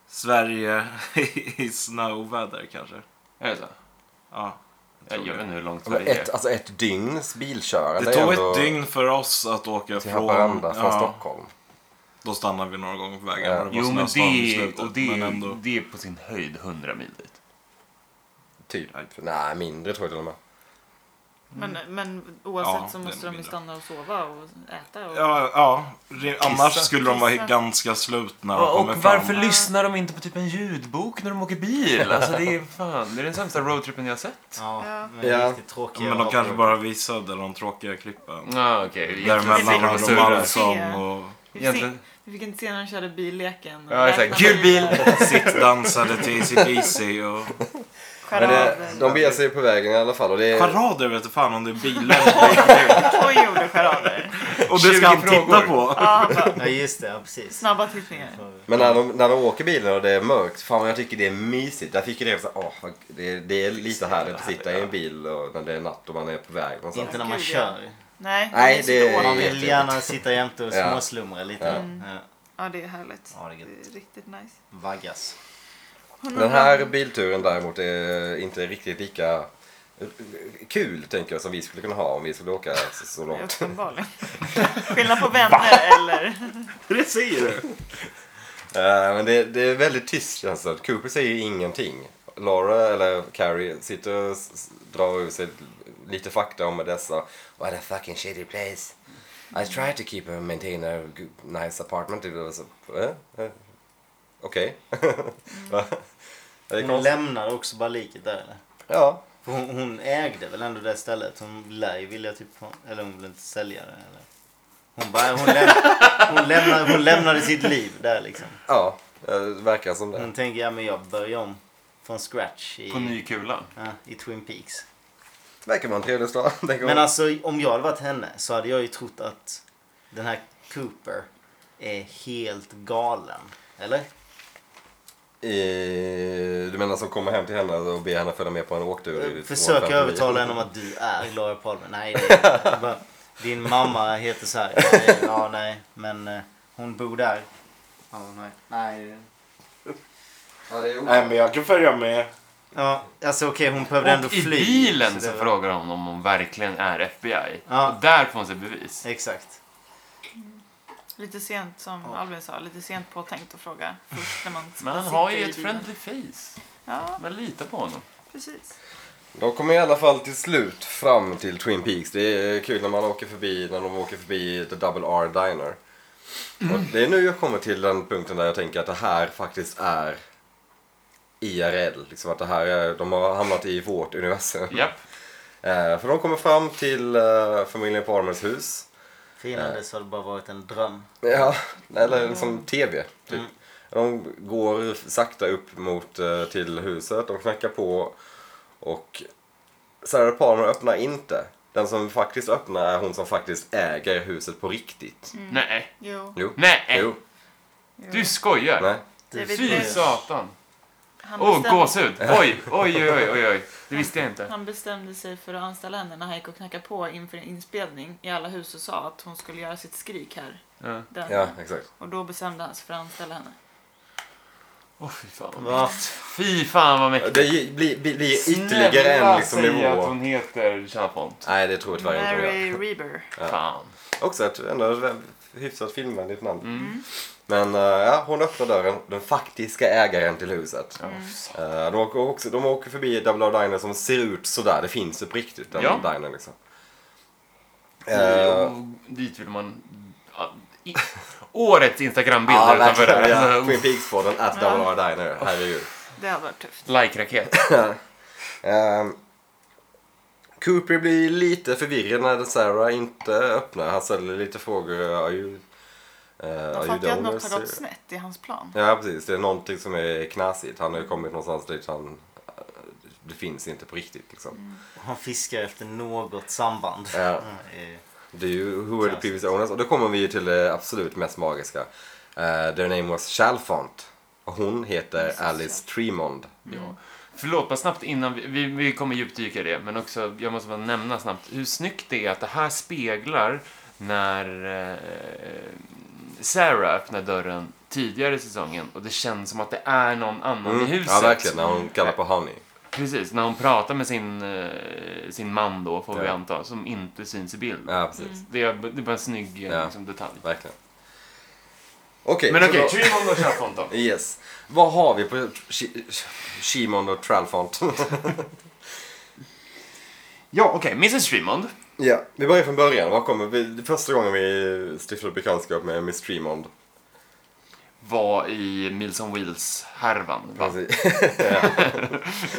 [SPEAKER 5] Sverige i snöoväder kanske.
[SPEAKER 2] Är det så?
[SPEAKER 5] Ja.
[SPEAKER 2] Jag, jag vet inte hur långt
[SPEAKER 1] Ja, men
[SPEAKER 2] Sverige
[SPEAKER 1] ett,
[SPEAKER 2] är.
[SPEAKER 1] alltså ett dygns bilkörande
[SPEAKER 5] Det
[SPEAKER 1] är
[SPEAKER 5] tog
[SPEAKER 1] ändå
[SPEAKER 5] ett dygn för oss att åka
[SPEAKER 1] till
[SPEAKER 5] från...
[SPEAKER 1] Haparanda från
[SPEAKER 5] ja,
[SPEAKER 1] Stockholm.
[SPEAKER 5] Då stannade vi några gånger på
[SPEAKER 1] Ja.
[SPEAKER 5] vägen. när det var
[SPEAKER 2] Jo, men
[SPEAKER 5] snöstorm i
[SPEAKER 2] det,
[SPEAKER 5] slutet,
[SPEAKER 2] och det,
[SPEAKER 5] men
[SPEAKER 2] är,
[SPEAKER 5] ändå.
[SPEAKER 2] det är på sin höjd 100 mil dit.
[SPEAKER 1] Typ. Nej, mindre tror jag till och med.
[SPEAKER 3] Men, men oavsett
[SPEAKER 5] Ja,
[SPEAKER 3] så
[SPEAKER 5] det är
[SPEAKER 3] måste de ju
[SPEAKER 5] mindre.
[SPEAKER 3] stanna och sova och äta. Och...
[SPEAKER 5] Ja, ja. Re- annars skulle de vara
[SPEAKER 3] Kissa.
[SPEAKER 5] ganska slut när de
[SPEAKER 2] Och
[SPEAKER 5] kommer
[SPEAKER 2] varför
[SPEAKER 5] fram.
[SPEAKER 2] lyssnar de inte på typ en ljudbok när de åker bil? Alltså det är fan, det är den sämsta roadtrippen jag har sett.
[SPEAKER 4] Ja,
[SPEAKER 3] Ja.
[SPEAKER 4] men
[SPEAKER 1] Ja.
[SPEAKER 4] riktigt tråkiga
[SPEAKER 5] Men de kanske
[SPEAKER 4] avgångar.
[SPEAKER 5] bara visade de tråkiga klippen.
[SPEAKER 2] Ja, ah, okej.
[SPEAKER 5] Däremellan
[SPEAKER 3] det
[SPEAKER 5] har
[SPEAKER 3] är
[SPEAKER 5] de
[SPEAKER 3] surrar.
[SPEAKER 5] allsång
[SPEAKER 3] Vi,
[SPEAKER 5] och
[SPEAKER 3] fick se,
[SPEAKER 2] Egentligen-
[SPEAKER 3] vi fick inte se när de körde billeken.
[SPEAKER 2] Ja, exakt.
[SPEAKER 3] Räkna
[SPEAKER 2] Gul bil!
[SPEAKER 5] dansade till ACDC och...
[SPEAKER 1] Men det,
[SPEAKER 3] Charader.
[SPEAKER 1] de beger sig på vägen i alla fall. Och det
[SPEAKER 5] Eh,
[SPEAKER 1] är,
[SPEAKER 5] Charader vet du fan om det är bilar.
[SPEAKER 3] Oj, gjorde charader.
[SPEAKER 5] Och det
[SPEAKER 2] 20
[SPEAKER 5] ska han titta
[SPEAKER 2] frågor.
[SPEAKER 5] på.
[SPEAKER 3] Ja, han bara,
[SPEAKER 4] Ja, just det. Ja, precis.
[SPEAKER 3] snabba tittningar.
[SPEAKER 1] men när de, när de åker bilen och det är mörkt, fan vad jag tycker det är mysigt. Jag tycker det är, så, åh, vad- det, det är lite härligt att sitta i en bil och, när det är natt och man är på väg någonstans.
[SPEAKER 4] Inte när man
[SPEAKER 3] Gud, ja.
[SPEAKER 4] kör.
[SPEAKER 3] Nej,
[SPEAKER 1] Nej,
[SPEAKER 3] så
[SPEAKER 1] det-
[SPEAKER 3] dåligt.
[SPEAKER 4] Man vill
[SPEAKER 1] jättejobbigt.
[SPEAKER 4] gärna sitta jämte och
[SPEAKER 1] Ja.
[SPEAKER 4] småslumra lite. Eh,
[SPEAKER 1] Ja.
[SPEAKER 4] Ja.
[SPEAKER 3] Ja, det är härligt.
[SPEAKER 4] Ja, det är
[SPEAKER 3] det
[SPEAKER 4] gött.
[SPEAKER 3] är riktigt nice.
[SPEAKER 4] Vaggas.
[SPEAKER 1] Den här bilturen däremot är inte riktigt lika kul tänker jag som vi skulle kunna ha om vi skulle åka så, så långt.
[SPEAKER 3] Uppenbarligen. Skillnad på vänner eller...
[SPEAKER 5] Det säger du.
[SPEAKER 1] Eh, men det, det är väldigt tyst känns det. Cooper säger ingenting. Laura, eller Carrie, sitter och s- s- drar ur sig lite fakta om dessa. What a fucking shitty place. I tried to keep a maintain a g- nice apartment. It was a- eh, eh, Okej. Va? Det är
[SPEAKER 4] Hon
[SPEAKER 1] konstigt.
[SPEAKER 4] lämnar också bara liket där eller?
[SPEAKER 1] Ja.
[SPEAKER 4] För Hon, hon ägde väl ändå det stället? Hon lär ju vilja typ... Eller hon vill inte sälja det eller? Hon, bara, hon, läm, hon, lämnar, hon lämnade sitt liv där liksom.
[SPEAKER 1] ja, eh, det verkar som det.
[SPEAKER 4] Hon tänker ja men jag börjar om från scratch
[SPEAKER 2] På
[SPEAKER 4] i,
[SPEAKER 2] ny kula.
[SPEAKER 4] ja, i Twin Peaks.
[SPEAKER 1] Det verkar vara en trevlig stad. tänker
[SPEAKER 4] Men
[SPEAKER 1] man.
[SPEAKER 4] alltså om jag hade varit henne så hade jag ju trott att den här Cooper är helt galen. Eller?
[SPEAKER 1] Eh, Du menar som kommer hem till henne och ber henne följa med på en åktur? i
[SPEAKER 4] Eh, Försök
[SPEAKER 1] 250
[SPEAKER 4] övertala henne om att du är Laura Palmer. Nej, det är, bara, din mamma heter så här. Ja, det- Ja, nej, men eh, hon bor där. Ja, nej. nej.
[SPEAKER 1] Ja, det är oklart.
[SPEAKER 5] Nej, men jag kan följa med.
[SPEAKER 4] Ja, alltså okej, hon behövde ändå
[SPEAKER 2] Och i
[SPEAKER 4] fly.
[SPEAKER 2] bilen så
[SPEAKER 4] det var-
[SPEAKER 2] frågar hon om hon verkligen är FBI.
[SPEAKER 4] Ja.
[SPEAKER 2] Och där får hon sig bevis.
[SPEAKER 4] Exakt.
[SPEAKER 3] Lite sent som Albin sa, lite sent påtänkt att fråga först när man
[SPEAKER 2] Men han
[SPEAKER 3] sitter
[SPEAKER 2] har ju
[SPEAKER 3] i
[SPEAKER 2] ett
[SPEAKER 3] bilen.
[SPEAKER 2] friendly face.
[SPEAKER 3] Ja,
[SPEAKER 2] Man litar på honom.
[SPEAKER 3] precis.
[SPEAKER 1] De kommer i alla fall till slut fram till Twin Peaks. Det är kul när man åker förbi, när de åker förbi The Double R Diner. Och det är nu jag kommer till den punkten där jag tänker att det här faktiskt är IRL. Liksom att det här är, de har hamnat i vårt universum.
[SPEAKER 2] Japp.
[SPEAKER 1] Eh, för de kommer fram till eh, familjen Palmers hus.
[SPEAKER 4] För innan dess har det bara varit en dröm.
[SPEAKER 1] Ja, eller som tv.
[SPEAKER 2] Mm.
[SPEAKER 1] Typ. De går sakta upp mot eh, till huset, de knackar på och Sarah Palmer öppnar inte. Den som faktiskt öppnar är hon som faktiskt äger huset på riktigt.
[SPEAKER 2] Nej.
[SPEAKER 3] Jo.
[SPEAKER 1] Jo.
[SPEAKER 2] Nej.
[SPEAKER 1] Jo.
[SPEAKER 3] jo.
[SPEAKER 2] Du skojar.
[SPEAKER 1] Nej.
[SPEAKER 4] Du-
[SPEAKER 2] Fy
[SPEAKER 3] David-
[SPEAKER 2] satan.
[SPEAKER 3] Han
[SPEAKER 2] Åh,
[SPEAKER 3] bestämde-
[SPEAKER 2] gåshud. Oj, oj, oj, oj, oj. Det visste jag inte.
[SPEAKER 3] Han bestämde sig för att anställa henne när han gick och knackade på inför en inspelning i alla hus och sa att hon skulle göra sitt skrik här.
[SPEAKER 2] Ja.
[SPEAKER 3] Den.
[SPEAKER 1] Ja, exakt.
[SPEAKER 3] Och då bestämde han sig för att anställa henne.
[SPEAKER 2] Åh, fy fan.
[SPEAKER 4] Va?
[SPEAKER 2] Fy fan vad mäktigt.
[SPEAKER 1] Det gi- blir, blir, blir ytterligare en liksom,
[SPEAKER 2] Snälla säg
[SPEAKER 1] nivå.
[SPEAKER 2] att hon heter Chalfont.
[SPEAKER 1] Nej, det tror jag tyvärr inte hon gör.
[SPEAKER 3] Mary Reber.
[SPEAKER 1] Ja.
[SPEAKER 2] Fan.
[SPEAKER 1] Också ett ändå ett hyfsat filmvänligt namn.
[SPEAKER 2] Mm.
[SPEAKER 1] Men eh, ja, hon öppnar dörren, den faktiska ägaren till huset.
[SPEAKER 2] Ja, fan.
[SPEAKER 1] Eh, de, åker också, de åker förbi Double R Diner som ser ut sådär, det finns ju på riktigt den
[SPEAKER 2] Ja.
[SPEAKER 1] dinern liksom.
[SPEAKER 2] Och
[SPEAKER 1] Eh,
[SPEAKER 2] Dit vill man... ja, i- Årets Instagram-bild
[SPEAKER 1] ja,
[SPEAKER 2] här utanför.
[SPEAKER 1] verkligen, ja.
[SPEAKER 2] Alltså,
[SPEAKER 1] Twin Peaks-podden at Double R Diner, herregud.
[SPEAKER 3] Det hade varit tufft.
[SPEAKER 2] Like-raket.
[SPEAKER 1] Ehm, Cooper blir lite förvirrad när Sarah inte öppnar. Han ställer lite frågor. Are you, uh,
[SPEAKER 3] Man
[SPEAKER 1] are you
[SPEAKER 3] fattar ju att något
[SPEAKER 1] donors?
[SPEAKER 3] har gått snett i hans plan.
[SPEAKER 1] Ja, precis. Det är någonting som är knasigt. Han har ju kommit någonstans dit han... eh, Det finns inte på riktigt liksom.
[SPEAKER 3] Mm.
[SPEAKER 4] Han fiskar efter något samband.
[SPEAKER 1] Ja.
[SPEAKER 4] Eh,
[SPEAKER 1] Det är ju Who are the
[SPEAKER 4] Knasigt.
[SPEAKER 1] previous owners? Och då kommer vi ju till det absolut mest magiska. Eh, their name was Chalfont. Och hon heter Alice Tremond.
[SPEAKER 2] Ja. Förlåt, bara snabbt innan vi, vi, vi kommer djupdyka i det, men också, jag måste bara nämna snabbt hur snyggt det är att det här speglar när eh, Sarah öppnar dörren tidigare i säsongen och det känns som att det är någon annan i huset.
[SPEAKER 1] Mm. Ja, verkligen. När hon kallar på Honey.
[SPEAKER 2] Precis, när hon pratar med sin, eh, sin man då, får vi
[SPEAKER 1] Ja.
[SPEAKER 2] anta, som inte syns i bild.
[SPEAKER 1] Ja, precis.
[SPEAKER 2] Det, är, det är bara en snygg eh,
[SPEAKER 1] Ja.
[SPEAKER 2] liksom, detalj.
[SPEAKER 1] Verkligen. Okej,
[SPEAKER 2] Men
[SPEAKER 1] så
[SPEAKER 2] okej,
[SPEAKER 1] då-
[SPEAKER 2] Tremond och Chaffont då.
[SPEAKER 1] Yes. Vad har vi på Shimon och Tralfont?
[SPEAKER 2] Ja, okej, Mrs Tremond.
[SPEAKER 1] ja, vi börjar från början. Var kommer vi? Det är första gången vi stiftade bekantskap med Miss Tremond.
[SPEAKER 2] var i Meals on Wheels-härvan. va?
[SPEAKER 1] Precis. Ja.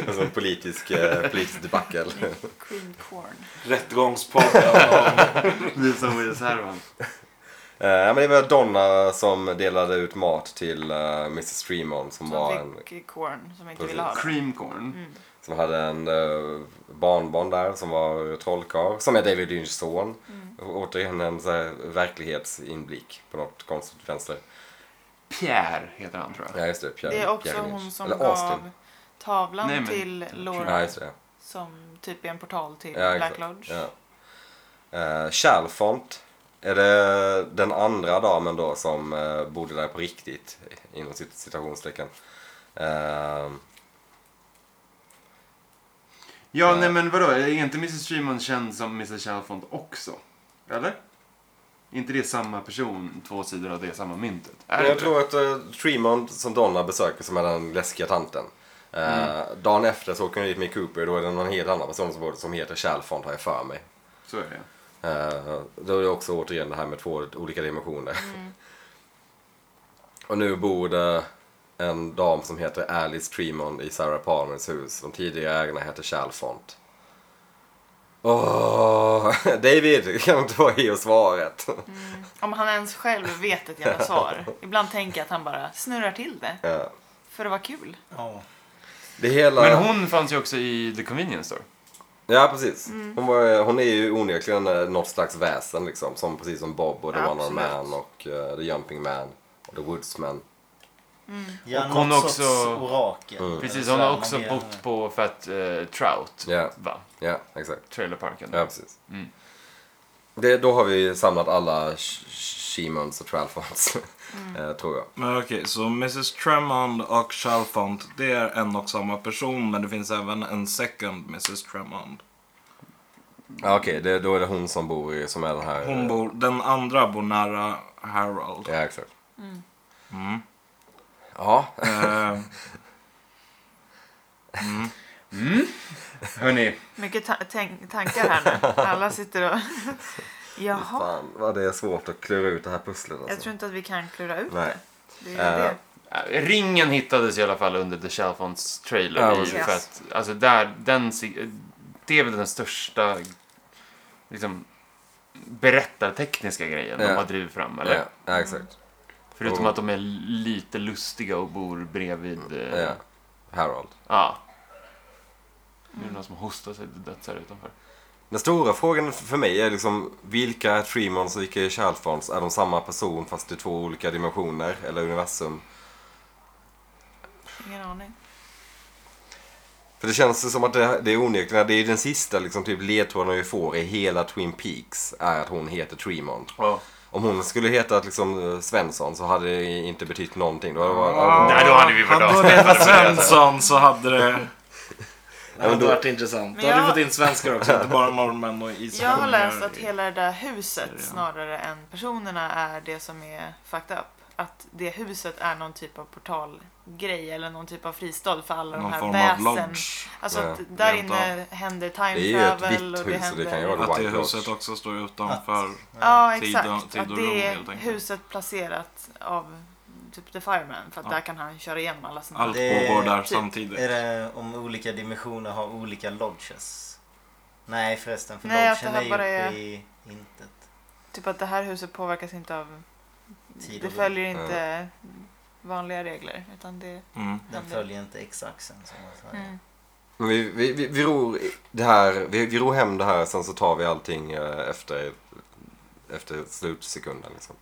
[SPEAKER 1] alltså en politisk, eh, politisk debacle.
[SPEAKER 3] Queen Corn.
[SPEAKER 5] Rättegångspodden.
[SPEAKER 2] Meals on Wheels-härvan.
[SPEAKER 1] Eh, men det var Donna som delade ut mat till eh, Mrs Tremond som, var en,
[SPEAKER 3] Som fick Corn som inte ville ha
[SPEAKER 1] Precis.
[SPEAKER 3] det.
[SPEAKER 2] Cream corn.
[SPEAKER 1] som hade en eh, barnbarn där som var trollkarl, som är David Lynchs son.
[SPEAKER 3] Mm.
[SPEAKER 1] Återigen en så här, verklighetsinblick på något konstigt vänster.
[SPEAKER 2] Pierre heter han tror jag.
[SPEAKER 1] Ja, just det. Pierre,
[SPEAKER 3] Det är också
[SPEAKER 1] Pierre Lynch.
[SPEAKER 3] hon som
[SPEAKER 1] Eller Austin.
[SPEAKER 3] gav tavlan
[SPEAKER 2] Nej, men-
[SPEAKER 3] till
[SPEAKER 1] Ja,
[SPEAKER 3] Laura
[SPEAKER 1] just det.
[SPEAKER 3] som typ är en portal till
[SPEAKER 1] Ja,
[SPEAKER 3] Black
[SPEAKER 1] exakt.
[SPEAKER 3] Lodge.
[SPEAKER 1] Ja. Eh, Chalfont är det den andra damen då som eh, bodde där på riktigt, inom cit- citationstecken. Eh,
[SPEAKER 2] Ja, nej men vadå, är inte Mrs Tremond känd som Mrs Chalfont också? Eller? Är inte det samma person, två sidor av det samma myntet? Är det
[SPEAKER 1] jag
[SPEAKER 2] det?
[SPEAKER 1] tror att eh, Tremont som Donna besöker som är den läskiga tanten. Eh, Dagen efter så åker hon dit med Cooper, då är det någon helt annan person som, bor- som heter Chalfont har jag för mig.
[SPEAKER 2] Så är det.
[SPEAKER 1] Eh, Då är det också återigen det här med två olika dimensioner. Och nu bor det en dam som heter Alice Tremond i Sarah Palmers hus. De tidigare ägarna hette Chalfont. Åh, David, kan du inte vara i och svaret?
[SPEAKER 3] Om han ens själv vet ett jävla svar. Ibland tänker jag att han bara snurrar till det.
[SPEAKER 1] Ja.
[SPEAKER 3] För att vara kul.
[SPEAKER 4] ja.
[SPEAKER 1] Det hela...
[SPEAKER 2] Men hon fanns ju också i The Convenience Store.
[SPEAKER 1] Ja, precis.
[SPEAKER 3] Mm.
[SPEAKER 1] Hon, var, hon är ju onekligen eh, något slags väsen liksom. Som, precis som Bob och The
[SPEAKER 3] Ja,
[SPEAKER 1] One-Man
[SPEAKER 3] absolut.
[SPEAKER 1] Man och eh, The Jumping Man och The Woodsman.
[SPEAKER 4] Ja,
[SPEAKER 2] Och hon
[SPEAKER 4] något
[SPEAKER 2] också-
[SPEAKER 4] sorts orakel.
[SPEAKER 2] Precis,
[SPEAKER 4] Så
[SPEAKER 2] hon
[SPEAKER 4] här,
[SPEAKER 2] har
[SPEAKER 4] man
[SPEAKER 2] också
[SPEAKER 4] ber-
[SPEAKER 2] bott på för att eh, Trout,
[SPEAKER 1] Ja.
[SPEAKER 2] va?
[SPEAKER 1] Ja, exakt.
[SPEAKER 2] Trailerparken.
[SPEAKER 1] Ja, precis.
[SPEAKER 2] Mm.
[SPEAKER 1] Det, då har vi samlat alla Shemons och Tralfons,
[SPEAKER 3] Mm.
[SPEAKER 1] eh, tror jag.
[SPEAKER 5] Men okej, så Mrs Tremond och Chalfont, det är en och samma person men det finns även en second Mrs Tremond.
[SPEAKER 1] Ja, Okej, det- då är det hon som bor i, som är den här... eh,
[SPEAKER 5] Hon bor, den andra bor nära Harold.
[SPEAKER 1] Ja, exakt.
[SPEAKER 5] Mm.
[SPEAKER 1] Ja,
[SPEAKER 5] Eh,
[SPEAKER 2] Hörni,
[SPEAKER 3] Mycket ta- tänk- tankar här nu. Alla sitter och... Jaha.
[SPEAKER 1] fan vad det är svårt att klura ut det här pusslet alltså.
[SPEAKER 3] Jag tror inte att vi kan klura ut
[SPEAKER 1] Nej.
[SPEAKER 3] det. är ju
[SPEAKER 1] Eh,
[SPEAKER 3] det.
[SPEAKER 2] Ja, Ringen hittades i alla fall under The Chalfonts trailer.
[SPEAKER 1] Ja,
[SPEAKER 2] i,
[SPEAKER 1] precis.
[SPEAKER 2] för att, alltså där, den, se- det är väl den största liksom, berättartekniska grejen de
[SPEAKER 1] Ja.
[SPEAKER 2] har drivit fram. Eller?
[SPEAKER 1] Ja, ja, exakt.
[SPEAKER 2] Förutom
[SPEAKER 1] Och-
[SPEAKER 2] att de är lite lustiga och bor bredvid... eh,
[SPEAKER 1] Ja. Harold.
[SPEAKER 2] ja. Nu är det någon som hostar sig till döds här utanför.
[SPEAKER 1] Den stora frågan för mig är liksom vilka är Tremons och vilka är Chalfons? Är de samma person fast i två olika dimensioner eller universum?
[SPEAKER 3] Ingen aning.
[SPEAKER 1] För det känns ju som att det, det är onekligen, det är den sista liksom, typ ledtråden vi får i hela Twin Peaks är att hon heter Tremont. Om hon skulle heta liksom eh, Svensson så hade det inte betytt någonting. Då hade det varit,
[SPEAKER 2] Nej, då hade vi varit
[SPEAKER 5] Hade hon hetat Svensson så hade det...
[SPEAKER 4] Det hade varit intressant.
[SPEAKER 3] Men
[SPEAKER 5] Då hade vi
[SPEAKER 3] jag-
[SPEAKER 5] fått in svenskar också, inte bara norrmän och
[SPEAKER 3] Jag har
[SPEAKER 5] islänningar.
[SPEAKER 3] läst att hela det där huset snarare än personerna är det som är fucked up. Att det huset är någon typ av portalgrej eller någon typ av fristad för alla
[SPEAKER 5] Någon
[SPEAKER 3] de
[SPEAKER 5] form
[SPEAKER 3] här
[SPEAKER 5] av
[SPEAKER 3] väsen.
[SPEAKER 5] lodge.
[SPEAKER 3] Alltså
[SPEAKER 1] Ja,
[SPEAKER 3] att där
[SPEAKER 5] rent
[SPEAKER 3] inne händer time
[SPEAKER 1] Det är ju ett
[SPEAKER 3] travel
[SPEAKER 1] vitt
[SPEAKER 3] och det
[SPEAKER 1] hus, så det
[SPEAKER 3] händer...
[SPEAKER 1] kan ju vara-
[SPEAKER 5] Att det
[SPEAKER 1] White Lodge.
[SPEAKER 5] huset också står utanför.
[SPEAKER 3] Ja,
[SPEAKER 5] Tid
[SPEAKER 3] exakt.
[SPEAKER 5] och- tid
[SPEAKER 3] att
[SPEAKER 5] och
[SPEAKER 3] det
[SPEAKER 5] rum, helt
[SPEAKER 3] är
[SPEAKER 5] enkelt.
[SPEAKER 3] huset placerat av typ The Fireman för att
[SPEAKER 5] Ja.
[SPEAKER 3] där kan han köra igenom alla sina...
[SPEAKER 5] Allt
[SPEAKER 4] Det-
[SPEAKER 5] pågår där
[SPEAKER 3] typ.
[SPEAKER 5] samtidigt.
[SPEAKER 4] Är det om olika dimensioner har olika lodges? Nej förresten, för
[SPEAKER 3] Nej, att
[SPEAKER 4] lodgen
[SPEAKER 3] det
[SPEAKER 4] är
[SPEAKER 3] här
[SPEAKER 4] ju
[SPEAKER 3] bara
[SPEAKER 4] uppe
[SPEAKER 3] är-
[SPEAKER 4] i intet.
[SPEAKER 3] Typ att det här huset påverkas inte av...
[SPEAKER 4] Tid
[SPEAKER 3] Det
[SPEAKER 4] och rum.
[SPEAKER 3] följer inte vanliga regler utan det...
[SPEAKER 5] Mm.
[SPEAKER 4] Den följer inte x-axeln som man säger.
[SPEAKER 3] Mm.
[SPEAKER 1] Men vi, vi, vi, vi, ror det här, vi, vi ror hem det här sen så tar vi allting eh, efter, efter slutsekunden. Liksom.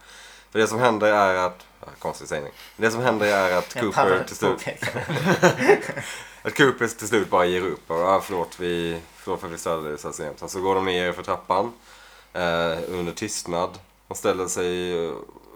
[SPEAKER 1] För det som händer är att, ja, konstig sägning. Det som händer är att
[SPEAKER 4] Jag pallar
[SPEAKER 1] Cooper
[SPEAKER 4] inte
[SPEAKER 1] till slut
[SPEAKER 4] påpeka det.
[SPEAKER 1] Att Cooper till slut bara ger upp. Och, ah, förlåt, vi, förlåt för att vi ställde dig så här sent. Sen så går de ner för trappan eh, under tystnad. De ställer sig eh,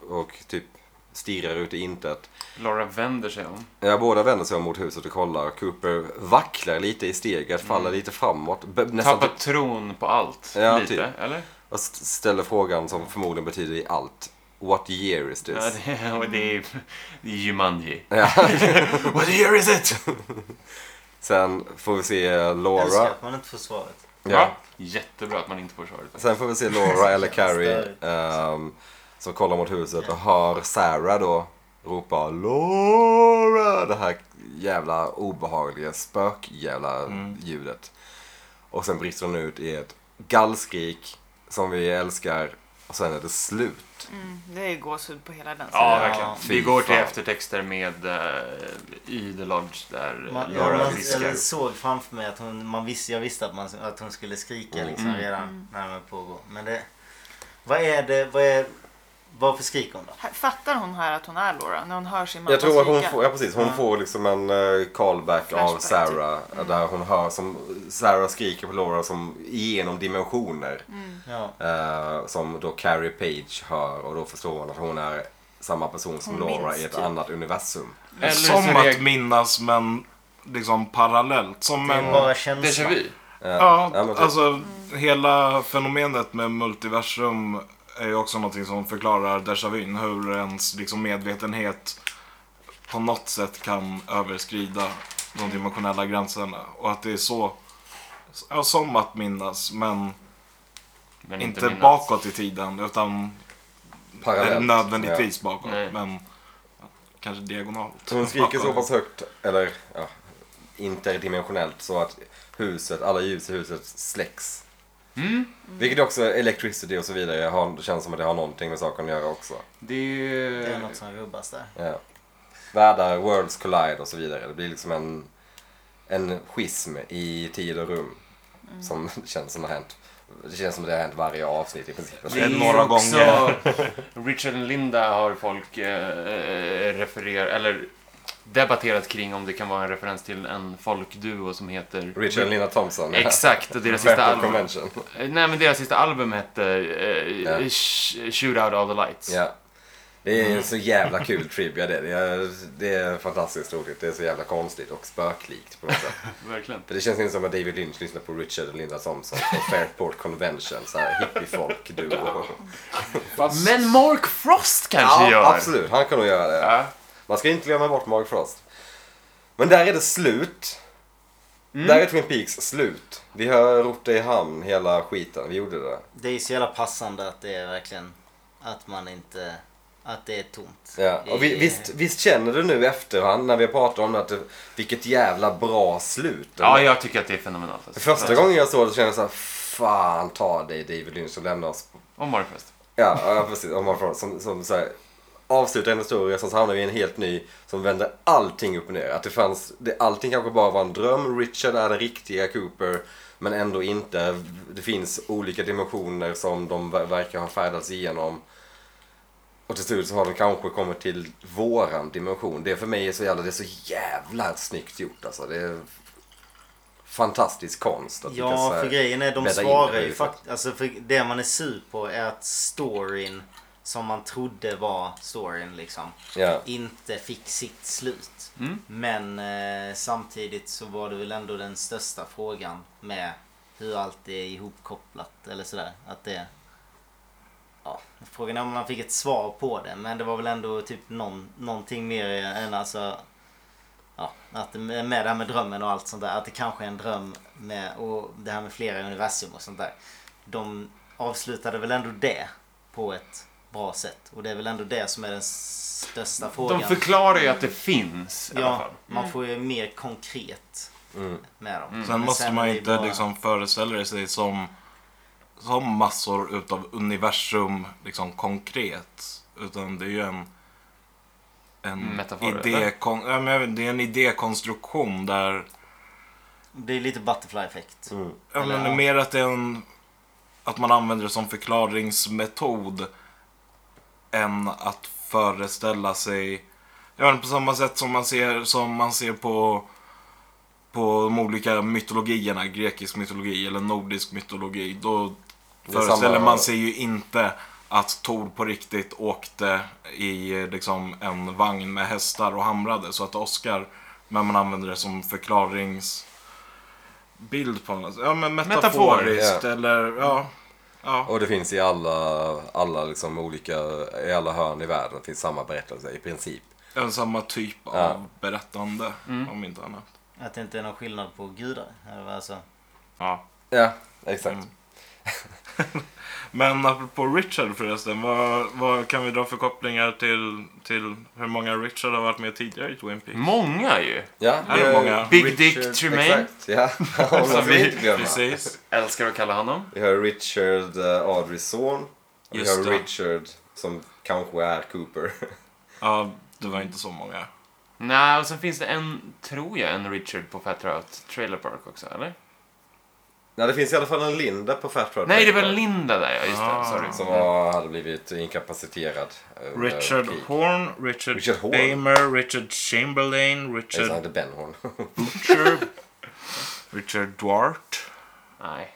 [SPEAKER 1] och typ stirrar ut i intet.
[SPEAKER 2] Laura vänder sig om.
[SPEAKER 1] Ja, båda vänder sig om mot huset och kollar. Cooper vacklar lite i steget, faller lite framåt. b- Nästan
[SPEAKER 2] Tappar
[SPEAKER 1] typ,
[SPEAKER 2] tron på allt.
[SPEAKER 1] Ja,
[SPEAKER 2] lite,
[SPEAKER 1] typ.
[SPEAKER 2] eller?
[SPEAKER 1] och st- ställer frågan som förmodligen betyder i allt. What year is
[SPEAKER 2] Ja,
[SPEAKER 1] this?
[SPEAKER 2] det, är- och det är, det är Jumanji.
[SPEAKER 1] What year is it? Sen får vi se
[SPEAKER 4] Jag älskar
[SPEAKER 1] Laura.
[SPEAKER 4] att man inte får svaret.
[SPEAKER 2] Va? Jättebra att man inte får svaret.
[SPEAKER 1] Sen får vi se Laura eller Carrie
[SPEAKER 4] Störigt.
[SPEAKER 1] ehm, som kollar mot huset och hör Sarah då ropa Laura! Det här jävla obehagliga spökjävla ljudet. Och sen brister hon ut i ett gallskrik som vi älskar och sen är det slut.
[SPEAKER 3] Mm, det är gåshud på hela den
[SPEAKER 2] Ja,
[SPEAKER 4] Ja,
[SPEAKER 2] verkligen.
[SPEAKER 1] fy
[SPEAKER 2] Vi går till
[SPEAKER 1] fan.
[SPEAKER 2] eftertexter med eh, i The Lodge där eh,
[SPEAKER 4] Man,
[SPEAKER 2] Laura
[SPEAKER 4] man,
[SPEAKER 2] viskar.
[SPEAKER 4] jag såg framför mig att hon, man visste, jag visste att, man, att hon skulle
[SPEAKER 1] Mm.
[SPEAKER 4] skrika liksom redan
[SPEAKER 3] Mm.
[SPEAKER 4] när den var på att gå. Men det, vad är det, vad är, varför skriker hon då?
[SPEAKER 3] Här- Fattar hon här att hon är Laura när hon hör sin mamma
[SPEAKER 1] Jag tror att hon
[SPEAKER 3] skrika?
[SPEAKER 1] får, ja, precis, hon
[SPEAKER 4] Ja.
[SPEAKER 1] får liksom en eh, callback av
[SPEAKER 3] Flashback,
[SPEAKER 1] Sarah där hon hör som Sarah skriker på Laura som genom dimensioner.
[SPEAKER 3] Mm.
[SPEAKER 4] Ja.
[SPEAKER 1] Eh, som då Carrie Page hör och då förstår hon att hon är samma person som
[SPEAKER 3] Hon
[SPEAKER 1] Laura
[SPEAKER 3] minns
[SPEAKER 1] i ett
[SPEAKER 3] typ.
[SPEAKER 1] annat universum.
[SPEAKER 2] Eller så
[SPEAKER 5] Som att
[SPEAKER 2] reagerar...
[SPEAKER 5] minnas men liksom parallellt. Som
[SPEAKER 4] Det
[SPEAKER 5] en...
[SPEAKER 4] är bara
[SPEAKER 2] Déjà
[SPEAKER 4] känslan.
[SPEAKER 2] vu.
[SPEAKER 1] Ja,
[SPEAKER 5] Ja,
[SPEAKER 1] men typ.
[SPEAKER 5] alltså hela fenomenet med multiversum är ju också någonting som förklarar déjà vu. Hur ens liksom, medvetenhet på något sätt kan överskrida de dimensionella gränserna. Och att det är så, ja, som att minnas, men
[SPEAKER 2] Men
[SPEAKER 5] inte,
[SPEAKER 2] minnas.
[SPEAKER 5] bakåt i tiden utan
[SPEAKER 1] Parallellt.
[SPEAKER 5] nödvändigtvis bakåt.
[SPEAKER 2] Nej.
[SPEAKER 5] Men kanske diagonalt.
[SPEAKER 1] Ja. Hon skriker så
[SPEAKER 5] bakåt.
[SPEAKER 1] pass högt, eller ja, interdimensionellt, så att huset, alla ljus i huset släcks.
[SPEAKER 3] Mm.
[SPEAKER 1] Vilket också electricity och så vidare har, det känns som att det har någonting med saken att göra också.
[SPEAKER 2] Det är ju...
[SPEAKER 4] Det är något som rubbas där.
[SPEAKER 1] Ja. Världar, worlds collide och så vidare. Det blir liksom en, en schism i tid och rum. Som känns som det har hänt. Det känns som det har hänt varje avsnitt i princip.
[SPEAKER 2] Det är ju
[SPEAKER 5] några
[SPEAKER 2] också-
[SPEAKER 5] gånger.
[SPEAKER 2] Richard och Linda har folk eh, refererat, eller debatterat kring om det kan vara en referens till en folkduo som heter...
[SPEAKER 1] Richard och Lina Thompson.
[SPEAKER 2] Exakt, och deras sista
[SPEAKER 1] Breath of
[SPEAKER 2] album.
[SPEAKER 1] Convention.
[SPEAKER 2] Eh, Nej, men deras sista album hette eh,
[SPEAKER 1] Ja.
[SPEAKER 2] Sh- Shoot Out All The Lights.
[SPEAKER 1] Ja. Det
[SPEAKER 2] Mm.
[SPEAKER 1] är så jävla kul trivia det. Det är, det är fantastiskt roligt. Det är så jävla konstigt och spöklikt på något sätt.
[SPEAKER 2] Verkligen.
[SPEAKER 1] För det känns inte som att David Lynch lyssnar på Richard och Linda Thompson på Fairport Convention. Så här hippiefolk-duo.
[SPEAKER 2] Men Mark Frost kanske
[SPEAKER 1] Ja,
[SPEAKER 2] gör.
[SPEAKER 1] absolut. Han kan nog göra det.
[SPEAKER 2] Ja.
[SPEAKER 1] Man ska inte glömma bort Mark Frost. Men där är det slut.
[SPEAKER 2] Mm.
[SPEAKER 1] Där är Twin Peaks slut. Vi har rott det i hamn, hela skiten. Vi gjorde det.
[SPEAKER 4] Det är så jävla passande att det är verkligen att man inte... Att det är tomt.
[SPEAKER 1] Ja. Och vi,
[SPEAKER 4] I-
[SPEAKER 1] visst, visst känner du nu i efterhand när vi pratar om det att det, vilket jävla bra slut.
[SPEAKER 2] Ja, jag tycker att det är fenomenalt. Alltså.
[SPEAKER 1] Första gången jag såg det så kände jag så här, fan ta dig David Lynch och lämna oss.
[SPEAKER 2] Och Mark Frost.
[SPEAKER 1] Ja, ja precis. Om man får, som, som så här, avslutar en historia som så hamnar vi i en helt ny som vänder allting upp och ner. Att det fanns, det, allting kanske bara var en dröm. Richard är den riktiga Cooper men ändå inte. Det finns olika dimensioner som de ver- verkar ha färdats igenom. Och till slut så har de kanske kommit till våran dimension. Det för mig är så jävla, det är så jävla snyggt gjort alltså. Det är fantastisk konst. att lyckas,
[SPEAKER 4] Ja,
[SPEAKER 1] eh,
[SPEAKER 4] för grejen är de
[SPEAKER 1] bädda in
[SPEAKER 4] svarar
[SPEAKER 1] det
[SPEAKER 4] ju
[SPEAKER 1] huset.
[SPEAKER 4] faktiskt... Alltså för det man är sur på är att storyn som man trodde var storyn liksom
[SPEAKER 1] Ja.
[SPEAKER 4] inte fick sitt slut.
[SPEAKER 2] Mm.
[SPEAKER 4] Men eh, samtidigt så var det väl ändå den största frågan med hur allt är ihopkopplat eller sådär. Att det... Ja, frågan är om man fick ett svar på det men det var väl ändå typ någon, någonting mer än alltså... Ja, att det- med det här med drömmen och allt sånt där. Att det kanske är en dröm med, och det här med flera universum och sånt där. De avslutade väl ändå det på ett bra sätt. Och det är väl ändå det som är den största frågan.
[SPEAKER 2] De förklarar ju att det finns i alla
[SPEAKER 4] Ja,
[SPEAKER 2] fall.
[SPEAKER 4] man får ju mer konkret
[SPEAKER 1] Mm.
[SPEAKER 4] med dem.
[SPEAKER 5] Sen
[SPEAKER 4] Men
[SPEAKER 5] måste man
[SPEAKER 4] är
[SPEAKER 5] ju
[SPEAKER 4] det
[SPEAKER 5] inte
[SPEAKER 4] bara-
[SPEAKER 5] liksom föreställa sig som, som massor utav universum liksom konkret. Utan det är ju en, en
[SPEAKER 2] Metafor, eller?
[SPEAKER 5] idé, kon, ja, men jag vet, det är en idékonstruktion där
[SPEAKER 4] Det är lite butterfly-effekt.
[SPEAKER 1] Mm.
[SPEAKER 5] Ja,
[SPEAKER 4] Eller,
[SPEAKER 5] men
[SPEAKER 4] ja.
[SPEAKER 5] mer att det är en... Att man använder det som förklaringsmetod än att föreställa sig... Ja, men på samma sätt som man ser, som man ser på, på de olika mytologierna, grekisk mytologi eller nordisk mytologi. Då
[SPEAKER 1] Det är
[SPEAKER 5] föreställer
[SPEAKER 1] samma-
[SPEAKER 5] man sig ju inte att Tor på riktigt åkte i eh, liksom, en vagn med hästar och hamrade. Så att Oscar, men man använder det som förklarings bild på något. Ja, men
[SPEAKER 2] Metafor,
[SPEAKER 5] metaforiskt
[SPEAKER 1] ja.
[SPEAKER 5] eller ja. ja.
[SPEAKER 1] Och det finns i alla, alla liksom olika, i alla hörn i världen. Det finns samma berättelse i princip.
[SPEAKER 5] En samma typ av berättande om inte annat.
[SPEAKER 4] Att det inte är någon skillnad på gudar. eller vad Alltså,
[SPEAKER 5] Ja.
[SPEAKER 1] Ja, exakt.
[SPEAKER 5] Mm. Men apropå Richard förresten, vad, vad kan vi dra för kopplingar till, till hur många Richard har varit med tidigare i Twin
[SPEAKER 2] Mm.
[SPEAKER 5] Peaks?
[SPEAKER 2] Många ju.
[SPEAKER 1] Ja,
[SPEAKER 5] Här är
[SPEAKER 1] eh,
[SPEAKER 5] många.
[SPEAKER 2] Big Dick Tremaine.
[SPEAKER 1] Exakt, ja. Honom får
[SPEAKER 2] Som vi-
[SPEAKER 1] vi inte glömma.
[SPEAKER 5] Precis.
[SPEAKER 2] Älskar att kalla honom.
[SPEAKER 1] Vi har Richard uh, Audreys son. Och vi
[SPEAKER 5] Just
[SPEAKER 1] har
[SPEAKER 5] det.
[SPEAKER 1] Richard som kanske är Cooper.
[SPEAKER 5] Ja, det var inte så många.
[SPEAKER 2] Nej, och sen finns det en, tror jag, en Richard på Fat Route Trailer Park också, eller?
[SPEAKER 1] Nej, det finns i alla fall en Linda på Fat Rod.
[SPEAKER 2] Nej, det var Linda där, ja. Just det.
[SPEAKER 5] Ah.
[SPEAKER 2] Sorry.
[SPEAKER 1] Som var, hade blivit inkapaciterad. eh, under
[SPEAKER 5] Richard
[SPEAKER 1] krig.
[SPEAKER 5] Horn, Richard,
[SPEAKER 1] Richard Horn.
[SPEAKER 5] Damer, Richard Chamberlain,
[SPEAKER 1] Nej, så
[SPEAKER 5] Richard
[SPEAKER 1] hette Ben Horn.
[SPEAKER 5] Butcher, Richard Duarte.
[SPEAKER 2] Nej.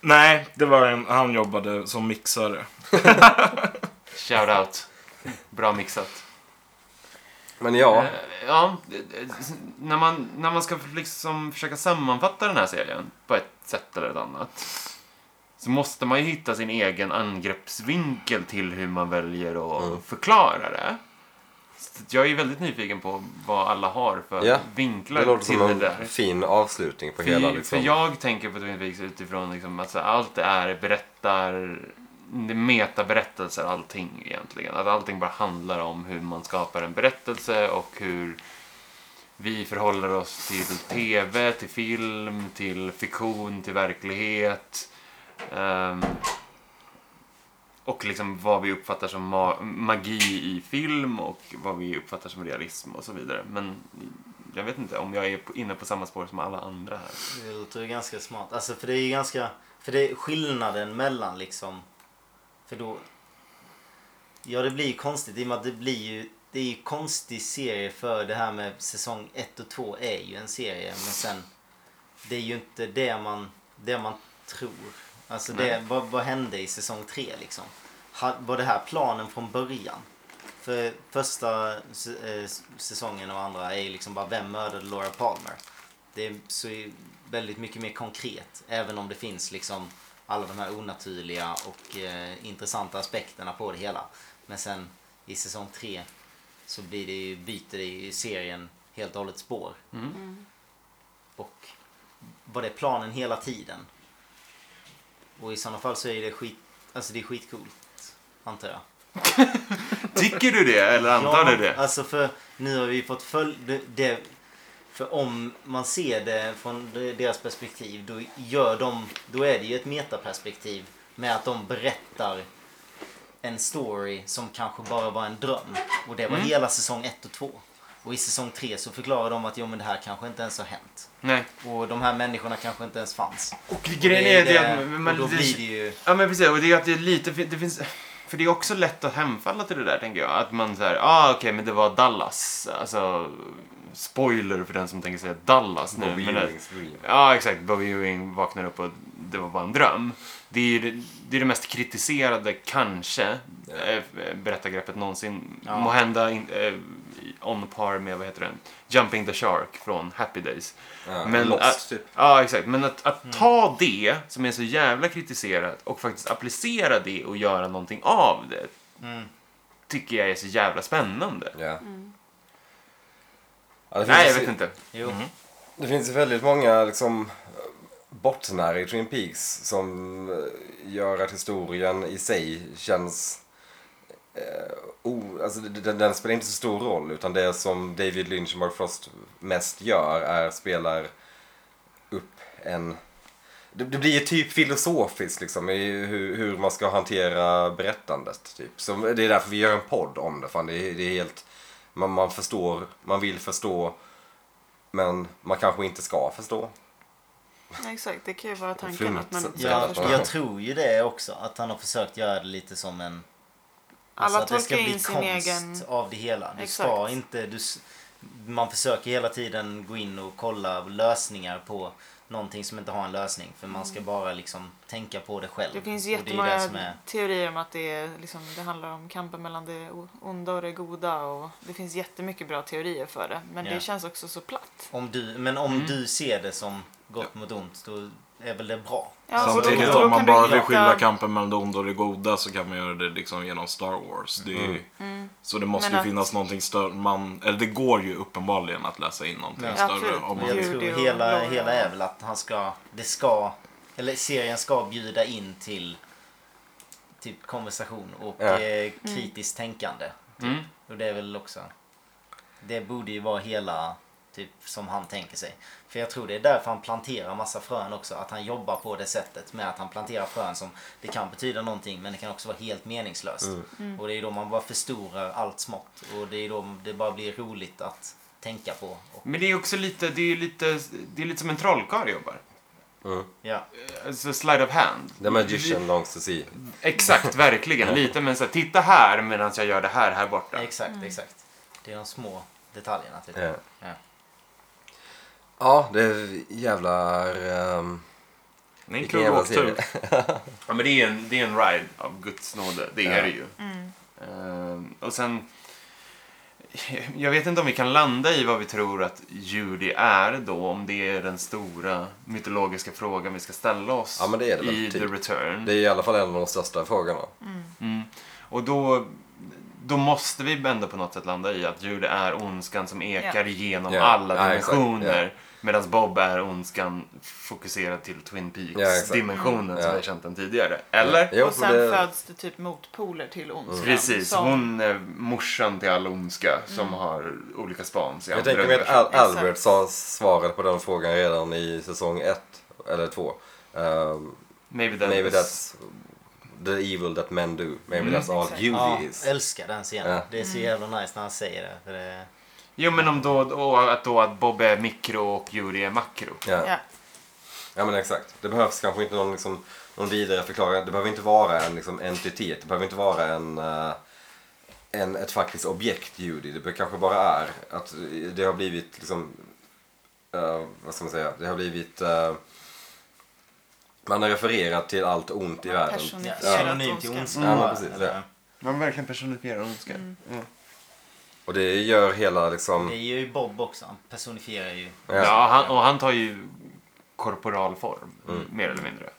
[SPEAKER 5] Nej, det var en, han jobbade som mixare.
[SPEAKER 2] Shout out. Bra mixat.
[SPEAKER 1] Men ja,
[SPEAKER 2] Eh, Ja, eh, när man, när man ska liksom försöka sammanfatta den här serien på ett sätt eller ett annat så måste man ju hitta sin egen angreppsvinkel till hur man väljer att
[SPEAKER 1] Mm.
[SPEAKER 2] förklara det. Så att jag är väldigt nyfiken på vad alla har för
[SPEAKER 1] Ja,
[SPEAKER 2] vinklar
[SPEAKER 1] det låter
[SPEAKER 2] till
[SPEAKER 1] som
[SPEAKER 2] det
[SPEAKER 1] en
[SPEAKER 2] där.
[SPEAKER 1] fin avslutning på
[SPEAKER 2] För,
[SPEAKER 1] hela liksom.
[SPEAKER 2] för jag tänker på Twin Peaks utifrån liksom att så här, allt är berättar, det är metaberättelser allting egentligen. Att allting bara handlar om hur man skapar en berättelse och hur vi förhåller oss till tv, till film, till fiktion, till verklighet. Ehm, och liksom vad vi uppfattar som ma- magi i film och vad vi uppfattar som realism och så vidare. Men jag vet inte om jag är på- inne på samma spår som alla andra här.
[SPEAKER 4] det låter ju ganska smart. Alltså, för det är ju ganska... För det är skillnaden mellan liksom... För då... Ja, det blir ju konstigt i och med att det blir ju... Det är ju konstig serie för det här med säsong 1 och 2 är ju en serie. Men sen... Det är ju inte det man, det man tror. Alltså det, vad, vad hände i säsong 3 liksom? Ha- Var det här planen från början? För första s- eh, s- säsongen och andra är ju liksom bara vem mördade Laura Palmer? Det är så är väldigt mycket mer konkret. Även om det finns liksom alla de här onaturliga och eh, intressanta aspekterna på det hela. Men sen i säsong 3 så blir det ju, byter det ju serien helt och hållet spår. Mm. Och var det planen hela tiden? Och i sådana fall så är det skit, alltså det är skitcoolt. Antar jag.
[SPEAKER 2] Tycker du det eller antar du det?
[SPEAKER 4] Alltså för nu har vi fått följ... det- Det, för om man ser det från de- deras perspektiv då gör de... Då är det ju ett metaperspektiv med att de berättar en story som kanske bara var en dröm. Och det var
[SPEAKER 2] Mm.
[SPEAKER 4] hela säsong 1 och 2. Och i säsong 3 så förklarar de att jo men det här kanske inte ens har hänt.
[SPEAKER 2] Nej.
[SPEAKER 4] Och de här människorna kanske inte ens fanns.
[SPEAKER 2] Och
[SPEAKER 4] Och
[SPEAKER 2] grejen är det
[SPEAKER 4] och
[SPEAKER 2] att man,
[SPEAKER 4] då blir det
[SPEAKER 2] det,
[SPEAKER 4] ju...
[SPEAKER 2] Ja men precis, och det är att det är lite, det finns, för det är också lätt att hemfalla till det där tänker jag. Att man såhär, ah okej men det var Dallas. Alltså, spoiler för den som tänker säga Dallas nu.
[SPEAKER 1] Bobby
[SPEAKER 2] men det-
[SPEAKER 1] Ewings Dream.
[SPEAKER 2] Ja, exakt. Bobby Ewing vaknar upp och det var bara en dröm. Det är ju det, det, är det mest kritiserade, kanske, eh, berättargreppet någonsin.
[SPEAKER 4] Ja.
[SPEAKER 2] Må hända in, eh, on par med, vad heter den? Jumping the Shark från Happy Days.
[SPEAKER 1] Ja,
[SPEAKER 2] Men,
[SPEAKER 1] lost, typ.
[SPEAKER 2] Ja, exakt. Men att, att ta det som är så jävla kritiserat och faktiskt applicera det och göra någonting av det
[SPEAKER 4] Mm.
[SPEAKER 2] tycker jag är så jävla spännande.
[SPEAKER 1] Ja. Ja, det finns
[SPEAKER 2] Nej,
[SPEAKER 1] ju
[SPEAKER 2] jag
[SPEAKER 1] så-
[SPEAKER 2] vet inte.
[SPEAKER 4] Jo.
[SPEAKER 1] Det finns ju väldigt många liksom, bottnar i Twin Peaks som eh, gör att historien i sig känns... Eh, o, alltså, d- d- den, den spelar inte så stor roll utan det som David Lynch och Mark Frost mest gör är spelar upp en... Det, det blir ju typ filosofiskt liksom i hur, hur man ska hantera berättandet. Typ. Så det är därför vi gör en podd om det. Fan, det, är- det är helt... Man, man förstår, man vill förstå men man kanske inte ska förstå.
[SPEAKER 3] Nej, Exakt, det kan ju vara tanken
[SPEAKER 1] Fult
[SPEAKER 3] att man inte
[SPEAKER 1] sätt
[SPEAKER 3] ska
[SPEAKER 1] att
[SPEAKER 4] Jag,
[SPEAKER 1] vara.
[SPEAKER 3] förstå.
[SPEAKER 4] jag tror ju det också, att han har försökt göra det lite som en...
[SPEAKER 3] Alla
[SPEAKER 4] Alltså, att det ska
[SPEAKER 3] tolkar
[SPEAKER 4] bli
[SPEAKER 3] in sin
[SPEAKER 4] konst
[SPEAKER 3] egen...
[SPEAKER 4] av det hela. Du ska
[SPEAKER 3] Exakt.
[SPEAKER 4] inte... Du, s- man försöker hela tiden gå in och kolla lösningar på någonting som inte har en lösning. För man ska bara liksom tänka på det själv.
[SPEAKER 3] Mm. Det finns
[SPEAKER 4] Och är
[SPEAKER 3] jättemånga
[SPEAKER 4] det som är-
[SPEAKER 3] teorier om att det, är, liksom, det handlar om kampen mellan det o- onda och det goda. Och det finns jättemycket bra teorier för det. Men
[SPEAKER 4] Ja.
[SPEAKER 3] det känns också så platt.
[SPEAKER 4] Om du, men om du ser det som gott mot ont, då är väl det bra?
[SPEAKER 3] Ja, så då-
[SPEAKER 5] Samtidigt
[SPEAKER 3] då
[SPEAKER 5] om man
[SPEAKER 3] kan du
[SPEAKER 5] bara vill
[SPEAKER 3] hitta-
[SPEAKER 5] skilja kampen mellan det onda och det goda så kan man göra det liksom genom Star Wars. Det är ju, Så det måste
[SPEAKER 3] Mm. Men
[SPEAKER 5] ju
[SPEAKER 3] att-
[SPEAKER 5] finnas någonting större. Man, eller det går ju uppenbarligen att läsa in någonting
[SPEAKER 4] Ja.
[SPEAKER 5] större.
[SPEAKER 3] Absolut.
[SPEAKER 5] Om
[SPEAKER 4] Men
[SPEAKER 5] man,
[SPEAKER 4] jag
[SPEAKER 3] Judy
[SPEAKER 4] tror
[SPEAKER 3] och
[SPEAKER 4] hela,
[SPEAKER 3] Laura.
[SPEAKER 4] hela är väl att han ska, det ska, eller serien ska bjuda in till typ konversation och
[SPEAKER 1] Ja.
[SPEAKER 4] eh, kritiskt tänkande. typ.
[SPEAKER 2] Mm.
[SPEAKER 4] Och det är väl också, det borde ju vara hela typ som han tänker sig. För jag tror det är därför han planterar massa frön också, att han jobbar på det sättet med att han planterar frön som det kan betyda någonting men det kan också vara helt meningslöst. Och det är då man bara förstorar allt smått och det är då det bara blir roligt att tänka på. Och,
[SPEAKER 2] Men det är också lite, det är ju lite, det är lite som en trollkarl jobbar.
[SPEAKER 4] ja.
[SPEAKER 2] Alltså slide of hand.
[SPEAKER 1] The Magician Longs to See.
[SPEAKER 2] Exakt, verkligen. Lite men så här, titta här medan jag gör det här här borta.
[SPEAKER 4] Exakt, exakt. Det är de små detaljerna. Typ.
[SPEAKER 1] Ja.
[SPEAKER 4] Ja.
[SPEAKER 1] Eh. Ja, det är jävlar... ehm,
[SPEAKER 2] Det är en
[SPEAKER 1] vilken
[SPEAKER 2] kul
[SPEAKER 1] jävla
[SPEAKER 2] åktur.
[SPEAKER 1] serie.
[SPEAKER 2] Ja, men det är en, det är en ride av Guds nåde. Det är
[SPEAKER 1] Ja.
[SPEAKER 2] det ju. Ehm, Mm. och sen... Jag vet inte om vi kan landa i vad vi tror att Judy är då, om det är den stora mytologiska frågan vi ska ställa oss
[SPEAKER 1] Ja, men det är det väl,
[SPEAKER 2] i
[SPEAKER 1] typ.
[SPEAKER 2] The Return.
[SPEAKER 1] Det är i alla fall en av de största frågorna.
[SPEAKER 2] Mm. Och då, då måste vi ändå på något sätt landa i att Jude är ondskan som ekar
[SPEAKER 3] Ja.
[SPEAKER 2] genom
[SPEAKER 1] Ja.
[SPEAKER 2] alla
[SPEAKER 1] Ja, exakt.
[SPEAKER 2] dimensioner. Medan Bob är ondskan fokuserad till Twin
[SPEAKER 1] Ja, exakt.
[SPEAKER 2] Peaks-dimensionen som
[SPEAKER 1] Ja.
[SPEAKER 2] vi har känt den tidigare. Eller?
[SPEAKER 1] Jo,
[SPEAKER 3] och sen
[SPEAKER 1] men det-
[SPEAKER 3] föds det typ motpoler till ondskan.
[SPEAKER 2] Precis,
[SPEAKER 3] som-
[SPEAKER 2] hon är morsan till all ondska som har olika spans i
[SPEAKER 1] Jag
[SPEAKER 2] andra
[SPEAKER 1] tänker mig att Al-
[SPEAKER 2] universum.
[SPEAKER 1] Albert sa svaret på den frågan redan i säsong 1, eller 2.
[SPEAKER 2] Maybe that
[SPEAKER 1] maybe
[SPEAKER 2] was-
[SPEAKER 1] that's the evil that men do. Maybe that's all
[SPEAKER 3] exakt.
[SPEAKER 1] Judy
[SPEAKER 4] Ja,
[SPEAKER 1] is.
[SPEAKER 4] älskar den scenen.
[SPEAKER 1] Ja.
[SPEAKER 4] Det är så jävla nice när han säger det. För det
[SPEAKER 2] Jo, men om då, och att då att Bob är mikro och Judy är makro.
[SPEAKER 1] Ja.
[SPEAKER 3] Ja.
[SPEAKER 1] ja, men exakt. Det behövs kanske inte någon, liksom, någon vidare förklaring. Det behöver inte vara en liksom, entitet. Det behöver inte vara en, eh, en, ett faktiskt objekt, Judy. Det be- kanske bara är att det har blivit liksom... eh, vad ska man säga? Det har blivit... eh, man har refererat till allt ont i världen.
[SPEAKER 4] ja,
[SPEAKER 3] Personifierat
[SPEAKER 4] synonym till
[SPEAKER 3] ondskan.
[SPEAKER 4] ondskan.
[SPEAKER 1] Mm. Ja, men precis,
[SPEAKER 4] Eller-
[SPEAKER 1] ja.
[SPEAKER 2] Man verkligen personifierar ondska.
[SPEAKER 1] Och det gör hela liksom...
[SPEAKER 4] Det är ju Bob också. Han personifierar ju.
[SPEAKER 2] Ja, han, och han tar ju korporal form,
[SPEAKER 1] Mm.
[SPEAKER 2] mer eller mindre.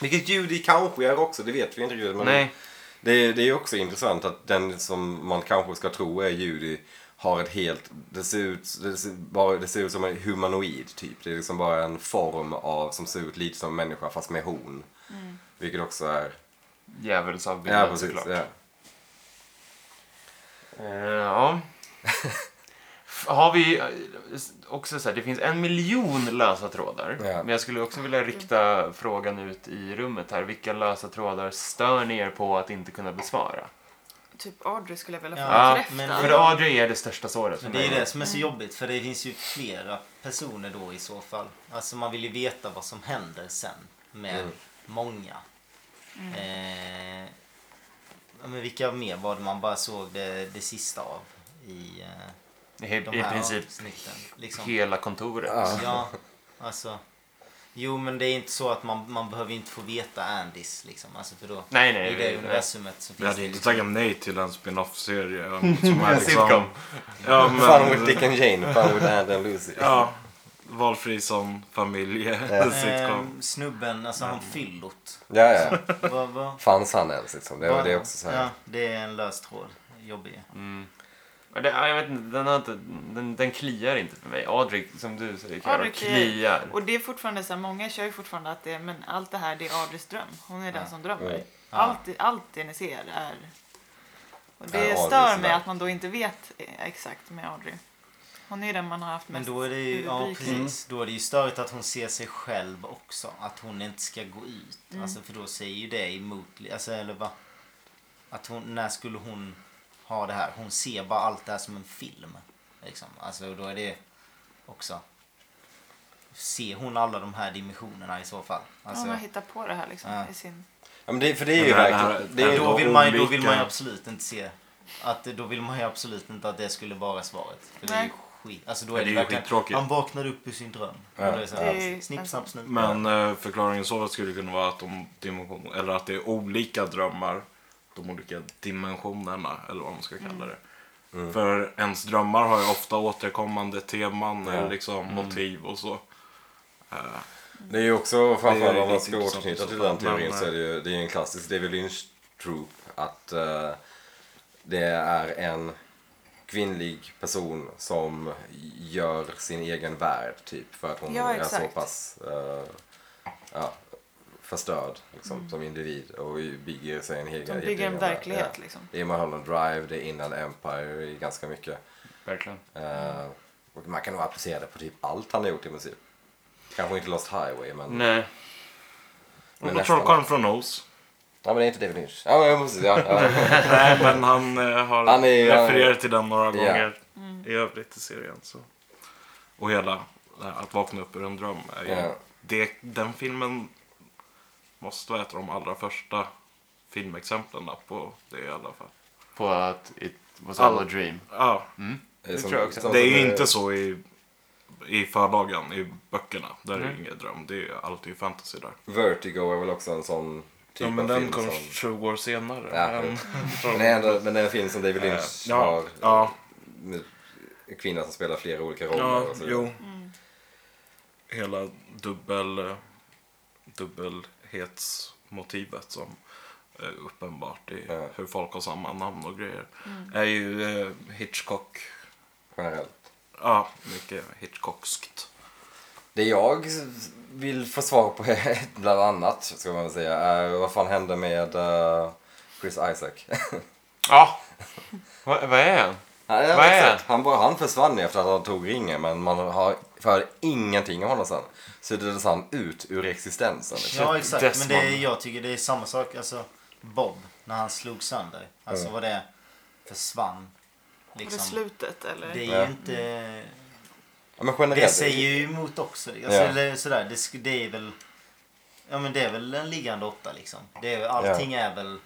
[SPEAKER 1] Vilket Judy kanske är också, det vet vi inte riktigt. Men
[SPEAKER 2] Nej,
[SPEAKER 1] Det, är- det är också intressant att den som man kanske ska tro är Judy har ett helt... Det ser ut, det ser, bara, det ser ut som en humanoid typ. Det är liksom bara en form av, som ser ut lite som en människa fast med horn. Vilket också är...
[SPEAKER 2] djävulsavbildad
[SPEAKER 1] Ja, precis.
[SPEAKER 2] såklart.
[SPEAKER 1] Ja.
[SPEAKER 2] Eh, ja. Har vi eh, också så här, det finns en miljon lösa trådar.
[SPEAKER 1] Ja.
[SPEAKER 2] Men jag skulle också vilja rikta frågan ut i rummet här. Vilka lösa trådar stör ni er på att inte kunna besvara?
[SPEAKER 3] Typ Audrey skulle jag vilja få
[SPEAKER 4] Ja,
[SPEAKER 3] bekräftad.
[SPEAKER 4] men-
[SPEAKER 2] För Adri är det största såret för
[SPEAKER 4] Men det är
[SPEAKER 2] mig.
[SPEAKER 1] Mm.
[SPEAKER 4] ju det som är så jobbigt. För det finns ju flera personer då i så fall. Alltså man vill ju veta vad som händer sen. Med
[SPEAKER 1] Mm.
[SPEAKER 4] många. Eh, ja, men vilka mer var det man bara såg det, det sista av? I eh,
[SPEAKER 2] I,
[SPEAKER 4] de
[SPEAKER 2] I
[SPEAKER 4] här
[SPEAKER 2] princip
[SPEAKER 4] avsnitten. Liksom.
[SPEAKER 2] hela kontoret.
[SPEAKER 1] Ja.
[SPEAKER 4] Ja, alltså. Jo, men det är inte så att man, man behöver inte få veta Andys liksom. Alltså för då,
[SPEAKER 2] Nej,
[SPEAKER 4] i
[SPEAKER 2] nej.
[SPEAKER 4] det
[SPEAKER 2] nej.
[SPEAKER 4] universumet så
[SPEAKER 5] Jag
[SPEAKER 4] finns det
[SPEAKER 5] hade
[SPEAKER 4] ju
[SPEAKER 5] inte
[SPEAKER 4] liksom...
[SPEAKER 5] tackat nej till en spin-off-serie. um, Som är
[SPEAKER 2] En sitcom.
[SPEAKER 5] liksom, ja,
[SPEAKER 1] Fun with
[SPEAKER 5] men,
[SPEAKER 1] Dick and Jane, fun with Andy and Lucy.
[SPEAKER 5] ja, valfri som familje-sitcom.
[SPEAKER 4] Ehm, snubben, alltså han fyllot.
[SPEAKER 1] Ja, ja.
[SPEAKER 4] Vad- vad-
[SPEAKER 1] Fanns han ens liksom? Det,
[SPEAKER 4] vad-
[SPEAKER 1] det är också så här.
[SPEAKER 4] Ja, det är en lös tråd. Jobbig.
[SPEAKER 2] Men det, ja, jag vet inte, den, har inte, den, den kliar inte för mig. Adrik, som du säger, Klara,
[SPEAKER 3] Adrik kliar.
[SPEAKER 2] kliar.
[SPEAKER 3] Och det är fortfarande så här, många kör ju fortfarande att det är, men allt det här det är Adris dröm. Hon är den som drömmer.
[SPEAKER 1] Mm.
[SPEAKER 3] Allt, allt det ni ser är... Och det
[SPEAKER 1] Är Adris
[SPEAKER 3] stör mig
[SPEAKER 1] verk.
[SPEAKER 3] att man då inte vet exakt med Adri. Hon är ju den man har haft
[SPEAKER 4] Men
[SPEAKER 3] mest Mm.
[SPEAKER 4] då är det ju, ja,
[SPEAKER 3] huvudbry kring.
[SPEAKER 4] precis. Alltså. Då är det ju störigt att hon ser sig själv också. Att hon inte ska gå ut. Alltså för då säger ju det emot, alltså eller va? Att hon, när skulle hon ha det här? Hon ser bara allt det här som en film. Liksom. Alltså då är det också. Ser hon alla de här dimensionerna i så fall? Alltså,
[SPEAKER 3] hon har hittat på det här liksom
[SPEAKER 4] Ja.
[SPEAKER 3] i sin...
[SPEAKER 1] ja men det, för det är ju
[SPEAKER 5] Men det här-
[SPEAKER 1] verkligen... Det är ju
[SPEAKER 4] då, vill man, ju- då vill
[SPEAKER 5] olika-
[SPEAKER 4] man ju absolut inte se. Att, då vill man ju absolut inte att det skulle vara svaret. För det är ju
[SPEAKER 3] Nej.
[SPEAKER 4] skit. Alltså då
[SPEAKER 5] Men
[SPEAKER 4] är det,
[SPEAKER 5] det är ju
[SPEAKER 4] verkligen-
[SPEAKER 5] skittråkigt.
[SPEAKER 4] Han vaknar upp ur sin dröm. Och då är det så
[SPEAKER 3] Det är
[SPEAKER 4] här, "Alltså,
[SPEAKER 3] ju-
[SPEAKER 4] snipp, snapp, snupp.
[SPEAKER 5] Men eh, förklaringen så skulle kunna vara att, de dimension, eller att det är olika drömmar, de olika dimensionerna eller vad man ska kalla det. För ens drömmar har ju ofta återkommande teman eller liksom motiv och så.
[SPEAKER 1] Det är ju också framförallt
[SPEAKER 5] Det är
[SPEAKER 1] om man
[SPEAKER 5] riktigt
[SPEAKER 1] ska
[SPEAKER 5] intressant
[SPEAKER 1] återknyta
[SPEAKER 5] i så
[SPEAKER 1] till eh,
[SPEAKER 5] fall,
[SPEAKER 1] den teorin
[SPEAKER 5] men-
[SPEAKER 1] så är det ju det är ju en klassisk David Lynch troop att eh, det är en kvinnlig person som gör sin egen värld typ för att hon
[SPEAKER 3] Ja,
[SPEAKER 1] är så
[SPEAKER 3] exakt.
[SPEAKER 1] pass eh, ja, förstörd liksom, som individ och bygger sig en egen
[SPEAKER 3] Som Mm. bygger en
[SPEAKER 1] egen värld.
[SPEAKER 3] verklighet
[SPEAKER 1] Ja.
[SPEAKER 3] liksom.
[SPEAKER 1] Det är Mulholland Drive, det är Inland Empire, det är ganska mycket.
[SPEAKER 2] Verkligen.
[SPEAKER 3] Mm.
[SPEAKER 1] Eh, och man kan nog applicera det på typ allt han har gjort i princip. Kanske inte Lost Highway men
[SPEAKER 2] Nej.
[SPEAKER 1] Men
[SPEAKER 5] Och
[SPEAKER 1] nästan
[SPEAKER 5] Patrol Corn från Oz.
[SPEAKER 1] Ja men det är inte David Lynch. Ja men jag måste ja, ja.
[SPEAKER 5] Nej, men han eh, har
[SPEAKER 1] Han är-
[SPEAKER 5] refererat till den några
[SPEAKER 1] Ja.
[SPEAKER 5] gånger i övrigt i serien. Så. Och hela det här att vakna upp ur en dröm. Är ju,
[SPEAKER 1] Ja.
[SPEAKER 5] det, den filmen måste vara ett av de allra första filmexemplen på det i alla fall.
[SPEAKER 2] På att it was
[SPEAKER 5] All-
[SPEAKER 2] all a dream.
[SPEAKER 5] Ja,
[SPEAKER 1] Det
[SPEAKER 2] tror jag också.
[SPEAKER 5] det är ju
[SPEAKER 1] eh,
[SPEAKER 5] inte så i, i förlagen, i böckerna. Där är det
[SPEAKER 2] Mm.
[SPEAKER 5] ju ingen dröm, det är ju alltid fantasy där.
[SPEAKER 1] Vertigo är väl också en sån typ
[SPEAKER 5] ja, men
[SPEAKER 1] av
[SPEAKER 5] den
[SPEAKER 1] film
[SPEAKER 5] kom
[SPEAKER 1] som...
[SPEAKER 5] 20 år senare.
[SPEAKER 1] Ja.
[SPEAKER 5] men-
[SPEAKER 1] Men det är ändå, men det är en film som David Lynch
[SPEAKER 5] ja,
[SPEAKER 1] har.
[SPEAKER 5] ja,
[SPEAKER 1] Med en kvinna som spelar flera olika roller.
[SPEAKER 5] ja,
[SPEAKER 1] och så vidare.
[SPEAKER 5] jo. Hela dubbel, dubbelhetsmotivet som är uppenbart i
[SPEAKER 1] Ja.
[SPEAKER 5] hur folk har samma namn och grejer. är ju eh, Hitchcock.
[SPEAKER 1] Generellt.
[SPEAKER 5] Ja, mycket Hitchcockskt.
[SPEAKER 1] Det jag vill få svar på är bland annat, ska man väl säga, är vad fan hände med eh, Chris Isaac?
[SPEAKER 2] Ja. Vad vad är han?
[SPEAKER 1] Han, ja,
[SPEAKER 2] Vad är
[SPEAKER 1] exakt. han, bara, han försvann ju efter att han tog ringen men man har för ingenting om honom sen. Suddades han ut ur existensen. Liksom.
[SPEAKER 4] Ja exakt, men det är,
[SPEAKER 2] Desmond.
[SPEAKER 4] jag tycker det är samma sak. Alltså Bob, när han slog sönder. Alltså vad det försvann.
[SPEAKER 3] Var
[SPEAKER 4] Liksom.
[SPEAKER 3] det slutet eller?
[SPEAKER 4] Det är
[SPEAKER 1] Ja.
[SPEAKER 4] ju inte...
[SPEAKER 1] Ja, men
[SPEAKER 4] Det
[SPEAKER 1] generellt.
[SPEAKER 4] säger ju emot också. Alltså,
[SPEAKER 1] Ja.
[SPEAKER 4] eller sådär, det, sk- det är väl... Ja men det är väl en liggande åtta liksom. Det är, allting är väl...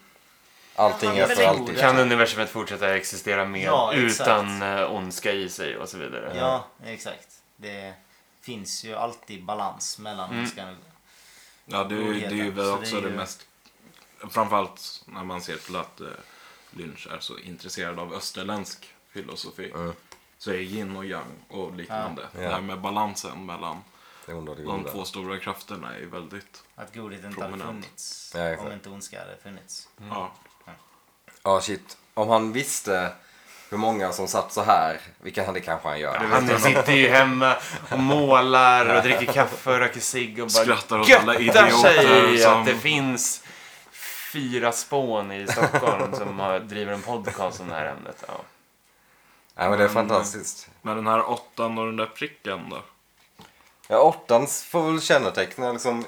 [SPEAKER 1] Allting är
[SPEAKER 3] Han är
[SPEAKER 1] för
[SPEAKER 3] väl
[SPEAKER 1] alltid.
[SPEAKER 2] Kan universumet fortsätta existera mer
[SPEAKER 4] Ja, exakt.
[SPEAKER 2] utan eh, ondska i sig och så
[SPEAKER 5] Eh.
[SPEAKER 2] vidare?
[SPEAKER 4] Ja, exakt. Det finns ju alltid balans mellan...
[SPEAKER 5] Mm.
[SPEAKER 4] Ska,
[SPEAKER 5] Ja, det, är ju- det är
[SPEAKER 4] Så det
[SPEAKER 5] ju väl
[SPEAKER 4] är
[SPEAKER 5] också det,
[SPEAKER 4] ju-
[SPEAKER 5] mest... Framförallt när man ser till att eh, Lynch är så intresserad av österländsk filosofi.
[SPEAKER 1] Mm.
[SPEAKER 5] Så är yin och yang och liknande.
[SPEAKER 1] Ja.
[SPEAKER 5] Det här med balansen mellan
[SPEAKER 1] Det onda och det
[SPEAKER 5] de
[SPEAKER 1] goda.
[SPEAKER 5] två stora krafterna är väldigt...
[SPEAKER 4] att godhet inte hade
[SPEAKER 5] Promenant.
[SPEAKER 4] funnits.
[SPEAKER 1] Ja, exakt.
[SPEAKER 4] om inte ondska hade funnits.
[SPEAKER 5] Mm. Ja.
[SPEAKER 1] Ja, shit. Om han visste hur många som satt så här, vilket han det kanske han gör.
[SPEAKER 2] Han sitter ju hemma och målar och dricker kaffe och röker cigg och bara
[SPEAKER 5] Skrattar åt alla
[SPEAKER 2] göttar sig i
[SPEAKER 5] idioter som-
[SPEAKER 2] att det finns fyra spån i Stockholm som har, driver en podcast om det här ämnet. Ja.
[SPEAKER 1] Ja, men det är fantastiskt.
[SPEAKER 5] Men den här åttan och den där pricken då?
[SPEAKER 1] Ja, åttans får väl känneteckna liksom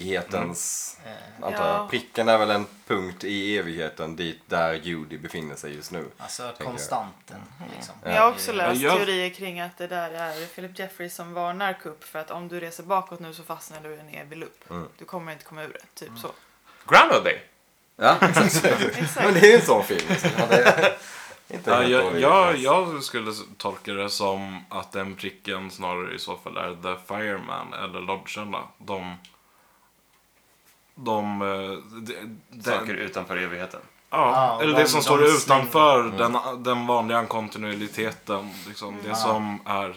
[SPEAKER 1] evighetens,
[SPEAKER 5] Mm.
[SPEAKER 1] antar jag.
[SPEAKER 3] Ja.
[SPEAKER 1] Pricken är väl en punkt i evigheten dit där Judy befinner sig just nu.
[SPEAKER 4] Alltså
[SPEAKER 1] jag.
[SPEAKER 4] konstanten. Liksom.
[SPEAKER 3] Men Jag har också läst
[SPEAKER 5] Mm. Ja, jag-
[SPEAKER 3] teorier kring att det där är Philip Jeffries som varnar Coop för att om du reser bakåt nu så fastnar du i en evig loop.
[SPEAKER 4] Mm.
[SPEAKER 3] Du kommer inte komma ur det. Typ så.
[SPEAKER 2] Groundhog Day!
[SPEAKER 1] Ja, exakt.
[SPEAKER 3] Exakt.
[SPEAKER 1] men det är ju en sån film. Liksom. Ja, det- Inte
[SPEAKER 5] Ja,
[SPEAKER 1] helt
[SPEAKER 5] jag,
[SPEAKER 1] dålig
[SPEAKER 5] jag,
[SPEAKER 1] referens.
[SPEAKER 5] jag skulle s- tolka det som att den pricken snarare i så fall är The Fireman eller Lodgerna. De... De... eh, de,
[SPEAKER 2] Saker
[SPEAKER 5] de
[SPEAKER 2] utanför evigheten.
[SPEAKER 5] ja,
[SPEAKER 4] Ja,
[SPEAKER 5] eller
[SPEAKER 4] de-
[SPEAKER 5] det som
[SPEAKER 4] de
[SPEAKER 5] står
[SPEAKER 4] slänger- Mm.
[SPEAKER 5] utanför den, den vanliga kontinuiteten. Liksom, det som är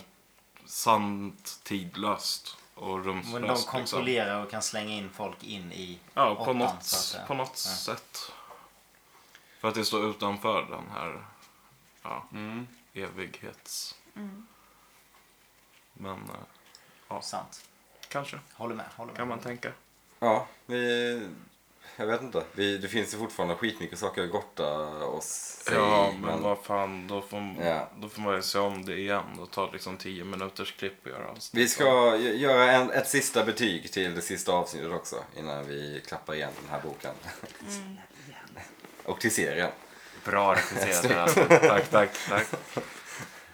[SPEAKER 5] sant tidlöst och
[SPEAKER 4] Men de
[SPEAKER 5] rumslöst. Liksom.
[SPEAKER 4] kontrollerar och kan slänga in folk in i...
[SPEAKER 5] Ja, på
[SPEAKER 4] åttan, så
[SPEAKER 5] något,
[SPEAKER 4] att, eh,
[SPEAKER 5] på något
[SPEAKER 4] ja.
[SPEAKER 5] sätt. För att det står utanför den här... Ja.
[SPEAKER 2] Mm.
[SPEAKER 5] evighets...
[SPEAKER 3] Mm.
[SPEAKER 5] Men eh,
[SPEAKER 4] Sant.
[SPEAKER 5] kanske
[SPEAKER 4] Håller med. Håller med.
[SPEAKER 5] kan man tänka.
[SPEAKER 1] Ja, vi... Jag vet inte. Vi, det finns ju fortfarande skitmycket saker att gotta oss i,
[SPEAKER 5] Ja, men vad fan, då får,
[SPEAKER 1] Ja.
[SPEAKER 5] då får man ju se om det igen och ta liksom 10 minuters klipp och göra allt.
[SPEAKER 1] Vi ska gö- göra en, ett sista betyg till det sista avsnittet också innan vi klappar igen den här boken.
[SPEAKER 2] Mm.
[SPEAKER 1] Och till serien.
[SPEAKER 2] Bra regisserat. tack, tack, tack.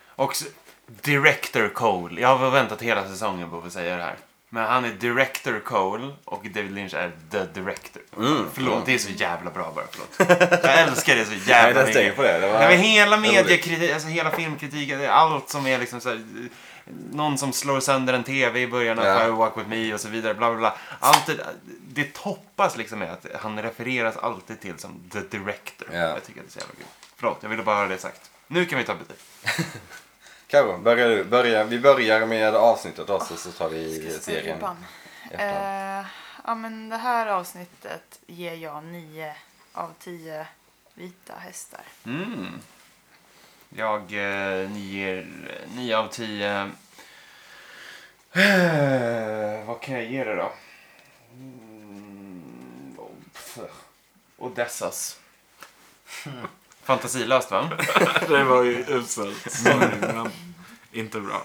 [SPEAKER 2] Och s- Director Cole. Jag har väntat hela säsongen på att få säga det här. Men han är Director Cole och David Lynch är The Director.
[SPEAKER 1] Mm.
[SPEAKER 2] Förlåt, det är så jävla bra bara. Förlåt. Jag älskar det så
[SPEAKER 1] Nej,
[SPEAKER 2] jävla
[SPEAKER 1] den stänger
[SPEAKER 2] mycket.
[SPEAKER 1] på det. det var...
[SPEAKER 2] Nej, men hela
[SPEAKER 1] roligt.
[SPEAKER 2] mediekritik, alltså hela filmkritiken, det är allt som är liksom så här, Någon som slår sönder en TV i början av
[SPEAKER 1] Ja.
[SPEAKER 2] Fire Walk With Me och så vidare. Bla, bla, bla. Allt det, det toppas liksom med att han refereras alltid till som the director.
[SPEAKER 1] Ja.
[SPEAKER 2] Jag tycker att det är så jävla kul. Förlåt, jag ville bara ha det sagt. Nu kan vi ta betyg.
[SPEAKER 1] Karo, börja du. Börja. Vi börjar med avsnittet också så tar vi serien. efter.
[SPEAKER 3] Eh, ja, men det här avsnittet ger jag 9 av 10 vita hästar.
[SPEAKER 2] Mm. Jag eh, ger 9 av 10. Eh, vad kan jag ge det då? Mm, och- pff. Odessas. Fantasilöst va?
[SPEAKER 5] Det var ju uselt. Sorry, men inte bra.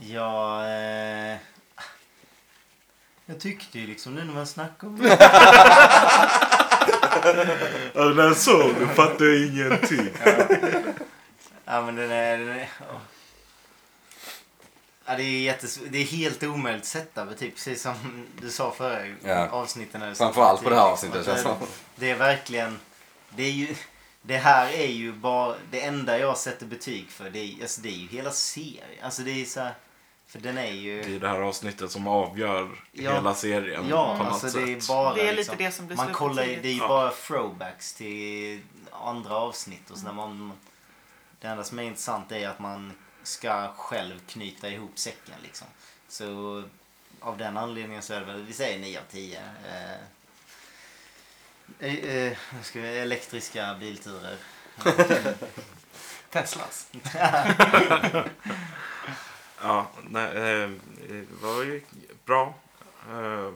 [SPEAKER 4] Ja... Eh... Jag tyckte ju liksom nu när man snackar om
[SPEAKER 5] När jag såg det fattade jag ingenting.
[SPEAKER 4] Ja men den är... Den är ja. Ja, det, är jättes... det är helt omöjligt att sätta betyg, precis som du sa förra
[SPEAKER 1] Ja.
[SPEAKER 4] avsnitten. När du
[SPEAKER 1] Framförallt på det här
[SPEAKER 4] betyg,
[SPEAKER 1] avsnittet,
[SPEAKER 4] liksom. Att
[SPEAKER 1] känns det
[SPEAKER 4] Det är verkligen... Det, är ju... det här är ju bara... Det enda jag sätter betyg för det är, alltså, det är ju hela serien. Alltså det är så här... För den är
[SPEAKER 5] Det
[SPEAKER 4] ju...
[SPEAKER 5] är det här avsnittet som avgör
[SPEAKER 4] Ja.
[SPEAKER 5] hela serien
[SPEAKER 4] Ja,
[SPEAKER 5] på något
[SPEAKER 4] alltså
[SPEAKER 5] sätt.
[SPEAKER 4] det är bara
[SPEAKER 3] Det är lite
[SPEAKER 4] liksom,
[SPEAKER 3] det som blir
[SPEAKER 4] man kollar, ju-
[SPEAKER 3] slutbetyget.
[SPEAKER 4] Det är ju bara throwbacks till andra avsnitt och så när
[SPEAKER 3] Mm.
[SPEAKER 4] man... Det enda som är intressant är att man ska själv knyta ihop säcken liksom. Så av den anledningen så är det väl, vi säger 9 av 10. Eh, eh, eh, vad ska vi, elektriska bilturer.
[SPEAKER 2] Teslas.
[SPEAKER 5] Ja, nej, eh, det var ju bra. Eh,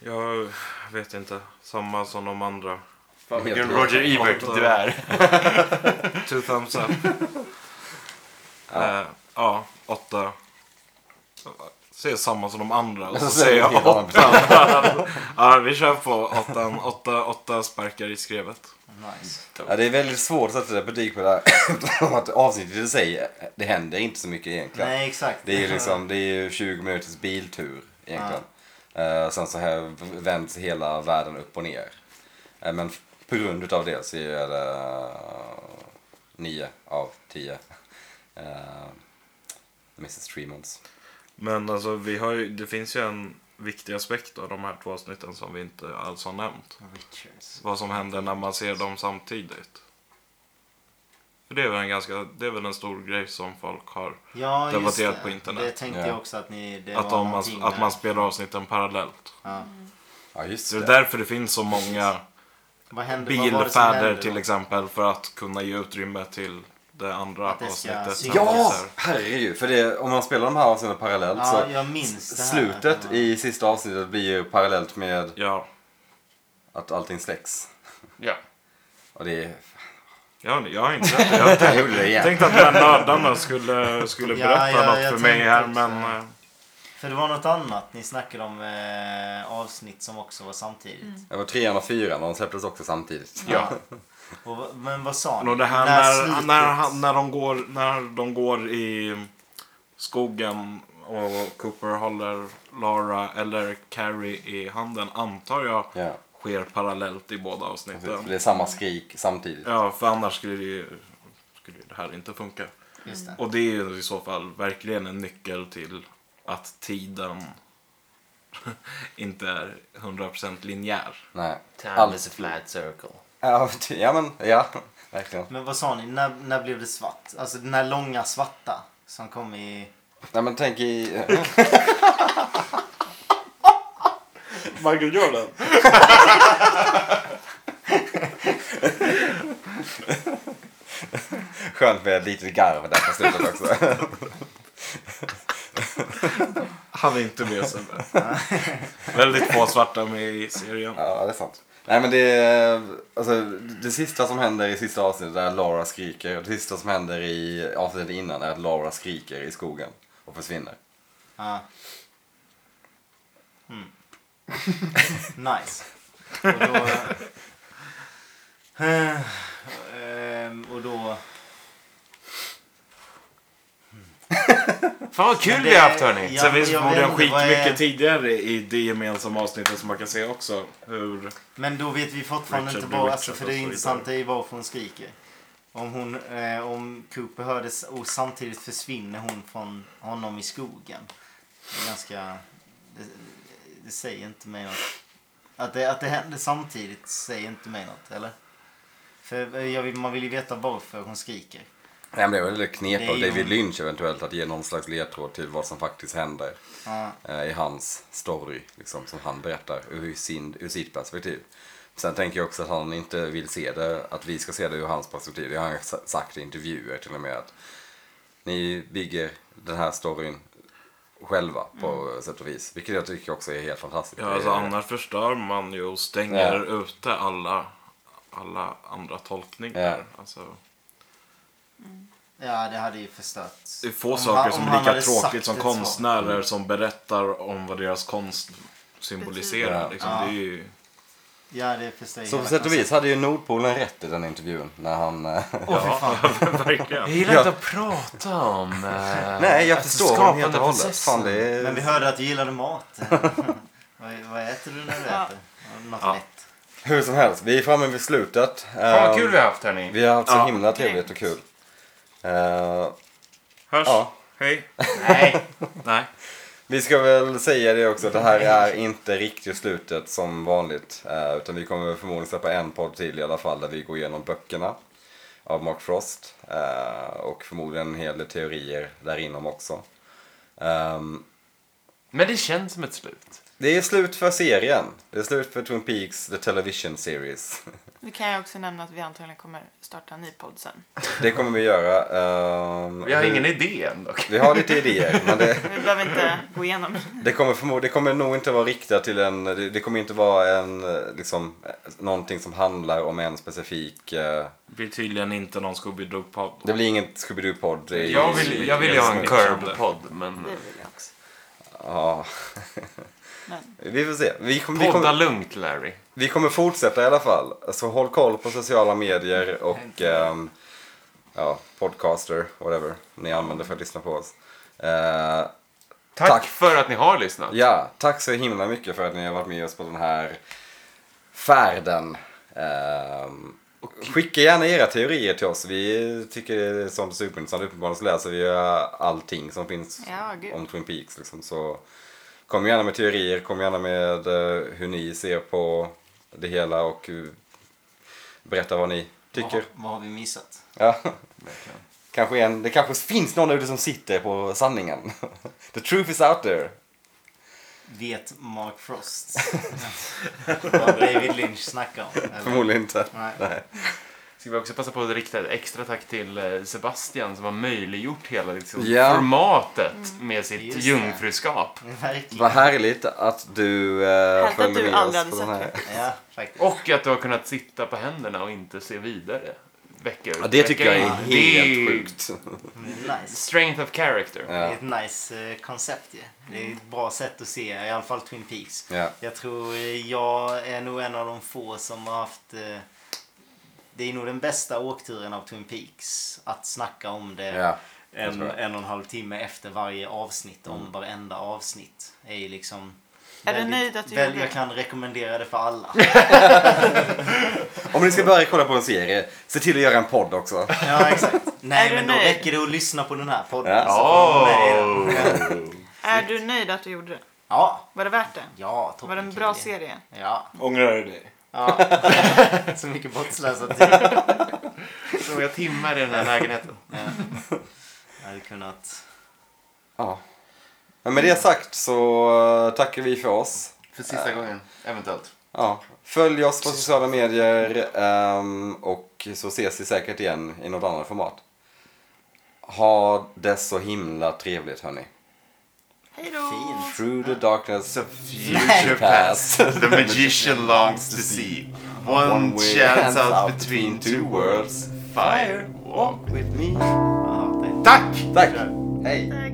[SPEAKER 5] jag vet inte. Samma som de andra.
[SPEAKER 2] Fan vilken
[SPEAKER 1] Helt
[SPEAKER 2] Eh, Roger Ebert
[SPEAKER 5] Åtta.
[SPEAKER 2] du är.
[SPEAKER 5] Two thumbs up.
[SPEAKER 1] Ja.
[SPEAKER 5] Eh, ja, åtta. Säg samma som de andra och så
[SPEAKER 1] Så
[SPEAKER 5] säger jag
[SPEAKER 1] säger vi
[SPEAKER 5] åtta. ja, vi kör på åttan. Åtta, åtta sparkar i skrevet.
[SPEAKER 4] Nice.
[SPEAKER 1] Ja, det är väldigt svårt att sätta betyg på det här. eftersom att avsnittet i sig, det händer inte så mycket egentligen.
[SPEAKER 4] Nej exakt.
[SPEAKER 1] Det är ju liksom, det är ju 20 minuters biltur egentligen. Eh, sen så här vänds hela världen upp och ner. Eh, men på grund utav det så är det eh, 9 av 10. Eh, Mrs Tremonts.
[SPEAKER 5] Men alltså, vi har ju, det finns ju en viktig aspekt av de här två avsnitten som vi inte alls har nämnt.
[SPEAKER 4] Richards.
[SPEAKER 5] Vad som händer när man ser dem samtidigt. För det är väl en ganska, det är väl en stor grej som folk har.
[SPEAKER 4] Ja, just
[SPEAKER 5] Debatterat
[SPEAKER 4] det.
[SPEAKER 5] på internet.
[SPEAKER 4] Det tänkte
[SPEAKER 1] Ja.
[SPEAKER 4] jag också att ni... Det
[SPEAKER 5] Att,
[SPEAKER 4] var
[SPEAKER 5] de,
[SPEAKER 4] någonting
[SPEAKER 5] att
[SPEAKER 4] där.
[SPEAKER 5] man spelar avsnitten parallellt.
[SPEAKER 4] Ja.
[SPEAKER 1] Ja just
[SPEAKER 5] Så det
[SPEAKER 1] det.
[SPEAKER 5] är därför det finns så många
[SPEAKER 4] Vad hände, vad var det som hände
[SPEAKER 5] bilfärder
[SPEAKER 4] då?
[SPEAKER 5] till exempel för att kunna ge utrymme till det andra
[SPEAKER 4] Att det ska
[SPEAKER 5] avsnittet.
[SPEAKER 4] synas.
[SPEAKER 1] Ja!
[SPEAKER 5] Händelser.
[SPEAKER 1] Herregud, för det, om man spelar de här avsnitten parallellt
[SPEAKER 4] Ja,
[SPEAKER 1] så
[SPEAKER 4] jag minns det här.
[SPEAKER 1] slutet
[SPEAKER 4] Det var-
[SPEAKER 1] i sista avsnittet blir ju parallellt med
[SPEAKER 5] Ja.
[SPEAKER 1] att allting släcks.
[SPEAKER 2] Ja.
[SPEAKER 1] Och det är...
[SPEAKER 5] Jag, jag har inte sett det. Jag
[SPEAKER 1] Jag gjorde det igen.
[SPEAKER 5] tänkte att de här nördarna skulle, skulle
[SPEAKER 4] Ja,
[SPEAKER 5] berätta
[SPEAKER 4] ja, jag
[SPEAKER 5] något för mig
[SPEAKER 4] tänkte
[SPEAKER 5] här
[SPEAKER 4] också.
[SPEAKER 5] men... eh,
[SPEAKER 4] För det var något annat ni snackade om eh, avsnitt som också var samtidigt.
[SPEAKER 1] Det var trean och fyran och de släpptes också samtidigt.
[SPEAKER 2] Ja.
[SPEAKER 4] Och, va- men vad sa ni?
[SPEAKER 5] Och det här
[SPEAKER 4] slutet-
[SPEAKER 5] när, när, han- när, de går, när de går i skogen och Cooper håller Lara eller Carrie i handen antar jag
[SPEAKER 1] Ja.
[SPEAKER 5] sker parallellt i båda avsnitten.
[SPEAKER 1] Precis, för det är samma skrik samtidigt.
[SPEAKER 5] Ja, för annars skulle det, ju- skulle det här inte funka.
[SPEAKER 4] Just det.
[SPEAKER 5] Och det är ju i så fall verkligen en nyckel till att tiden inte är 100% linjär.
[SPEAKER 1] Nej.
[SPEAKER 7] Time
[SPEAKER 1] Allt-
[SPEAKER 7] is a flat circle.
[SPEAKER 1] Ja, ty- ja men, ja. Verkligen.
[SPEAKER 4] Men vad sa ni? När, när blev det svart? Alltså den här långa svarta som kom i...
[SPEAKER 1] Nej men tänk i...
[SPEAKER 5] Michael Jordan?
[SPEAKER 1] Skönt med ett litet garv där på slutet också.
[SPEAKER 5] Han är inte med sig. Väldigt få svarta med i serien.
[SPEAKER 1] Ja, det är sant. Nej men det är, alltså, det sista som händer i sista avsnittet är att Laura skriker. Och det sista som händer i avsnittet innan är att Laura skriker i skogen och försvinner.
[SPEAKER 4] Ja. Mm. nice. Och då... Eh, ehm, och då...
[SPEAKER 2] Fan vad kul
[SPEAKER 4] Men
[SPEAKER 2] vi
[SPEAKER 4] det-
[SPEAKER 2] har haft hörni.
[SPEAKER 4] Ja,
[SPEAKER 5] Sen finns
[SPEAKER 4] men jag
[SPEAKER 5] förmodligen
[SPEAKER 4] vet inte, vad
[SPEAKER 5] skitmycket
[SPEAKER 4] är-
[SPEAKER 5] tidigare i det gemensamma avsnittet som man kan se också. Hur...
[SPEAKER 4] Men då vet vi fortfarande
[SPEAKER 5] Richard
[SPEAKER 4] inte
[SPEAKER 5] blir
[SPEAKER 4] vad,
[SPEAKER 5] Richard
[SPEAKER 4] alltså, för
[SPEAKER 5] och
[SPEAKER 4] det
[SPEAKER 5] så
[SPEAKER 4] intressanta är ju varför hon skriker. Om, hon, eh, om Cooper hördes och samtidigt försvinner hon från honom i skogen. Det är ganska... Det, det säger inte mig något. Att det, att det händer samtidigt säger inte mig något, eller? För eh, jag vill, man vill ju veta varför hon skriker.
[SPEAKER 1] Nej men det är väl ett knep av
[SPEAKER 4] Det är ju-
[SPEAKER 1] David Lynch eventuellt att ge någon slags ledtråd till vad som faktiskt händer.
[SPEAKER 4] Ja.
[SPEAKER 1] eh, i hans story, liksom, som han berättar ur, sin, ur sitt perspektiv. Sen tänker jag också att han inte vill se det, att vi ska se det ur hans perspektiv. Det har han sa- sagt i intervjuer till och med. Att ni bygger den här storyn själva på
[SPEAKER 4] Mm.
[SPEAKER 1] sätt och vis. Vilket jag tycker också är helt fantastiskt.
[SPEAKER 5] Ja, alltså,
[SPEAKER 1] Det är-
[SPEAKER 5] annars förstör man ju och stänger
[SPEAKER 1] Ja.
[SPEAKER 5] ute alla, alla andra tolkningar. Alltså,
[SPEAKER 4] Ja, det hade ju förstört.
[SPEAKER 5] det är få
[SPEAKER 4] Om
[SPEAKER 5] saker
[SPEAKER 4] han-
[SPEAKER 5] som
[SPEAKER 4] om
[SPEAKER 5] är
[SPEAKER 4] han
[SPEAKER 5] lika
[SPEAKER 4] hade sagt
[SPEAKER 5] tråkigt som
[SPEAKER 4] ett svar.
[SPEAKER 5] konstnärer som berättar om vad deras konst symboliserar.
[SPEAKER 1] Ja.
[SPEAKER 5] Liksom.
[SPEAKER 4] Ja.
[SPEAKER 5] Det är ju...
[SPEAKER 4] Ja, det förstör ju
[SPEAKER 1] Så på
[SPEAKER 4] hela
[SPEAKER 1] sätt och vis hade ju Nordpolen rätt i den intervjun när han... eh,
[SPEAKER 4] konceptet. Åh, fy fan.
[SPEAKER 5] Verkligen.
[SPEAKER 2] Jag gillar inte att prata om... eh,
[SPEAKER 1] Nej, jag
[SPEAKER 2] alltså,
[SPEAKER 1] förstår honom helt
[SPEAKER 2] skapande
[SPEAKER 1] och hållet.
[SPEAKER 2] processen.
[SPEAKER 1] Fan, det är...
[SPEAKER 4] Men vi hörde att du gillade mat. vad, vad äter du när du
[SPEAKER 3] Ja.
[SPEAKER 4] äter? Något
[SPEAKER 2] Ja.
[SPEAKER 4] lätt.
[SPEAKER 1] Hur som helst, vi är framme vid slutet.
[SPEAKER 2] Fan vad
[SPEAKER 1] Eh,
[SPEAKER 2] kul vi har haft hörni.
[SPEAKER 1] Vi har haft så
[SPEAKER 5] Ja.
[SPEAKER 1] himla trevligt och kul. Eh,
[SPEAKER 5] Hörs.
[SPEAKER 1] ja.
[SPEAKER 5] Hej.
[SPEAKER 2] Nej.
[SPEAKER 5] Nej.
[SPEAKER 1] Vi ska väl säga det också, att det här är inte riktigt slutet som vanligt. eh, Utan vi kommer förmodligen släppa en podd till i alla fall där vi går igenom böckerna av Mark Frost. eh, Och förmodligen en hel del teorier där inom också. Ehm,
[SPEAKER 2] Men det känns som ett slut.
[SPEAKER 1] Det är slut för serien. Det är slut för Twin Peaks The Television Series.
[SPEAKER 3] Nu kan jag också nämna att vi antagligen kommer starta en ny podd sen.
[SPEAKER 1] Det kommer vi göra. ehm,
[SPEAKER 2] Vi har
[SPEAKER 1] hur-
[SPEAKER 2] ingen idé än dock.
[SPEAKER 1] Vi har lite idéer, men det...
[SPEAKER 3] Vi behöver inte gå igenom.
[SPEAKER 1] Det kommer, förmod- det kommer nog inte vara riktat till en, det, det kommer inte vara en, eh, liksom, eh, någonting som handlar om en specifik, eh,
[SPEAKER 5] Det blir tydligen inte någon Scooby-Doo-podd.
[SPEAKER 1] det blir ingen Scooby-Doo-podd. i-
[SPEAKER 2] Jag vill, jag vill ju ha en Curb-podd, men...
[SPEAKER 3] Det vill jag också.
[SPEAKER 1] Ja.
[SPEAKER 3] Men
[SPEAKER 1] Vi får se. Vi, kommer- vi,
[SPEAKER 2] Podda
[SPEAKER 1] kommer,
[SPEAKER 2] lugnt Larry.
[SPEAKER 1] vi kommer fortsätta i alla fall. Så håll koll på sociala medier och ehm, ja, podcaster, whatever ni använder för att lyssna på oss. Eh,
[SPEAKER 2] Tack,
[SPEAKER 1] Tack.
[SPEAKER 2] för att ni har lyssnat.
[SPEAKER 1] Ja, tack så himla mycket för att ni har varit med oss på den här färden. Ehm, Skicka gärna era teorier till oss. Vi tycker sånt är superintressant. Uppenbarligen så läser vi ju allting som finns
[SPEAKER 3] Ja, gud.
[SPEAKER 1] om Twin Peaks. Liksom. Så kom gärna med teorier, kom gärna med eh, hur ni ser på det hela och eh, berätta vad ni tycker.
[SPEAKER 4] Vad, vad har vi missat?
[SPEAKER 1] Ja. Kanske en, det kanske finns någon ute som sitter på sanningen. The truth is out there.
[SPEAKER 4] Vet Mark Frost vad David Lynch snackar om? Eller?
[SPEAKER 1] Förmodligen inte.
[SPEAKER 4] Nej.
[SPEAKER 2] Ska vi också passa på att rikta ett extra tack till eh, Sebastian som har möjliggjort hela liksom,
[SPEAKER 1] Ja.
[SPEAKER 2] formatet med sitt
[SPEAKER 4] Just det.
[SPEAKER 2] jungfruskap.
[SPEAKER 4] Verkligen.
[SPEAKER 1] Vad härligt att du eh,
[SPEAKER 3] Härligt att
[SPEAKER 1] följde
[SPEAKER 3] du
[SPEAKER 1] med
[SPEAKER 3] aldrig
[SPEAKER 1] oss
[SPEAKER 3] hade
[SPEAKER 1] på den
[SPEAKER 3] sett
[SPEAKER 1] här.
[SPEAKER 4] Ja, faktiskt.
[SPEAKER 1] Oh.
[SPEAKER 2] Och att du har kunnat sitta på händerna och inte se vidare. Vecka ut,
[SPEAKER 1] Ja, det tycker
[SPEAKER 2] vecka
[SPEAKER 1] jag är
[SPEAKER 2] in.
[SPEAKER 1] helt
[SPEAKER 2] Det är
[SPEAKER 1] sjukt.
[SPEAKER 4] Nice.
[SPEAKER 2] Strength of character.
[SPEAKER 4] Det
[SPEAKER 1] Ja.
[SPEAKER 4] är ett nice eh, koncept ju. Det är ett bra sätt att se, i alla fall Twin Peaks.
[SPEAKER 1] Ja.
[SPEAKER 4] Jag tror eh, jag är nog en av de få som har haft... eh, Det är nog den bästa åkturen av Twin Peaks. Att snacka om det
[SPEAKER 1] Ja.
[SPEAKER 4] en,
[SPEAKER 1] tror Mm. jag.
[SPEAKER 4] en och en halv timme efter varje avsnitt om varenda avsnitt. Är ju liksom,
[SPEAKER 3] Är du nöjd att du
[SPEAKER 4] väl,
[SPEAKER 3] gjorde
[SPEAKER 4] Jag
[SPEAKER 3] det?
[SPEAKER 4] kan rekommendera det för alla.
[SPEAKER 1] Om ni ska börja kolla på en serie, se till att göra en podd också.
[SPEAKER 4] Ja, exakt. Nej,
[SPEAKER 3] Är du
[SPEAKER 4] men då
[SPEAKER 3] nöjd?
[SPEAKER 4] räcker det att lyssna på den här podden.
[SPEAKER 1] Ja.
[SPEAKER 4] så får man med i den.
[SPEAKER 8] Oh.
[SPEAKER 3] Är du nöjd att du gjorde det?
[SPEAKER 4] Ja,
[SPEAKER 3] Var det värt det?
[SPEAKER 4] ja. toppen
[SPEAKER 3] Var det en bra
[SPEAKER 4] kille.
[SPEAKER 3] serie?
[SPEAKER 4] Ja.
[SPEAKER 8] Ångrar du dig?
[SPEAKER 4] ja. Så mycket bortslösad tid.
[SPEAKER 9] Så många timmar i den här lägenheten.
[SPEAKER 4] Jag hade kunnat...
[SPEAKER 1] Ja. Men med det sagt så eh, tackar vi för oss. Eh.
[SPEAKER 9] För sista gången, eventuellt.
[SPEAKER 1] Ja. Följ oss på sociala medier ehm, och så ses vi säkert igen i något annat format. Ha det så himla trevligt hörni.
[SPEAKER 3] Hej då!
[SPEAKER 4] Fint.
[SPEAKER 1] Through the darkness
[SPEAKER 9] Future past. The magician longs to see. One,
[SPEAKER 1] One way
[SPEAKER 9] chance
[SPEAKER 1] hands
[SPEAKER 9] out
[SPEAKER 1] out
[SPEAKER 9] between
[SPEAKER 1] between
[SPEAKER 9] two
[SPEAKER 1] two
[SPEAKER 9] worlds. Fire walk.
[SPEAKER 1] with me.
[SPEAKER 4] Ja, det-
[SPEAKER 9] Tack!
[SPEAKER 1] Tack! Hej!
[SPEAKER 3] Hej.